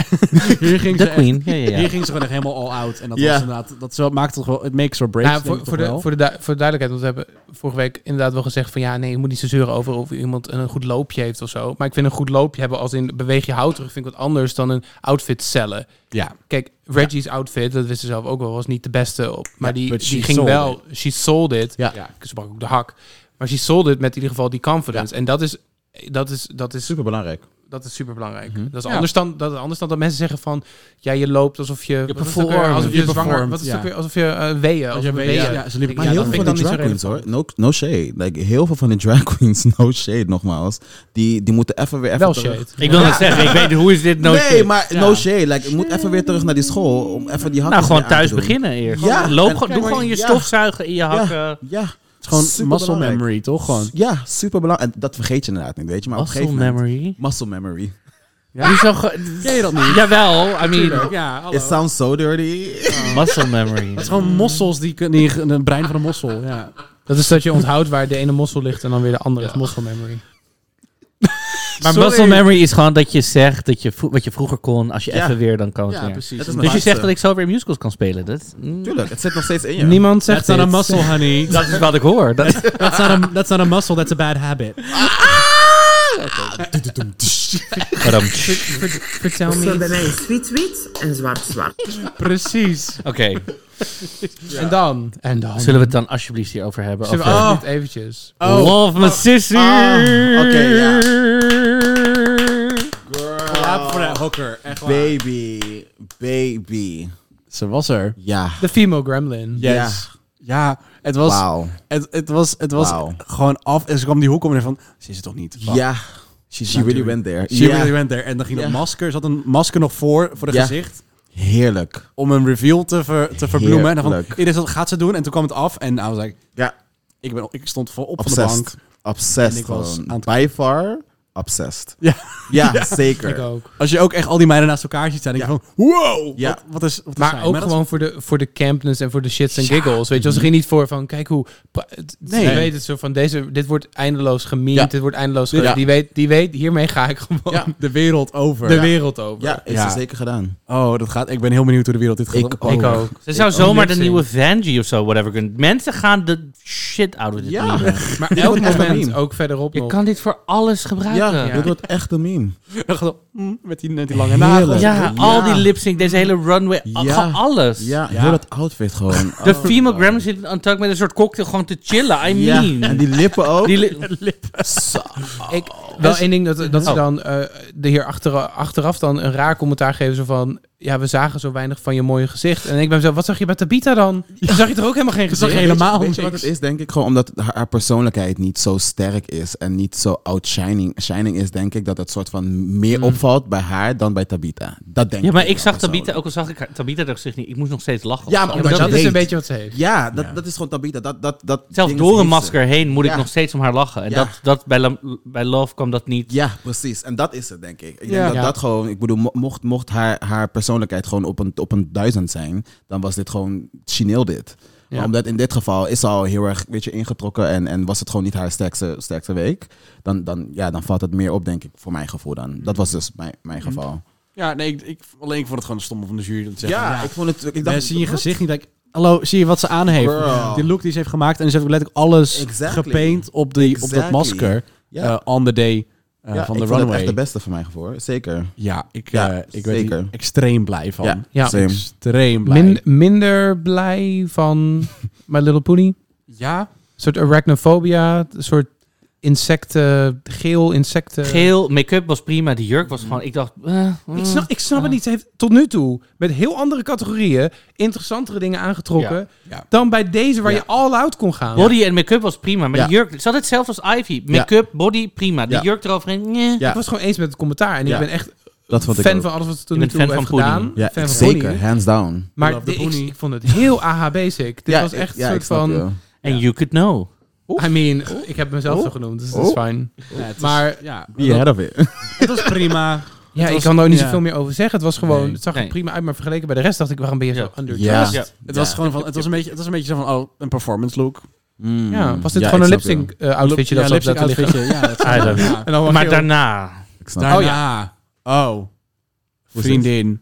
Speaker 2: hier ging
Speaker 3: De
Speaker 2: ze, echt-
Speaker 3: queen. Ja, ja, ja.
Speaker 2: hier ging ze gewoon echt helemaal all out. En dat
Speaker 4: Ja.
Speaker 2: was inderdaad, dat zo, maakt toch wel, het makes or breaks.
Speaker 1: Nou,
Speaker 2: denk
Speaker 1: voor,
Speaker 2: ik
Speaker 1: voor,
Speaker 2: toch
Speaker 1: de,
Speaker 2: wel.
Speaker 1: voor, de, du- voor de duidelijkheid, want we hebben vorige week inderdaad wel gezegd van ja, nee, je moet niet zo zeuren over of iemand een goed loopje heeft of zo. Maar ik vind een goed loopje hebben als in beweeg je hout terug, vind ik wat anders dan een outfit cellen.
Speaker 2: ja,
Speaker 1: Kijk, Reggie's outfit, dat wist ze zelf ook wel, was niet de beste op. Maar
Speaker 2: Ja,
Speaker 1: die,
Speaker 2: but she
Speaker 1: die ging
Speaker 2: sold
Speaker 1: wel, she sold it.
Speaker 2: Ja.
Speaker 1: Ze brak ook de hak. Maar she sold it met in ieder geval die confidence. En dat is, dat is, dat is
Speaker 4: Super belangrijk.
Speaker 1: dat is super belangrijk. Dat is
Speaker 2: Ja.
Speaker 1: anders, dan, dat, anders dan dat mensen zeggen van... Ja, je loopt alsof je... wat is het ook weer?
Speaker 2: performt.
Speaker 1: Alsof je,
Speaker 2: Je
Speaker 1: zwanger...
Speaker 2: performt,
Speaker 1: Wat is
Speaker 2: ja.
Speaker 1: het ook weer? Alsof je eh, weeën... Alsof
Speaker 2: je
Speaker 1: je
Speaker 2: weeën-
Speaker 1: weeën...
Speaker 2: ja, ze liepen-
Speaker 1: Ik-
Speaker 4: Maar
Speaker 2: Ja,
Speaker 1: dat
Speaker 2: dan
Speaker 4: heel veel
Speaker 2: vind
Speaker 4: van
Speaker 2: ik
Speaker 4: die
Speaker 2: niet
Speaker 4: drag
Speaker 2: zo
Speaker 4: queens hoor. No, no shade. Like, heel veel van die drag queens, no shade nogmaals. Die, die moeten even weer even
Speaker 1: Wel
Speaker 4: terug.
Speaker 1: shit.
Speaker 3: Ik wil net zeggen, ik weet hoe is dit no
Speaker 4: nee,
Speaker 3: shit.
Speaker 4: maar no shade. Like, ik moet even weer terug naar die school om even die hakken
Speaker 3: Nou, gewoon
Speaker 4: weer aan te
Speaker 3: thuis
Speaker 4: doen.
Speaker 3: beginnen eerst.
Speaker 4: Ja.
Speaker 3: Gewoon Loop,
Speaker 4: En-
Speaker 3: gewoon,
Speaker 4: kijk,
Speaker 3: doe
Speaker 4: maar-
Speaker 3: gewoon je
Speaker 4: ja.
Speaker 3: stofzuigen in je hakken.
Speaker 4: Ja, ja.
Speaker 2: het is gewoon muscle
Speaker 4: Superbelangrijk.
Speaker 2: memory, toch? Gewoon.
Speaker 4: Ja, superbelangrijk. En dat vergeet je inderdaad niet, weet je. Maar
Speaker 3: Muscle
Speaker 4: op een gegeven moment-
Speaker 3: memory?
Speaker 4: Muscle memory.
Speaker 3: Hoezo ge-
Speaker 2: Ken je dat niet?
Speaker 3: Jawel, I mean,
Speaker 2: Ja, hallo.
Speaker 4: It sounds so dirty.
Speaker 3: muscle memory.
Speaker 2: Het is gewoon mossels die kunnen, die- een brein van een mossel, ja.
Speaker 1: Dat is dat je onthoudt waar de ene mossel ligt... en dan weer de andere. is Mossel memory.
Speaker 3: Maar muscle memory is gewoon dat je zegt dat je vro- wat je vroeger kon, als je
Speaker 4: Ja.
Speaker 3: even weer, dan kan het weer.
Speaker 4: Dat is
Speaker 3: Dus je
Speaker 4: laatste.
Speaker 3: zegt dat ik zo weer musicals kan spelen. Dat, mm,
Speaker 4: Tuurlijk, het zit nog steeds in je.
Speaker 1: Niemand zegt
Speaker 2: That's not a
Speaker 1: dit.
Speaker 2: muscle, honey.
Speaker 3: dat is wat ik hoor. Dat,
Speaker 2: That's not a, that's not a muscle, that's a bad habit.
Speaker 3: Waarom?
Speaker 1: Vertel
Speaker 12: Zo,
Speaker 1: me.
Speaker 12: bij mij is wit-wit en zwart-zwart.
Speaker 2: Precies.
Speaker 3: Oké,
Speaker 1: En dan? En dan?
Speaker 3: zullen we het dan alsjeblieft hierover hebben?
Speaker 1: Zullen we
Speaker 3: Over-
Speaker 1: alsjeblieft eventjes...
Speaker 3: Love my sister.
Speaker 4: Oké, ja.
Speaker 2: Klaar voor de hokker, echt waar.
Speaker 4: Baby. Baby.
Speaker 2: Ze was er.
Speaker 4: Ja.
Speaker 1: De female gremlin.
Speaker 2: Yes. Ja, het was,
Speaker 4: Wauw.
Speaker 2: het, het was, het was
Speaker 4: Wauw.
Speaker 2: gewoon af. En ze kwam die hoek om en van, ze is het toch niet? Fuck.
Speaker 4: Ja.
Speaker 2: She's
Speaker 4: She
Speaker 2: not
Speaker 4: really
Speaker 2: doing-
Speaker 4: went there.
Speaker 2: She
Speaker 4: Ja.
Speaker 2: really went there. En dan ging dat
Speaker 4: Ja.
Speaker 2: masker, ze had een masker nog voor, voor het
Speaker 4: Ja.
Speaker 2: gezicht.
Speaker 4: Heerlijk.
Speaker 2: Om een reveal te, ver- te verbloemen. En dan van,
Speaker 4: Heerlijk.
Speaker 2: iedereen dat gaat ze doen. En toen kwam het af en I was like,
Speaker 4: Ja.
Speaker 2: ik, ben, ik stond vol op van de
Speaker 4: Obsessed.
Speaker 2: bank. En
Speaker 4: Obsessed
Speaker 2: ik was
Speaker 4: gewoon.
Speaker 2: aan het-
Speaker 4: By far, obsessed.
Speaker 2: Ja.
Speaker 4: Ja,
Speaker 1: Ik
Speaker 4: zeker.
Speaker 1: ook.
Speaker 2: Als je ook echt al die meiden naast elkaar ziet staan, denk je van, wow!
Speaker 4: Ja.
Speaker 2: Wat, wat is, wat is zij?
Speaker 1: Maar ook
Speaker 2: dat is-
Speaker 1: gewoon voor de, voor de campness en voor de shits en giggles. Weet je, als er ging niet voor van, kijk hoe... pra- het-
Speaker 2: Nee.
Speaker 1: Je weet het zo van, deze, dit wordt eindeloos gemiemd,
Speaker 4: Ja.
Speaker 1: dit wordt eindeloos...
Speaker 4: Ja.
Speaker 1: ge- Die, weet, die weet, hiermee ga ik gewoon
Speaker 2: Ja, de wereld over.
Speaker 1: de wereld over.
Speaker 4: Ja, heeft
Speaker 2: Ja.
Speaker 4: ze zeker gedaan.
Speaker 2: Oh, dat gaat. Ik ben heel benieuwd hoe de wereld dit gaat
Speaker 4: Ik
Speaker 2: oppakken.
Speaker 1: Ik ook.
Speaker 3: Ze zou
Speaker 1: Ik
Speaker 3: zomaar
Speaker 1: ook.
Speaker 3: de nieuwe Vanjie of zo, whatever kunnen. Mensen gaan de shit out of dit
Speaker 4: Ja.
Speaker 3: nemen.
Speaker 1: Maar elk
Speaker 4: echt een
Speaker 1: moment,
Speaker 4: meme.
Speaker 1: ook verderop
Speaker 3: Je
Speaker 1: nog.
Speaker 3: kan dit voor alles gebruiken.
Speaker 4: Ja, dit wordt echt een meme.
Speaker 2: Met die, met die lange nagels.
Speaker 3: Ja, al die lipsync, deze hele runway, al- gewoon alles.
Speaker 4: Ja, heel dat outfit gewoon. Oh,
Speaker 3: De female Grammar zit aan tak met een soort cocktail gewoon te chillen. I
Speaker 4: Ja,
Speaker 3: mean.
Speaker 4: en die lippen ook.
Speaker 3: Die li- lippen.
Speaker 4: Oh.
Speaker 1: Ik, wel één ding, dat, dat ze dan eh, de heer achter, achteraf dan een raar commentaar geven. Zo van, ja, we zagen zo weinig van je mooie gezicht. En ik ben zo, wat zag je bij Tabita dan? Dan zag je toch ook helemaal geen gezicht?
Speaker 4: Weet je wat het is, denk ik? Gewoon omdat haar, haar persoonlijkheid niet zo sterk is en niet zo outshining shining is, denk ik dat het soort van meer opvalt bij haar dan bij Tabita. Dat denk
Speaker 3: Ja,
Speaker 4: ik.
Speaker 3: maar ik zag Tabita, ook al zag ik haar- Tabita haar gezicht niet, ik moest nog steeds lachen.
Speaker 4: Ja, maar omdat je dat weet. Ja, dat,
Speaker 3: Ja.
Speaker 4: dat is gewoon Tabita. Dat, dat, dat
Speaker 3: Zelfs
Speaker 4: ding
Speaker 3: door
Speaker 4: is
Speaker 3: een
Speaker 4: niet zo.
Speaker 3: masker heen moet ik
Speaker 4: Ja.
Speaker 3: nog steeds om haar lachen. En
Speaker 4: Ja.
Speaker 3: dat, dat bij, Lam- bij Love kwam dat niet.
Speaker 4: Ja, precies. En dat is het, denk ik.
Speaker 3: Ja.
Speaker 4: Ik denk dat
Speaker 3: Ja.
Speaker 4: dat gewoon... Ik bedoel, mo- mocht, mocht haar, haar persoonlijkheid gewoon op een, op een duizend zijn... dan was dit gewoon chineel dit.
Speaker 1: Ja.
Speaker 4: Maar Omdat in dit geval is ze al heel erg weet je, ingetrokken... En, en was het gewoon niet haar sterkste, sterkste week. Dan, dan, ja, dan valt het meer op, denk ik, voor mijn gevoel dan. Dat was dus mijn, mijn geval.
Speaker 2: Ja, nee, ik, ik, alleen ik vond het gewoon stom van de jury. Dat
Speaker 4: Ja, ik vond het- ik dacht,
Speaker 2: Mensen zien je
Speaker 4: wat?
Speaker 2: gezicht niet. Denk, ik, Hallo, zie je wat ze aan heeft?
Speaker 4: Girl.
Speaker 2: Die look die ze heeft gemaakt. En ze heeft ook letterlijk alles
Speaker 4: Exactly.
Speaker 2: gepaint op, die, op dat
Speaker 4: Exactly.
Speaker 2: masker.
Speaker 4: Ja.
Speaker 2: eh, on the day eh,
Speaker 4: Ja,
Speaker 2: van
Speaker 4: ik
Speaker 2: de
Speaker 4: vond het
Speaker 2: runway.
Speaker 4: echt de beste van mijn gevoel. Zeker.
Speaker 2: Ja, ik,
Speaker 4: Ja,
Speaker 2: eh, ik werd
Speaker 4: zeker.
Speaker 2: hier extreem blij van.
Speaker 4: Ja,
Speaker 1: Ja. same.
Speaker 2: extreem blij.
Speaker 1: Min- minder blij van My Little Pony.
Speaker 2: Ja.
Speaker 1: Een soort arachnophobia, een soort insecten, geel insecten.
Speaker 3: Geel, make-up was prima, die jurk was gewoon... Ik dacht... eh,
Speaker 1: Ik snap, ik snap het niet. Ze heeft tot nu toe met heel andere categorieën interessantere dingen aangetrokken
Speaker 3: Ja.
Speaker 2: Ja.
Speaker 1: dan bij deze waar
Speaker 3: Ja.
Speaker 1: je all out kon gaan.
Speaker 3: Body en make-up was prima, maar
Speaker 1: Ja.
Speaker 3: die jurk... Ze had hetzelfde als Ivy. Make-up, body, prima. Die
Speaker 1: Ja.
Speaker 3: jurk eroverheen, eh, nee.
Speaker 1: Ik was gewoon eens met het commentaar en
Speaker 4: Ja.
Speaker 1: ik ben echt
Speaker 4: Dat vond ik
Speaker 1: fan
Speaker 4: ook.
Speaker 1: van alles wat ze
Speaker 3: Je
Speaker 1: tot nu
Speaker 3: bent
Speaker 1: toe
Speaker 3: fan
Speaker 1: heeft
Speaker 3: van Pony.
Speaker 1: gedaan.
Speaker 4: Ja,
Speaker 1: fan
Speaker 4: ik-
Speaker 1: van
Speaker 4: zeker.
Speaker 1: Pony.
Speaker 4: Hands down.
Speaker 1: Maar de, ik, ik vond het heel AH-basic. Dit
Speaker 4: Ja,
Speaker 1: was
Speaker 4: ik-
Speaker 1: echt
Speaker 4: ja,
Speaker 1: een
Speaker 4: ik
Speaker 1: soort
Speaker 4: snap
Speaker 1: van...
Speaker 4: je.
Speaker 3: En you could know.
Speaker 1: I mean, ik heb mezelf zo genoemd, dus dat is
Speaker 2: Oh.
Speaker 1: fijn.
Speaker 2: Ja, het is-
Speaker 1: maar
Speaker 2: ja.
Speaker 4: Be ahead of it.
Speaker 2: Het was prima.
Speaker 1: Ja,
Speaker 2: Het
Speaker 1: ik
Speaker 2: was-
Speaker 1: kan er ook niet
Speaker 2: ja.
Speaker 1: zoveel meer over zeggen. Het was gewoon, het zag er
Speaker 2: Nee.
Speaker 1: prima uit, maar vergeleken bij de rest dacht ik, waarom ben je zo underdressed?
Speaker 2: Ja. Het was gewoon van, het was een beetje, het was een beetje zo van, oh, een performance look.
Speaker 4: Mm.
Speaker 1: Ja, was dit gewoon een lipsync eh, outfitje dat
Speaker 2: ja,
Speaker 1: ze op
Speaker 2: lipsync
Speaker 1: laten liggen? Ah,
Speaker 2: outfitje, ja, dat
Speaker 3: I
Speaker 2: zou-
Speaker 3: don't
Speaker 2: ja.
Speaker 3: know.
Speaker 1: Nou,
Speaker 3: maar daarna...
Speaker 4: snap
Speaker 2: Daarna.
Speaker 4: het.
Speaker 2: Oh, vriendin.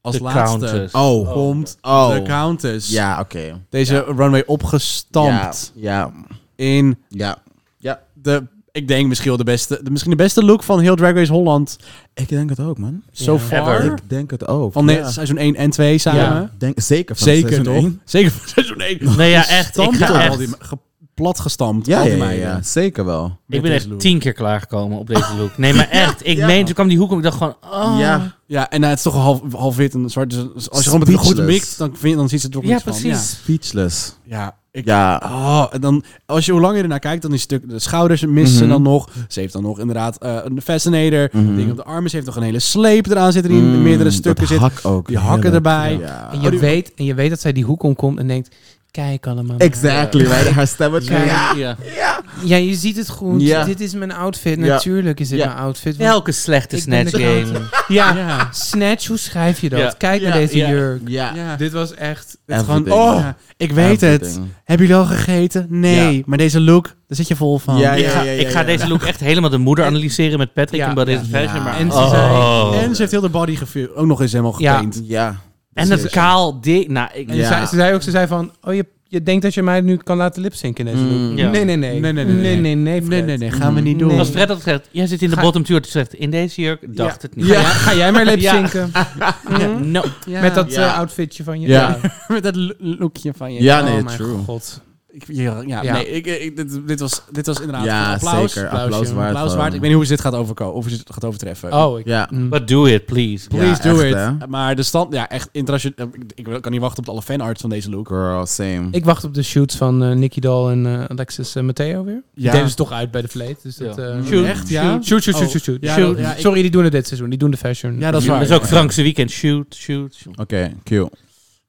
Speaker 2: Als
Speaker 3: De
Speaker 2: laatste
Speaker 3: Countess.
Speaker 4: Oh.
Speaker 2: komt
Speaker 4: Oh.
Speaker 2: de Countess.
Speaker 4: Ja, oké.
Speaker 2: Deze runway opgestampt.
Speaker 4: Ja.
Speaker 2: In
Speaker 4: Ja. Ja.
Speaker 2: de, ik denk misschien wel de beste, de, misschien de beste look van heel Drag Race Holland.
Speaker 4: Ik denk het ook, man.
Speaker 2: So far.
Speaker 4: Ik denk het ook.
Speaker 2: Van
Speaker 4: ja.
Speaker 2: net seizoen 1 en 2 samen.
Speaker 4: Ja, denk, zeker van
Speaker 2: Zeker
Speaker 4: seizoen
Speaker 2: toch?
Speaker 4: één.
Speaker 2: Zeker van seizoen 1.
Speaker 3: Nee, ja, echt. Ik
Speaker 2: Gestampt
Speaker 3: ga
Speaker 2: door
Speaker 3: echt-
Speaker 2: al die- ge- platgestampt.
Speaker 4: Ja,
Speaker 2: al die
Speaker 4: ja, ja,
Speaker 2: meiden. Ah.
Speaker 4: ja, zeker wel.
Speaker 3: Ik ben
Speaker 2: deze
Speaker 3: echt
Speaker 2: look.
Speaker 3: tien keer klaargekomen op deze look. Nee, maar echt. Ik meen, toen kwam die hoek om. Ik dacht gewoon... Oh.
Speaker 4: Ja.
Speaker 2: Ja, en eh, het is toch half, half wit en zwart. Dus als je gewoon met een goed
Speaker 4: Speechless.
Speaker 2: mixt, dan, vind, dan ziet ze er toch
Speaker 3: Ja,
Speaker 2: iets van.
Speaker 3: precies.
Speaker 4: Speechless.
Speaker 2: Ja, ja. Ik,
Speaker 4: Ja.
Speaker 2: Oh, en dan, als je hoe langer je ernaar kijkt, dan is het stuk de schouders missen
Speaker 4: Mhm.
Speaker 2: dan nog. Ze heeft dan nog inderdaad eh, een fascinator.
Speaker 4: Mhm.
Speaker 2: Dingen op de armen. Ze heeft nog een hele sleep eraan zitten die in
Speaker 4: Mm,
Speaker 2: meerdere
Speaker 4: dat
Speaker 2: stukken zit.
Speaker 4: hak ook.
Speaker 2: Die hakken
Speaker 4: Heerlijk.
Speaker 2: erbij.
Speaker 4: Ja.
Speaker 1: En je, weet, en je weet dat zij die hoek omkomt en denkt, kijk allemaal. maar.
Speaker 4: Exactly, right? Haar stemmetje.
Speaker 1: Ja.
Speaker 4: Ja.
Speaker 3: Ja.
Speaker 1: Ja, je ziet het goed.
Speaker 4: Ja.
Speaker 1: Dit is mijn outfit.
Speaker 4: Ja.
Speaker 1: Natuurlijk is dit
Speaker 4: Ja.
Speaker 1: mijn outfit. want
Speaker 3: Welke slechte
Speaker 1: ik ben de
Speaker 3: snatch game.
Speaker 1: grote- Ja.
Speaker 2: Ja.
Speaker 1: Snatch, hoe schrijf je dat?
Speaker 3: Ja.
Speaker 1: Kijk naar
Speaker 2: Ja,
Speaker 1: deze
Speaker 3: ja.
Speaker 1: jurk.
Speaker 4: Ja.
Speaker 2: Ja.
Speaker 1: Dit was echt...
Speaker 2: Het is gewoon,
Speaker 4: Everything.
Speaker 2: oh,
Speaker 4: Ja.
Speaker 2: ik weet het.
Speaker 4: Everything.
Speaker 2: Hebben jullie al gegeten? Nee. Maar deze look, daar zit je vol van.
Speaker 4: Ja, ja,
Speaker 3: Ik ga,
Speaker 4: ja, ja,
Speaker 3: ik ga
Speaker 4: ja.
Speaker 3: deze look echt helemaal de moeder analyseren met Patrick en Body Fashion. Maar
Speaker 1: En ze
Speaker 3: oh.
Speaker 1: zei-
Speaker 2: En ze heeft heel de body gevu- ook nog eens helemaal
Speaker 1: Ja.
Speaker 2: gepaint.
Speaker 4: Ja.
Speaker 3: En het kaal ding. Nou, ik,
Speaker 1: En ze zei- ze zei ook, ze zei van, oh je, je denkt dat je mij nu kan laten lipzinken in deze
Speaker 4: Mm.
Speaker 1: look.
Speaker 3: Ja.
Speaker 1: Nee, nee, nee.
Speaker 2: Nee, nee, nee, nee.
Speaker 1: Nee, nee, nee,
Speaker 2: Nee,
Speaker 1: Fred. Mm.
Speaker 2: nee, nee, gaan we niet
Speaker 1: Nee.
Speaker 2: doen.
Speaker 1: Als
Speaker 3: Als Fred had gezegd, jij zit in de
Speaker 1: Ga-
Speaker 3: bottom tier. Toen zegt, in deze jurk dacht het niet.
Speaker 1: Ga, jij- ga jij maar lipzinken?
Speaker 3: Ja, no.
Speaker 2: Ja.
Speaker 1: Met dat
Speaker 4: Ja.
Speaker 1: eh, outfitje van je.
Speaker 4: Ja.
Speaker 2: met dat lo- lookje van je.
Speaker 4: Ja, nee,
Speaker 1: oh mijn
Speaker 4: true.
Speaker 1: god.
Speaker 2: Ik- ja, ja,
Speaker 1: Ja.
Speaker 2: nee, ik, ik- dit, dit, was, dit was inderdaad
Speaker 4: Ja,
Speaker 2: een Nou, applaus.
Speaker 4: zeker.
Speaker 1: applausje.
Speaker 4: Applaus waard.
Speaker 2: Applaus
Speaker 4: gewoon.
Speaker 2: waard. Ik weet niet hoe ze dit gaat, overko- of ze dit gaat overtreffen.
Speaker 1: Oh, ik...
Speaker 4: Ja.
Speaker 1: Mm.
Speaker 3: But do it, please.
Speaker 2: Please
Speaker 4: Ja,
Speaker 2: do
Speaker 4: echt,
Speaker 2: it.
Speaker 4: hè?
Speaker 2: Maar de stand, ja, echt internationaal. eh, Ik, ik kan niet wachten op alle fanarts van deze look.
Speaker 4: Girl, same.
Speaker 1: Ik wacht op de shoots van eh Nicky Dal en eh, Alexis eh, Matteo weer.
Speaker 2: Ja.
Speaker 1: Die deden ze toch uit bij de vleet. Dus dat,
Speaker 3: Ja.
Speaker 1: eh,
Speaker 2: Shoot. Echt, ja?
Speaker 1: Shoot, shoot, shoot,
Speaker 2: Oh.
Speaker 1: shoot. shoot.
Speaker 2: Ja,
Speaker 1: Shoot.
Speaker 2: dat- ja, ik-
Speaker 1: Sorry, die doen het dit seizoen. Die doen de fashion.
Speaker 2: Ja, dat is waar.
Speaker 3: Dat is ook Frankse weekend. Shoot, shoot. shoot.
Speaker 4: Oké, cute.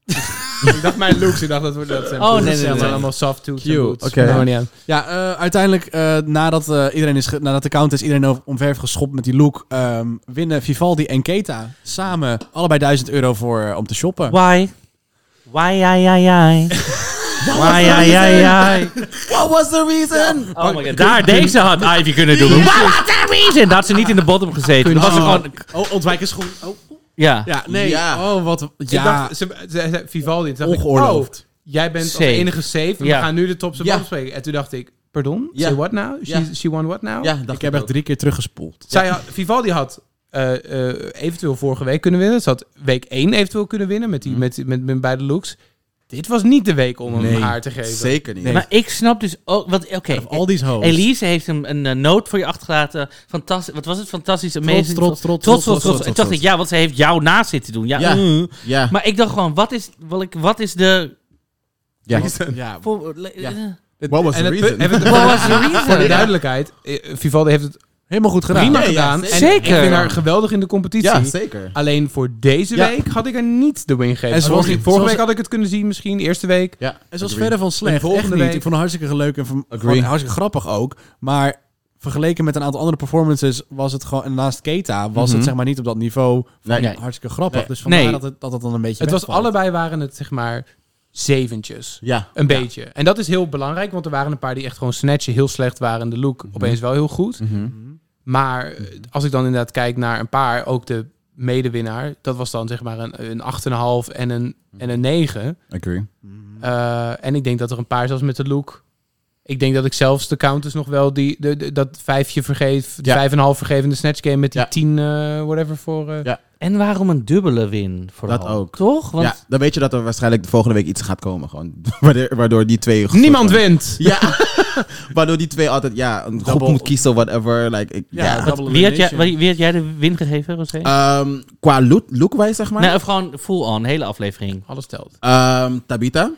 Speaker 1: ik dacht mijn looks. Ik dacht dat wordt dat zijn
Speaker 3: Oh,
Speaker 1: broers.
Speaker 3: nee, nee,
Speaker 1: Dat
Speaker 3: nee.
Speaker 1: zijn allemaal soft tools en
Speaker 4: Cute.
Speaker 1: boots.
Speaker 4: Oké.
Speaker 1: Maar niet aan.
Speaker 2: Ja, eh, uiteindelijk, eh, nadat, eh, iedereen is ge- nadat de count is iedereen over- omver geschopt met die look, ehm, winnen Vivaldi en Keta samen allebei 1000 euro voor, eh, om te shoppen.
Speaker 3: Why? Why, ja, ja, ja. Why, ja, ja, ja.
Speaker 4: What was the reason?
Speaker 3: Oh my god. Daar, deze had Ivy kunnen doen. What was the reason? Dat had ze niet in de bottom gezeten. Dat was ze gewoon...
Speaker 2: Oh, ontwijken schoen. Oh.
Speaker 3: Ja.
Speaker 2: Ja, nee.
Speaker 4: Ja.
Speaker 2: Oh, wat...
Speaker 1: Ik
Speaker 2: Ja,
Speaker 1: dacht, ze, ze, ze- Vivaldi. Toen dacht ik,
Speaker 2: ongeoorloofd.
Speaker 1: oh, jij bent als
Speaker 3: Safe.
Speaker 1: enige safe. en
Speaker 3: Ja.
Speaker 1: We gaan nu de top zijn
Speaker 4: Ja.
Speaker 1: bespreken. En toen dacht ik, Pardon?
Speaker 4: Ja.
Speaker 1: Say what now? She,
Speaker 4: Ja.
Speaker 1: she won what now?
Speaker 4: Ja, dacht
Speaker 2: ik heb echt drie keer teruggespoeld.
Speaker 1: Zij had- Vivaldi had eh, eh, eventueel vorige week kunnen winnen. Ze had week 1 eventueel kunnen winnen met, die, met, met, met beide looks. Dit was niet de week om hem
Speaker 2: Nee,
Speaker 1: haar te geven.
Speaker 4: zeker niet.
Speaker 3: Maar ik snap dus ook... wat. Oké,
Speaker 2: Al die hoes.
Speaker 3: Elise heeft een, een eh, noot voor je achtergelaten. Fantastisch, wat was het? Fantastisch, amazing.
Speaker 2: trots, trots, trots,
Speaker 3: trots, trots,
Speaker 2: trots, trots,
Speaker 3: En toen
Speaker 2: trots.
Speaker 3: dacht ik, ja, want ze heeft jou naast zitten doen. Ja,
Speaker 4: Ja,
Speaker 3: mm.
Speaker 4: ja.
Speaker 3: Maar ik dacht gewoon, wat is, wat ik- wat is de...
Speaker 4: Ja.
Speaker 2: Ja.
Speaker 3: Voor, eh, ja.
Speaker 4: What was
Speaker 1: En
Speaker 4: the
Speaker 1: het punt-
Speaker 4: reason?
Speaker 1: even-
Speaker 3: What was the reason?
Speaker 1: Voor de
Speaker 3: Ja.
Speaker 1: duidelijkheid, eh, Vivaldi heeft het
Speaker 2: Helemaal goed gedaan.
Speaker 1: prima
Speaker 4: Ja, ja,
Speaker 1: gedaan.
Speaker 4: zeker.
Speaker 1: En
Speaker 3: Zeker.
Speaker 1: Ik vind haar geweldig in de competitie.
Speaker 4: Ja, zeker.
Speaker 1: Alleen voor deze
Speaker 2: Ja.
Speaker 1: week had ik er niet de win gegeven.
Speaker 2: En
Speaker 1: En
Speaker 2: ze was
Speaker 1: vorige
Speaker 2: niet- ze was-
Speaker 1: week had ik het kunnen zien misschien, eerste week.
Speaker 4: Ja,
Speaker 2: En ze was
Speaker 4: agree.
Speaker 2: verder van
Speaker 1: En
Speaker 2: slecht.
Speaker 1: volgende
Speaker 2: Echt niet.
Speaker 1: week-
Speaker 2: Ik vond het hartstikke leuk en van,
Speaker 4: Agree.
Speaker 2: gewoon hartstikke grappig ook. Maar vergeleken met een aantal andere performances was het gewoon... En naast Keta was het
Speaker 4: Mhm.
Speaker 2: zeg maar niet op dat niveau van
Speaker 4: Nee.
Speaker 2: hartstikke grappig.
Speaker 4: Nee.
Speaker 2: Dus vandaar
Speaker 3: Nee.
Speaker 2: dat, het, dat het dan een beetje
Speaker 1: Het was
Speaker 2: wegvalt.
Speaker 1: allebei waren het zeg maar zeventjes.
Speaker 4: Ja.
Speaker 1: Een beetje. En dat is heel belangrijk, want er waren een paar die echt gewoon snatchen heel slecht waren. De
Speaker 2: Mhm.
Speaker 1: look opeens wel heel goed. Maar eh, als ik dan inderdaad kijk naar een paar, ook de medewinnaar, dat was dan zeg maar een, een 8,5 en een, en een 9.
Speaker 4: Agree.
Speaker 1: Eh, en ik denk dat er een paar, zelfs met de look. Ik denk dat ik zelfs de counters nog wel die, de, de- dat vijfje vergeef, de
Speaker 4: Ja.
Speaker 1: vijf en een half vergevende snatch game met die
Speaker 4: Ja.
Speaker 1: tien, eh, whatever voor. eh,
Speaker 4: Ja.
Speaker 3: En waarom een dubbele win? Vooral?
Speaker 4: Dat ook.
Speaker 3: Toch? Want
Speaker 4: Ja, dan weet je dat er waarschijnlijk de volgende week iets gaat komen. Gewoon. Waardoor- Waardoor die twee...
Speaker 1: Niemand wint!
Speaker 4: Ja, waardoor die twee altijd ja, een groep
Speaker 2: Double-
Speaker 4: moet kiezen, whatever. Like, ik, ja,
Speaker 2: Ja, double
Speaker 3: wie, had jij,
Speaker 2: elimination.
Speaker 3: wie had jij de win gegeven, Rosé?
Speaker 4: Ehm, qua look, look-wise, zeg maar.
Speaker 3: nee, of gewoon full-on, hele aflevering.
Speaker 1: Alles telt.
Speaker 4: Ehm, Tabita.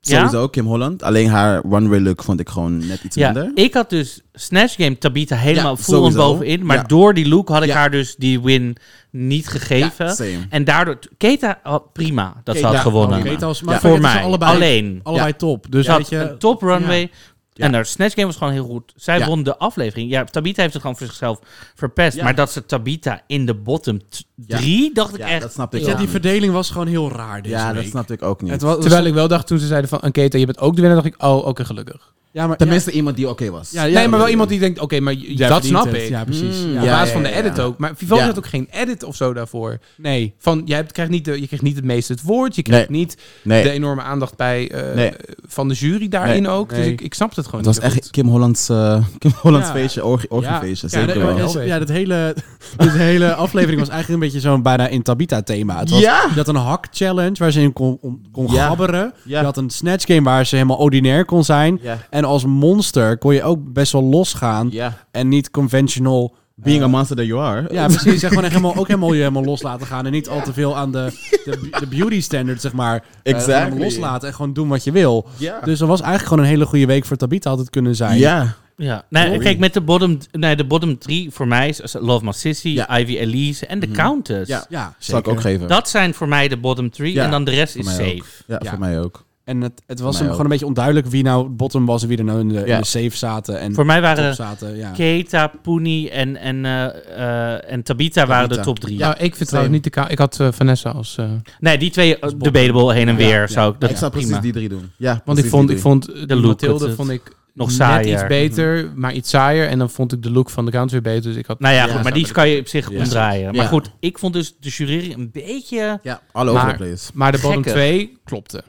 Speaker 4: Sowieso, Kim Holland. Alleen haar one-way look vond ik gewoon net iets
Speaker 3: Ja,
Speaker 4: minder.
Speaker 3: ik had dus Snatch Game Tabita helemaal
Speaker 4: Ja,
Speaker 3: full-on
Speaker 4: sowieso.
Speaker 3: bovenin. Maar
Speaker 4: Ja.
Speaker 3: door die look had ik
Speaker 4: Ja.
Speaker 3: haar dus die win niet gegeven.
Speaker 4: Ja, same. oh,
Speaker 3: en daardoor... Keta, had prima dat ze had
Speaker 4: Keta,
Speaker 3: gewonnen.
Speaker 4: prima.
Speaker 2: Keta was, maar
Speaker 4: Ja.
Speaker 2: voor
Speaker 3: Voor
Speaker 2: mij.
Speaker 3: mij.
Speaker 2: Allebei,
Speaker 3: Alleen.
Speaker 4: Oh,
Speaker 2: Allebei top. Dus
Speaker 3: Ze
Speaker 2: weet
Speaker 3: had
Speaker 2: je...
Speaker 3: een top runway. En
Speaker 4: Ja.
Speaker 3: haar Snatch Game was gewoon heel goed. Zij
Speaker 4: Ja.
Speaker 3: won de aflevering. Ja, Tabita heeft het gewoon voor zichzelf verpest.
Speaker 4: Ja.
Speaker 3: Maar dat ze Tabita in de bottom 3, dacht ik
Speaker 4: Ja,
Speaker 3: echt...
Speaker 4: dat snapte ik
Speaker 2: Weet je,
Speaker 4: ook
Speaker 2: die
Speaker 4: niet.
Speaker 2: verdeling was gewoon heel raar deze
Speaker 4: Ja,
Speaker 2: week.
Speaker 4: dat snapte ik ook niet.
Speaker 2: Het was,
Speaker 1: Terwijl ik wel dacht toen ze zeiden van, Anketa, je bent ook de winnaar, dacht ik, oh, oké, gelukkig.
Speaker 2: ja, maar,
Speaker 4: Tenminste, iemand die oké was.
Speaker 2: Ja, ja,
Speaker 1: nee, maar wel iemand die denkt, oké, maar j-
Speaker 2: Jij
Speaker 1: dat
Speaker 2: verdient
Speaker 1: snap
Speaker 2: het.
Speaker 1: ik.
Speaker 2: Ja, precies.
Speaker 4: Mm,
Speaker 2: Ja.
Speaker 1: Op
Speaker 4: ja.
Speaker 1: basis van de edit ook. Maar Vivaldi
Speaker 4: Ja.
Speaker 1: had ook geen edit of zo daarvoor.
Speaker 2: Nee.
Speaker 1: Van, jij hebt- krijgt niet de, je krijgt niet het meeste het woord. Je krijgt
Speaker 4: Nee.
Speaker 1: niet
Speaker 4: Nee,
Speaker 1: de enorme aandacht bij, eh,
Speaker 4: Nee.
Speaker 1: van de jury daarin
Speaker 4: Nee.
Speaker 1: ook. Dus
Speaker 2: Nee.
Speaker 1: ik, ik snap het gewoon
Speaker 4: het was
Speaker 1: niet zo
Speaker 4: echt Kim Hollands, eh, Kim Hollands
Speaker 2: Ja.
Speaker 4: feestje, orgi- orgiefeestje.
Speaker 2: Ja,
Speaker 4: zeker
Speaker 2: de-
Speaker 4: wel.
Speaker 2: ja,
Speaker 1: wel.
Speaker 2: dus- ja, dat hele, dit hele aflevering was eigenlijk een beetje zo'n bijna in Tabita thema. Het was,
Speaker 4: Ja.
Speaker 2: Je had een hak challenge waar ze in kon, om- kon
Speaker 4: Ja.
Speaker 2: gabberen.
Speaker 4: Ja.
Speaker 2: Je had een snatch game waar ze helemaal ordinair kon zijn.
Speaker 4: Ja.
Speaker 2: En als monster kon je ook best wel losgaan
Speaker 4: Ja.
Speaker 2: en niet conventional.
Speaker 4: Being a monster that you are.
Speaker 2: Ja, precies. Zeg gewoon echt helemaal, ook helemaal je helemaal los laten gaan en niet al te veel aan de, de, de beauty standard zeg maar. eh,
Speaker 4: Exactly.
Speaker 2: helemaal loslaten en gewoon doen wat je wil.
Speaker 4: Ja.
Speaker 2: Dus dat was eigenlijk gewoon een hele goede week voor Tabita had het kunnen zijn.
Speaker 4: Ja.
Speaker 3: Ja, nee, kijk, met de bottom, nee, de bottom drie voor mij is Love My Sissy,
Speaker 4: Ja. Mhm.
Speaker 3: Ivy Elise en de Countess.
Speaker 4: Ja.
Speaker 2: Ja,
Speaker 4: Zou ik ook geven.
Speaker 3: Dat zijn voor mij de bottom three
Speaker 4: Ja,
Speaker 3: en dan de rest
Speaker 4: Voor
Speaker 3: is
Speaker 4: mij
Speaker 3: safe.
Speaker 4: ook. Ja,
Speaker 2: Ja.
Speaker 4: voor mij ook.
Speaker 2: En het, het was
Speaker 4: mij
Speaker 2: hem
Speaker 4: ook.
Speaker 2: gewoon een beetje onduidelijk wie nou bottom was en wie er nou in de, in
Speaker 4: Ja.
Speaker 2: de safe zaten. En
Speaker 3: Voor mij
Speaker 2: top
Speaker 3: waren
Speaker 2: zaten. Ja.
Speaker 3: Keta, Puni en, en, eh, eh, en Tabita waren de
Speaker 4: Tabitha.
Speaker 3: top drie.
Speaker 1: Ja, Nou, ik vind trouwens niet de ka- Ik had eh, Vanessa als. eh,
Speaker 3: Nee, die twee, eh, debatable heen en weer, zou ik, dat
Speaker 4: ik zou
Speaker 3: prima.
Speaker 4: precies die drie doen. Ja,
Speaker 1: want ik
Speaker 4: precies
Speaker 1: vond,
Speaker 4: die
Speaker 1: ik vond de
Speaker 3: look had
Speaker 1: Mathilde
Speaker 3: het.
Speaker 1: vond ik
Speaker 3: Nog
Speaker 1: net
Speaker 3: saaier.
Speaker 1: iets beter, maar iets saaier. En dan vond ik de look van de Count weer beter. Dus ik had.
Speaker 3: Nou ja,
Speaker 4: Ja,
Speaker 3: goed, maar
Speaker 4: zou
Speaker 3: die
Speaker 4: ik-
Speaker 3: kan je op zich
Speaker 4: Ja.
Speaker 3: omdraaien. Maar
Speaker 4: Ja.
Speaker 3: goed, ik vond dus de jury een beetje,
Speaker 4: drie. Ja, all over
Speaker 1: maar,
Speaker 4: the place.
Speaker 1: maar de bottom
Speaker 3: Gekker.
Speaker 1: 2 klopte.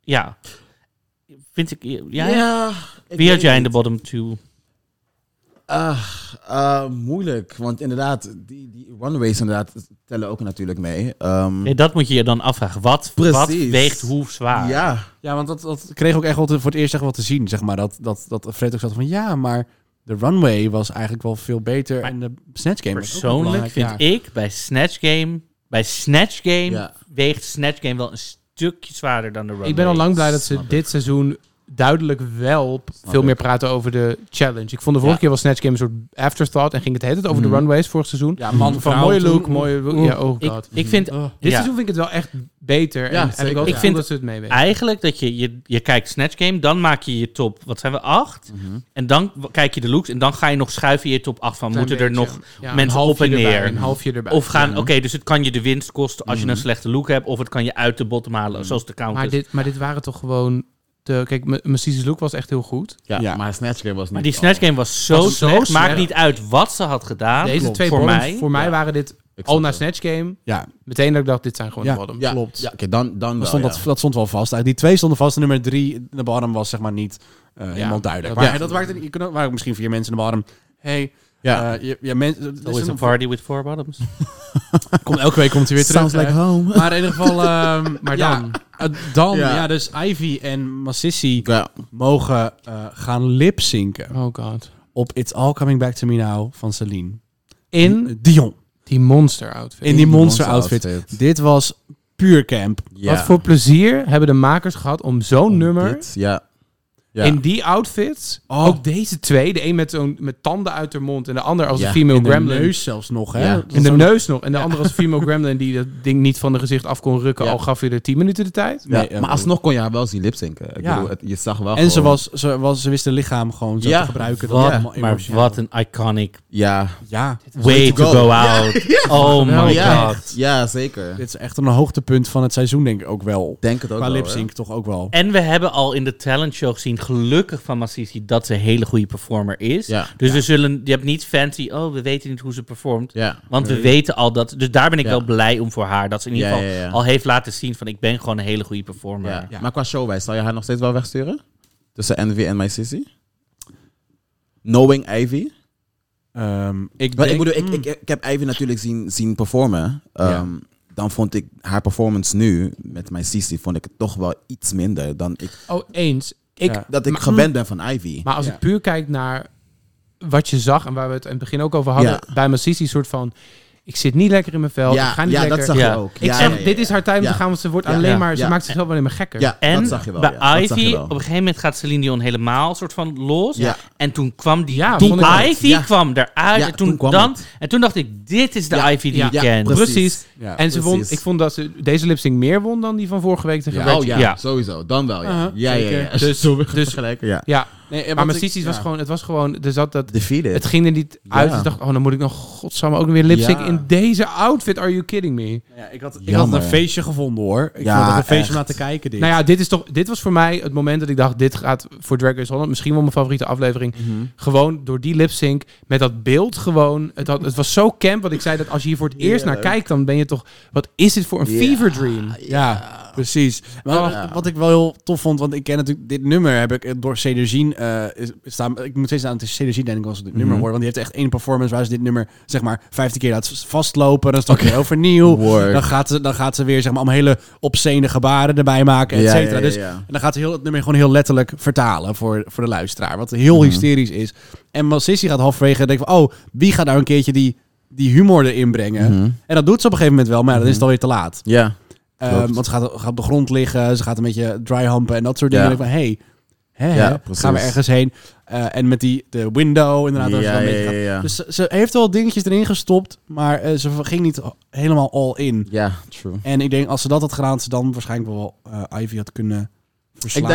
Speaker 3: ja, vind ik, ja,
Speaker 4: ik
Speaker 3: wie had
Speaker 4: weet
Speaker 3: jij in de
Speaker 4: niet.
Speaker 3: bottom two?
Speaker 4: Ah, eh, moeilijk, want inderdaad, die, die runways inderdaad tellen ook natuurlijk mee. Ehm,
Speaker 3: Nee, dat moet je je dan afvragen. Wat, wat
Speaker 4: Precies.
Speaker 3: weegt hoe zwaar?
Speaker 4: ja,
Speaker 2: ja, want dat, dat kreeg ook echt wel te- voor het eerst echt wel te zien, zeg maar. Dat, dat, dat Fred ook zat van, ja, maar de runway was eigenlijk wel veel beter
Speaker 3: Maar
Speaker 2: en de snatch game was ook wel
Speaker 3: Persoonlijk
Speaker 2: belangrijk,
Speaker 3: vind
Speaker 2: ja.
Speaker 3: ik bij Snatch Game, bij Snatch Game
Speaker 4: Ja.
Speaker 3: weegt Snatch Game wel een stukje zwaarder dan de runway.
Speaker 1: Ik ben al lang blij dat ze
Speaker 4: Snap ik.
Speaker 1: dit seizoen duidelijk wel p- veel
Speaker 4: ik.
Speaker 1: meer praten over de challenge. Ik vond de vorige
Speaker 3: Ja.
Speaker 1: keer was Snatch Game een soort afterthought en ging het de hele tijd over de
Speaker 4: Mhm.
Speaker 1: runways vorig seizoen.
Speaker 2: Ja, man,
Speaker 1: Van mooie look, mooie look. Ja, oh
Speaker 3: Ik,
Speaker 1: god.
Speaker 3: ik vind
Speaker 1: Dit
Speaker 3: ja.
Speaker 1: seizoen vind ik het wel echt beter.
Speaker 4: Ja,
Speaker 1: en, en
Speaker 4: zeker.
Speaker 1: ik, had het
Speaker 4: Ik
Speaker 1: gevoel
Speaker 3: vind-
Speaker 1: dat ze het meewegen.
Speaker 3: eigenlijk dat je, je, je kijkt Snatch Game, dan maak je je top, wat zijn we, acht? En dan w- kijk je de looks en dan ga je nog schuiven je top acht van,
Speaker 1: Klein
Speaker 3: moeten er
Speaker 1: beetje.
Speaker 3: nog...
Speaker 1: Ja,
Speaker 3: mensen
Speaker 1: een halfje
Speaker 3: op en
Speaker 1: erbij,
Speaker 3: neer.
Speaker 1: Een halfje erbij.
Speaker 3: Of gaan, oké, dus het kan je de winst kosten als je een slechte look hebt, of het kan je uit de bottom halen, zoals de counters.
Speaker 1: Mhm. Maar dit, maar dit waren toch gewoon... De, kijk, M- Macy's look was echt heel goed.
Speaker 4: ja,
Speaker 2: Ja.
Speaker 4: maar Snatch Game was niet...
Speaker 3: Maar die Snatch Game was zo
Speaker 1: Was zo
Speaker 3: slecht, maakt
Speaker 1: slecht.
Speaker 3: niet uit wat ze had gedaan.
Speaker 1: Deze
Speaker 3: Klopt.
Speaker 1: twee
Speaker 3: voor
Speaker 1: bottoms,
Speaker 3: mij.
Speaker 1: voor mij waren dit
Speaker 4: Ik
Speaker 1: al
Speaker 4: snap
Speaker 1: na
Speaker 4: het.
Speaker 1: Snatch Game.
Speaker 2: Ja,
Speaker 1: Meteen dat ik dacht, dit zijn gewoon
Speaker 2: Ja,
Speaker 1: de bottoms.
Speaker 4: ja,
Speaker 2: klopt.
Speaker 4: Ja, oké, dan, dan wel,
Speaker 2: dat stond,
Speaker 4: ja.
Speaker 2: dat, dat stond wel vast. Eigenlijk die twee stonden vast en nummer drie, de bottom was zeg maar niet eh,
Speaker 1: Ja.
Speaker 2: helemaal duidelijk.
Speaker 1: Ja.
Speaker 2: Maar dat waren, het- je kunt ook- waren ook misschien vier mensen in de bottom. Hey,
Speaker 1: Ja.
Speaker 2: eh, je, ja, mensen.
Speaker 3: Always a party with four bottoms.
Speaker 2: Komt, elke week komt hij weer terug.
Speaker 3: Sounds like
Speaker 2: hè.
Speaker 3: home.
Speaker 2: Maar in ieder geval, ehm, maar
Speaker 3: Ja.
Speaker 2: dan. Eh, dan, ja.
Speaker 3: Ja.
Speaker 2: dus Ivy en Massissi mogen eh, gaan lipzinken.
Speaker 1: Oh god.
Speaker 2: Op It's All Coming Back To Me Now van Celine.
Speaker 1: In
Speaker 2: Dion.
Speaker 1: Die monster outfit.
Speaker 2: In die monster outfit. Dit was puur camp.
Speaker 1: Wat voor plezier hebben de makers gehad om zo'n nummer...
Speaker 4: Ja. Ja.
Speaker 1: In die outfits,
Speaker 2: Oh.
Speaker 1: ook deze twee. De een met, zo'n, met tanden uit haar mond en de ander als
Speaker 2: Ja,
Speaker 1: een female
Speaker 2: in de
Speaker 1: gremlin.
Speaker 2: neus zelfs nog, hè? Dat
Speaker 1: In de
Speaker 2: zo'n-
Speaker 1: neus nog. En de andere als female gremlin die dat ding niet van de gezicht af kon rukken, al gaf je er 10 minuten de tijd.
Speaker 4: Ja, maar alsnog kon je haar wel zien lipzinken. Ik
Speaker 1: Ja.
Speaker 4: bedoel, het- je zag wel
Speaker 2: En ze,
Speaker 4: gewoon-
Speaker 2: was, ze, was, ze wist haar lichaam gewoon zo
Speaker 4: Ja.
Speaker 2: te gebruiken.
Speaker 4: Wat-
Speaker 2: allemaal
Speaker 4: maar
Speaker 2: emotioneel.
Speaker 3: Wat een iconic
Speaker 4: Ja.
Speaker 2: Ja.
Speaker 3: way to go out. Oh my
Speaker 2: Ja.
Speaker 3: god.
Speaker 4: Ja, zeker.
Speaker 2: Dit is echt een hoogtepunt van het seizoen, denk ik ook wel.
Speaker 4: Denk het ook
Speaker 2: Qua
Speaker 1: Oh,
Speaker 4: wel,
Speaker 2: lipsync toch ook wel.
Speaker 3: En we hebben al in de talentshow gezien, gelukkig van Massisi, dat ze een hele goede performer is.
Speaker 4: Ja.
Speaker 3: Dus we zullen, je hebt niet fancy, oh, we weten niet hoe ze performt.
Speaker 4: Ja.
Speaker 3: Want we
Speaker 4: Nee.
Speaker 3: weten al dat. Dus daar ben ik
Speaker 4: Ja.
Speaker 3: wel blij om voor haar. Dat ze in ieder
Speaker 4: Ja,
Speaker 3: geval
Speaker 4: ja, ja.
Speaker 3: al heeft laten zien van ik ben gewoon een hele goede performer.
Speaker 4: Ja. Maar qua showwijs, zou je haar nog steeds wel wegsturen? Tussen Envy en My Sissy? Knowing Ivy?
Speaker 2: Ehm, ik,
Speaker 4: Maar
Speaker 2: denk-
Speaker 4: ik, bedoel, ik, ik, ik heb Ivy natuurlijk zien, zien performen. Ehm, Dan vond ik haar performance nu met My Sissy vond ik het toch wel iets minder dan ik.
Speaker 1: Oh, eens. Ik,
Speaker 4: Ja. Dat ik
Speaker 1: maar-
Speaker 4: gewend ben van Ivy.
Speaker 1: Maar als
Speaker 4: Ja.
Speaker 1: ik puur kijk naar wat je zag en waar we het in het begin ook over hadden, bij Massisi een soort van. Ik zit niet lekker in mijn vel.
Speaker 4: Ja,
Speaker 1: ik ga niet
Speaker 4: ja, dat
Speaker 1: lekker.
Speaker 4: zag je Ja. ook.
Speaker 1: Ik
Speaker 4: Ja,
Speaker 1: zeg,
Speaker 4: ja, ja,
Speaker 1: dit is haar tijd om
Speaker 4: ja.
Speaker 1: te gaan, want ze wordt
Speaker 4: Ja,
Speaker 1: alleen
Speaker 4: ja,
Speaker 1: maar, ze
Speaker 4: ja.
Speaker 1: maakt zichzelf alleen maar gekker.
Speaker 4: Ja,
Speaker 3: En
Speaker 4: dat zag je wel,
Speaker 3: bij
Speaker 4: ja. Dat zag je
Speaker 3: Ivy,
Speaker 4: wel.
Speaker 3: op een gegeven moment gaat Celine Dion helemaal soort van los.
Speaker 4: Ja.
Speaker 3: En toen kwam die,
Speaker 1: Ja,
Speaker 3: toen
Speaker 1: vond ik ook.
Speaker 3: Ivy
Speaker 1: Ja.
Speaker 3: kwam eruit.
Speaker 1: Ja,
Speaker 3: en, toen
Speaker 1: toen kwam
Speaker 3: dan,
Speaker 1: het.
Speaker 3: en toen dacht ik, dit is de Ivy die
Speaker 1: Ja,
Speaker 3: ik ken.
Speaker 1: precies.
Speaker 4: Ja,
Speaker 1: en ze
Speaker 4: precies.
Speaker 1: Vond, ik vond dat ze deze lipsing meer won dan die van vorige week tegen
Speaker 4: Ja,
Speaker 1: Reggie.
Speaker 4: oh ja, sowieso. Dan wel, ja.
Speaker 1: Aha,
Speaker 4: ja, ja, ja,
Speaker 1: zeker. Dus-
Speaker 4: Zo
Speaker 1: dus-
Speaker 4: gelijk, ja.
Speaker 1: Ja,
Speaker 2: Nee, want
Speaker 1: maar
Speaker 2: ik-
Speaker 1: Massisi's was
Speaker 2: ja.
Speaker 1: gewoon, het was gewoon, er zat dat,
Speaker 4: Defeated.
Speaker 1: het ging er niet uit.
Speaker 4: Ja.
Speaker 1: Ik dacht, oh, dan moet ik nog godsamme ook weer lipstick
Speaker 4: Ja.
Speaker 1: in deze outfit. Are you kidding me?
Speaker 2: nou Ja, ik had, ik had
Speaker 1: Jammer.
Speaker 2: het een feestje gevonden hoor. Ik
Speaker 1: Ja,
Speaker 2: vond het een feestje
Speaker 1: echt.
Speaker 2: om naar te kijken. Dit.
Speaker 1: Nou ja, dit, is toch, dit was voor mij het moment dat ik dacht... dit gaat voor Drag Race Holland misschien wel mijn favoriete aflevering.
Speaker 2: Mhm.
Speaker 1: Gewoon door die lip sync met dat beeld gewoon. Het, had, het was zo camp, want ik zei dat als je hier voor het eerst naar
Speaker 2: Heerlijk.
Speaker 1: kijkt... dan ben je toch... wat is dit voor een
Speaker 2: Ja,
Speaker 1: fever dream?
Speaker 2: Ja, precies. Maar
Speaker 1: Ja.
Speaker 2: wat ik wel heel tof vond, want ik ken natuurlijk dit nummer heb ik eh, door Cedergine eh, is- staan. Ik moet steeds aan het Cedergine denk ik als ik dit nummer
Speaker 4: Mhm.
Speaker 2: hoor, want die heeft echt één performance waar ze dit nummer zeg maar 15 keer laat vastlopen. Dan start je weer overnieuw.
Speaker 4: Word.
Speaker 2: Dan gaat ze dan gaat ze weer zeg maar om hele obscene gebaren erbij maken, et
Speaker 4: Ja,
Speaker 2: cetera.
Speaker 4: ja, ja,
Speaker 2: Dus
Speaker 4: ja.
Speaker 2: en dan gaat ze heel het nummer gewoon heel letterlijk vertalen voor, voor de luisteraar, wat heel
Speaker 4: Mhm.
Speaker 2: hysterisch is. En Massissi gaat halverwege denken van oh, wie gaat nou een keertje die die humor erin brengen?
Speaker 4: Mhm.
Speaker 2: En dat doet ze op een gegeven moment wel, maar ja, dan is het alweer te laat.
Speaker 4: Ja.
Speaker 2: Ehm,
Speaker 4: Klopt.
Speaker 2: want ze gaat, gaat op de grond liggen, ze gaat een beetje dryhampen en dat soort dingen.
Speaker 4: Ja.
Speaker 2: En ik van, hey, hè,
Speaker 4: Ja,
Speaker 2: hè,
Speaker 4: precies.
Speaker 2: gaan we ergens heen? Eh, en met die de window inderdaad. dat
Speaker 4: Ja,
Speaker 2: ze een
Speaker 4: ja,
Speaker 2: beetje gaat-
Speaker 4: ja, ja.
Speaker 2: Dus ze, ze heeft wel dingetjes erin gestopt, maar eh, ze ging niet helemaal all in.
Speaker 4: Ja, true.
Speaker 2: En ik denk, als ze dat had gedaan, ze dan waarschijnlijk wel eh, Ivy had kunnen verslaan.
Speaker 1: Ik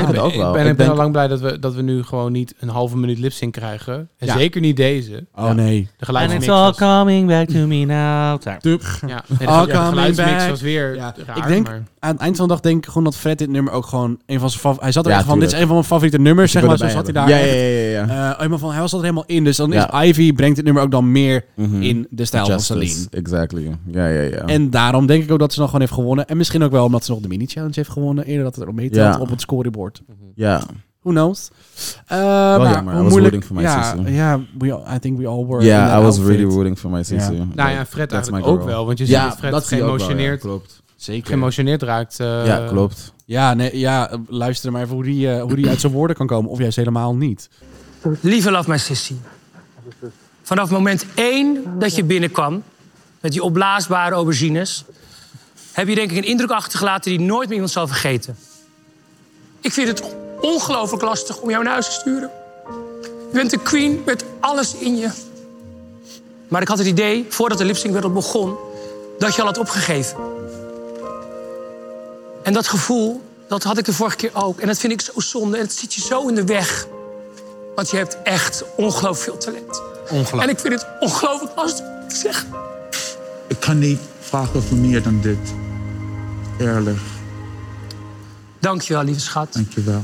Speaker 1: ben, ik ben al lang blij dat we, dat we nu gewoon niet een halve minuut lip sync krijgen. En
Speaker 2: Ja.
Speaker 1: zeker niet deze.
Speaker 2: Oh, nee.
Speaker 1: De
Speaker 3: And
Speaker 1: geluidsmix
Speaker 3: it's all
Speaker 1: was...
Speaker 3: coming back to me now. Daar.
Speaker 1: Ja,
Speaker 2: All
Speaker 1: nee, de, de
Speaker 2: coming
Speaker 1: geluidsmix
Speaker 2: back.
Speaker 1: was weer
Speaker 2: Ja,
Speaker 1: raar,
Speaker 2: ik denk,
Speaker 1: maar-
Speaker 2: aan het eind van de dag denk ik gewoon dat Fred dit nummer ook gewoon een van zijn favorieten... Hij zat er
Speaker 4: Ja,
Speaker 2: echt van, dit is een
Speaker 4: tuurlijk.
Speaker 2: van mijn favoriete nummers,
Speaker 4: Ik
Speaker 2: zeg
Speaker 4: wil
Speaker 2: maar. Zo
Speaker 4: erbij
Speaker 2: zat hij daar
Speaker 4: hebben. Ja,
Speaker 2: echt,
Speaker 4: ja, ja, ja,
Speaker 2: eh, helemaal van, hij was er helemaal in. Dus dan
Speaker 4: Ja.
Speaker 2: is Ivy, brengt dit nummer ook dan meer
Speaker 4: Mhm.
Speaker 2: in de stijl
Speaker 4: Justice,
Speaker 2: van Celine.
Speaker 4: Exactly. Ja, ja, ja.
Speaker 2: En daarom denk ik ook dat ze nog gewoon heeft gewonnen. En misschien ook wel omdat ze nog de mini-challenge heeft gewonnen. Eerder dat het erop meetelt
Speaker 4: Ja.
Speaker 2: op het scorebord.
Speaker 4: ja.
Speaker 2: Who knows? Eh, maar
Speaker 4: jammer. I
Speaker 2: hoe
Speaker 4: was
Speaker 2: moeilijk,
Speaker 4: rooting for my
Speaker 2: ja,
Speaker 4: sister.
Speaker 2: Ja, we all- I think we all were. in
Speaker 4: Ja,
Speaker 2: that
Speaker 4: I was
Speaker 2: outfit.
Speaker 4: really rooting for my sister.
Speaker 2: Ja.
Speaker 1: Nou ja,
Speaker 4: That-
Speaker 1: Fred
Speaker 4: that's my
Speaker 1: eigenlijk ook
Speaker 4: girl.
Speaker 1: wel. Want je ziet
Speaker 4: Ja,
Speaker 1: dat Fred
Speaker 4: dat zie je ook wel, ja,
Speaker 1: geëmotioneerd,
Speaker 4: klopt.
Speaker 2: Zeker.
Speaker 1: geëmotioneerd raakt. eh,
Speaker 4: Ja, klopt.
Speaker 2: Ja, nee, ja, luister maar even hoe die, eh, hoe die uit zijn woorden kan komen. Of juist helemaal niet.
Speaker 5: Lieve Love My Sissy. Vanaf moment één dat je binnenkwam... met die opblaasbare aubergines... heb je denk ik een indruk achtergelaten... die nooit meer iemand zal vergeten. Ik vind het ongelooflijk lastig om jou naar huis te sturen. Je bent de queen met alles in je. Maar ik had het idee, voordat de lipsync werd begon... dat je al had opgegeven. En dat gevoel, dat had ik de vorige keer ook. En dat vind ik zo zonde. En het zit je zo in de weg. Want je hebt echt ongelooflijk veel talent.
Speaker 7: Ongelooflijk.
Speaker 5: En ik vind het ongelooflijk lastig. Ik zeg,
Speaker 7: Ik kan niet vragen voor meer dan dit. Eerlijk.
Speaker 5: dankjewel, lieve schat.
Speaker 7: Dankjewel.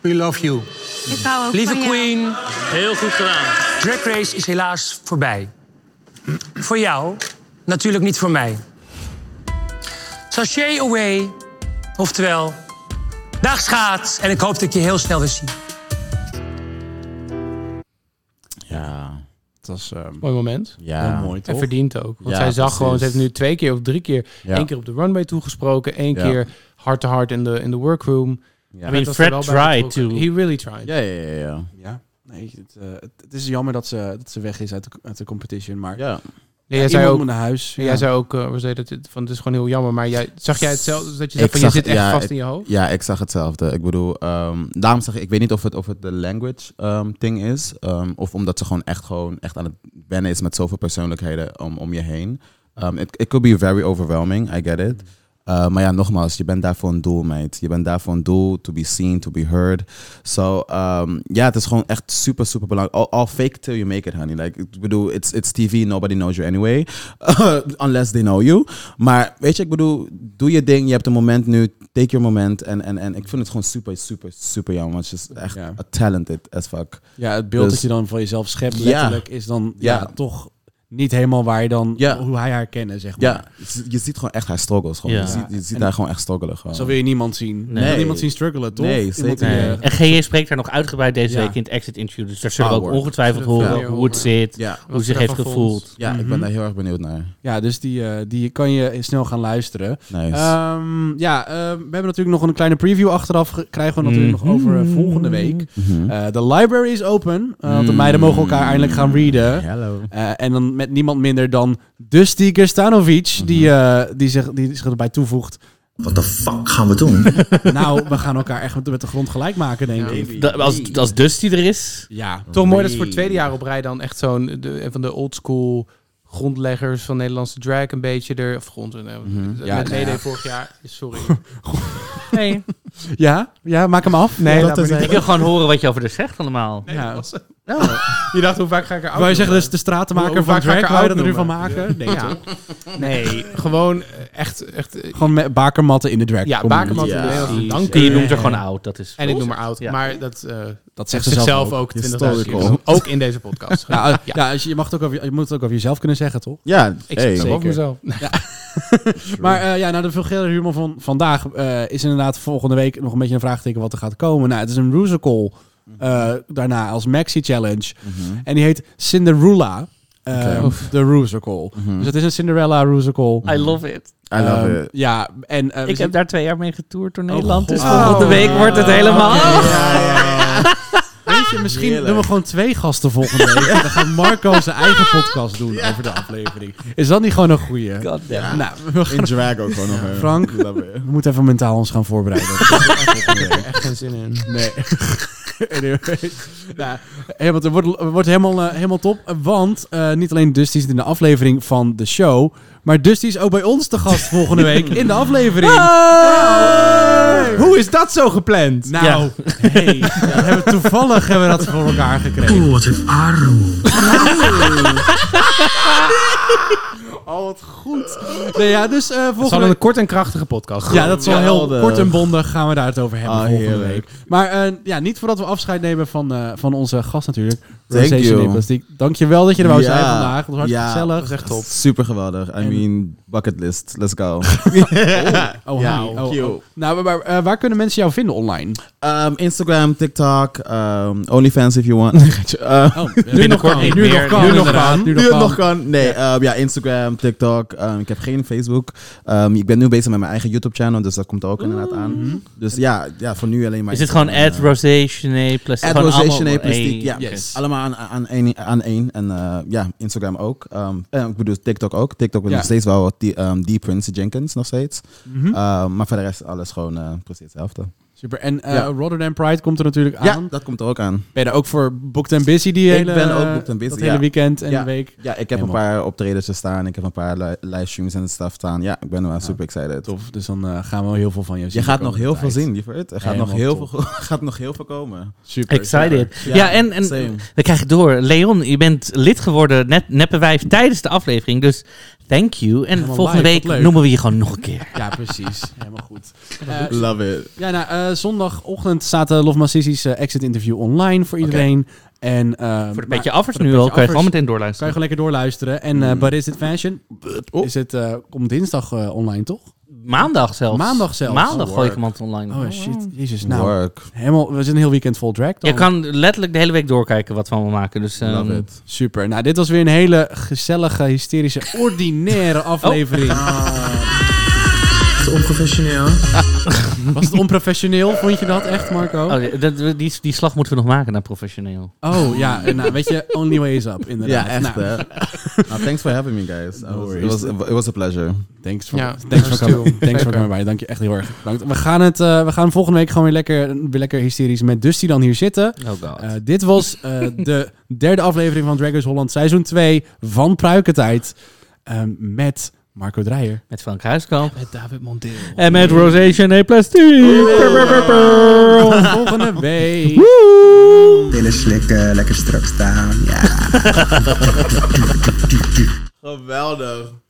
Speaker 5: We love you.
Speaker 11: Ik hou ook
Speaker 5: Lieve
Speaker 11: van jou.
Speaker 5: Queen. Heel goed gedaan. Drag Race is helaas voorbij. Voor jou, natuurlijk niet voor mij. Sachet away, oftewel, dag schaat. En ik hoop dat ik je heel snel weer zie.
Speaker 4: Ja.
Speaker 2: Het was... ehm,
Speaker 1: Mooi moment.
Speaker 4: Ja. Heel Oh, mooi,
Speaker 1: en
Speaker 4: toch?
Speaker 1: verdient ook. Want
Speaker 4: Ja,
Speaker 1: zij zag
Speaker 4: precies.
Speaker 1: gewoon, ze heeft nu twee keer of drie keer,
Speaker 4: Ja.
Speaker 1: één keer op de runway toegesproken, één
Speaker 4: Ja.
Speaker 1: keer hard to hard in de in de workroom. En
Speaker 4: Ja. I
Speaker 1: dat
Speaker 3: mean,
Speaker 1: was
Speaker 3: Fred
Speaker 1: er wel bij
Speaker 3: tried
Speaker 1: betrokken.
Speaker 3: to-
Speaker 1: He really tried.
Speaker 4: Ja, ja, ja. ja.
Speaker 2: Ja, nee, het, eh, het, het is jammer dat ze, dat ze weg is uit de, uit de competition, maar
Speaker 4: Ja.
Speaker 1: Nee, jij
Speaker 2: Ja,
Speaker 1: zei
Speaker 2: iemand
Speaker 1: ook,
Speaker 2: moet naar huis.
Speaker 1: Jij
Speaker 2: Ja.
Speaker 1: zei ook, eh, we zeiden dat het, van, het is gewoon heel jammer. Maar jij, zag jij hetzelfde? Dus Dat je zei
Speaker 4: Ik
Speaker 1: van, je
Speaker 4: zag-
Speaker 1: zit echt
Speaker 4: ja,
Speaker 1: vast
Speaker 4: ik-
Speaker 1: in je hoofd?
Speaker 4: Ja, ik zag hetzelfde. Ik bedoel, ehm, daarom zeg ik, ik weet niet of het, of het de language ehm, thing is. ehm, of omdat ze gewoon echt, gewoon echt aan het wennen is met zoveel persoonlijkheden om, om je heen. Ehm, it, it could be very overwhelming, I get
Speaker 2: Mm-hmm.
Speaker 4: it. Uh, maar ja, nogmaals, je bent daar voor een doel, meid. Je bent daar voor een doel, to be seen, to be heard. So, ehm, ja, het is gewoon echt super, super belangrijk. All, all fake till you make it, honey. Like, ik bedoel, it's, it's TV, nobody knows you anyway. unless they know you. Maar weet je, ik bedoel, doe je ding. Je hebt een moment nu, take your moment. En, en, en ik vind het gewoon super, super, super jammer. Want ze is echt
Speaker 2: Ja.
Speaker 4: talented as fuck.
Speaker 2: Ja, het beeld
Speaker 4: Dus-
Speaker 2: dat je dan van jezelf schept,
Speaker 4: Ja.
Speaker 2: letterlijk, is dan ja.
Speaker 4: Ja.
Speaker 2: toch niet helemaal waar je dan,
Speaker 4: Ja.
Speaker 2: hoe hij haar kende, zeg maar.
Speaker 4: Ja, je- je ziet gewoon echt haar struggles. Gewoon.
Speaker 3: Ja.
Speaker 4: Je ziet, je ziet
Speaker 2: En-
Speaker 4: haar gewoon echt struggelen. Gewoon.
Speaker 2: Zo wil je niemand zien.
Speaker 3: Nee.
Speaker 2: Je wil niemand zien struggelen, toch?
Speaker 4: Nee,
Speaker 2: Iemand
Speaker 4: zeker
Speaker 2: die,
Speaker 4: niet.
Speaker 2: eh,
Speaker 3: En GJ spreekt daar nog uitgebreid deze
Speaker 2: Ja.
Speaker 3: week in het exit interview. Dus daar zullen we ook
Speaker 4: Power.
Speaker 3: ongetwijfeld
Speaker 1: Zullen we
Speaker 3: horen
Speaker 1: veel
Speaker 3: hoe het
Speaker 1: horen.
Speaker 3: zit,
Speaker 4: Ja.
Speaker 3: hoe ze zich
Speaker 1: Wat ze
Speaker 3: heeft
Speaker 1: daarvan vond.
Speaker 3: gevoeld.
Speaker 4: Ja,
Speaker 2: Mhm.
Speaker 4: ik ben daar heel erg benieuwd naar.
Speaker 2: Ja, dus die, eh, die kan je snel gaan luisteren.
Speaker 4: Nice.
Speaker 2: Ehm, ja, ehm, we hebben natuurlijk nog een kleine preview achteraf. ge- Krijgen we natuurlijk nog over eh, volgende week.
Speaker 4: Mhm.
Speaker 2: Eh, De library is open. eh, want de
Speaker 4: Mm.
Speaker 2: meiden mogen elkaar eindelijk gaan readen.
Speaker 4: Hello.
Speaker 2: Eh, en dan met niemand minder dan de Stiker Stanovic, die, eh, die, zich, die zich erbij toevoegt.
Speaker 9: Wat de fuck gaan we doen?
Speaker 2: Nou, we gaan elkaar echt met, met de grond gelijk maken, denk ik.
Speaker 3: Da- Als, als Dusty er is.
Speaker 2: Ja.
Speaker 1: Toch mooi dat ze voor het tweede jaar op rij dan echt zo'n... de- Een van de oldschool grondleggers van Nederlandse drag een beetje er... Of grond... eh,
Speaker 4: Ja,
Speaker 1: met
Speaker 4: nou ja.
Speaker 1: meedeed vorig jaar. Sorry. nee.
Speaker 2: Ja? Ja, maak hem af.
Speaker 1: Nee,
Speaker 2: dat
Speaker 1: laat maar
Speaker 3: Ik wil gewoon horen wat je over haar zegt allemaal.
Speaker 1: Nee,
Speaker 2: Ja.
Speaker 1: dat was- Je dacht, hoe vaak ga ik er oud
Speaker 2: Wou je
Speaker 1: doen?
Speaker 2: zeggen, dus de stratenmaker
Speaker 1: Hoe- hoe
Speaker 2: van
Speaker 1: vaak ga ik
Speaker 2: drag,
Speaker 1: haar
Speaker 2: wou je
Speaker 1: oud
Speaker 2: dat er nu van
Speaker 1: noemen?
Speaker 2: maken? Nee,
Speaker 1: Ja.
Speaker 2: toch?
Speaker 1: Nee, gewoon eh, echt... echt eh,
Speaker 2: Gewoon met bakermatten in de drag.
Speaker 1: ja,
Speaker 2: community.
Speaker 1: Bakermat
Speaker 4: Ja.
Speaker 1: in de Nederlandse dank
Speaker 3: En je
Speaker 1: u.
Speaker 3: noemt haar gewoon oud. Dat is
Speaker 1: En ik noem
Speaker 3: maar
Speaker 1: haar oud.
Speaker 3: Ja.
Speaker 1: Maar dat, eh zegt
Speaker 2: Dat zegt
Speaker 1: ze
Speaker 2: ze
Speaker 1: zichzelf
Speaker 2: zelf
Speaker 1: ook.
Speaker 2: ook.
Speaker 1: 20.000 keer.
Speaker 4: Historical.
Speaker 1: Ook in deze podcast. Nou,
Speaker 2: Ja, als-
Speaker 1: Ja.
Speaker 2: ja, als je, je, mag het ook over, je moet het ook over jezelf kunnen zeggen, toch?
Speaker 4: Ja,
Speaker 1: Ik
Speaker 4: hey.
Speaker 1: zit zo over mezelf.
Speaker 2: Maar eh, ja, nou, de vulgaire humor van vandaag eh, is inderdaad volgende week nog een beetje een vraagteken wat er gaat komen. Nou, het is een musical
Speaker 1: Mhm.
Speaker 2: eh, daarna als Maxi Challenge. En die heet Cinderella. eh, De Rusical.
Speaker 1: Mhm.
Speaker 2: Dus het is een Cinderella Rusical.
Speaker 3: I love it.
Speaker 4: I love
Speaker 2: Ehm,
Speaker 4: it.
Speaker 2: Ja, en eh, we
Speaker 3: Ik
Speaker 2: zitten-
Speaker 3: heb daar twee jaar mee getoerd door Nederland.
Speaker 2: God.
Speaker 3: dus volgende
Speaker 2: Oh.
Speaker 3: week wordt het helemaal...
Speaker 2: Weet je, misschien
Speaker 4: Heerlijk.
Speaker 2: doen we gewoon twee gasten volgende week. En dan gaat Marco zijn eigen podcast doen over de aflevering. Is dat niet gewoon een goeie?
Speaker 3: God damn.
Speaker 2: Nou, we, gaan-
Speaker 4: In drag ook gewoon nog. hè.
Speaker 2: Frank.
Speaker 4: Love it.
Speaker 2: we moeten even mentaal ons gaan voorbereiden.
Speaker 1: Echt geen zin in.
Speaker 2: Nee. Anyway. nou, helemaal, het wordt, het wordt helemaal, eh, helemaal top. Want eh, niet alleen Dusty zit in de aflevering van de show. Maar Dusty is ook bij ons te gast volgende week in de aflevering.
Speaker 1: Hoe is dat zo gepland?
Speaker 2: Nou, hey, we hebben toevallig hebben we dat voor elkaar gekregen.
Speaker 9: Oeh, wat een arm.
Speaker 2: Oh, wat goed. Nee, ja, dus eh,
Speaker 1: Het
Speaker 2: volgende
Speaker 1: zal een
Speaker 2: week...
Speaker 1: kort en krachtige podcast
Speaker 2: Ja, dat is wel heel
Speaker 4: Geweldig.
Speaker 2: kort en bondig. Gaan we daar het over hebben
Speaker 4: Ah,
Speaker 2: volgende
Speaker 4: heerlijk.
Speaker 2: week. Maar eh, ja, niet voordat we afscheid nemen van, eh, van onze gast natuurlijk.
Speaker 4: Thank
Speaker 2: Rosé
Speaker 4: you.
Speaker 2: Snippers. Die- Dank je wel dat je er wou zijn
Speaker 4: Ja.
Speaker 2: vandaag. Het was hartstikke
Speaker 4: Ja.
Speaker 2: gezellig.
Speaker 4: Dat Super geweldig. I mean, bucket list. Let's go.
Speaker 2: Oh,
Speaker 4: Ja,
Speaker 2: hi. Oh,
Speaker 4: cute.
Speaker 2: oh. Nou, maar, maar, eh, waar kunnen mensen jou vinden online?
Speaker 4: Um, Instagram, TikTok, um, OnlyFans if you want. Eh,
Speaker 3: Oh, Binnenkort niet
Speaker 2: nu nog
Speaker 3: meer.
Speaker 2: kan.
Speaker 3: Nu nog
Speaker 2: inderdaad.
Speaker 4: nu het nog kan. Nee, ja, ja Instagram, TikTok. Ehm, ik heb geen Facebook. Ehm, ik ben nu bezig met mijn eigen YouTube-channel, dus dat komt er ook inderdaad aan. Dus ja, ja, voor nu alleen maar.
Speaker 3: Is het gewoon
Speaker 4: Instagram,
Speaker 3: Ad Rosé, Chené, Plastic?
Speaker 4: At
Speaker 3: Gewoon allemaal-
Speaker 4: Rosation Plastiek,
Speaker 3: Hey,
Speaker 4: ja.
Speaker 3: yes.
Speaker 4: Allemaal aan, aan, één, aan één. En eh, ja, Instagram ook. Ehm, eh, ik bedoel, TikTok ook. TikTok is
Speaker 2: Ja.
Speaker 4: nog steeds wel wat die, ehm, die Prince Jenkins nog steeds. Ehm, maar verder is alles gewoon eh, precies hetzelfde.
Speaker 2: Super. En eh,
Speaker 4: Ja.
Speaker 2: Rotterdam Pride komt er natuurlijk aan.
Speaker 4: Ja, dat komt er ook aan.
Speaker 2: Ben je daar ook voor Booked and Busy die
Speaker 4: Ik
Speaker 2: hele...
Speaker 4: ben ook booked and busy,
Speaker 2: Dat
Speaker 4: ja.
Speaker 2: hele weekend en
Speaker 4: Ja.
Speaker 2: de week.
Speaker 4: Ja, ik heb
Speaker 2: Helemaal.
Speaker 4: een paar optredens er staan. Ik heb een paar li- livestreams en stuff staan. Ja, ik ben wel super excited.
Speaker 2: Tof. Dus dan eh, gaan we wel heel veel van je zien.
Speaker 4: Je
Speaker 2: de
Speaker 4: gaat nog
Speaker 2: komende
Speaker 4: heel veel
Speaker 2: tijd.
Speaker 4: zien, lieverd. Er gaat nog
Speaker 2: Helemaal top.
Speaker 4: heel, veel, gaat nog heel veel komen.
Speaker 2: Super.
Speaker 3: Excited. Ja,
Speaker 4: Ja,
Speaker 3: en, en
Speaker 4: same.
Speaker 3: we krijgen door. Leon, je bent lid geworden, net neppe wijf, tijdens de aflevering. Dus thank you. En
Speaker 2: Helemaal
Speaker 3: volgende
Speaker 2: live,
Speaker 3: week
Speaker 2: wat leuk.
Speaker 3: noemen we je gewoon nog een keer.
Speaker 2: Ja, precies. Helemaal goed. Eh,
Speaker 4: Love it.
Speaker 2: ja, nou, eh, zondagochtend staat eh, de Love Massissi's exit interview online voor iedereen. En, eh,
Speaker 3: Voor een
Speaker 2: maar-
Speaker 3: beetje affers
Speaker 2: voor de
Speaker 3: nu al,
Speaker 2: petje
Speaker 3: kan je
Speaker 2: affers.
Speaker 3: gewoon meteen
Speaker 2: Kan je
Speaker 3: doorluisteren.
Speaker 2: gewoon lekker doorluisteren. En eh But Is It Fashion is het, eh, komt dinsdag eh, online, toch?
Speaker 3: Maandag zelfs.
Speaker 2: Maandag zelfs.
Speaker 3: Maandag gooi
Speaker 2: Work.
Speaker 3: ik hem altijd online.
Speaker 2: Oh shit, jezus. Nou, Helemaal, we zijn een heel weekend vol drag dan.
Speaker 3: Je kan letterlijk de hele week doorkijken wat we allemaal maken. Dus, ehm,
Speaker 2: Love it. Super. Nou, dit was weer een hele gezellige, hysterische, ordinaire aflevering.
Speaker 12: Het is onprofessioneel.
Speaker 2: Was het onprofessioneel? Vond je dat echt, Marco?
Speaker 3: Oh, die- dat- die, die slag moeten we nog maken naar professioneel.
Speaker 2: Oh ja, eh, nou weet je, only way is up, inderdaad.
Speaker 4: Ja, echt,
Speaker 2: Nou.
Speaker 4: hè? Nou, thanks for having me, guys. I was- it, was, it was a pleasure.
Speaker 2: Thanks
Speaker 4: for,
Speaker 2: Ja, thanks voor komen. Thanks voor komen bij. Dank je echt heel erg. Bedankt. We gaan, het, eh, we gaan volgende week gewoon weer lekker, weer lekker hysterisch met Dusty dan hier zitten.
Speaker 3: Oh god.
Speaker 2: Eh, dit was eh, de derde aflevering van Drag Race Holland seizoen 2 van Pruikentijd. Ehm, met Marco Dreyer.
Speaker 3: Met Frank Huiskamp.
Speaker 1: Met David Mondeel.
Speaker 3: En met Rosation E. Plastic.
Speaker 2: Volgende week.
Speaker 13: Pillen slikken, lekker strak staan. Ja.
Speaker 4: Geweldig.